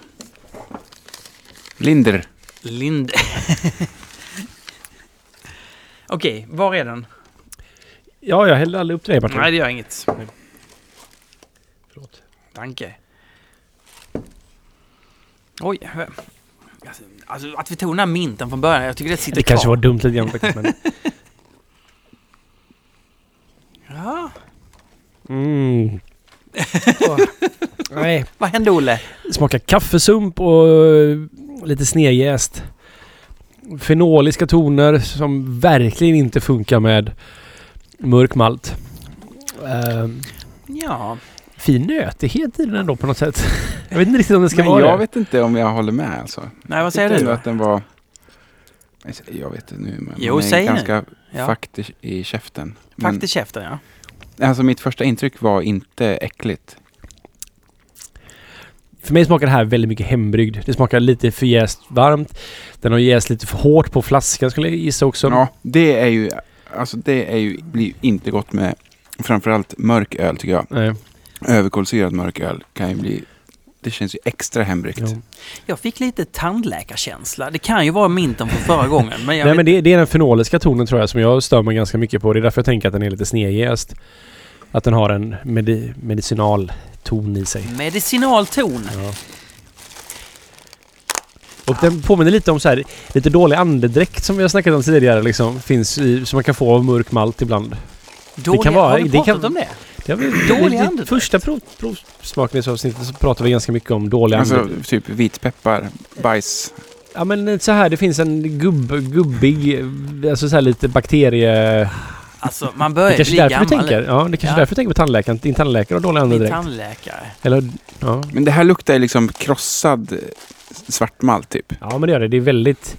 Speaker 3: Linder.
Speaker 1: Lind... Okej, var är den?
Speaker 2: Ja, jag hällde aldrig upp till dig Martin.
Speaker 1: Nej, det gör inget.
Speaker 2: Förlåt.
Speaker 1: Tanke. Oj. hö- Alltså, alltså att vi tog den här minten från början, jag tycker det sitter
Speaker 2: Det
Speaker 1: kvar.
Speaker 2: kanske var dumt lite grann faktiskt men...
Speaker 1: Ja.
Speaker 2: Mm. Åh. Nej.
Speaker 1: Vad hände Olle?
Speaker 2: Smakar kaffesump och eh, lite snedjäst. Fenoliska toner som verkligen inte funkar med mörk malt. Eh,
Speaker 1: Ja.
Speaker 2: fin nötighet i den ändå på något sätt. Jag vet inte riktigt om det ska
Speaker 3: Men
Speaker 2: vara
Speaker 3: jag
Speaker 2: det.
Speaker 3: vet inte om jag håller med alltså.
Speaker 1: Nej, vad säger
Speaker 3: Tyckte
Speaker 1: du?
Speaker 3: ändå
Speaker 1: då?
Speaker 3: att den var... Alltså, Jag vet inte nu, men
Speaker 1: Jo,
Speaker 3: den är
Speaker 1: säg nu.
Speaker 3: ganska
Speaker 1: Ja.
Speaker 3: fucked i- i käften. Men,
Speaker 1: Fakt i käften, ja.
Speaker 3: alltså mitt första intryck var inte äckligt.
Speaker 2: För mig smakar det här väldigt mycket hembryggd. Det smakar lite för jäst varmt. Den har jäst lite för hårt på flaskan skulle jag gissa också.
Speaker 3: Ja, det är ju... Alltså det är ju, blir ju inte gott med Framförallt mörk öl tycker jag.
Speaker 2: Nej.
Speaker 3: Överkolsyrad mörk öl kan ju bli... Det känns ju extra hembryggt.
Speaker 2: Ja.
Speaker 1: Jag fick lite tandläkarkänsla. Det kan ju vara minten från förra gången. Men jag
Speaker 2: Nej
Speaker 1: vet,
Speaker 2: men det, det är den fenoliska tonen tror jag som jag stör mig ganska mycket på. Det är därför jag tänker att den är lite snedjäst. Att den har en medi- medicinal ton i sig.
Speaker 1: Medicinal ton.
Speaker 2: Ja. Och den påminner lite om så här, lite dålig andedräkt som vi har snackat om tidigare liksom. Finns i, som man kan få av mörk malt ibland.
Speaker 1: Dåliga,
Speaker 2: kan vara-
Speaker 1: har vi
Speaker 2: det kan-
Speaker 1: pratat om det?
Speaker 2: Det har vi,
Speaker 1: Dålig
Speaker 2: i- i
Speaker 1: andedräkt?
Speaker 2: Första prov, provsmakningsavsnittet så pratade vi ganska mycket om dålig
Speaker 3: Alltså
Speaker 2: andedräkt.
Speaker 3: typ vitpeppar, bajs.
Speaker 2: Ja men så här, det finns en gubb, gubbig, alltså så här lite bakterie...
Speaker 1: Alltså, man
Speaker 2: Det
Speaker 1: börjar
Speaker 2: kanske
Speaker 1: bli
Speaker 2: är därför
Speaker 1: gammal.
Speaker 2: du tänker. Ja, det kanske
Speaker 1: Ja.
Speaker 2: är därför du tänker på tandläkaren. Din tandläkare har dålig
Speaker 1: Min
Speaker 2: andedräkt.
Speaker 1: tandläkare.
Speaker 2: Eller, ja.
Speaker 3: Men det här luktar ju liksom krossad eh, svartmalt typ.
Speaker 2: ja, men det gör det. Det är väldigt...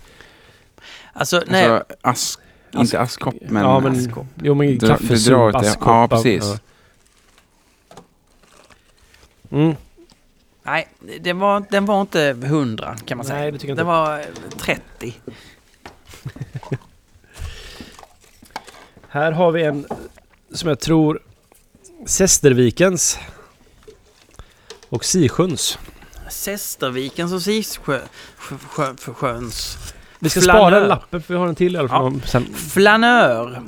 Speaker 1: Alltså, nej.
Speaker 3: Alltså ask... Inte askkopp men...
Speaker 2: ja, men,
Speaker 1: askkopp.
Speaker 2: Jo, men
Speaker 3: Dra- det drar
Speaker 2: kaffesup,
Speaker 3: åt det.
Speaker 2: askkopp.
Speaker 3: Ja, precis.
Speaker 2: ja. Mm.
Speaker 1: nej det var, den var inte 100 kan man säga.
Speaker 2: Nej, det tycker jag
Speaker 1: Den
Speaker 2: inte.
Speaker 1: var eh, 30.
Speaker 2: Här har vi en som jag tror... Sestervikens. Och Sisjöns.
Speaker 1: Sestervikens och Sisjö- sjö- sjö- för sjöns.
Speaker 2: Vi ska
Speaker 1: Flanör.
Speaker 2: spara lappen för vi har en till i alla fall.
Speaker 1: Ja.
Speaker 2: om- Sen.
Speaker 1: Flanör.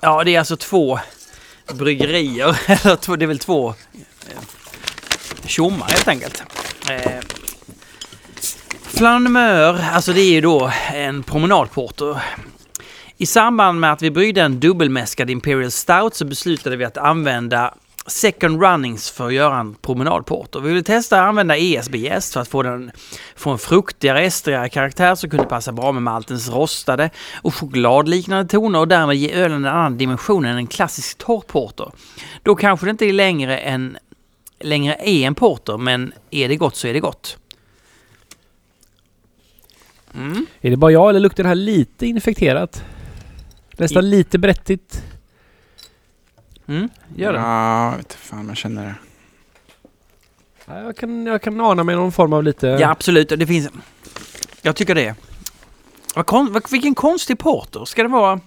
Speaker 1: Ja, det är alltså två bryggerier. Eller två, det är väl två eh, tjommar helt enkelt. Eh, Flanmör, alltså det är ju då en promenadporter. I samband med att vi bryggde en dubbelmäskad Imperial Stout så beslutade vi att använda Second Runnings för att göra en promenadporter. Vi ville testa att använda E ESB-jäst för att få den få en fruktigare, estrigare karaktär som kunde passa bra med maltens rostade och chokladliknande toner och därmed ge ölen en annan dimension än en klassisk torr porter. Då kanske det inte är längre, en, längre är en porter, men är det gott så är det gott. Mm.
Speaker 2: Är det bara jag eller luktar det här lite infekterat? Nästan lite brättigt.
Speaker 1: Mm. Gör det.
Speaker 3: Ja, vet fan jag känner det.
Speaker 2: Ja, Jag kan, jag kan ana mig någon form av lite...
Speaker 1: Ja, absolut. Det finns... Jag tycker det. Vad kon... vad- Vilken konstig porter. Ska det vara...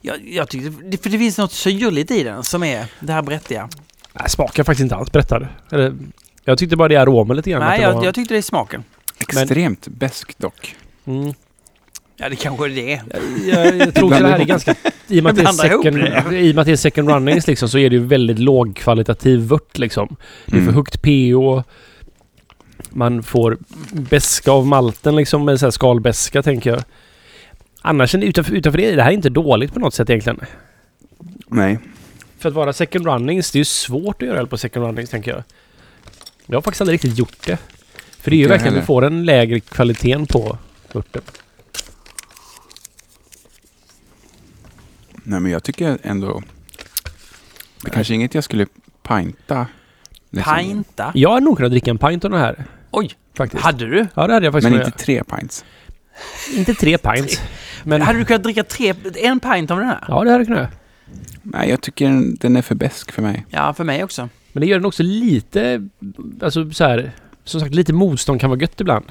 Speaker 1: Jag, jag tycker, för det finns något syrligt i den som är det här brättiga.
Speaker 2: Nej, smakar faktiskt inte alls berättade. Eller, jag tyckte bara det är aromen lite grann. att
Speaker 1: Nej,
Speaker 2: det
Speaker 1: jag,
Speaker 2: var-
Speaker 1: jag tyckte det är smaken.
Speaker 3: Extremt beskt dock.
Speaker 2: Mm.
Speaker 1: Ja, det kanske det är.
Speaker 2: jag, jag tror också det här är ganska... I och med att det är
Speaker 1: Blanda ihop
Speaker 2: second, i och med att det är second runnings liksom, så är det ju väldigt lågkvalitativ vört liksom. Det är för
Speaker 3: Mm.
Speaker 2: högt pH. Man får beska av malten liksom, med så här skalbeska tänker jag. Annars är det utanför, utanför det, det här är inte dåligt på något sätt egentligen.
Speaker 3: Nej.
Speaker 2: För att vara second runnings, det är ju svårt att göra öl på second runnings tänker jag. Jag har faktiskt aldrig riktigt gjort det. För det är ju
Speaker 3: Inte jag
Speaker 2: verkligen, du
Speaker 3: heller.
Speaker 2: får den lägre kvaliteten på örten.
Speaker 3: Nej, men jag tycker ändå... Det kanske är inget jag skulle pinta. liksom.
Speaker 1: Pinta.
Speaker 2: Jag har nog kunnat dricka en pint av den här.
Speaker 1: Oj,
Speaker 2: Faktiskt.
Speaker 1: hade du?
Speaker 2: Ja, det hade jag faktiskt
Speaker 3: Men
Speaker 2: kunnat
Speaker 3: inte tre pints.
Speaker 2: göra. inte tre pints. Men,
Speaker 1: Hade du kunnat dricka tre, en pint av den här?
Speaker 2: ja, det hade jag kunnat göra.
Speaker 3: Nej, jag tycker den, den är för besk för mig.
Speaker 1: Ja, för mig också.
Speaker 2: Men det gör den också lite... Alltså så här... Som sagt, lite motstånd kan vara gött ibland.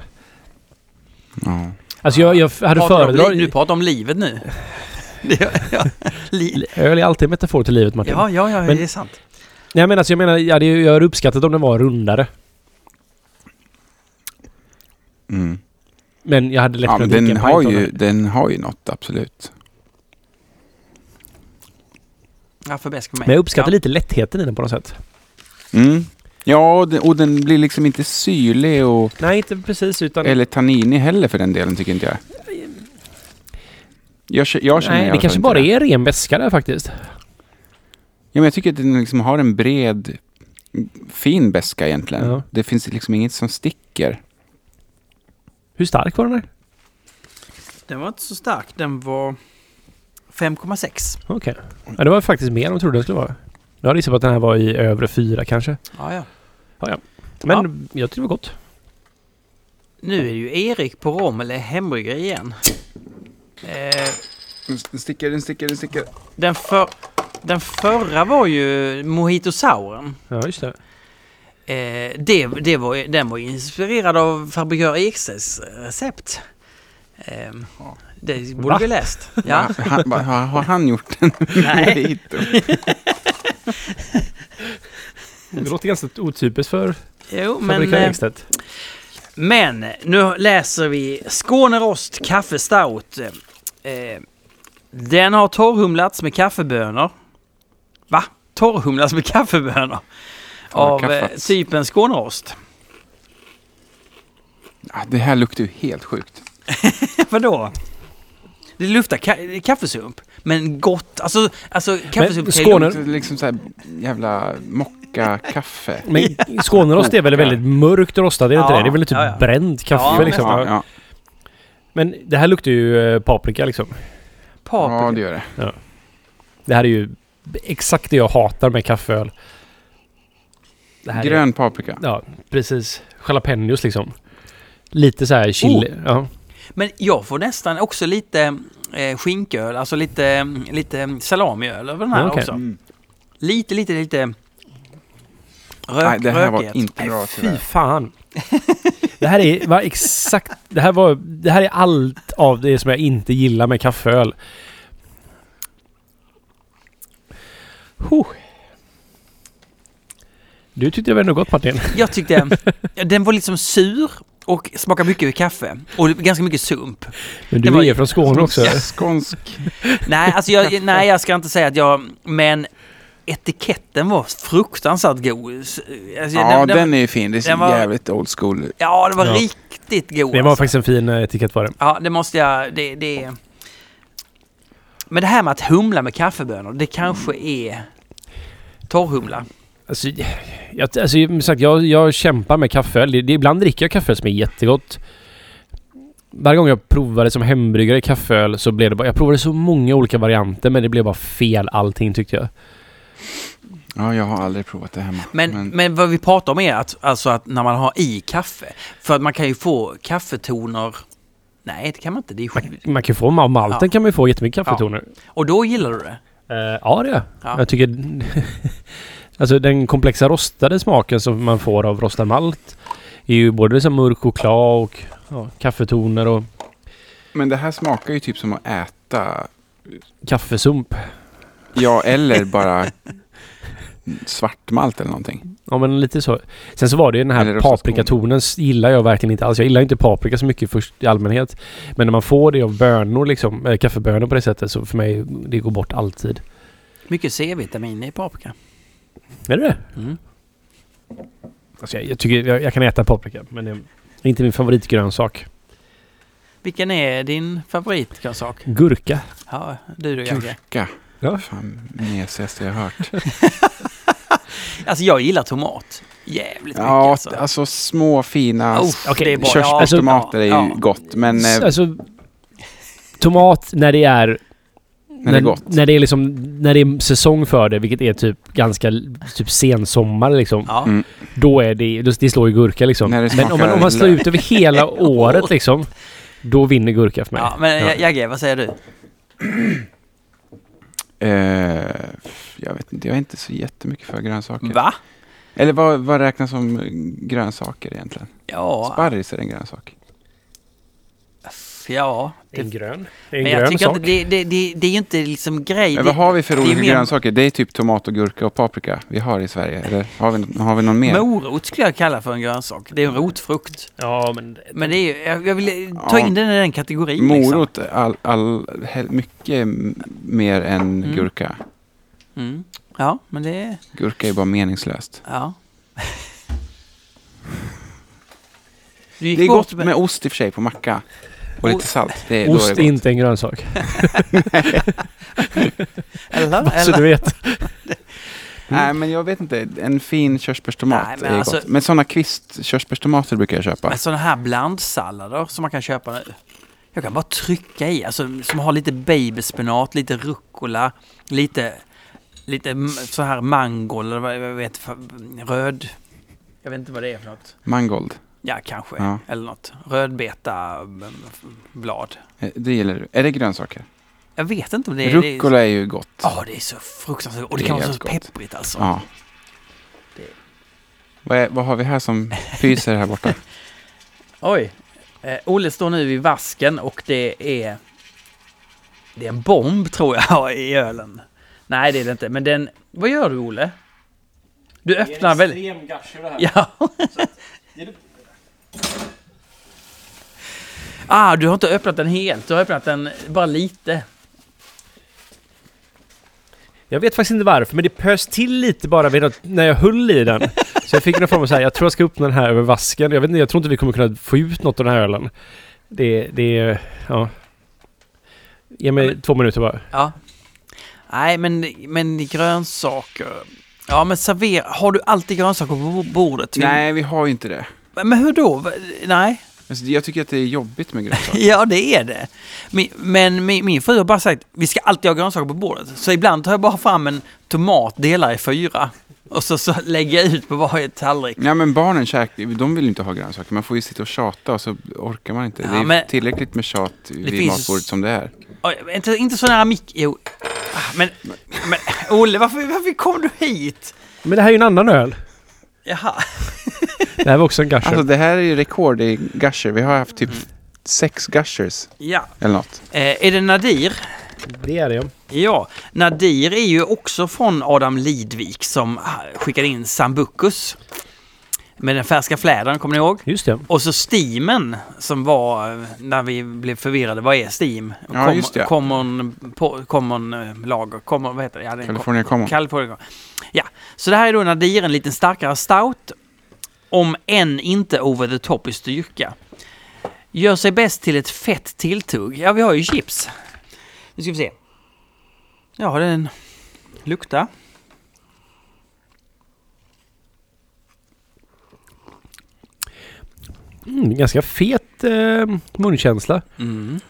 Speaker 3: Ja.
Speaker 2: Alltså jag, jag
Speaker 1: Pratar
Speaker 2: hade
Speaker 1: om li-
Speaker 2: föredragit...
Speaker 1: Du pratar om livet nu. Det- ja, li-
Speaker 2: Öl är alltid en metafor till livet, Martin.
Speaker 1: ja, ja, ja
Speaker 2: Men-
Speaker 1: det är sant.
Speaker 2: Nej, men alltså jag menar, jag hade ju- jag hade uppskattat om den var rundare.
Speaker 3: Mm.
Speaker 2: Men jag hade lätt
Speaker 3: ja men
Speaker 2: kunnat
Speaker 3: den,
Speaker 2: dricka en
Speaker 3: har
Speaker 2: pint av
Speaker 3: ju,
Speaker 2: den.
Speaker 3: den har ju något, absolut.
Speaker 1: Ja, för bäst för mig.
Speaker 2: Men jag uppskattar
Speaker 1: ja.
Speaker 2: lite lättheten i den på något sätt.
Speaker 3: Mm. Ja, och den, och den blir liksom inte syrlig och,
Speaker 2: Nej, inte precis utan...
Speaker 3: eller tanninig heller för den delen, tycker inte jag. Jag, kä- jag känner i
Speaker 2: nej,
Speaker 3: alla
Speaker 2: det
Speaker 3: fall
Speaker 2: kanske
Speaker 3: inte
Speaker 2: bara är ren väska där faktiskt.
Speaker 3: Ja, men jag tycker att den liksom har en bred, fin beska egentligen.
Speaker 2: Ja.
Speaker 3: Det finns liksom inget som sticker.
Speaker 2: Hur stark var den här?
Speaker 1: Den var inte så stark. Den var 5,6.
Speaker 2: Okej. Ja, det var faktiskt mer än jag trodde det skulle vara. Jag hade gissat på att den här var i övre fyra kanske.
Speaker 1: Ja, ja.
Speaker 2: Men jag tyckte det var gott.
Speaker 1: Nu är det ju Erik på Rommel hembryggare igen. Eh,
Speaker 3: Den sticker, den sticker, den sticker.
Speaker 1: den, för, den förra var ju Mojitosauren.
Speaker 2: Ja, just det.
Speaker 1: Eh, det, det var, den var ju inspirerad av Fabrikör Ekses recept. Eh, Ehm, det borde vi läst. Ja.
Speaker 3: Han, bara, har, har han gjort en
Speaker 1: Nej.
Speaker 3: mojito?
Speaker 2: Det låter ganska otypiskt för
Speaker 1: Jo, men,
Speaker 2: fabrikör
Speaker 1: eh,
Speaker 2: Ekstedt.
Speaker 1: men nu läser vi Skånerost kaffestout. Eh, den har torrhumlats med kaffebönor. Va? Torrhumlats med kaffebönor? Av eh,
Speaker 3: Torrkaffats.
Speaker 1: typen Skånerost.
Speaker 3: Ja, det här luktar ju helt sjukt.
Speaker 1: Vadå? Det luktar ka- kaffesump. Men gott. Alltså, alltså kaffesump kan ju
Speaker 2: Skåne-
Speaker 1: lukta-
Speaker 3: Det är liksom så här jävla mockakaffe.
Speaker 2: Men Skånerost är väl väldigt mörkt rostat, är det inte
Speaker 1: Ja,
Speaker 2: det? Det är väl typ
Speaker 1: ja, ja.
Speaker 2: bränd kaffe
Speaker 1: Ja,
Speaker 2: liksom.
Speaker 3: Ja, ja.
Speaker 2: Men det här luktar ju eh, paprika liksom.
Speaker 1: paprika.
Speaker 3: ja, det gör det.
Speaker 2: Det här är ju exakt det jag hatar med kaffeöl. Det här är-
Speaker 3: Grön paprika.
Speaker 2: Ja, precis. Jalapenos liksom. Lite så här chili. Ja.
Speaker 1: Men jag får nästan också lite eh, skinköl, alltså lite, lite salamiöl över den här
Speaker 2: Ja, okej.
Speaker 1: också.
Speaker 3: Mm.
Speaker 1: Lite, lite, lite rök,
Speaker 3: Nej, det här var
Speaker 1: rökighet.
Speaker 3: inte bra
Speaker 2: Fy
Speaker 3: tyvärr.
Speaker 2: fan. Det här är var exakt... Det här, var, det här är allt av det som jag inte gillar med kaffeöl. Huh. Du tyckte det var ändå gott Martin.
Speaker 1: Jag tyckte den var liksom sur och smakade mycket kaffe och ganska mycket sump.
Speaker 2: Men
Speaker 1: Det var
Speaker 2: du är
Speaker 1: ju-
Speaker 2: från Skåne också.
Speaker 3: Skånsk.
Speaker 1: Nej, alltså jag, nej, jag ska inte säga att jag... Men etiketten var fruktansvärt god. Alltså,
Speaker 3: Ja, den är ju fin. Det är så
Speaker 1: den var-
Speaker 3: jävligt old school.
Speaker 1: ja, det var
Speaker 2: Ja.
Speaker 1: riktigt god.
Speaker 2: Det var
Speaker 1: alltså.
Speaker 2: faktiskt en fin eh, etikett på det.
Speaker 1: Ja, det måste jag... Det, det... Men det här med att humla med kaffebönor, det kanske är torrhumla.
Speaker 2: Alltså, jag, alltså, som sagt, jag, jag kämpar med kaffe. Det, det, ibland dricker jag kaffe som är jättegott. Varje gång jag provade som hembryggare kaffeöl så blev det bara... Jag provade så många olika varianter men det blev bara fel allting tyckte jag.
Speaker 3: Ja, jag har aldrig provat det hemma.
Speaker 1: Men, men. vad vi pratar om är att, alltså att när man har i kaffe, för att man kan ju få kaffetoner Nej, det kan man inte. Det är skit.
Speaker 2: Man kan ju få... Av malten
Speaker 1: Ja.
Speaker 2: kan man ju få jättemycket kaffetoner.
Speaker 1: Och då gillar du det?
Speaker 2: Eh, ja, det gör jag.
Speaker 1: Ja.
Speaker 2: Jag tycker... alltså den komplexa rostade smaken som man får av rostad malt är ju både som mörk choklad och ja, kaffetoner och
Speaker 3: men det här smakar ju typ som att äta,
Speaker 2: kaffesump.
Speaker 3: ja, eller bara svartmalt eller någonting.
Speaker 2: Ja men lite så. Sen så var det ju den
Speaker 3: Eller
Speaker 2: här
Speaker 3: rostad
Speaker 2: paprikatonen s- gillar jag verkligen inte alls. Jag gillar inte paprika så mycket först i allmänhet. Men när man får det av bönor liksom, äh, kaffebönor på det sättet så för mig, det går bort alltid.
Speaker 1: Mycket C-vitamin i paprika.
Speaker 2: Är det det?
Speaker 1: Mm.
Speaker 2: Alltså jag, jag tycker, jag, jag kan äta paprika men det är inte min favoritgrönsak.
Speaker 1: Vilken är din favoritgrönsak?
Speaker 2: Gurka.
Speaker 1: Ja, du då Jagge.
Speaker 3: Gurka.
Speaker 2: Ja.
Speaker 3: Fan, mesigaste jag har hört.
Speaker 1: Alltså jag gillar tomat. Jävligt mycket
Speaker 3: Ja,
Speaker 1: alltså.
Speaker 3: alltså små fina
Speaker 1: Uff,
Speaker 2: okej,
Speaker 1: det är bra.
Speaker 3: körsbärstomater är ju
Speaker 1: ja.
Speaker 3: gott, men eh,
Speaker 2: S- Alltså, tomat när det är...
Speaker 3: när det är gott.
Speaker 2: När det är liksom, när det är säsong för det, vilket är typ ganska, typ sensommar liksom.
Speaker 1: Ja.
Speaker 3: Mm.
Speaker 2: Då är det, då- det slår ju gurka liksom.
Speaker 3: När det
Speaker 2: Men om man,
Speaker 3: smakar
Speaker 2: om man slår
Speaker 3: lök.
Speaker 2: ut över hela året liksom, då vinner gurka för mig.
Speaker 1: ja, men
Speaker 2: Ja.
Speaker 1: Jagge, vad säger du?
Speaker 3: Eh, jag vet inte, jag är inte så jättemycket för grönsaker.
Speaker 1: Va?
Speaker 3: Eller vad, vad räknas som grönsaker egentligen?
Speaker 1: Ja,
Speaker 3: Sparris är en grönsak.
Speaker 1: f- ja.
Speaker 2: Det är en grön. Det är en
Speaker 1: Men jag
Speaker 2: grön
Speaker 1: tycker
Speaker 2: sak.
Speaker 1: inte, det, det, det, det är ju inte liksom grej.
Speaker 3: Men vad har vi för
Speaker 1: det är
Speaker 3: olika
Speaker 1: mer-
Speaker 3: grönsaker? Det är typ tomat och gurka och paprika vi har i Sverige. Eller har vi, har vi någon mer?
Speaker 1: Morot skulle jag kalla för en grönsak. Det är en rotfrukt.
Speaker 2: Ja, men...
Speaker 1: Men det är ju, jag, jag vill ta
Speaker 3: Ja.
Speaker 1: in den i den kategorin. Liksom.
Speaker 3: Morot, är all, all, he- mycket m- mer än
Speaker 1: Mm.
Speaker 3: gurka.
Speaker 1: Mm. Ja, men det är...
Speaker 3: Gurka är bara meningslöst.
Speaker 1: Ja. Du gick
Speaker 3: Det är
Speaker 1: bort
Speaker 3: gott med ost i och för sig på macka. Och lite salt. Det, är- då
Speaker 2: Ost
Speaker 3: är
Speaker 2: är
Speaker 3: det gott.
Speaker 2: inte en grönsak.
Speaker 1: Eller?
Speaker 2: Så Alltså, du
Speaker 1: eller?
Speaker 2: vet.
Speaker 3: Nej, men jag vet inte. En fin körsbärstomat
Speaker 1: Nej, men
Speaker 3: är
Speaker 1: alltså-
Speaker 3: gott. Men sådana kvistkörsbärstomater brukar jag köpa.
Speaker 1: Men sådana här blandsallader som man kan köpa nu. Jag kan bara trycka i, alltså som har lite babyspenat, lite rucola, lite, lite m- så här mango eller vad jag vet, för- röd. Jag vet inte vad det är för något.
Speaker 3: Mangold.
Speaker 1: Ja, kanske.
Speaker 3: Ja.
Speaker 1: Eller något. Rödbeta mm, blad.
Speaker 3: Eh, Det gillar du. Är det grönsaker?
Speaker 1: Jag vet inte om det är... det är-
Speaker 3: Rucola är ju gott.
Speaker 1: Ja, det är så fruktansvärt Och det
Speaker 3: Det
Speaker 1: kan
Speaker 3: är
Speaker 1: vara så
Speaker 3: jävligt gott.
Speaker 1: pepprigt alltså.
Speaker 3: Ja.
Speaker 1: Det-
Speaker 3: Vad, är, vad har vi här som pyser här borta?
Speaker 1: Oj. Eh, Olle står nu i vasken och det är... Det är en bomb tror jag i ölen. Nej, det är det inte. Men den... Vad gör du Olle? Du öppnar väl...
Speaker 2: extrem gusher det här.
Speaker 1: Ja.
Speaker 2: Det är-
Speaker 1: Ah, du har inte öppnat den helt. Du har öppnat den bara lite.
Speaker 2: Jag vet faktiskt inte varför, men det pös till lite bara vid något, när jag höll i den. Så jag fick någon form av så här, jag tror jag ska öppna den här över vasken. Jag vet inte, jag tror inte vi kommer kunna få ut något av den här ölen. Det, det, ja. Ge mig två minuter bara.
Speaker 1: Ja. Nej, men, men grönsaker. Ja, men servera. Har du alltid grönsaker på bordet?
Speaker 3: Nej, vi har ju inte det.
Speaker 1: Men hur då? Va- Nej.
Speaker 3: Alltså, jag tycker att det är jobbigt med grönsaker.
Speaker 1: Ja, det är det. Min, men min, min fru har bara sagt vi ska alltid ha grönsaker på bordet. Så ibland tar jag bara fram en tomat, delar i fyra och så, så lägger jag ut på varje tallrik.
Speaker 3: Nej, men barnen käkar, de vill ju inte ha grönsaker. Man får ju sitta och tjata och så orkar man inte.
Speaker 1: Ja,
Speaker 3: det är
Speaker 1: men-
Speaker 3: tillräckligt med tjat vid
Speaker 1: finns-
Speaker 3: matbordet som det är.
Speaker 1: Oj, inte, inte så nära mick. Jo. Ah, Men, men Olle, varför, varför kom du hit?
Speaker 2: Men det här är ju en annan öl.
Speaker 1: Jaha.
Speaker 2: Det här var också en gusher.
Speaker 3: Alltså det här är ju rekord i gusher. Vi har haft typ sex gushers
Speaker 1: Ja.
Speaker 3: eller något.
Speaker 1: Eh, är det Nadir?
Speaker 2: det är det ju.
Speaker 1: Ja, Nadir är ju också från Adam Lidvik som ah, skickade in Sambucus. Med den färska flädern, kommer ni ihåg?
Speaker 2: Just det.
Speaker 1: Och så Steamen som var eh, när vi blev förvirrade. Vad är Steam?
Speaker 3: Ja,
Speaker 1: Com-
Speaker 3: just det.
Speaker 1: Common, po- common eh, lager. Common, vad heter det? Ja, det är en
Speaker 3: California Common.
Speaker 1: California. Ja, så det här är då Nadir, en lite starkare stout. Om än inte over the top i styrka. Gör sig bäst till ett fett tilltugg. Ja, vi har ju chips. Nu ska vi se. Ja, den luktar.
Speaker 2: Mm, ganska fet eh, munkänsla.
Speaker 1: Mm.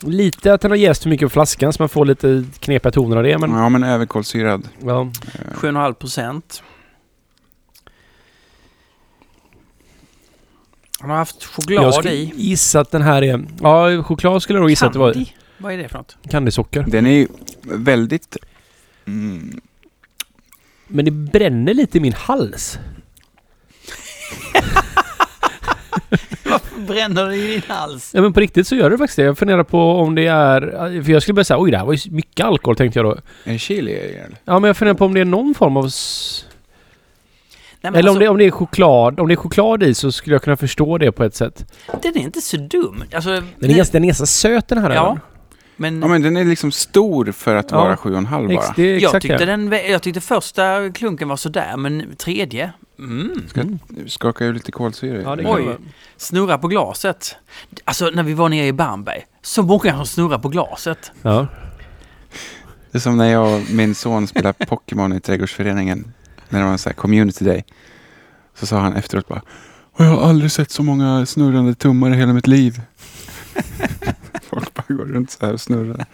Speaker 2: Lite att den har jäst för mycket på flaskan så man får lite knepiga toner av det. Men,
Speaker 3: Ja, men överkolsyrad.
Speaker 2: ja.
Speaker 1: 7,5 procent. Han har haft choklad
Speaker 2: Jag skulle
Speaker 1: i.
Speaker 2: gissa att den här är... Ja, choklad skulle jag nog gissa att det
Speaker 1: Candy? Vad är det för något?
Speaker 2: var. Candysocker.
Speaker 3: Den är ju väldigt... Mm.
Speaker 2: Men det bränner lite i min hals.
Speaker 1: Varför bränner det i din hals?
Speaker 2: Ja men på riktigt så gör det faktiskt det. Jag funderar på om det är... För jag skulle börja säga oj det här var ju mycket alkohol tänkte jag då.
Speaker 3: Är det chili i den?
Speaker 2: Ja men jag funderar på om det är någon form av... s-
Speaker 1: Nej, men
Speaker 2: Eller om,
Speaker 1: alltså,
Speaker 2: det, om det är choklad. Om det är choklad i så skulle jag kunna förstå det på ett sätt.
Speaker 1: Den är inte så dum. Alltså,
Speaker 2: Den är, ganska, den är ganska söt den här
Speaker 1: Ja,
Speaker 2: ölen.
Speaker 1: men,
Speaker 3: Ja, men den är liksom stor för att
Speaker 2: Ja.
Speaker 3: vara 7,5 bara.
Speaker 2: Ex, det är
Speaker 1: jag,
Speaker 2: exakt
Speaker 1: tyckte
Speaker 2: det.
Speaker 1: den, jag tyckte första klunken var sådär, men tredje? Mm.
Speaker 2: Mm.
Speaker 3: Skakar ju lite kolsyra i
Speaker 2: Ja, det
Speaker 3: den.
Speaker 1: Oj.
Speaker 2: kan vara.
Speaker 1: Snurra på glaset. Alltså när vi var nere i Bamberg, så många som snurrar på glaset.
Speaker 2: Ja.
Speaker 3: Det är som när jag och min son spelade Pokémon i trädgårdsföreningen. När det var en sån här community day. Så sa han efteråt bara "Och Jag har aldrig sett så många snurrande tummar i hela mitt liv. Folk bara går runt så här och snurrar.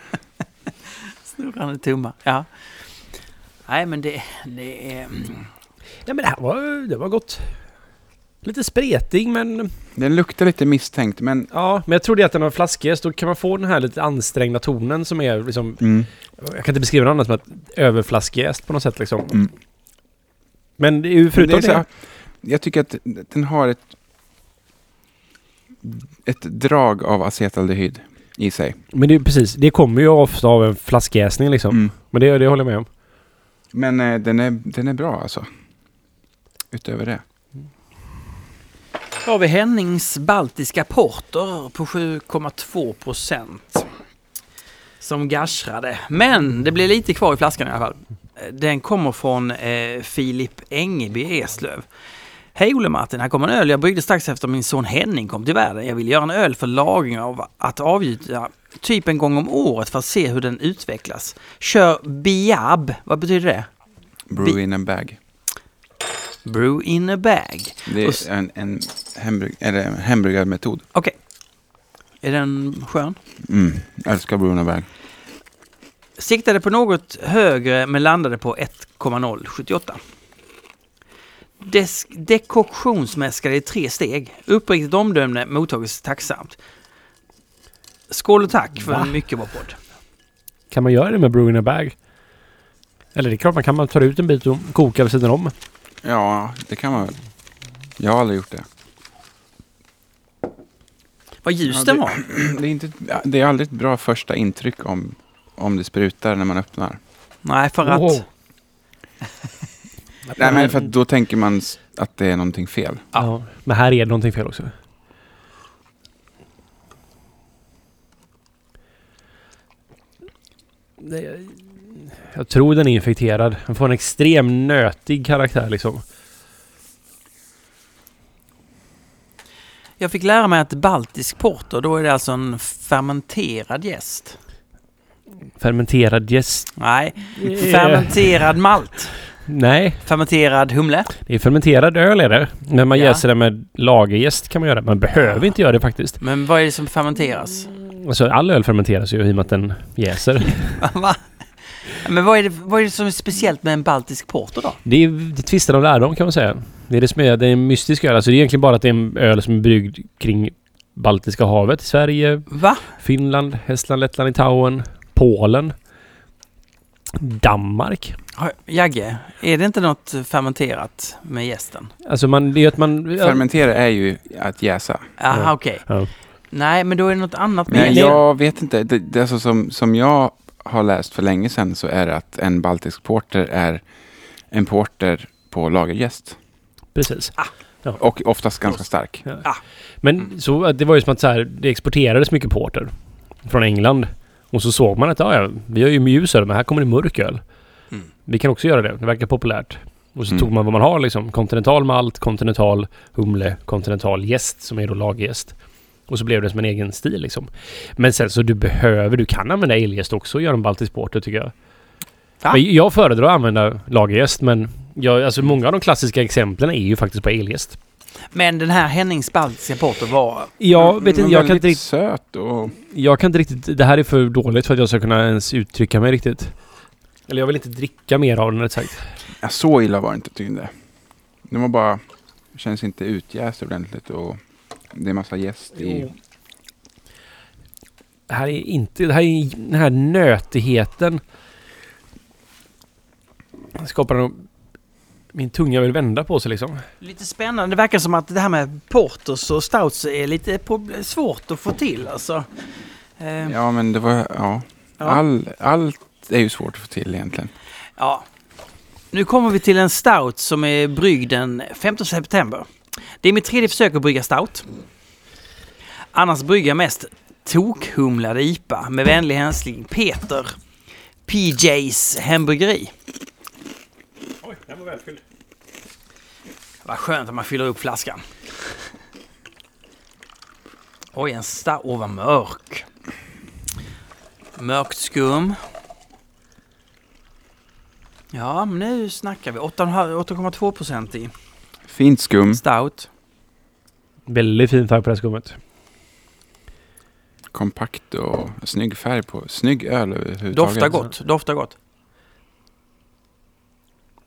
Speaker 1: Snurrande tummar. Ja. Nej, men det, det är... mm.
Speaker 2: Nej men det här var, det var gott. Lite spretig men...
Speaker 3: Den luktar lite misstänkt men
Speaker 2: Ja, men jag tror det är att den har flaskjäst. Då kan man få den här lite ansträngda tonen som är liksom...
Speaker 3: mm.
Speaker 2: Jag kan inte beskriva det annat som att överflaskjäst på något sätt liksom.
Speaker 3: Mm.
Speaker 2: Men det är ju
Speaker 3: det
Speaker 2: förutom
Speaker 3: är
Speaker 2: det...
Speaker 3: så, här- jag tycker att den har ett, ett drag av acetaldehyd i sig.
Speaker 2: Men det är precis, det kommer ju ofta av en flaskjäsning liksom.
Speaker 3: Mm.
Speaker 2: Men det, det håller jag med om.
Speaker 3: Men eh, den, är, den är bra alltså. Utöver det.
Speaker 1: Då har vi Hennings Baltiska Porter på 7,2 procent. Som gashrade. Men det blir lite kvar i flaskan i alla fall. Den kommer från eh, Filip Engeby Eslöv. Hej Olle Martin, här kommer en öl jag bryggde strax efter min son Henning kom till världen. Jag vill göra en öl för lagring av att avgjuta typ en gång om året för att se hur den utvecklas. Kör biab, vad betyder det?
Speaker 3: Brew in a bag.
Speaker 1: Brew in a bag.
Speaker 3: Det
Speaker 1: Och s-
Speaker 3: är en, en, hembrug, eller en hembryggarmetod.
Speaker 1: Okej. Är den skön?
Speaker 3: Mm. Jag älskar Bruno Berg.
Speaker 1: Siktade på något högre men landade på 1,078. Des- dekoktionsmäskade i tre steg. Uppriktigt omdöme mottagits tacksamt. Skål och tack för en mycket bra podd.
Speaker 2: Kan man göra det med brew in a bag? Eller det är klart man kan, man tar ut en bit och kokar vid sidan om.
Speaker 3: Ja, det kan man väl. Jag har aldrig gjort det.
Speaker 1: Vad ljus den var.
Speaker 3: Det är, inte, det är aldrig ett bra första intryck om, om det sprutar när man öppnar.
Speaker 1: Nej, för att...
Speaker 2: Wow.
Speaker 3: Nej,
Speaker 2: Mm.
Speaker 3: men för att då tänker man s- att det är någonting fel.
Speaker 2: Ja, men här är det någonting fel också. Nej, Jag tror den är infekterad. Den får en extrem nötig karaktär liksom.
Speaker 1: Jag fick lära mig att baltisk porter, då är det alltså en fermenterad jäst.
Speaker 2: Fermenterad jäst.
Speaker 1: Nej,
Speaker 2: Eh,
Speaker 1: fermenterad malt.
Speaker 2: Nej,
Speaker 1: Fermenterad humle.
Speaker 2: det är fermenterad öl är det. Men man
Speaker 1: Ja.
Speaker 2: jäser den med lagerjäst kan man göra. Man behöver inte göra det faktiskt.
Speaker 1: Men vad är det som fermenteras?
Speaker 2: Alltså all öl fermenteras ju i och med att den jäser.
Speaker 1: Va? Men vad är, det, vad är det som är speciellt med en baltisk porter då?
Speaker 2: Det är, det är tvisten om lärdom kan man säga. Det är det som är, det är en mystisk öl. Alltså det är egentligen bara att det är en öl som är bryggd kring Baltiska havet, Sverige,
Speaker 1: Va?
Speaker 2: Finland, Estland, Lettland, Litauen, Polen, Danmark.
Speaker 1: Har- Jagge, är det inte något fermenterat med jästen?
Speaker 2: Alltså man, det är ju att man... Ja,
Speaker 3: Fermentera är ju att jäsa.
Speaker 1: Aha,
Speaker 2: Ja.
Speaker 1: okej.
Speaker 2: Ja.
Speaker 1: Nej, men då är det något annat med
Speaker 3: Men
Speaker 2: det-
Speaker 1: jästen.
Speaker 3: jag vet inte. Det, det är så som, som jag har läst för länge sedan så är det att en baltisk porter är en porter på lagerjäst.
Speaker 2: precis.
Speaker 3: Och oftast ganska stark.
Speaker 2: Men så, att det var ju som att så här, det exporterades mycket porter från England. Och så såg man att ja, ja, vi har ju ljus öl, men här kommer det mörk öl.
Speaker 1: Mm.
Speaker 2: Vi kan också göra det. Det verkar populärt. Och så
Speaker 3: Mm.
Speaker 2: tog man vad man har liksom. Kontinental malt, kontinental humle, kontinental jäst som är då lagerjäst. Och så blev det som en egen stil liksom. Men sen så du behöver, du kan använda eljäst också och göra en baltisk porter tycker jag.
Speaker 1: Va?
Speaker 2: Men jag föredrar att använda lagerjäst men jag, alltså många av de klassiska exemplen är ju faktiskt på eljäst.
Speaker 1: Men den här Hennings baltiska porter var...
Speaker 2: Jag vet
Speaker 3: Mm, Men
Speaker 2: inte, jag kan
Speaker 3: väldigt
Speaker 2: inte riktigt...
Speaker 3: söt och...
Speaker 2: Jag kan inte riktigt... Det här är för dåligt för att jag ska kunna ens uttrycka mig riktigt. Eller jag vill inte dricka mer av den rätt sagt.
Speaker 3: Ja, så illa var det inte tyckte jag. Den var bara... Känns inte utjäst ordentligt och det är massa jäst i.
Speaker 2: Det här är inte... Det här är, den här nötigheten skapar nog... Min tunga vill vända på sig liksom.
Speaker 1: Lite spännande. Det verkar som att det här med porters och stouts är lite prob- svårt att få till alltså. Eh,
Speaker 3: Ja, men det var... Ja.
Speaker 1: Ja.
Speaker 3: All, allt är ju svårt att få till egentligen.
Speaker 1: Ja. Nu kommer vi till en stout som är bryggd den 15 september. Det är mitt tredje försök att brygga stout. Annars brygger jag mest tokhumlade IPA med vänlig hälsning Peter PJs hembryggeri.
Speaker 2: Oj, den var välfylld.
Speaker 1: Vad skönt att man fyller upp flaskan. Oj, en stout. Åh, vad mörk. Mörkt skum. Ja, men nu snackar vi. 8,2 procent i
Speaker 3: Fint skum,
Speaker 1: stout.
Speaker 2: Väldigt fin färg på det här skummet.
Speaker 3: kompakt och snygg färg på. Snygg öl överhuvudtaget.
Speaker 1: Doftar gott. Doftar gott.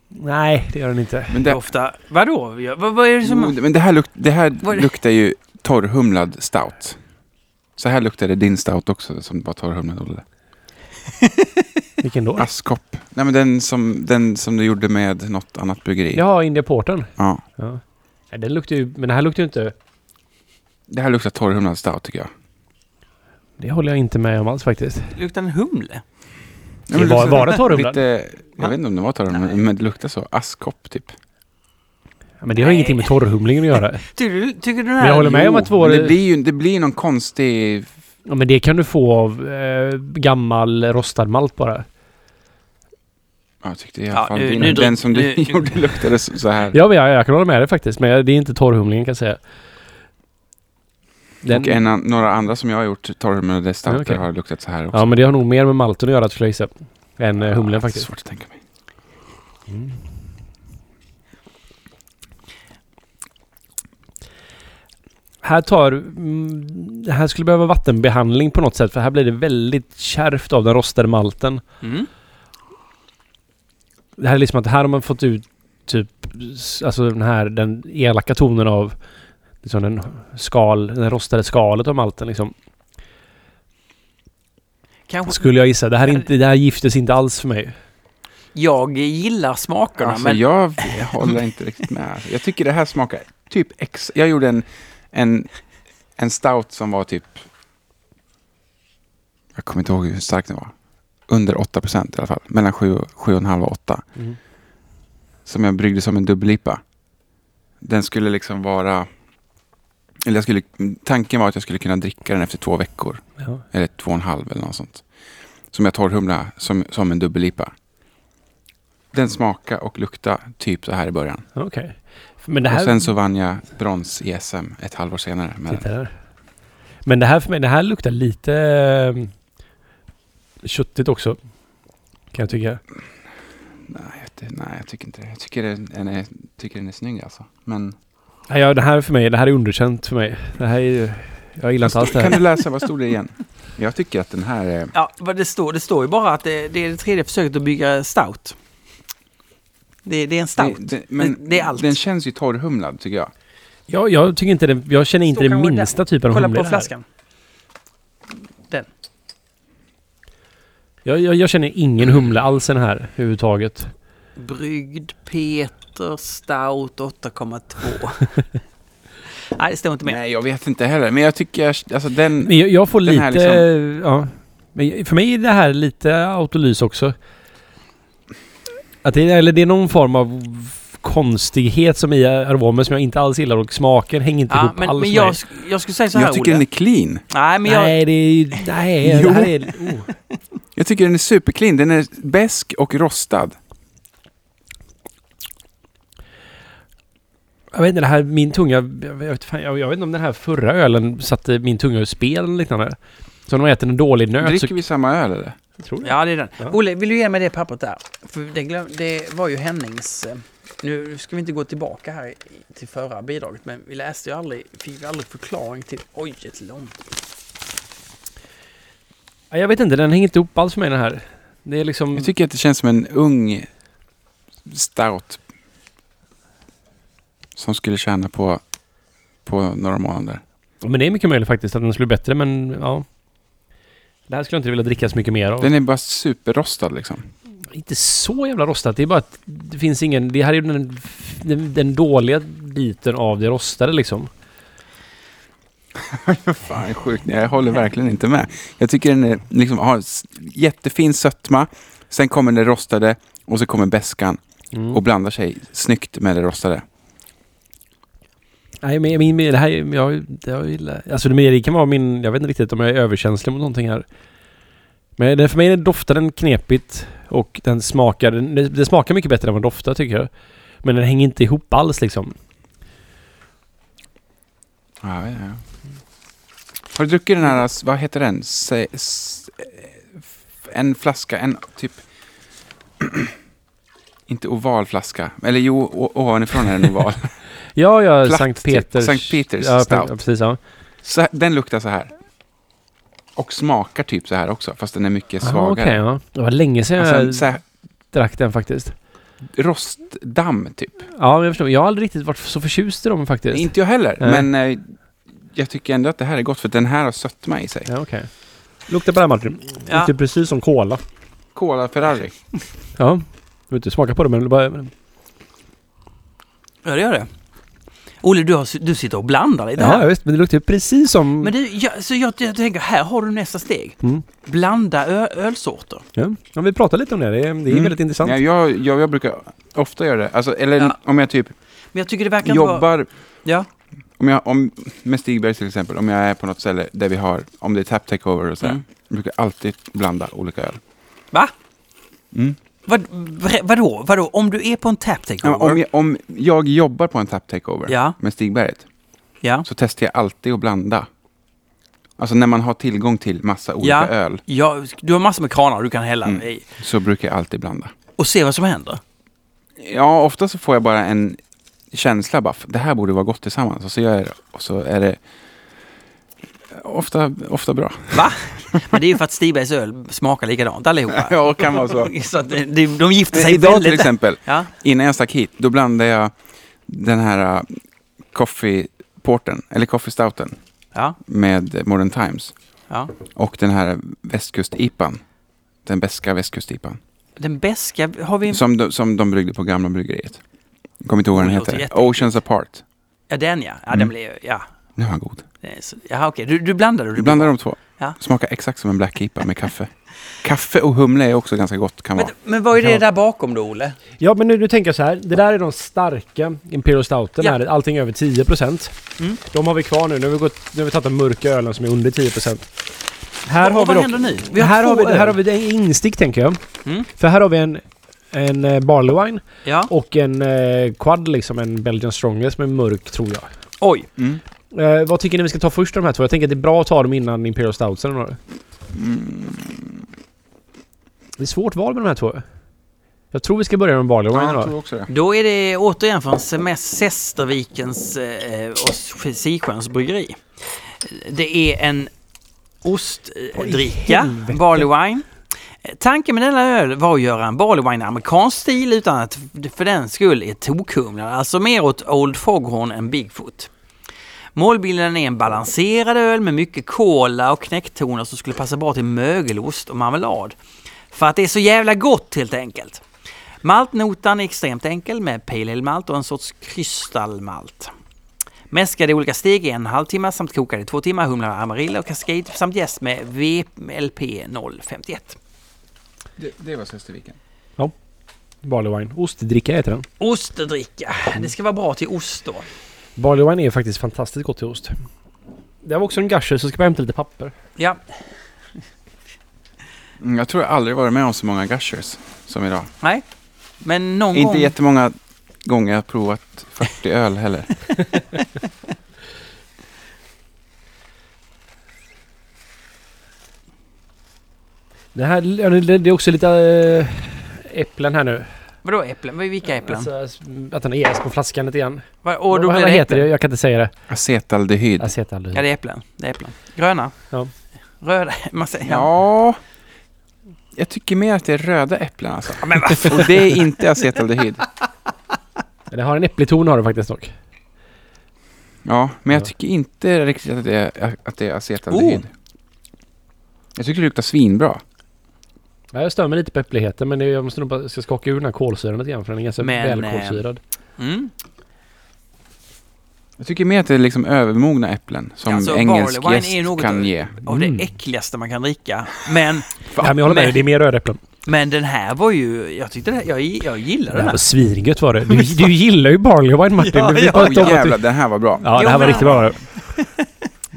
Speaker 2: Nej, det gör den inte.
Speaker 3: Men det,
Speaker 1: Doftar... Vadå? Ja, Vad, vad är det som...
Speaker 3: Jo, men det här, luk, det
Speaker 1: Var
Speaker 3: här
Speaker 1: det-
Speaker 3: luktar ju torrhumlad stout. Så här luktade din stout också som var torrhumlad, Olle.
Speaker 2: Vilken
Speaker 3: Alltså,
Speaker 2: då?
Speaker 3: Askkopp. Nej, men den som, den som du gjorde med något annat bryggeri.
Speaker 2: Ja, India Porten.
Speaker 3: Ja.
Speaker 2: Ja. Nej, Den luktar ju... Men den här luktar ju inte...
Speaker 3: Det här luktar torrhumlad stout tycker jag.
Speaker 2: Det håller jag inte med om alls faktiskt.
Speaker 1: Luktar en humle?
Speaker 3: Nej, men
Speaker 2: Var-
Speaker 3: luktar
Speaker 2: var det torrhumlad?
Speaker 3: Lite,
Speaker 1: Va?
Speaker 3: jag vet inte om det var torrhumlad, men det luktar så. Askkopp typ.
Speaker 2: Ja, men det har
Speaker 1: Nej.
Speaker 2: ingenting med torrhumlingen att göra.
Speaker 1: Tycker du, tycker du den
Speaker 2: Men jag håller
Speaker 1: här...
Speaker 2: med om att vår...
Speaker 3: Men det blir ju det blir någon konstig...
Speaker 2: Ja, men det kan du få av eh, gammal rostad malt bara.
Speaker 3: Ja, jag tyckte i
Speaker 1: Ja,
Speaker 3: alla fall
Speaker 1: nu-
Speaker 3: din,
Speaker 1: nu drick-
Speaker 3: den som du
Speaker 1: nu-
Speaker 3: gjorde luktade så, så här.
Speaker 2: Ja, men jag, jag kan hålla med dig faktiskt. Men det är inte torrhumlingen kan jag säga. Den,
Speaker 3: Och en, an- några andra som jag har gjort torrhumlade stouter
Speaker 2: Ja, okej.
Speaker 3: har luktat så här också.
Speaker 2: ja, men det har nog mer med malten att göra skulle jag gissa. Än eh, humlen
Speaker 3: Ja, det är
Speaker 2: faktiskt.
Speaker 3: Svårt att tänka mig.
Speaker 2: Här tar... Mm, det här skulle behöva vattenbehandling på något sätt. För här blir det väldigt kärvt av den rostade malten.
Speaker 1: Mm.
Speaker 2: Det här är liksom att här har man fått ut typ... s- Alltså den här den elaka tonen av... Liksom den skal... Den rostade skalet av malten liksom.
Speaker 1: Kanske...
Speaker 2: Skulle jag gissa. Det här, är inte, det här giftes inte alls för mig.
Speaker 1: Jag gillar smakerna,
Speaker 3: Alltså,
Speaker 1: men...
Speaker 3: jag håller inte riktigt med. Jag tycker det här smakar typ ex... Jag gjorde en, en en stout som var typ... Jag kommer inte ihåg hur stark den var. Under 8 procent i alla fall. Mellan 7,5 och 8.
Speaker 2: Mm.
Speaker 3: Som jag bryggde som en dubbellipa. Den skulle liksom vara... Eller jag skulle, tanken var att jag skulle kunna dricka den efter två veckor.
Speaker 2: Ja.
Speaker 3: Eller två och en halv eller något sånt. Som jag torrhumlade som, som en dubbellipa. Den smaka och lukta typ så här i början.
Speaker 2: Okej. Men det här...
Speaker 3: Och sen så vann jag brons i SM ett halvår senare. Med den.
Speaker 2: Titta där. Men det här för mig, det här luktar lite eh, köttigt också. Kan jag tycka.
Speaker 3: Nej, jag, ty- nej, jag tycker inte det. Jag tycker den är, tycker den är snygg alltså. Men
Speaker 2: Nej, ja, det här för mig, det här är underkänt för mig. Det här är ju... Jag gillar inte alls det
Speaker 3: kan
Speaker 2: här.
Speaker 3: du läsa, vad stod det igen? Jag tycker att den här eh, är...
Speaker 1: Ja, vad det står, det står ju bara att det, det är det tredje försöket att bygga stout. Det, det är en stout.
Speaker 3: Den, men
Speaker 1: Det- det är allt.
Speaker 3: den känns ju torrhumlad tycker jag.
Speaker 2: Jag, jag tycker inte det, jag känner inte
Speaker 1: Står
Speaker 2: den
Speaker 1: kanske där.
Speaker 2: minsta typen av
Speaker 1: Kolla
Speaker 2: humle i
Speaker 1: på
Speaker 2: det här.
Speaker 1: flaskan.
Speaker 2: Jag, jag, jag känner ingen humle alls i den här överhuvudtaget.
Speaker 1: Bryggd Peter Stout 8,2. Nej, det står inte med.
Speaker 3: Nej, jag vet inte heller. Men jag tycker, jag- alltså den...
Speaker 2: Men jag, jag får
Speaker 3: Den här liksom-
Speaker 2: lite... Ja. Men för mig är det här lite autolys också. Att det, är- eller det är någon form av konstighet som är i aromen som jag inte alls gillar och smaken hänger inte
Speaker 1: Ja,
Speaker 2: ihop
Speaker 1: men,
Speaker 2: alls
Speaker 1: men
Speaker 2: med
Speaker 1: jag,
Speaker 2: mig.
Speaker 1: sk- jag skulle säga så här,
Speaker 3: Jag tycker den
Speaker 1: Olle.
Speaker 3: är clean.
Speaker 1: Nej, men jag...
Speaker 2: Nej, det är ju... Nej,
Speaker 3: Jo.
Speaker 2: det här är... Oh.
Speaker 3: Jag tycker den är superclean. Den är besk och rostad.
Speaker 2: Jag vet inte, det här, min tunga... Jag vet, fan, jag, jag vet inte om den här förra ölen satte min tunga ur spel eller liknande. Så när man äter en dålig nöt
Speaker 3: Dricker
Speaker 2: så...
Speaker 3: vi samma öl eller?
Speaker 2: Tror jag.
Speaker 1: Ja, det är den.
Speaker 2: Ja.
Speaker 1: Olle, vill du ge mig det pappret där? För det, glöm, det var ju Hennings... eh, Nu ska vi inte gå tillbaka här i- till förra bidraget, men vi läste ju aldrig, fick ju aldrig förklaring till... Oj, ett långt...
Speaker 2: Ja. Jag vet inte, den hänger inte ihop alls för mig den här. Det är liksom...
Speaker 3: Jag tycker att det känns som en ung stout. Som skulle tjäna på, på några månader.
Speaker 2: Men det är mycket möjligt faktiskt att den skulle bli bättre, men ja. Det här skulle jag inte vilja dricka så mycket mer av.
Speaker 3: Den är bara superrostad liksom.
Speaker 2: Inte så jävla rostat. Det är bara att det finns ingen... Det här är ju den, den, den dåliga biten av det rostade liksom.
Speaker 3: Fan sjukt, Nej, jag håller verkligen inte med. Jag tycker den är, liksom, har s- jättefin sötma, sen kommer det rostade och så kommer beskan
Speaker 2: Mm.
Speaker 3: och blandar sig snyggt med det rostade.
Speaker 2: Nej, men, men, men det här är... Jag, jag gillar... Alltså det, men det kan vara min... Jag vet inte riktigt om jag är överkänslig mot någonting här. Men det, för mig doftar den knepigt och den smakar... Den, det, det smakar mycket bättre än vad den doftar tycker jag. Men den hänger inte ihop alls liksom.
Speaker 3: Ja, ja, ja. Har du druckit den här, s- vad heter den? Se, s, f- en flaska, en typ... inte oval flaska, eller jo, o- ovanifrån är den oval.
Speaker 2: Ja, ja,
Speaker 3: Platt
Speaker 2: Sankt
Speaker 3: typ.
Speaker 2: Peters...
Speaker 3: Sankt Peters
Speaker 2: ja,
Speaker 3: stout.
Speaker 2: pre- precis, ja.
Speaker 3: så, här- den luktar så här. Och smakar typ så här också, fast den är mycket
Speaker 2: Ah,
Speaker 3: svagare.
Speaker 2: okej, ja. Det var länge sedan
Speaker 3: Och
Speaker 2: jag
Speaker 3: sen, så här,
Speaker 2: drack den faktiskt.
Speaker 3: rostdamm typ.
Speaker 2: Ja, jag förstår. Jag har aldrig riktigt varit så förtjust i dem faktiskt.
Speaker 3: Inte jag heller,
Speaker 2: Nej.
Speaker 3: men eh, jag tycker ändå att det här är gott för den här har sötma i sig.
Speaker 2: ja, okej. Luktar på den här Martin.
Speaker 1: Ja.
Speaker 2: Luktar precis som cola.
Speaker 3: Cola Ferrari.
Speaker 2: Ja. Jag vill inte smaka på det men det bara... men-
Speaker 1: Ja, det gör det. Olle, du, har, du sitter och blandar lite
Speaker 2: Ja,
Speaker 1: här.
Speaker 2: visst. Men det luktar ju precis som...
Speaker 1: Men du, jag, så jag, jag tänker, här har du nästa steg.
Speaker 2: Mm.
Speaker 1: Blanda ö, ölsorter.
Speaker 2: Ja. ja, vi pratade lite om det. Det är, det är
Speaker 3: Mm.
Speaker 2: väldigt intressant.
Speaker 3: Ja, jag, jag, jag brukar ofta göra det. Alltså, eller
Speaker 1: Ja.
Speaker 3: om jag typ
Speaker 1: Men jag tycker det verkar inte vara...
Speaker 3: jobbar,
Speaker 1: Ja.
Speaker 3: om jag, om, med Stigberg till exempel, om jag är på något ställe där vi har, om det är tap takeover och sådär,
Speaker 1: Mm.
Speaker 3: jag brukar alltid blanda olika öl.
Speaker 1: Va?
Speaker 3: Mm.
Speaker 1: Vad, bre- vadå? Vadå? Om du är på en tap
Speaker 3: Ja, men Om,
Speaker 1: takeover?
Speaker 3: jag, om jag jobbar på en tap takeover
Speaker 1: Ja.
Speaker 3: med Stigberget
Speaker 1: Ja.
Speaker 3: så testar jag alltid att blanda. Alltså när man har tillgång till massa olika
Speaker 1: Ja.
Speaker 3: öl
Speaker 1: ja. Du har massor med kranar du kan hälla
Speaker 3: Mm.
Speaker 1: i.
Speaker 3: så brukar jag alltid blanda.
Speaker 1: Och se vad som händer.
Speaker 3: Ja, ofta så får jag bara en känsla bara, det här borde vara gott tillsammans. Och så gör jag det. Och så är det ofta, ofta bra.
Speaker 1: Va? Men det är ju för att Stigbergs öl smakar likadant allihopa.
Speaker 3: Ja, kan vara så.
Speaker 1: Så att de, de, de gifter sig
Speaker 3: Idag
Speaker 1: väldigt...
Speaker 3: till exempel,
Speaker 1: Ja.
Speaker 3: innan jag stack hit, då blandade jag den här äh, coffee porten, eller coffee stouten,
Speaker 1: Ja.
Speaker 3: med eh, Modern Times.
Speaker 1: ja.
Speaker 3: Och den här västkust-ipan. Den beska västkust-ipan.
Speaker 1: Den bäska har vi...
Speaker 3: Som, de- som de bryggde på gamla bryggeriet. Jag kommer inte ihåg vad den
Speaker 1: Oh, Det låter
Speaker 3: heter.
Speaker 1: jätteäckligt.
Speaker 3: Oceans Apart.
Speaker 1: Ja, den ja. Ja, den
Speaker 3: Mm.
Speaker 1: blir... Ja.
Speaker 3: Nu var han god.
Speaker 1: Eh, så- Jaha, okej. Du, du blandar och
Speaker 3: Du
Speaker 1: du
Speaker 3: blandar de två.
Speaker 1: Ja.
Speaker 3: Smakar exakt som en Black IPA med kaffe. kaffe och humle är också ganska gott kan
Speaker 1: Men,
Speaker 3: vara.
Speaker 1: men vad är
Speaker 2: Ja.
Speaker 1: det där bakom då, Olle?
Speaker 2: Ja, men nu, nu tänker jag så här. Det där är de starka Imperial Stouten.
Speaker 1: Ja.
Speaker 2: Här, allting över 10%.
Speaker 1: Mm.
Speaker 2: De har vi kvar nu. Nu har vi, gått, nu har vi tagit den mörka ölen som är under 10%. Här
Speaker 1: och,
Speaker 2: har
Speaker 1: och
Speaker 2: vi
Speaker 1: vad
Speaker 2: dock,
Speaker 1: händer nu? Vi har
Speaker 2: här,
Speaker 1: två
Speaker 2: har vi,
Speaker 1: öl.
Speaker 2: här har vi en instick tänker jag.
Speaker 1: Mm.
Speaker 2: För här har vi en, en eh, Barley Wine
Speaker 1: Ja.
Speaker 2: och en eh, Quad, liksom en Belgian Strongest med mörk tror jag.
Speaker 1: Oj.
Speaker 3: Mm.
Speaker 2: Eh, vad tycker ni vi ska ta först av de här två? Jag tänker att det är bra att ta dem innan Imperial Stoutsen. eller vad?
Speaker 3: Mm.
Speaker 2: Det är svårt val med de här två. Jag tror vi ska börja med Barley
Speaker 3: Ja,
Speaker 2: Wine
Speaker 3: jag
Speaker 2: då.
Speaker 3: tror också det.
Speaker 1: Då är det återigen från Semest- Sestervikens eh, och Sisjöns bryggeri. Det är en
Speaker 2: Oj,
Speaker 1: ostdricka,
Speaker 2: helvete.
Speaker 1: barley wine. Eh, Tanken med denna öl var att göra en barley wine i amerikansk stil utan att f- för den skull är tokhumlad, alltså mer åt Old Foghorn än Bigfoot. Målbilden är en balanserad öl med mycket kola och knäcktoner som skulle passa bra till mögelost och marmelad. För att det är så jävla gott helt enkelt. Maltnotan är extremt enkel med pale ale malt och en sorts kristallmalt. Mäskade i olika steg i en halvtimme samt kokade i två timmar humlar med amarillo och cascade samt jäst med VLP 051.
Speaker 3: Det, det var Sösterviken.
Speaker 2: Barley Wine. Ostdricka heter den.
Speaker 1: Ostdricka. Det ska vara bra till ost då.
Speaker 2: Barley Wine är faktiskt fantastiskt gott till ost. Det här var också en gusher så ska vi hämta lite papper.
Speaker 1: Ja,
Speaker 3: Mm, jag tror jag aldrig varit med om så många gushers som idag.
Speaker 1: nej. Men någon
Speaker 3: Inte
Speaker 1: gång...
Speaker 3: jättemånga gånger jag har provat 40 öl heller.
Speaker 2: Det här ja, det det är också lite äh, äpplen här nu.
Speaker 1: Vadå äpplen? Vad- Vilka äpplen?
Speaker 2: Alltså, att den är på flaskan lite grann.
Speaker 1: Vad- och då
Speaker 2: Vad
Speaker 1: blir
Speaker 2: vad
Speaker 1: det
Speaker 2: heter
Speaker 1: äpplen.
Speaker 2: det? Jag kan inte säga det.
Speaker 3: Acetaldehyd.
Speaker 1: Ja,
Speaker 2: Acetaldehyd.
Speaker 1: det är äpplen. Det är äpplen. Gröna.
Speaker 2: Ja.
Speaker 1: Röda. Man säger, ja.
Speaker 3: Ja, jag tycker mer att det är röda äpplen alltså. Och det är inte acetaldehyd.
Speaker 2: Det har en äpplig ton har det faktiskt dock.
Speaker 3: Ja, men jag
Speaker 2: Ja.
Speaker 3: tycker inte riktigt att det är, att det är
Speaker 1: Oh.
Speaker 3: acetaldehyd. Jag tycker det luktar svinbra.
Speaker 2: Ja, jag stör mig lite på äppligheten men det- jag måste nog bara jag ska skaka ur den här kolsyran lite grann för den är ganska
Speaker 1: Men, eh,
Speaker 2: välkolsyrad.
Speaker 1: Mm.
Speaker 3: Jag tycker mer att det är liksom övermogna äpplen som
Speaker 1: Ja, alltså,
Speaker 3: engelsk
Speaker 1: barley wine är
Speaker 3: jäst
Speaker 1: något-
Speaker 3: kan ge.
Speaker 1: Av det
Speaker 2: Mm.
Speaker 1: äckligaste man kan dricka. Men,
Speaker 2: Nej men jag håller
Speaker 1: men-
Speaker 2: med dig, det är mer rödäpplen.
Speaker 1: men den här var ju... Jag tyckte det, jag, jag gillade
Speaker 2: Det
Speaker 1: den
Speaker 2: här var
Speaker 1: här.
Speaker 2: svingött var det. Du, du gillar ju barley wine Martin.
Speaker 1: Ja,
Speaker 2: Du vet
Speaker 1: ja,
Speaker 2: bara
Speaker 3: Oj
Speaker 2: inte om att du-
Speaker 3: jävlar, den här var bra.
Speaker 2: Ja,
Speaker 1: Jo,
Speaker 2: det här var
Speaker 1: men-
Speaker 2: riktigt bra.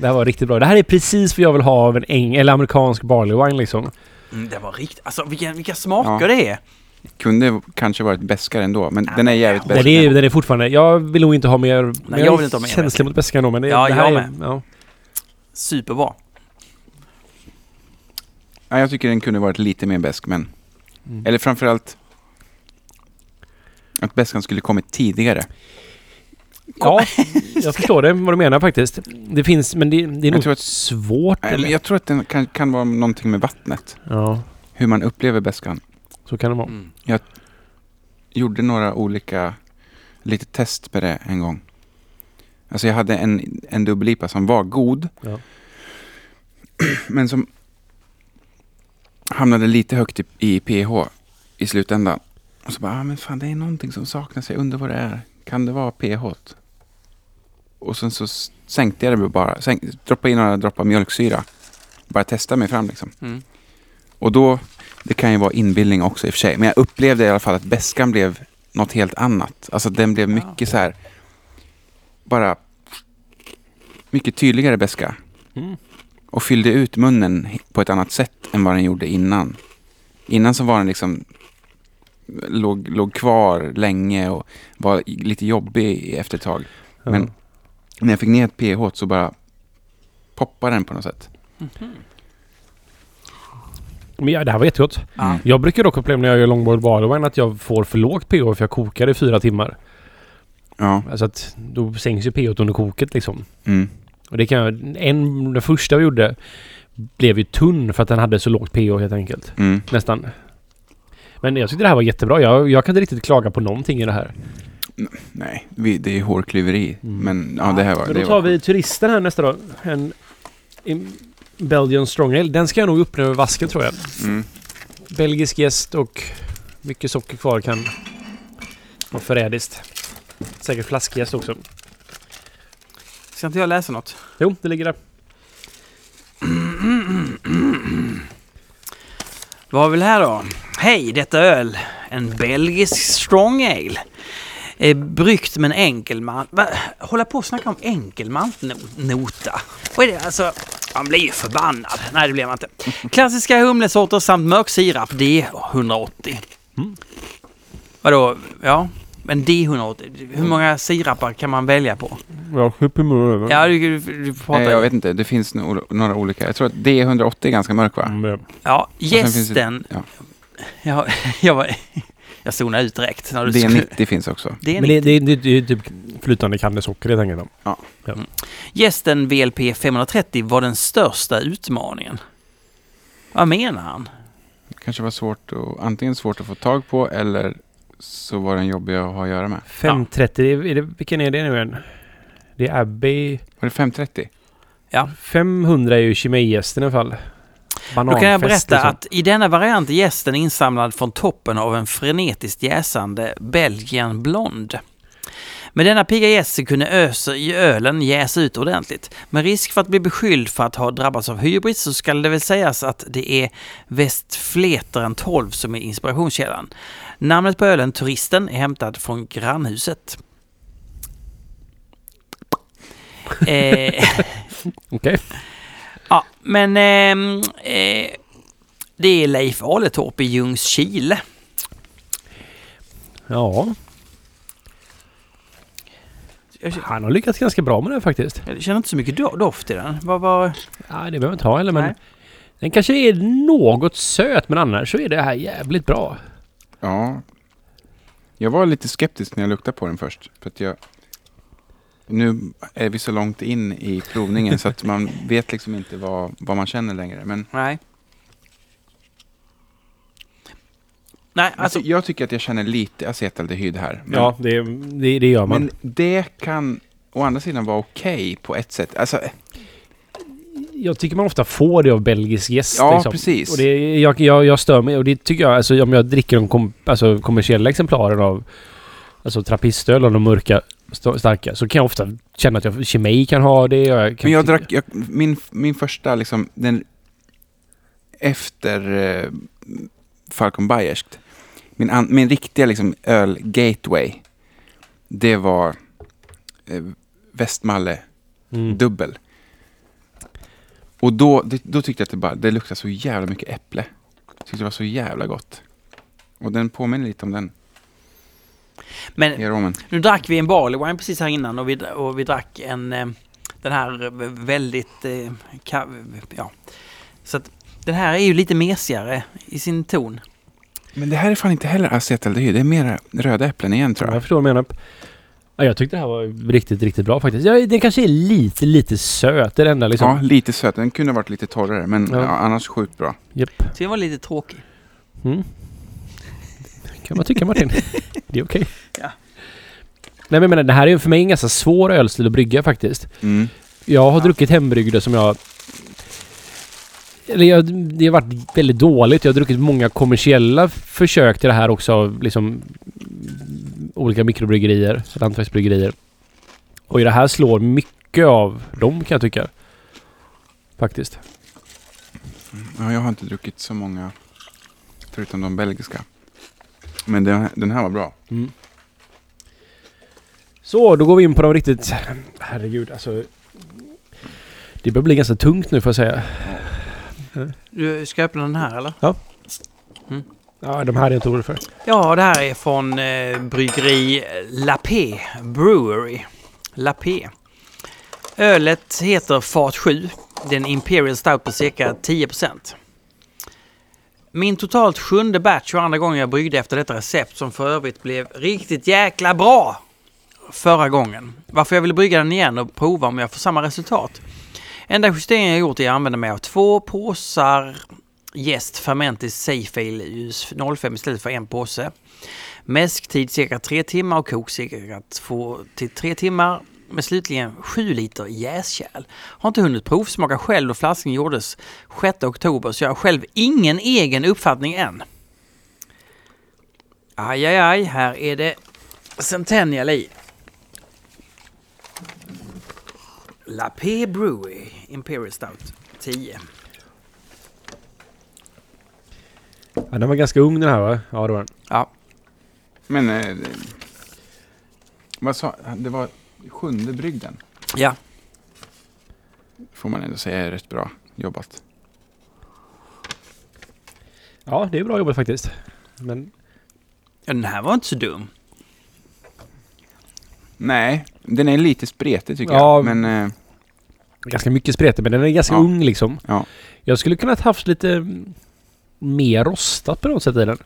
Speaker 2: Det här var riktigt bra. Det här är precis vad jag vill ha av en eng eller amerikansk barley wine liksom.
Speaker 1: Mm, den var riktigt... Alltså vilka, vilka smaker det är.
Speaker 3: Kunde kanske varit bäskare ändå, men
Speaker 1: Ja,
Speaker 3: den är jävligt
Speaker 1: men-
Speaker 2: Den
Speaker 3: bäskare.
Speaker 2: är, den är fortfarande... Jag vill nog inte ha mer... men
Speaker 1: jag
Speaker 2: är
Speaker 1: vill inte ha mer
Speaker 2: känslig
Speaker 1: bäska.
Speaker 2: mot bäskan då, men det,
Speaker 1: Ja,
Speaker 2: det här
Speaker 1: jag
Speaker 2: är... Ja.
Speaker 1: Superbra.
Speaker 3: Ja, jag tycker den kunde varit lite mer besk men...
Speaker 2: Mm.
Speaker 3: Eller framförallt... Att beskan skulle kommit tidigare.
Speaker 2: ja, jag förstår det, vad du menar faktiskt. Det finns, men det, det är nog
Speaker 3: tror att-
Speaker 2: svårt.
Speaker 3: Nej, men
Speaker 2: eller?
Speaker 3: jag tror att den kan, kan vara någonting med vattnet.
Speaker 2: Ja,
Speaker 3: Hur man upplever beskan.
Speaker 2: så kan det vara.
Speaker 3: Mm. Gjorde några olika... Lite test med det en gång. Alltså jag hade en, en dubbel-IPA som var god.
Speaker 2: Ja.
Speaker 3: Men som hamnade lite högt i, i pH i slutändan. Och så bara, ah, men fan det är någonting som saknas. Jag undrar vad det är. Kan det vara pH? -t? Och sen så s- sänkte jag det bara. Sänk, droppade in några droppar mjölksyra. Bara testa mig fram liksom.
Speaker 1: Mm.
Speaker 3: Och då, det kan ju vara inbildning också i och för sig, men jag upplevde i alla fall att beskan blev något helt annat. Alltså den blev
Speaker 1: Ja.
Speaker 3: mycket så här, bara mycket tydligare beska
Speaker 2: Mm.
Speaker 3: och fyllde ut munnen he- på ett annat sätt än vad den gjorde innan. Innan så var den liksom, låg, låg kvar länge och var i- lite jobbig efter ett tag.
Speaker 2: Ja.
Speaker 3: Men- När jag fick ner ett pH så bara poppade den på något sätt.
Speaker 2: Men ja, det här var jättegott.
Speaker 1: Ja.
Speaker 2: Jag brukar dock uppleva när jag gör longboard barley wine att jag får för lågt pH för jag kokar i fyra timmar.
Speaker 3: Ja.
Speaker 2: Alltså att då sänks ju pH under koket liksom.
Speaker 3: Mm.
Speaker 2: Och det kan jag, en, den första vi gjorde blev ju tunn för att den hade så lågt pH helt enkelt.
Speaker 3: Mm.
Speaker 2: Nästan. Men jag tyckte det här var jättebra. Jag, jag kan inte riktigt klaga på någonting i det här.
Speaker 3: Nej, vi, det är ju hårklyveri.
Speaker 2: Mm.
Speaker 3: Men ja, det här var...
Speaker 2: Men
Speaker 3: det
Speaker 2: då
Speaker 3: var
Speaker 2: tar vi turisten här nästa dag. En, en Belgian strong ale. Den ska jag nog öppna över vasken tror jag.
Speaker 3: Mm.
Speaker 2: Belgisk gäst och mycket socker kvar kan vara förrädiskt. Säkert flaskjäst också.
Speaker 1: Ska inte jag läsa något?
Speaker 2: Jo, det ligger där.
Speaker 1: Vad har vi här då? Hej, detta öl. En belgisk strong ale. Eh, bryggt med en enkelman... Va? Hålla på och snacka om enkelmantnota. Vad är det? Alltså, man blir ju förbannad. Nej, det blir man inte. Klassiska humlesorter samt mörk sirap D180.
Speaker 2: Mm.
Speaker 1: Vadå? Ja, men D180. Hur många sirapar kan man välja på?
Speaker 2: Ja, upp i munnen.
Speaker 1: Ja, du, du, du pratar
Speaker 3: Mm. Nej, jag vet inte. Det finns no- några olika. Jag tror att D180 är ganska mörk va?
Speaker 2: Mm.
Speaker 1: Ja,
Speaker 3: sen finns det-
Speaker 1: gästen...
Speaker 3: ja.
Speaker 1: Ja, jag, var, jag zonade ut direkt. När du skulle-
Speaker 3: D90 finns också.
Speaker 1: Det är
Speaker 2: Men det, det, det, det är ju typ flytande kandesocker helt enkelt.
Speaker 1: Gästen VLP 530 var den största utmaningen. Vad menar han?
Speaker 3: kanske var svårt att, antingen svårt att få tag på eller så var den jobbig att ha att göra med.
Speaker 2: 530, är det, vilken är det nu än? Det är Abbey.
Speaker 3: Var det 530?
Speaker 2: 500 är ju Chimay-gästen i alla fall.
Speaker 1: Då kan jag
Speaker 2: Bananfest
Speaker 1: berätta
Speaker 2: liksom.
Speaker 1: att i denna variant är gästen insamlad från toppen av en frenetiskt jäsande Belgian Blond. Med denna pigga gäst så kunde öser i ölen jäsa ut ordentligt. Med risk för att bli beskylld för att ha drabbats av hybris så skall det väl sägas att det är Västfleteren 12 som är inspirationskällan. Namnet på ölen, Turisten, är hämtad från grannhuset. Eh,
Speaker 2: Okej.
Speaker 1: Ja, men ehm, eh, det är Leif Aletorp i Ljungskile.
Speaker 2: Ja.
Speaker 1: Jag k-
Speaker 2: Typ. Han har lyckats ganska bra med det här faktiskt.
Speaker 1: jag känner inte så mycket do- doft i den. Vad var...
Speaker 2: Ja, det behöver inte ha heller men...
Speaker 1: Nej.
Speaker 2: Den kanske är något söt men annars så är det här jävligt bra.
Speaker 3: Ja. Jag var lite skeptisk när jag luktade på den först. För att jag, nu är vi så långt in i provningen så att man vet liksom inte vad, vad man känner längre. Men alltså,
Speaker 1: Nej. Nej,
Speaker 3: alltså,
Speaker 1: alltså...
Speaker 3: jag tycker att jag känner lite acetaldehyd här. Men,
Speaker 2: Ja, det, det, det gör man.
Speaker 3: men det kan å andra sidan vara okej på ett sätt. Alltså,
Speaker 2: Jag tycker man ofta får det av belgisk gäst.
Speaker 3: ja,
Speaker 2: liksom.
Speaker 3: precis.
Speaker 2: Och det, jag, jag, jag stör mig och det tycker jag, alltså om jag dricker de kom, alltså, kommersiella exemplaren av alltså trappistöl och de mörka st- starka så kan jag ofta känna att jag, Chimay kan ha det. och Jag kan
Speaker 3: Men jag
Speaker 2: tycka-
Speaker 3: drack, jag, min, min första liksom, den efter eh, Falcon Bayerskt, min, an, min riktiga liksom öl-gateway, det var eh, Västmalle
Speaker 2: Mm.
Speaker 3: dubbel. Och då, det, då tyckte jag att det, bara, det luktade så jävla mycket äpple. Tyckte det var så jävla gott. Och den påminner lite om den i
Speaker 1: Men
Speaker 3: aromen.
Speaker 1: nu drack vi en barley wine precis här innan och vi, och vi drack en... eh, Den här eh, väldigt... eh, ka- Ja. Så att den här är ju lite mesigare i sin ton.
Speaker 3: Men det här är fan inte heller acetaldehyd, det är mera röda äpplen igen tror
Speaker 2: Ja,
Speaker 3: jag.
Speaker 2: jag förstår vad du menar. Ja, jag tyckte det här var riktigt, riktigt bra faktiskt. Ja, den kanske är lite, lite söt. Det är det enda liksom.
Speaker 3: Ja, lite söt. Den kunde ha varit lite torrare, men
Speaker 2: Ja.
Speaker 3: ja. annars sjukt bra.
Speaker 2: Japp.
Speaker 1: Så jag var lite tråkig.
Speaker 2: Mm. kan man tycka Martin. det är okej.
Speaker 1: Ja.
Speaker 2: Nej men jag menar, det här är ju för mig en ganska svår ölstil att brygga faktiskt.
Speaker 3: Mm.
Speaker 2: Jag har druckit hembryggda som jag... Eller jag, det har varit väldigt dåligt. Jag har druckit många kommersiella försök till det här också. av Liksom mm, olika mikrobryggerier, hantverksbryggerier. Och i det här slår mycket av dem kan jag tycka. Faktiskt.
Speaker 3: Ja, jag har inte druckit så många, förutom de belgiska. Men den här, den här var bra.
Speaker 2: Mm. Så, då går vi in på de riktigt... Herregud, alltså... Det börjar bli ganska tungt nu får jag säga.
Speaker 1: Du, ska jag öppna den här eller?
Speaker 2: Ja, de här är jag inte orolig för.
Speaker 1: Ja, det här är från eh, bryggeri Lapé Brewery. Lapé. Ölet heter Fat 7. Det är en Imperial Stout på cirka 10 Min totalt sjunde batch och andra gången jag bryggde efter detta recept som för övrigt blev riktigt jäkla bra förra gången. Varför jag ville brygga den igen och prova om jag får samma resultat. Enda justeringen jag gjort är att använda mig av två påsar jäst Fermentis Safefail US 05 istället för en påse. Mäsktid cirka 3 timmar och kok cirka 2 till 3 timmar med slutligen 7 liter jäskärl. Har inte hunnit provsmaka själv och flaskan gjordes 6 oktober så jag har själv ingen egen uppfattning än. Aj, aj, aj, här är det Centennial i. La P Brewery Imperial Stout 10.
Speaker 2: Ja, den var ganska ung den här va? Ja det var den.
Speaker 1: Ja.
Speaker 3: Men... Eh, det- vad sa Det var sjunde brygden.
Speaker 1: Ja.
Speaker 3: Får man ändå säga är rätt bra jobbat.
Speaker 2: Ja det är bra jobbat faktiskt. Men
Speaker 1: ja, den här var inte så dum.
Speaker 3: Nej, den är lite spretig tycker
Speaker 2: Ja.
Speaker 3: jag. Men eh,
Speaker 2: ganska mycket spretig men den är ganska
Speaker 3: Ja.
Speaker 2: ung liksom.
Speaker 3: ja.
Speaker 2: Jag skulle kunnat haft lite mm, mer rostat på något sätt i den.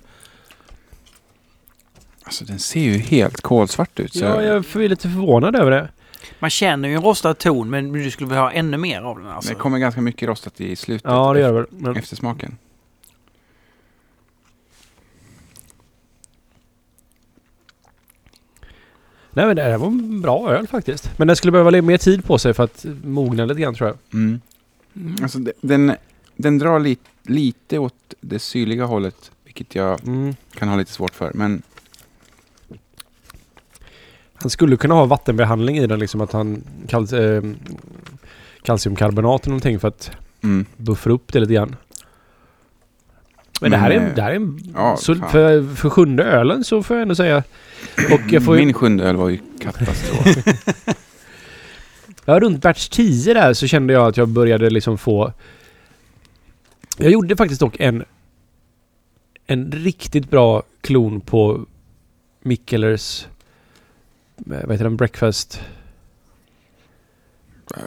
Speaker 3: Alltså den ser ju helt kolsvart ut. Så
Speaker 2: Ja, jag är lite förvånad över det.
Speaker 1: Man känner ju en rostad ton men du skulle vilja ha ännu mer av den alltså.
Speaker 3: Det kommer ganska mycket rostat i slutet.
Speaker 2: Ja det gör
Speaker 3: ef-
Speaker 2: det väl. Men...
Speaker 3: Eftersmaken.
Speaker 2: Nej men det här var en bra öl faktiskt. Men den skulle behöva lite mer tid på sig för att mogna lite grann tror jag.
Speaker 3: Mm.
Speaker 1: Mm.
Speaker 3: Alltså de- den, den drar li, lite åt det syrliga hållet, vilket jag
Speaker 2: Mm.
Speaker 3: kan ha lite svårt för. Men
Speaker 2: Han skulle kunna ha vattenbehandling i den liksom att han kal- eh, kalciumkarbonat eller någonting för att
Speaker 3: mm,
Speaker 2: buffra upp det lite grann. Men,
Speaker 3: Men,
Speaker 2: det här är,
Speaker 3: eh,
Speaker 2: det här är en...
Speaker 3: ja,
Speaker 2: så
Speaker 3: fan.
Speaker 2: för, för sjunde ölen så får jag ändå säga. Och jag får ju,
Speaker 3: min sjunde öl var ju katastrof.
Speaker 2: ja, runt värts 10 där så kände jag att jag började liksom få... Jag gjorde faktiskt dock en... En riktigt bra klon på Mikkelers... eh, Vad heter den? Breakfast...
Speaker 3: Eh,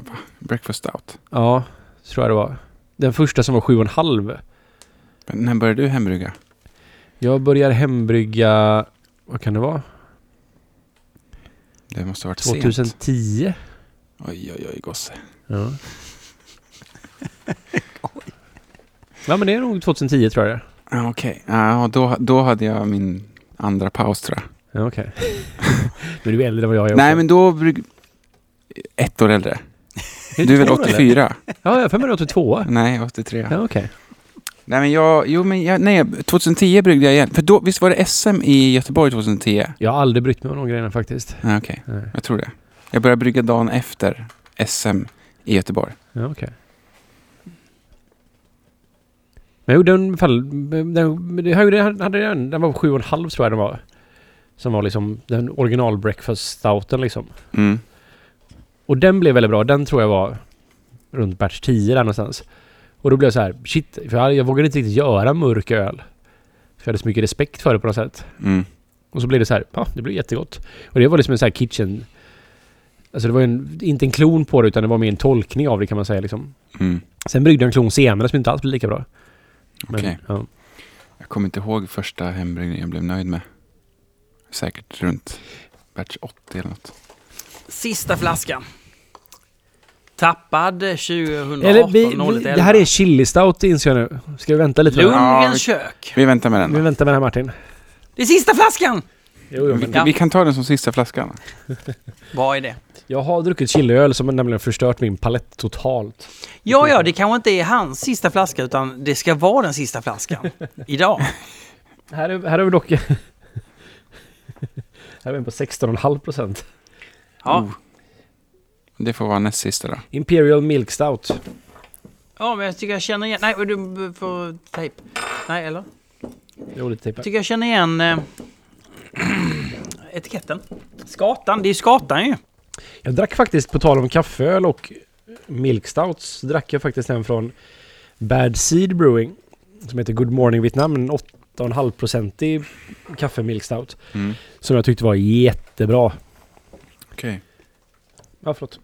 Speaker 3: va? Breakfast out.
Speaker 2: Ja, tror jag det var. Den första som var 7,5.
Speaker 3: Men när började du hembrygga?
Speaker 2: Jag börjar hembrygga... Vad kan det vara?
Speaker 3: Det måste ha varit sent.
Speaker 2: 2010?
Speaker 3: Oj, oj, oj, gosse.
Speaker 2: Ja. ja men det är nog 2010 tror jag det är.
Speaker 3: Ah, Okej, Ja, då, då hade jag min andra paus tror jag.
Speaker 2: Ja, okej. men du är äldre än vad jag är
Speaker 3: Nej,
Speaker 2: också.
Speaker 3: men då... brygg- Ett år äldre.
Speaker 2: det
Speaker 3: Du är väl
Speaker 2: två, eller?
Speaker 3: 84?
Speaker 2: Ja, jag har för mig att du är 82.
Speaker 3: Nej, 83.
Speaker 2: Ja, okej.
Speaker 3: Nej, men jag, jo, men jag, nej, 2010 bryggde jag igen. För då, visst var det SM i Göteborg 2010?
Speaker 2: Jag har aldrig brytt mig om de grejerna faktiskt.
Speaker 3: Nej, okej.
Speaker 2: Nej.
Speaker 3: Jag tror det. Jag började brygga dagen efter SM i Göteborg.
Speaker 2: Ja, okej. Men jag gjorde en fall... Den, den, jag gjorde- jag hade den, den var 7,5 tror jag den var. Som var liksom den original breakfast stouten liksom.
Speaker 3: Mm.
Speaker 2: Och den blev väldigt bra. Den tror jag var runt batch 10 där någonstans. Och då blev jag så här, shit, för jag, jag vågade inte riktigt göra mörk öl. För jag hade så mycket respekt för det på något sätt.
Speaker 3: Mm.
Speaker 2: Och så blev det så här, ja, det blev jättegott. Och det var liksom en sån här kitchen... Alltså det var ju en, inte en klon på det utan det var mer en tolkning av det kan man säga liksom.
Speaker 3: Mm.
Speaker 2: Sen bryggde jag en klon senare som inte alls blev lika bra. Men,
Speaker 3: Okej.
Speaker 2: ja.
Speaker 3: Jag kommer inte ihåg första hembryggningen jag blev nöjd med. Säkert runt batch 80 eller något.
Speaker 1: Sista flaskan. Tappad 2018
Speaker 2: Eller vi, vi,
Speaker 1: 0111.
Speaker 2: det här är en chili stout inser jag nu. Ska vi vänta lite? med den?
Speaker 3: Ja, vi-
Speaker 1: Lundgrens kök.
Speaker 3: Vi väntar med den.
Speaker 2: Vi
Speaker 3: då.
Speaker 2: väntar med den här Martin.
Speaker 1: Det är sista flaskan!
Speaker 2: Jo, jo, men-
Speaker 3: Vi, vi kan ta den som sista flaskan.
Speaker 1: Vad är det?
Speaker 2: Jag har druckit chiliöl som nämligen förstört min palett totalt.
Speaker 1: Ja, ja, det kanske inte är hans sista flaska utan det ska vara den sista flaskan idag.
Speaker 2: Här är, här är vi dock... här är vi på 16,5 procent.
Speaker 1: Ja,
Speaker 2: Oh.
Speaker 3: Det får vara näst sista då.
Speaker 2: Imperial Milk Stout.
Speaker 1: ja men jag tycker jag känner igen... Nej, du får tejp. Nej, eller?
Speaker 2: Jo, lite tejpar.
Speaker 1: tycker jag känner igen eh, etiketten. Skatan, det är ju skatan ju.
Speaker 2: Jag drack faktiskt, på tal om kaffeöl och Milk Stouts, så drack jag faktiskt en från Bad Seed Brewing. Som heter Good Morning Vietnam. En 8,5-procentig kaffe Milk Stout.
Speaker 3: Mm.
Speaker 2: Som jag tyckte var jättebra.
Speaker 3: Okej.
Speaker 2: Ja, förlåt.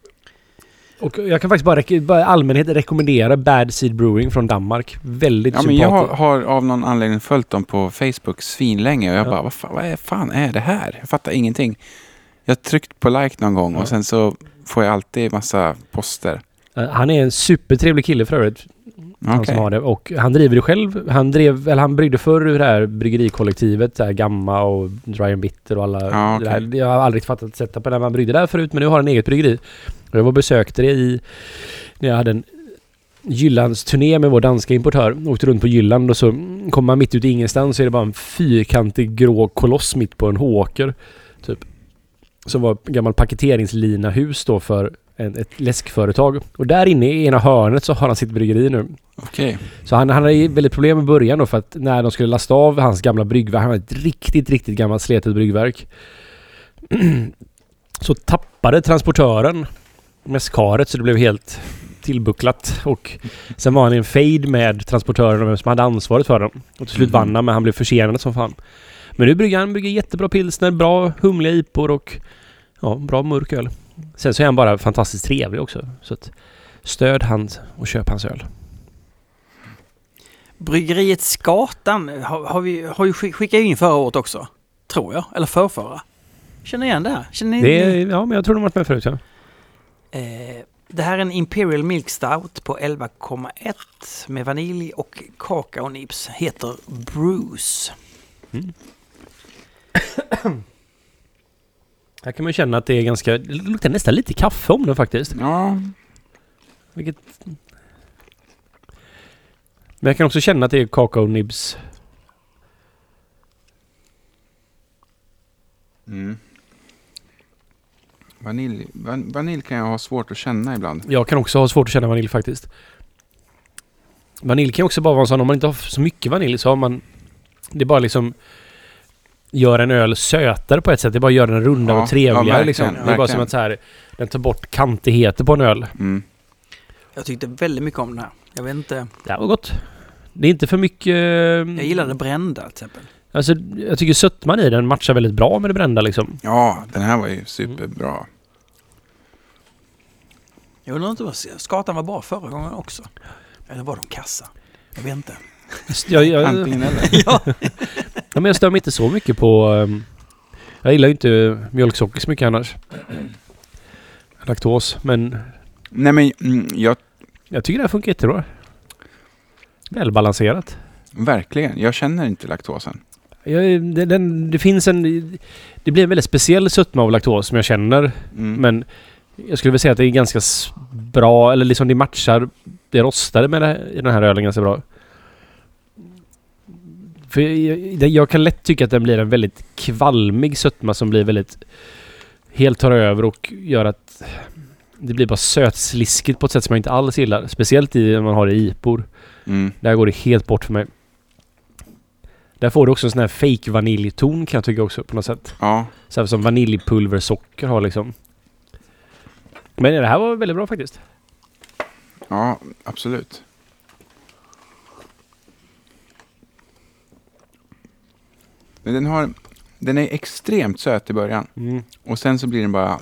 Speaker 2: Och jag kan faktiskt bara, rek- bara i allmänhet rekommendera Bad Seed Brewing från Danmark. Väldigt
Speaker 3: Ja, men
Speaker 2: sympatisk.
Speaker 3: jag har, har av någon anledning följt dem på Facebook svinlänge och jag
Speaker 2: Ja.
Speaker 3: bara, vad fan, vad är, fan är det här? Jag fattar ingenting. Jag har tryckt på like någon gång
Speaker 2: Ja.
Speaker 3: och sen så får jag alltid massa poster.
Speaker 2: Eh, Han är en supertrevlig kille för övrigt. Han
Speaker 3: Okej.
Speaker 2: som har det. Och han driver det själv. Han, drev, eller han bryggde förr ur det här bryggerikollektivet. Det här Gamma och Dry and Bitter och alla.
Speaker 3: Ja, okej.
Speaker 2: det här. Jag har aldrig fattat setupen när man bryggde där förut. Men nu har han eget bryggeri. Och jag var och besökte det i... När jag hade en Jyllandsturné med vår danska importör. Åkte runt på Jylland och så kommer man mitt ute i ingenstans så är det bara en fyrkantig grå koloss mitt på en håker. Typ. Som var en gammal paketeringslina hus då för en, ett läskföretag. Och där inne i ena hörnet så har han sitt bryggeri nu.
Speaker 3: Okej.
Speaker 2: Så han, han hade ju väldigt problem i början då för att när de skulle lasta av hans gamla bryggverk, han hade ett riktigt, riktigt gammalt slitet bryggverk. så tappade transportören mässkaret så det blev helt tillbucklat och sen var han i en fejd med transportören och vem som hade ansvaret för den. Och till slut vann han men han blev försenad som fan. Men nu brygger han brygger jättebra pilsner, bra humliga ipor och ja, bra mörk öl. Sen så är han bara fantastiskt trevlig också. Så att stöd hans och köp hans öl.
Speaker 1: Bryggeriet Skatan har, har vi, har ju skick- skickat in förra året också. Tror jag. Eller förrförra. Känner igen det här? Känner ni-
Speaker 2: Det är, ja, men jag tror de har varit med förut ja.
Speaker 1: Eh, det här är en Imperial Milk Stout på 11,1 med vanilj och kakaonips. Heter Bruce.
Speaker 2: Här kan man ju känna att det är ganska... Det luktar nästan lite kaffe om den faktiskt.
Speaker 3: Ja.
Speaker 2: Vilket... Men jag kan också känna att det är kakaonibs.
Speaker 3: Mm. Vanilj, van, vanilj kan jag ha svårt att känna ibland.
Speaker 2: Jag kan också ha svårt att känna vanilj faktiskt. Vanilj kan ju också bara vara en sån, om man inte har så mycket vanilj så har man... Det bara liksom... Gör en öl sötare på ett sätt. Det bara gör den rundare
Speaker 3: Ja,
Speaker 2: och trevligare
Speaker 3: ja, verkligen,
Speaker 2: liksom. Det är bara
Speaker 3: verkligen.
Speaker 2: som att så här... Den tar bort kantigheter på en öl.
Speaker 3: Mm.
Speaker 1: Jag tyckte väldigt mycket om den här. Jag vet inte.
Speaker 2: Det här var gott. Det är inte för mycket... mm,
Speaker 1: Jag gillade brända till exempel.
Speaker 2: Alltså, jag tycker sötman i den matchar väldigt bra med det brända liksom.
Speaker 3: Ja, den här var ju superbra.
Speaker 1: Jag undrar inte vad skatan var bra förra gången också. Eller var de kassa? Jag vet inte.
Speaker 2: Jag, jag,
Speaker 3: Antingen eller.
Speaker 1: ja.
Speaker 2: ja, men jag stör mig inte så mycket på... ehm, jag gillar ju inte mjölksocker så mycket annars. Laktos. Men
Speaker 3: Nej men mm, jag,
Speaker 2: jag tycker det här funkar jättebra. Välbalanserat.
Speaker 3: verkligen, jag känner inte laktosen.
Speaker 2: Jag, det, den, det finns en... Det blir en väldigt speciell sötma av laktos som jag känner.
Speaker 3: Mm.
Speaker 2: Men jag skulle väl säga att det är ganska s- bra, eller liksom det matchar det rostade med det här, i den här ölen ganska bra. För jag, jag, jag kan lätt tycka att den blir en väldigt kvalmig sötma som blir väldigt... Helt tar över och gör att det blir bara sötsliskigt på ett sätt som jag inte alls gillar. Speciellt i när man har det i ipor.
Speaker 3: Mm.
Speaker 2: Där går det helt bort för mig. Där får du också en sån här fake vaniljton kan jag tycka också på något sätt.
Speaker 3: Ja,
Speaker 2: Så här som vaniljpulversocker har liksom. Men det här var väldigt bra faktiskt.
Speaker 3: ja, absolut. Men den, har, den är extremt söt i början.
Speaker 2: Mm.
Speaker 3: Och sen så blir den bara...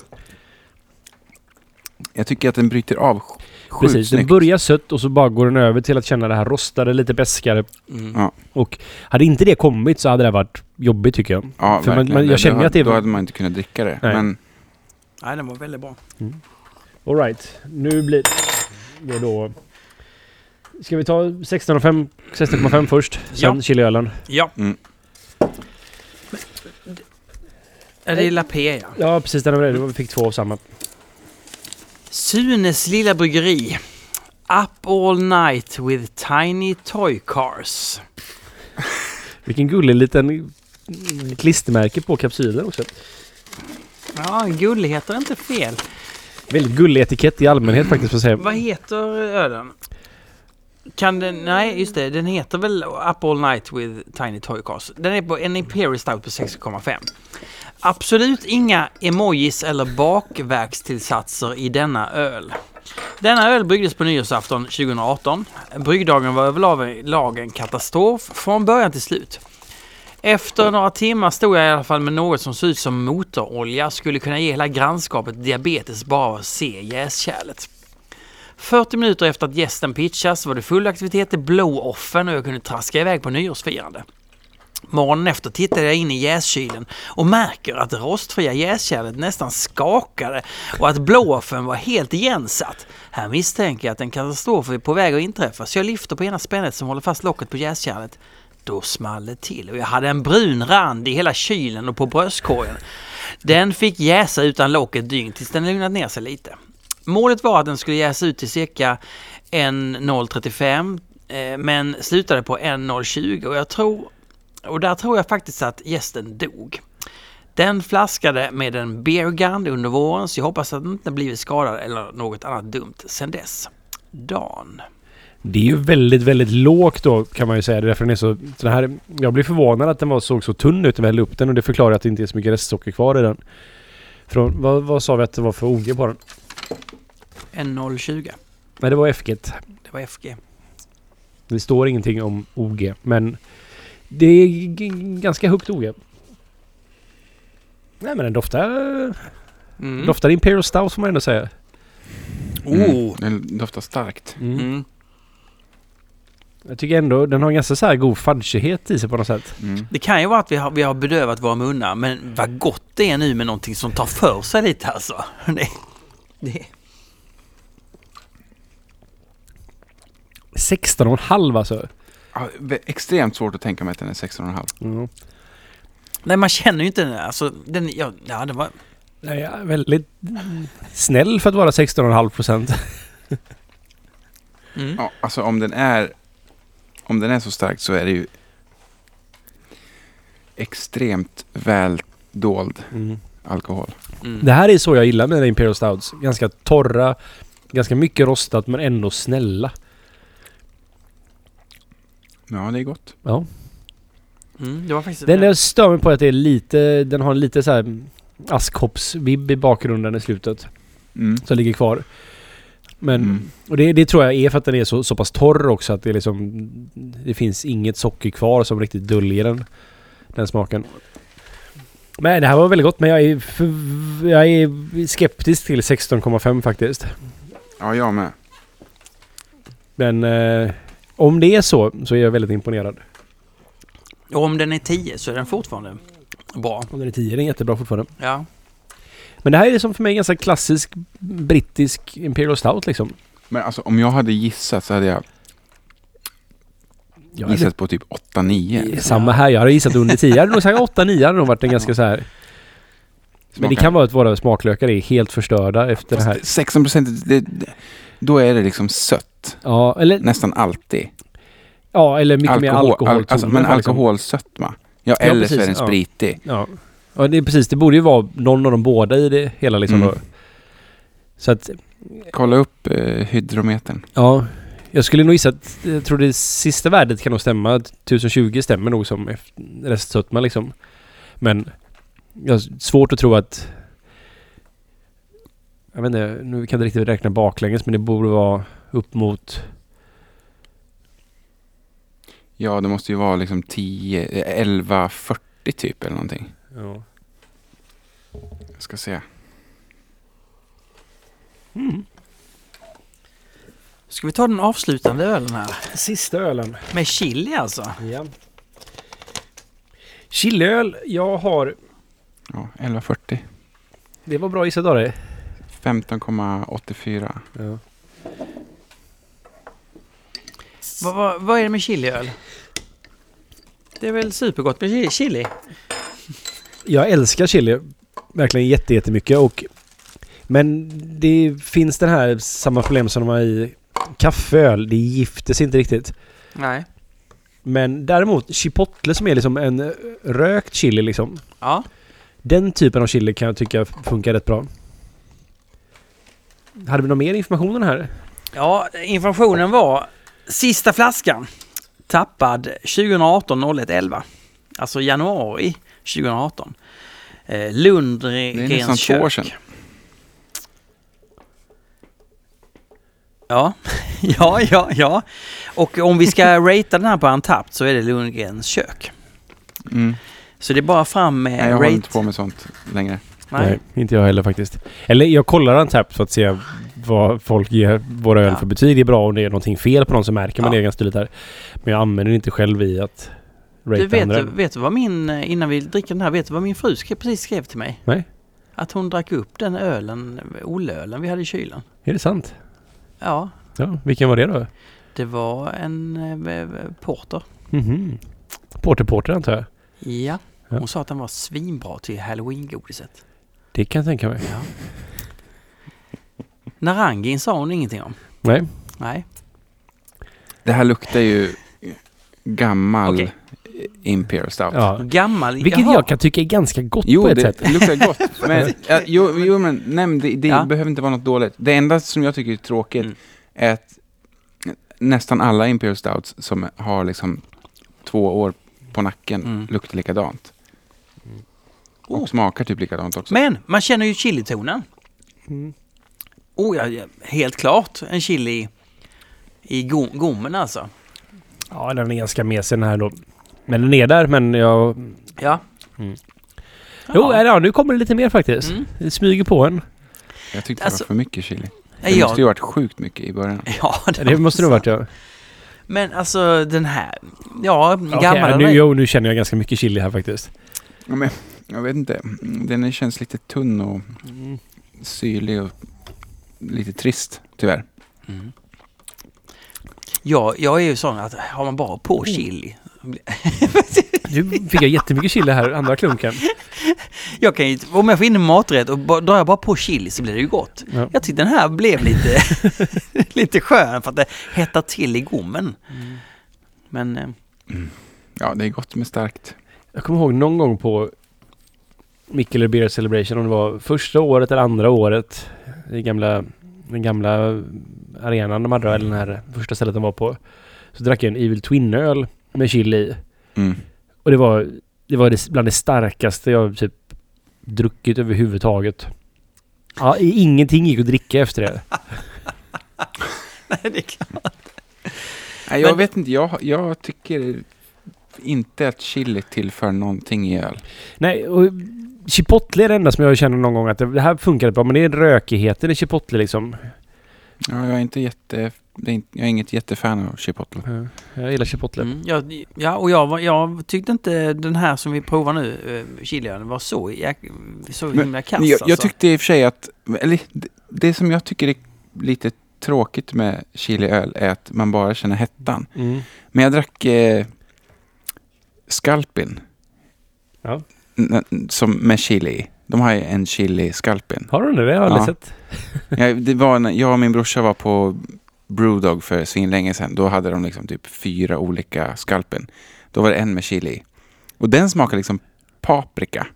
Speaker 3: Jag tycker att den bryter av sj- sjukt
Speaker 2: Precis, den
Speaker 3: snyggt.
Speaker 2: börjar sött och så bara går den över till att känna det här rostade, lite beskare.
Speaker 1: Mm.
Speaker 3: Ja,
Speaker 2: Och hade inte det kommit så hade det här varit jobbigt tycker jag.
Speaker 3: ja
Speaker 2: För man-
Speaker 3: verkligen.
Speaker 2: man- jag
Speaker 3: Då
Speaker 2: känner
Speaker 3: hade-
Speaker 2: att det är-
Speaker 3: Då hade man inte kunnat dricka det.
Speaker 2: Nej.
Speaker 3: Men
Speaker 1: Nej, den var väldigt bra.
Speaker 2: Alright, nu blir det då... Ska vi ta 16,5 16,5 först? Sen
Speaker 1: Ja.
Speaker 2: chiliölen.
Speaker 1: Ja.
Speaker 3: Mm.
Speaker 1: Är det Lapé, ja.
Speaker 2: Ja precis, den var redo. Vi fick två av samma.
Speaker 1: Sunes lilla bryggeri. Up all night with tiny toy cars.
Speaker 2: Vilken gullig liten klistermärke på kapsylen också.
Speaker 1: Ja, gulligheter är inte fel.
Speaker 2: Väldigt gullig etikett i allmänhet faktiskt får jag säga.
Speaker 1: Vad heter ölen? Kan den, nej just det, den heter väl Up All Night with Tiny Toy Cars. Den är på en Imperial Stout på 6,5. Absolut inga emojis eller bakverkstillsatser i denna öl. Denna öl bryggdes på nyårsafton 2018. Bryggdagen var överlag en katastrof från början till slut. Efter några timmar stod jag i alla fall med något som såg ut som motorolja skulle kunna ge hela grannskapet diabetes bara av att se jäskärlet. 40 minuter efter att gästen pitchas var det full aktivitet i blow-offen och jag kunde traska iväg på nyårsfirande. Morgonen efter tittade jag in i jäskylen och märker att det rostfria jäskärlet nästan skakade och att blow-offen var helt igensatt. Här misstänker jag att en katastrof är på väg att inträffa så jag lyfter på ena spännet som håller fast locket på jäskärlet. Då small det till och jag hade en brun rand i hela kylen och på bröstkorgen. Den fick jäsa utan locket dygn tills den lugnat ner sig lite. Målet var att den skulle jäsa ut till cirka 1.035 eh, men slutade på 1.020 och jag tror och där tror jag faktiskt att gästen dog. Den flaskade med en beer gun under våren så jag hoppas att den inte blivit skadad eller något annat dumt sen dess. Dan.
Speaker 2: Det är ju väldigt, väldigt lågt då kan man ju säga. Det är därför den är så... så den här, jag blev förvånad att den var, såg så tunn ut när vi hällde upp den och det förklarar att det inte är så mycket restsocker kvar i den. Från, vad, vad sa vi att det var för OG på den?
Speaker 1: En 020.
Speaker 2: Nej, det var FG.
Speaker 1: Det var FG.
Speaker 2: Det står ingenting om OG, men det är g- ganska högt OG. Nej, men den doftar...
Speaker 1: Mm.
Speaker 2: Doftar Imperial Stout får man ändå säga.
Speaker 1: Oh.
Speaker 3: Mm. Den doftar starkt.
Speaker 1: Mm.
Speaker 2: Jag tycker ändå den har en ganska så här god fudgighet i sig på något sätt.
Speaker 3: Mm.
Speaker 1: Det kan ju vara att vi har, vi har bedövat våra munnar, men vad gott det är nu med någonting som tar för sig lite alltså. Det, det.
Speaker 2: 16,5 alltså.
Speaker 3: Ja, vä- extremt svårt att tänka mig att den är 16,5.
Speaker 2: Mm.
Speaker 1: Nej, man känner ju inte den. Alltså, den ja, ja, det var...
Speaker 2: Nej, jag är väldigt snäll för att vara 16,5 procent.
Speaker 1: Mm.
Speaker 3: Ja, alltså om den är om den är så stark så är det ju extremt väl dold alkohol.
Speaker 1: Mm.
Speaker 2: Det här är så jag gillar mina Imperial Stouts. Ganska torra, ganska mycket rostat men ändå snälla.
Speaker 3: Ja, det är gott.
Speaker 2: Ja.
Speaker 1: Mm. Det var faktiskt...
Speaker 2: Den jag stör mig på är att det är lite, den har en lite så här askkoppsvibb i bakgrunden i slutet.
Speaker 3: Mm.
Speaker 2: Som ligger kvar. Men,
Speaker 3: Mm.
Speaker 2: och det, det tror jag är för att den är så, så pass torr också att det är liksom... Det finns inget socker kvar som riktigt döljer den. Den smaken. Men det här var väldigt gott men jag är, för, jag är skeptisk till 16,5 faktiskt.
Speaker 3: Ja, jag med.
Speaker 2: Men eh, om det är så så är jag väldigt imponerad.
Speaker 1: Och om den är 10 så är den fortfarande bra.
Speaker 2: Om den är 10 är den jättebra fortfarande.
Speaker 1: Ja.
Speaker 2: Men det här är liksom för mig ganska klassisk brittisk Imperial Stout liksom.
Speaker 3: Men alltså om jag hade gissat så hade jag
Speaker 2: Jag hade-
Speaker 3: gissat på typ 8-9.
Speaker 2: Samma här, jag hade gissat under 10. Jag hade nog sagt 8-9 hade nog varit en ganska så här... Men det
Speaker 3: Smakar.
Speaker 2: kan vara att våra smaklökar är helt förstörda efter det här.
Speaker 3: 16 procent, det, det, då är det liksom sött.
Speaker 2: Ja, eller,
Speaker 3: Nästan alltid.
Speaker 2: ja, eller mycket mer alkohol.
Speaker 3: al- alltså, men alkoholsötma. Ja,
Speaker 2: Ja,
Speaker 3: eller så
Speaker 2: precis,
Speaker 3: är den
Speaker 2: ja.
Speaker 3: spritig.
Speaker 2: Ja. ja, det är precis. Det borde ju vara någon av de båda i det hela liksom.
Speaker 3: Mm.
Speaker 2: Då. Så att,
Speaker 3: Kolla upp eh, hydrometern.
Speaker 2: ja. Jag skulle nog gissa att, jag tror det sista värdet kan nog stämma. 1020 stämmer nog som eft- restsötma liksom. Men, jag har svårt att tro att... Jag vet inte, nu kan jag inte riktigt räkna baklänges men det borde vara upp mot...
Speaker 3: Ja, det måste ju vara liksom 10, eh, 11, 40 typ eller någonting.
Speaker 2: Ja.
Speaker 3: Jag ska se.
Speaker 1: Ska vi ta den avslutande ölen här?
Speaker 2: Sista ölen.
Speaker 1: Med chili alltså?
Speaker 2: Ja. Chiliöl, jag har...
Speaker 3: Ja, 11,40.
Speaker 2: Det var bra gissat av dig.
Speaker 3: 15,84.
Speaker 2: Ja.
Speaker 1: Vad, vad, vad är det med chiliöl? Det är väl supergott med chi- chili?
Speaker 2: Jag älskar chili. Verkligen jätte, jättemycket. Och, men det finns den här samma problem som de har i kaffeöl. Det gifter sig inte riktigt.
Speaker 1: Nej.
Speaker 2: Men däremot chipotle som är liksom en rökt chili liksom.
Speaker 1: Ja.
Speaker 2: Den typen av chili kan jag tycka funkar rätt bra. Hade vi någon mer information om den här?
Speaker 1: Ja, informationen var sista flaskan tappad 2018 01 11. Alltså januari 2018. Eh,
Speaker 3: Det är nästan
Speaker 1: Lundgrens
Speaker 3: två år
Speaker 1: kök.
Speaker 3: sedan.
Speaker 1: Ja, ja, ja, ja. Och om vi ska ratea den här på Antapt så är det Lundgrens kök.
Speaker 3: Mm.
Speaker 1: Så det är bara fram med
Speaker 3: Nej, jag håller
Speaker 1: rate.
Speaker 3: inte på med sånt längre.
Speaker 1: Nej.
Speaker 2: inte jag heller faktiskt. Eller jag kollar Antappd för att se vad folk ger våra öl
Speaker 1: Ja.
Speaker 2: för betyg. Det är bra om det är någonting fel på någon så märker man
Speaker 1: Ja.
Speaker 2: det ganska tydligt här. Men jag använder det inte själv i att
Speaker 1: Du
Speaker 2: ratea
Speaker 1: vet,
Speaker 2: andra.
Speaker 1: du,
Speaker 2: öl.
Speaker 1: vet du vad min, eh, innan vi dricker den här, vet du vad min fru skrev, precis skrev till mig?
Speaker 2: Nej.
Speaker 1: Att hon drack upp den ölen, olölen vi hade i kylen.
Speaker 2: Är det sant?
Speaker 1: Ja,
Speaker 2: Ja, vilken var det då?
Speaker 1: det var en eh, porter.
Speaker 2: Mhm. Porter Porter antar jag.
Speaker 1: Ja.
Speaker 2: Ja.
Speaker 1: Hon sa att den var svinbra till halloween-godiset.
Speaker 2: Det kan jag tänka mig.
Speaker 1: Ja. Narangin sa hon ingenting om.
Speaker 2: Nej.
Speaker 1: Nej.
Speaker 3: Det här luktar ju gammal
Speaker 1: Okej.
Speaker 3: Imperial Stout.
Speaker 2: Ja.
Speaker 1: Gammal?
Speaker 2: Vilket
Speaker 1: jaha.
Speaker 2: jag kan tycka är ganska gott
Speaker 3: Jo,
Speaker 2: på ett
Speaker 3: det
Speaker 2: sätt.
Speaker 3: luktar gott. Men, ja, jo, jo, men nämn, det, det
Speaker 1: Ja.
Speaker 3: behöver inte vara något dåligt. Det enda som jag tycker är tråkigt
Speaker 1: Mm.
Speaker 3: är att nästan alla Imperial Stouts som har liksom två år på nacken
Speaker 1: Mm.
Speaker 3: luktar likadant. Mm. Och
Speaker 1: Oh.
Speaker 3: smakar typ likadant också.
Speaker 1: Men man känner ju chilitonen.
Speaker 2: Mm.
Speaker 1: Oh, ja, ja, helt klart en chili i go- gommen alltså.
Speaker 2: Ja, den är ganska mesig den här då. Men den är där, men jag...
Speaker 1: Ja.
Speaker 2: Mm. Jo,
Speaker 1: Ja.
Speaker 2: ja. ja, nu kommer det lite mer faktiskt.
Speaker 1: Mm.
Speaker 2: Det smyger på en.
Speaker 3: jag tyckte
Speaker 1: alltså-
Speaker 3: det var för mycket chili. Det
Speaker 1: Ja,
Speaker 3: måste ju ha varit sjukt mycket i början.
Speaker 1: ja,
Speaker 2: Det måste det ha varit, ja.
Speaker 1: Men alltså den här. Ja,
Speaker 2: Okej,
Speaker 1: gammal
Speaker 2: nu,
Speaker 1: okay,
Speaker 2: jo, nu känner jag ganska mycket chili här faktiskt.
Speaker 3: Ja, men, jag vet inte. Den känns lite tunn och Mm. syrlig och lite trist, tyvärr.
Speaker 1: Mm. Ja, jag är ju sån att har man bara på chili.
Speaker 2: Nu fick jag jättemycket chili här, andra klunken.
Speaker 1: Jag kan ju, om jag får in en maträtt och bara, drar jag bara på chili så blir det ju gott.
Speaker 2: Ja.
Speaker 1: Jag tyckte den här blev lite, lite skön för att det hettar till i gommen. Men eh,
Speaker 3: Ja, det är gott med starkt.
Speaker 2: Jag kommer ihåg någon gång på Mikkele Beer Celebration, om det var första året eller andra året i gamla, den gamla arenan de hade, eller den här första stället de var på. Så drack jag en Evil Twin-öl med chili i.
Speaker 3: Mm.
Speaker 2: Och det var, det var det bland det starkaste jag typ druckit överhuvudtaget. Ja, i- ingenting gick att dricka efter det.
Speaker 1: nej, det är klart.
Speaker 3: Nej, jag
Speaker 1: Men-
Speaker 3: vet inte. Jag, jag tycker inte att chili tillför någonting i öl.
Speaker 2: Nej, och chipotle är det enda som jag känner någon gång att det det här funkar bra, men det är rökigheten i chipotle liksom.
Speaker 3: Ja, jag, är inte jätte, det är, inte- jag är inget jättefan av chipotle.
Speaker 2: Ja, Jag gillar chipotle.
Speaker 1: Mm, jag, ja, och jag, var- jag tyckte inte den här som vi provar nu, eh, chiliölen, var så, jäk- så
Speaker 3: Men-
Speaker 1: himla kass
Speaker 3: Men jag, jag
Speaker 1: alltså.
Speaker 3: tyckte i och för sig att, eller det, det som jag tycker är lite tråkigt med chiliöl är att man bara känner hettan.
Speaker 2: Mm.
Speaker 3: Men jag drack eh, Skalpin.
Speaker 2: Ja.
Speaker 3: N- Som med chili i. De har ju en chili Skalpin.
Speaker 2: Har du det? Det har jag aldrig
Speaker 3: Ja.
Speaker 2: sett.
Speaker 3: Jag, det var när jag och min brorsa var på Brewdog för svinlänge sedan. Då hade de liksom typ fyra olika Skalpin. Då var det en med chili i. Och den smakade liksom paprika.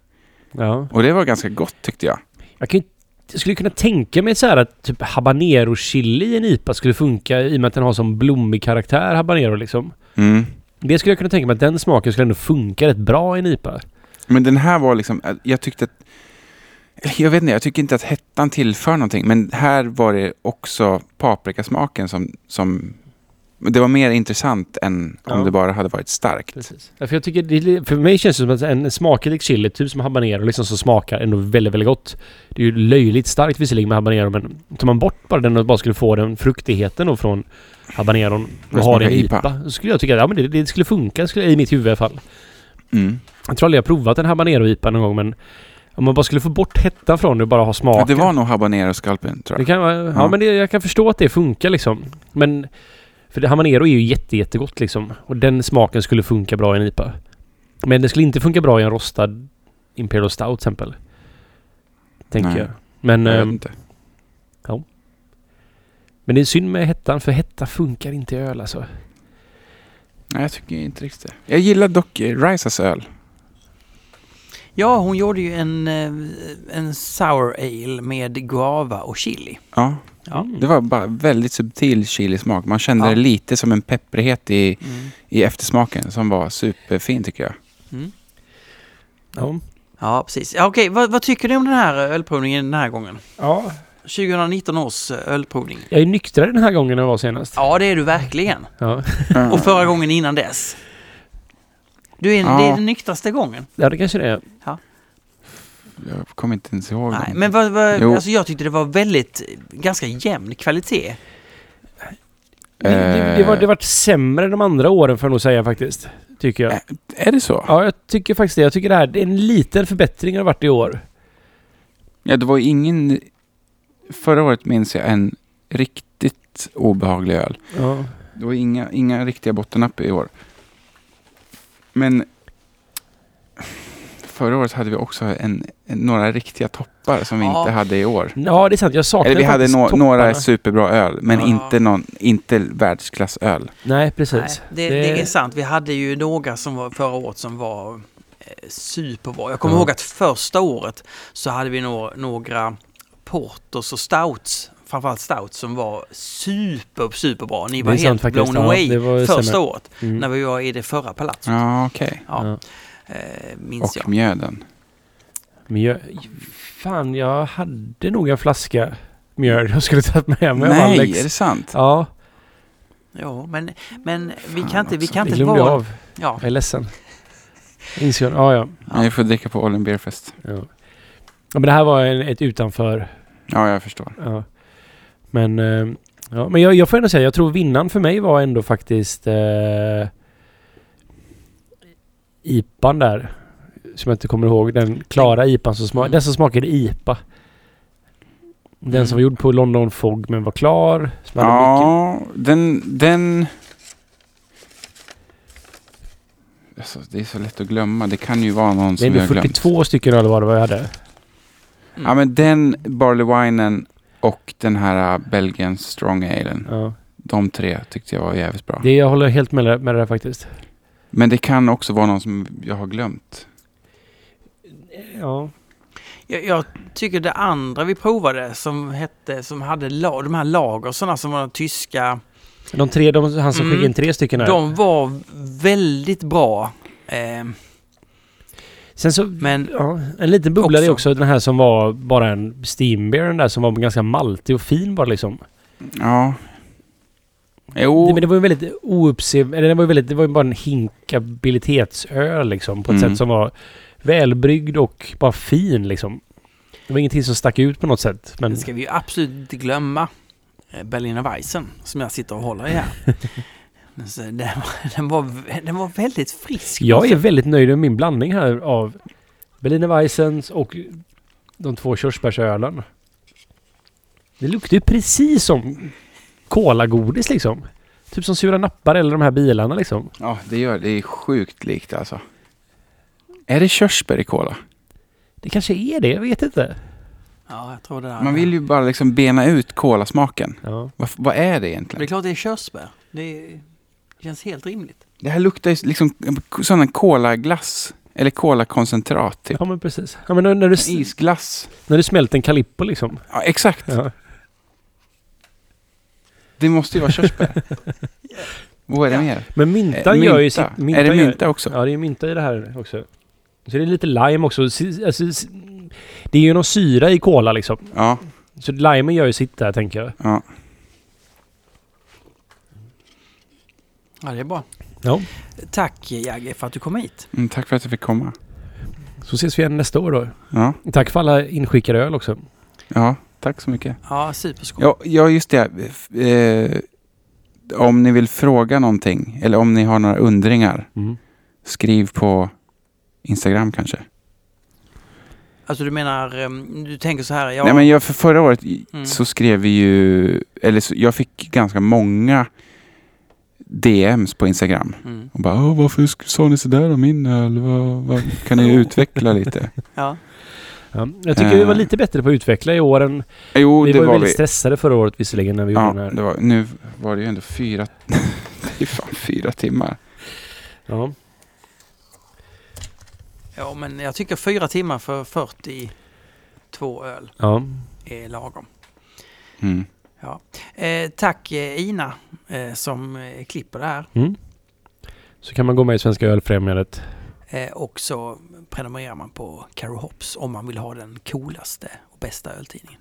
Speaker 2: Ja.
Speaker 3: Och det var ganska gott tyckte jag.
Speaker 2: Jag, kan, ju- jag skulle kunna tänka mig så här att typ habanero chili i en IPA skulle funka i och med att den har sån blommig karaktär, habanero liksom.
Speaker 3: Mm.
Speaker 2: Det skulle jag kunna tänka mig att den smaken skulle ändå funka rätt bra i en IPA.
Speaker 3: Men den här var liksom, jag tyckte att, jag vet inte, jag tycker inte att hettan tillför någonting. Men här var det också paprikasmaken som, som det var mer intressant än om
Speaker 2: Ja.
Speaker 3: det bara hade varit starkt.
Speaker 2: Precis. Ja, för, jag tycker det, är li- för mig känns det som att en smakrik chili, typ som habanero, liksom, som smakar ändå väldigt, väldigt gott. Det är ju löjligt starkt visserligen med habanero, men tar man bort bara den och bara skulle få den fruktigheten då från habaneron och
Speaker 3: Det
Speaker 2: ha den i
Speaker 3: smakar
Speaker 2: IPA, så skulle jag tycka att ja, men det, det skulle funka skulle, i mitt huvud i alla fall.
Speaker 3: Mm.
Speaker 2: Jag tror aldrig jag har provat en habanero-IPA någon gång, men om man bara skulle få bort hettan från det och bara ha
Speaker 3: Ja,
Speaker 2: smaken.
Speaker 3: det var nog habanero-skalpen tror
Speaker 2: Det
Speaker 3: jag.
Speaker 2: kan, vara- ja,
Speaker 3: Ja.
Speaker 2: men det, jag kan förstå att det funkar liksom. Men... För det, habanero är ju jätte, jättegott liksom. Och den smaken skulle funka bra i en IPA. Men det skulle inte funka bra i en rostad Imperial Stout till exempel. Tänker
Speaker 3: Nej.
Speaker 2: jag. Men,
Speaker 3: Jag vet
Speaker 2: ehm,
Speaker 3: inte.
Speaker 2: men det är synd med hettan, för hetta funkar inte i öl alltså.
Speaker 3: Nej, jag tycker inte riktigt det. Jag gillar dock eh, Risas öl.
Speaker 1: Ja, hon gjorde ju en, eh, en sour ale med guava och chili.
Speaker 3: Ja,
Speaker 1: Ja.
Speaker 2: Mm.
Speaker 3: det var bara väldigt subtil chilismak. Man kände
Speaker 1: Ja.
Speaker 3: det lite som en pepprighet i,
Speaker 1: Mm.
Speaker 3: i eftersmaken som var superfin tycker jag.
Speaker 1: Mm.
Speaker 2: Ja.
Speaker 1: Ja, precis. Ja, Okej, vad, vad tycker du om den här ölprovningen den här gången?
Speaker 2: ja.
Speaker 1: 2019 års eh, ölprovning.
Speaker 2: Jag är nyktrare den här gången än jag var senast. Ja.
Speaker 1: Ja, det är du verkligen.
Speaker 2: Ja,
Speaker 1: Och förra gången innan dess. Du är, Det
Speaker 3: Ja.
Speaker 1: är den nyktraste gången.
Speaker 2: det kanske det
Speaker 3: Eh.
Speaker 2: är.
Speaker 3: Jag kommer inte ens ihåg
Speaker 1: Nej,
Speaker 3: dem.
Speaker 1: men vad, vad,
Speaker 3: Jo.
Speaker 1: alltså jag tyckte det var väldigt, ganska jämn kvalitet.
Speaker 2: Det, det, det, var, det varit sämre de andra åren får jag nog säga faktiskt. Tycker jag.
Speaker 3: Äh. Är det så?
Speaker 2: Ja, jag tycker faktiskt det. Jag tycker det här det är en liten förbättring har det varit i år.
Speaker 3: Ja, det var ju ingen... Förra året minns jag en riktigt obehaglig öl.
Speaker 2: Ja.
Speaker 3: Det var inga, inga riktiga bottennapp i år. Men förra året hade vi också en, en, några riktiga toppar som vi
Speaker 1: Ja.
Speaker 3: inte hade i år.
Speaker 2: Ja, det är sant. Jag saknar
Speaker 3: Eller vi hade
Speaker 2: faktiskt
Speaker 3: nå-
Speaker 2: topparna.
Speaker 3: några superbra öl, men
Speaker 1: Ja.
Speaker 3: inte, någon, inte världsklassöl.
Speaker 2: Nej,
Speaker 1: Nej,
Speaker 2: precis.
Speaker 1: det, det... är sant. Vi hade ju några som var förra året som var eh, superbra. Jag kommer
Speaker 2: Ja.
Speaker 1: ihåg att första året så hade vi nå- några porters och stouts, framförallt stouts, som var super, superbra. Ni
Speaker 2: Det
Speaker 1: var
Speaker 2: är sant
Speaker 1: helt
Speaker 2: faktiskt.
Speaker 1: blown
Speaker 2: Ja,
Speaker 1: away
Speaker 2: det var
Speaker 1: första
Speaker 2: sämre.
Speaker 1: året
Speaker 2: Mm.
Speaker 1: när vi var i det förra palatset.
Speaker 3: Ja, okej.
Speaker 1: Ja,
Speaker 2: Ja.
Speaker 1: eh, minns
Speaker 3: Och
Speaker 1: jag.
Speaker 3: mjöden.
Speaker 2: Mjöl. Fan, jag hade nog en flaska mjöl jag skulle tagit med mig av
Speaker 3: Nej,
Speaker 2: Alex.
Speaker 3: är det sant?
Speaker 2: Ja,
Speaker 1: Ja, men, men vi
Speaker 3: Fan
Speaker 1: kan inte... Vi
Speaker 2: det
Speaker 3: också.
Speaker 1: kan inte
Speaker 2: glömde jag
Speaker 1: vara...
Speaker 2: av.
Speaker 1: Ja,
Speaker 2: Jag är ledsen. Inser jag. Ja, ja.
Speaker 3: Ja. Vi får dricka på Olden Beer Fest.
Speaker 2: ja. ja men det här var en, ett utanför.
Speaker 3: Ja, jag förstår.
Speaker 2: Ja. Men, eh, ja, men jag, jag får ändå säga, jag tror vinnaren för mig var ändå faktiskt eh, IPan där. Som jag inte kommer ihåg. Den klara IPan som, sma-
Speaker 1: Mm.
Speaker 2: den som smakade IPA. Den
Speaker 1: Mm.
Speaker 2: som var gjord på London Fog men var klar. Som hade mycket-
Speaker 3: Ja, den... den... Alltså, det är så lätt att glömma. Det kan ju vara någon
Speaker 2: Det är
Speaker 3: som
Speaker 2: ändå
Speaker 3: jag har glömt.
Speaker 2: 42 stycken öl var det vad jag hade.
Speaker 1: Mm.
Speaker 3: Ja, men den Barley Winen och den här äh, Belgian Strong Alen.
Speaker 2: Ja.
Speaker 3: De tre tyckte jag var jävligt bra.
Speaker 2: Det, jag håller helt med, med det där faktiskt.
Speaker 3: Men det kan också vara någon som jag har glömt.
Speaker 2: Ja.
Speaker 1: Jag, jag tycker det andra vi provade som hette, som hade la, de här lagersarna som var tyska,
Speaker 2: De tre, de, han som
Speaker 1: Mm.
Speaker 2: skickade in tre stycken här.
Speaker 1: de var väldigt bra. Eh,
Speaker 2: Sen så
Speaker 1: men
Speaker 2: Ja, en liten bubblare är
Speaker 1: Också.
Speaker 2: också den här som var bara en steambeer, den där som var ganska maltig och fin bara liksom.
Speaker 3: Ja.
Speaker 2: Det,
Speaker 3: Jo,
Speaker 2: men det var ju väldigt ouppse... Eller det var ju väldigt... Det var ju bara en hinkabilitetsöl liksom på ett
Speaker 3: Mm.
Speaker 2: sätt som var välbryggd och bara fin liksom. Det var ingenting som stack ut på något sätt. Men
Speaker 1: det ska vi ju absolut inte glömma eh, Berliner Weissen som jag sitter och håller i här. Så den, var- den, var, den var väldigt frisk.
Speaker 2: jag är väldigt nöjd med min blandning här av Berliner Weissens och de två körsbärsölen. Det luktar ju precis som kolagodis liksom. Typ som sura nappar eller de här bilarna liksom.
Speaker 3: ja, det gör det. är sjukt likt alltså. Är det körsbär i cola?
Speaker 2: Det kanske är det, jag vet inte.
Speaker 1: Ja, jag tror det där.
Speaker 3: Man vill ju bara liksom bena ut kolasmaken.
Speaker 2: Ja.
Speaker 3: Vad, vad är det
Speaker 1: Men det är
Speaker 3: egentligen?
Speaker 1: klart det är körsbär. Det är- känns helt rimligt.
Speaker 3: Det här luktar ju liksom sån här kolaglass. Eller kolakoncentrat typ.
Speaker 2: ja, men precis. Ja, men när, när, du, s-
Speaker 3: Isglass.
Speaker 2: när du smälter en Calippo liksom.
Speaker 3: Ja, exakt.
Speaker 2: Ja.
Speaker 3: Det måste ju vara körsbär. Vad är det mer?
Speaker 2: Men
Speaker 3: Eh,
Speaker 2: myntan gör ju sitt...
Speaker 3: är det
Speaker 2: gör-
Speaker 3: mynta också?
Speaker 2: Ja, det är mynta i det här också. Så det är lite lime också. Si- Alltså, si- det är ju någon syra i cola liksom.
Speaker 3: Ja.
Speaker 2: Så limen gör ju sitt där, tänker jag.
Speaker 3: ja.
Speaker 1: Ja, det är bra.
Speaker 2: Ja.
Speaker 1: Tack Jagge för att du kom hit.
Speaker 3: Mm, tack för att jag fick komma.
Speaker 2: Så ses vi igen nästa år då.
Speaker 3: Ja,
Speaker 2: Tack för alla inskickade öl också.
Speaker 3: ja tack så mycket.
Speaker 1: Ja, superskoj.
Speaker 3: Ja, ja just det. F- Eh, om ni vill fråga någonting eller om ni har några undringar, skriv på Instagram kanske.
Speaker 1: Alltså du menar, ehm, du tänker så här, ja,
Speaker 3: Nej, men jag, för förra året i-
Speaker 1: Mm.
Speaker 3: så skrev vi ju, eller så, jag fick ganska många DMs på Instagram.
Speaker 1: mm,
Speaker 3: Och bara, "Åh, varför sk- sa ni sådär om min öl? Vad- vad- Kan ni utveckla lite?
Speaker 1: ja.
Speaker 2: Ja. Jag tycker vi var lite bättre på att utveckla i år än...
Speaker 3: Jo,
Speaker 2: vi
Speaker 3: Eh. det
Speaker 2: var ju
Speaker 3: var
Speaker 2: väldigt
Speaker 3: vi.
Speaker 2: stressade förra året visserligen när vi
Speaker 3: Ja,
Speaker 2: gjorde den
Speaker 3: det
Speaker 2: här.
Speaker 3: var, nu var det ju ändå fyra, det är fan fyra timmar.
Speaker 2: Ja.
Speaker 1: ja, men jag tycker fyra timmar för 42 öl
Speaker 2: ja.
Speaker 1: är lagom.
Speaker 3: Mm.
Speaker 1: Eh, tack eh, Ina eh, som eh, klipper det här
Speaker 2: Så kan man gå med i Svenska Ölfrämjandet.
Speaker 1: eh, och så prenumererar man på Caro Hops om man vill ha den coolaste och bästa öltidningen.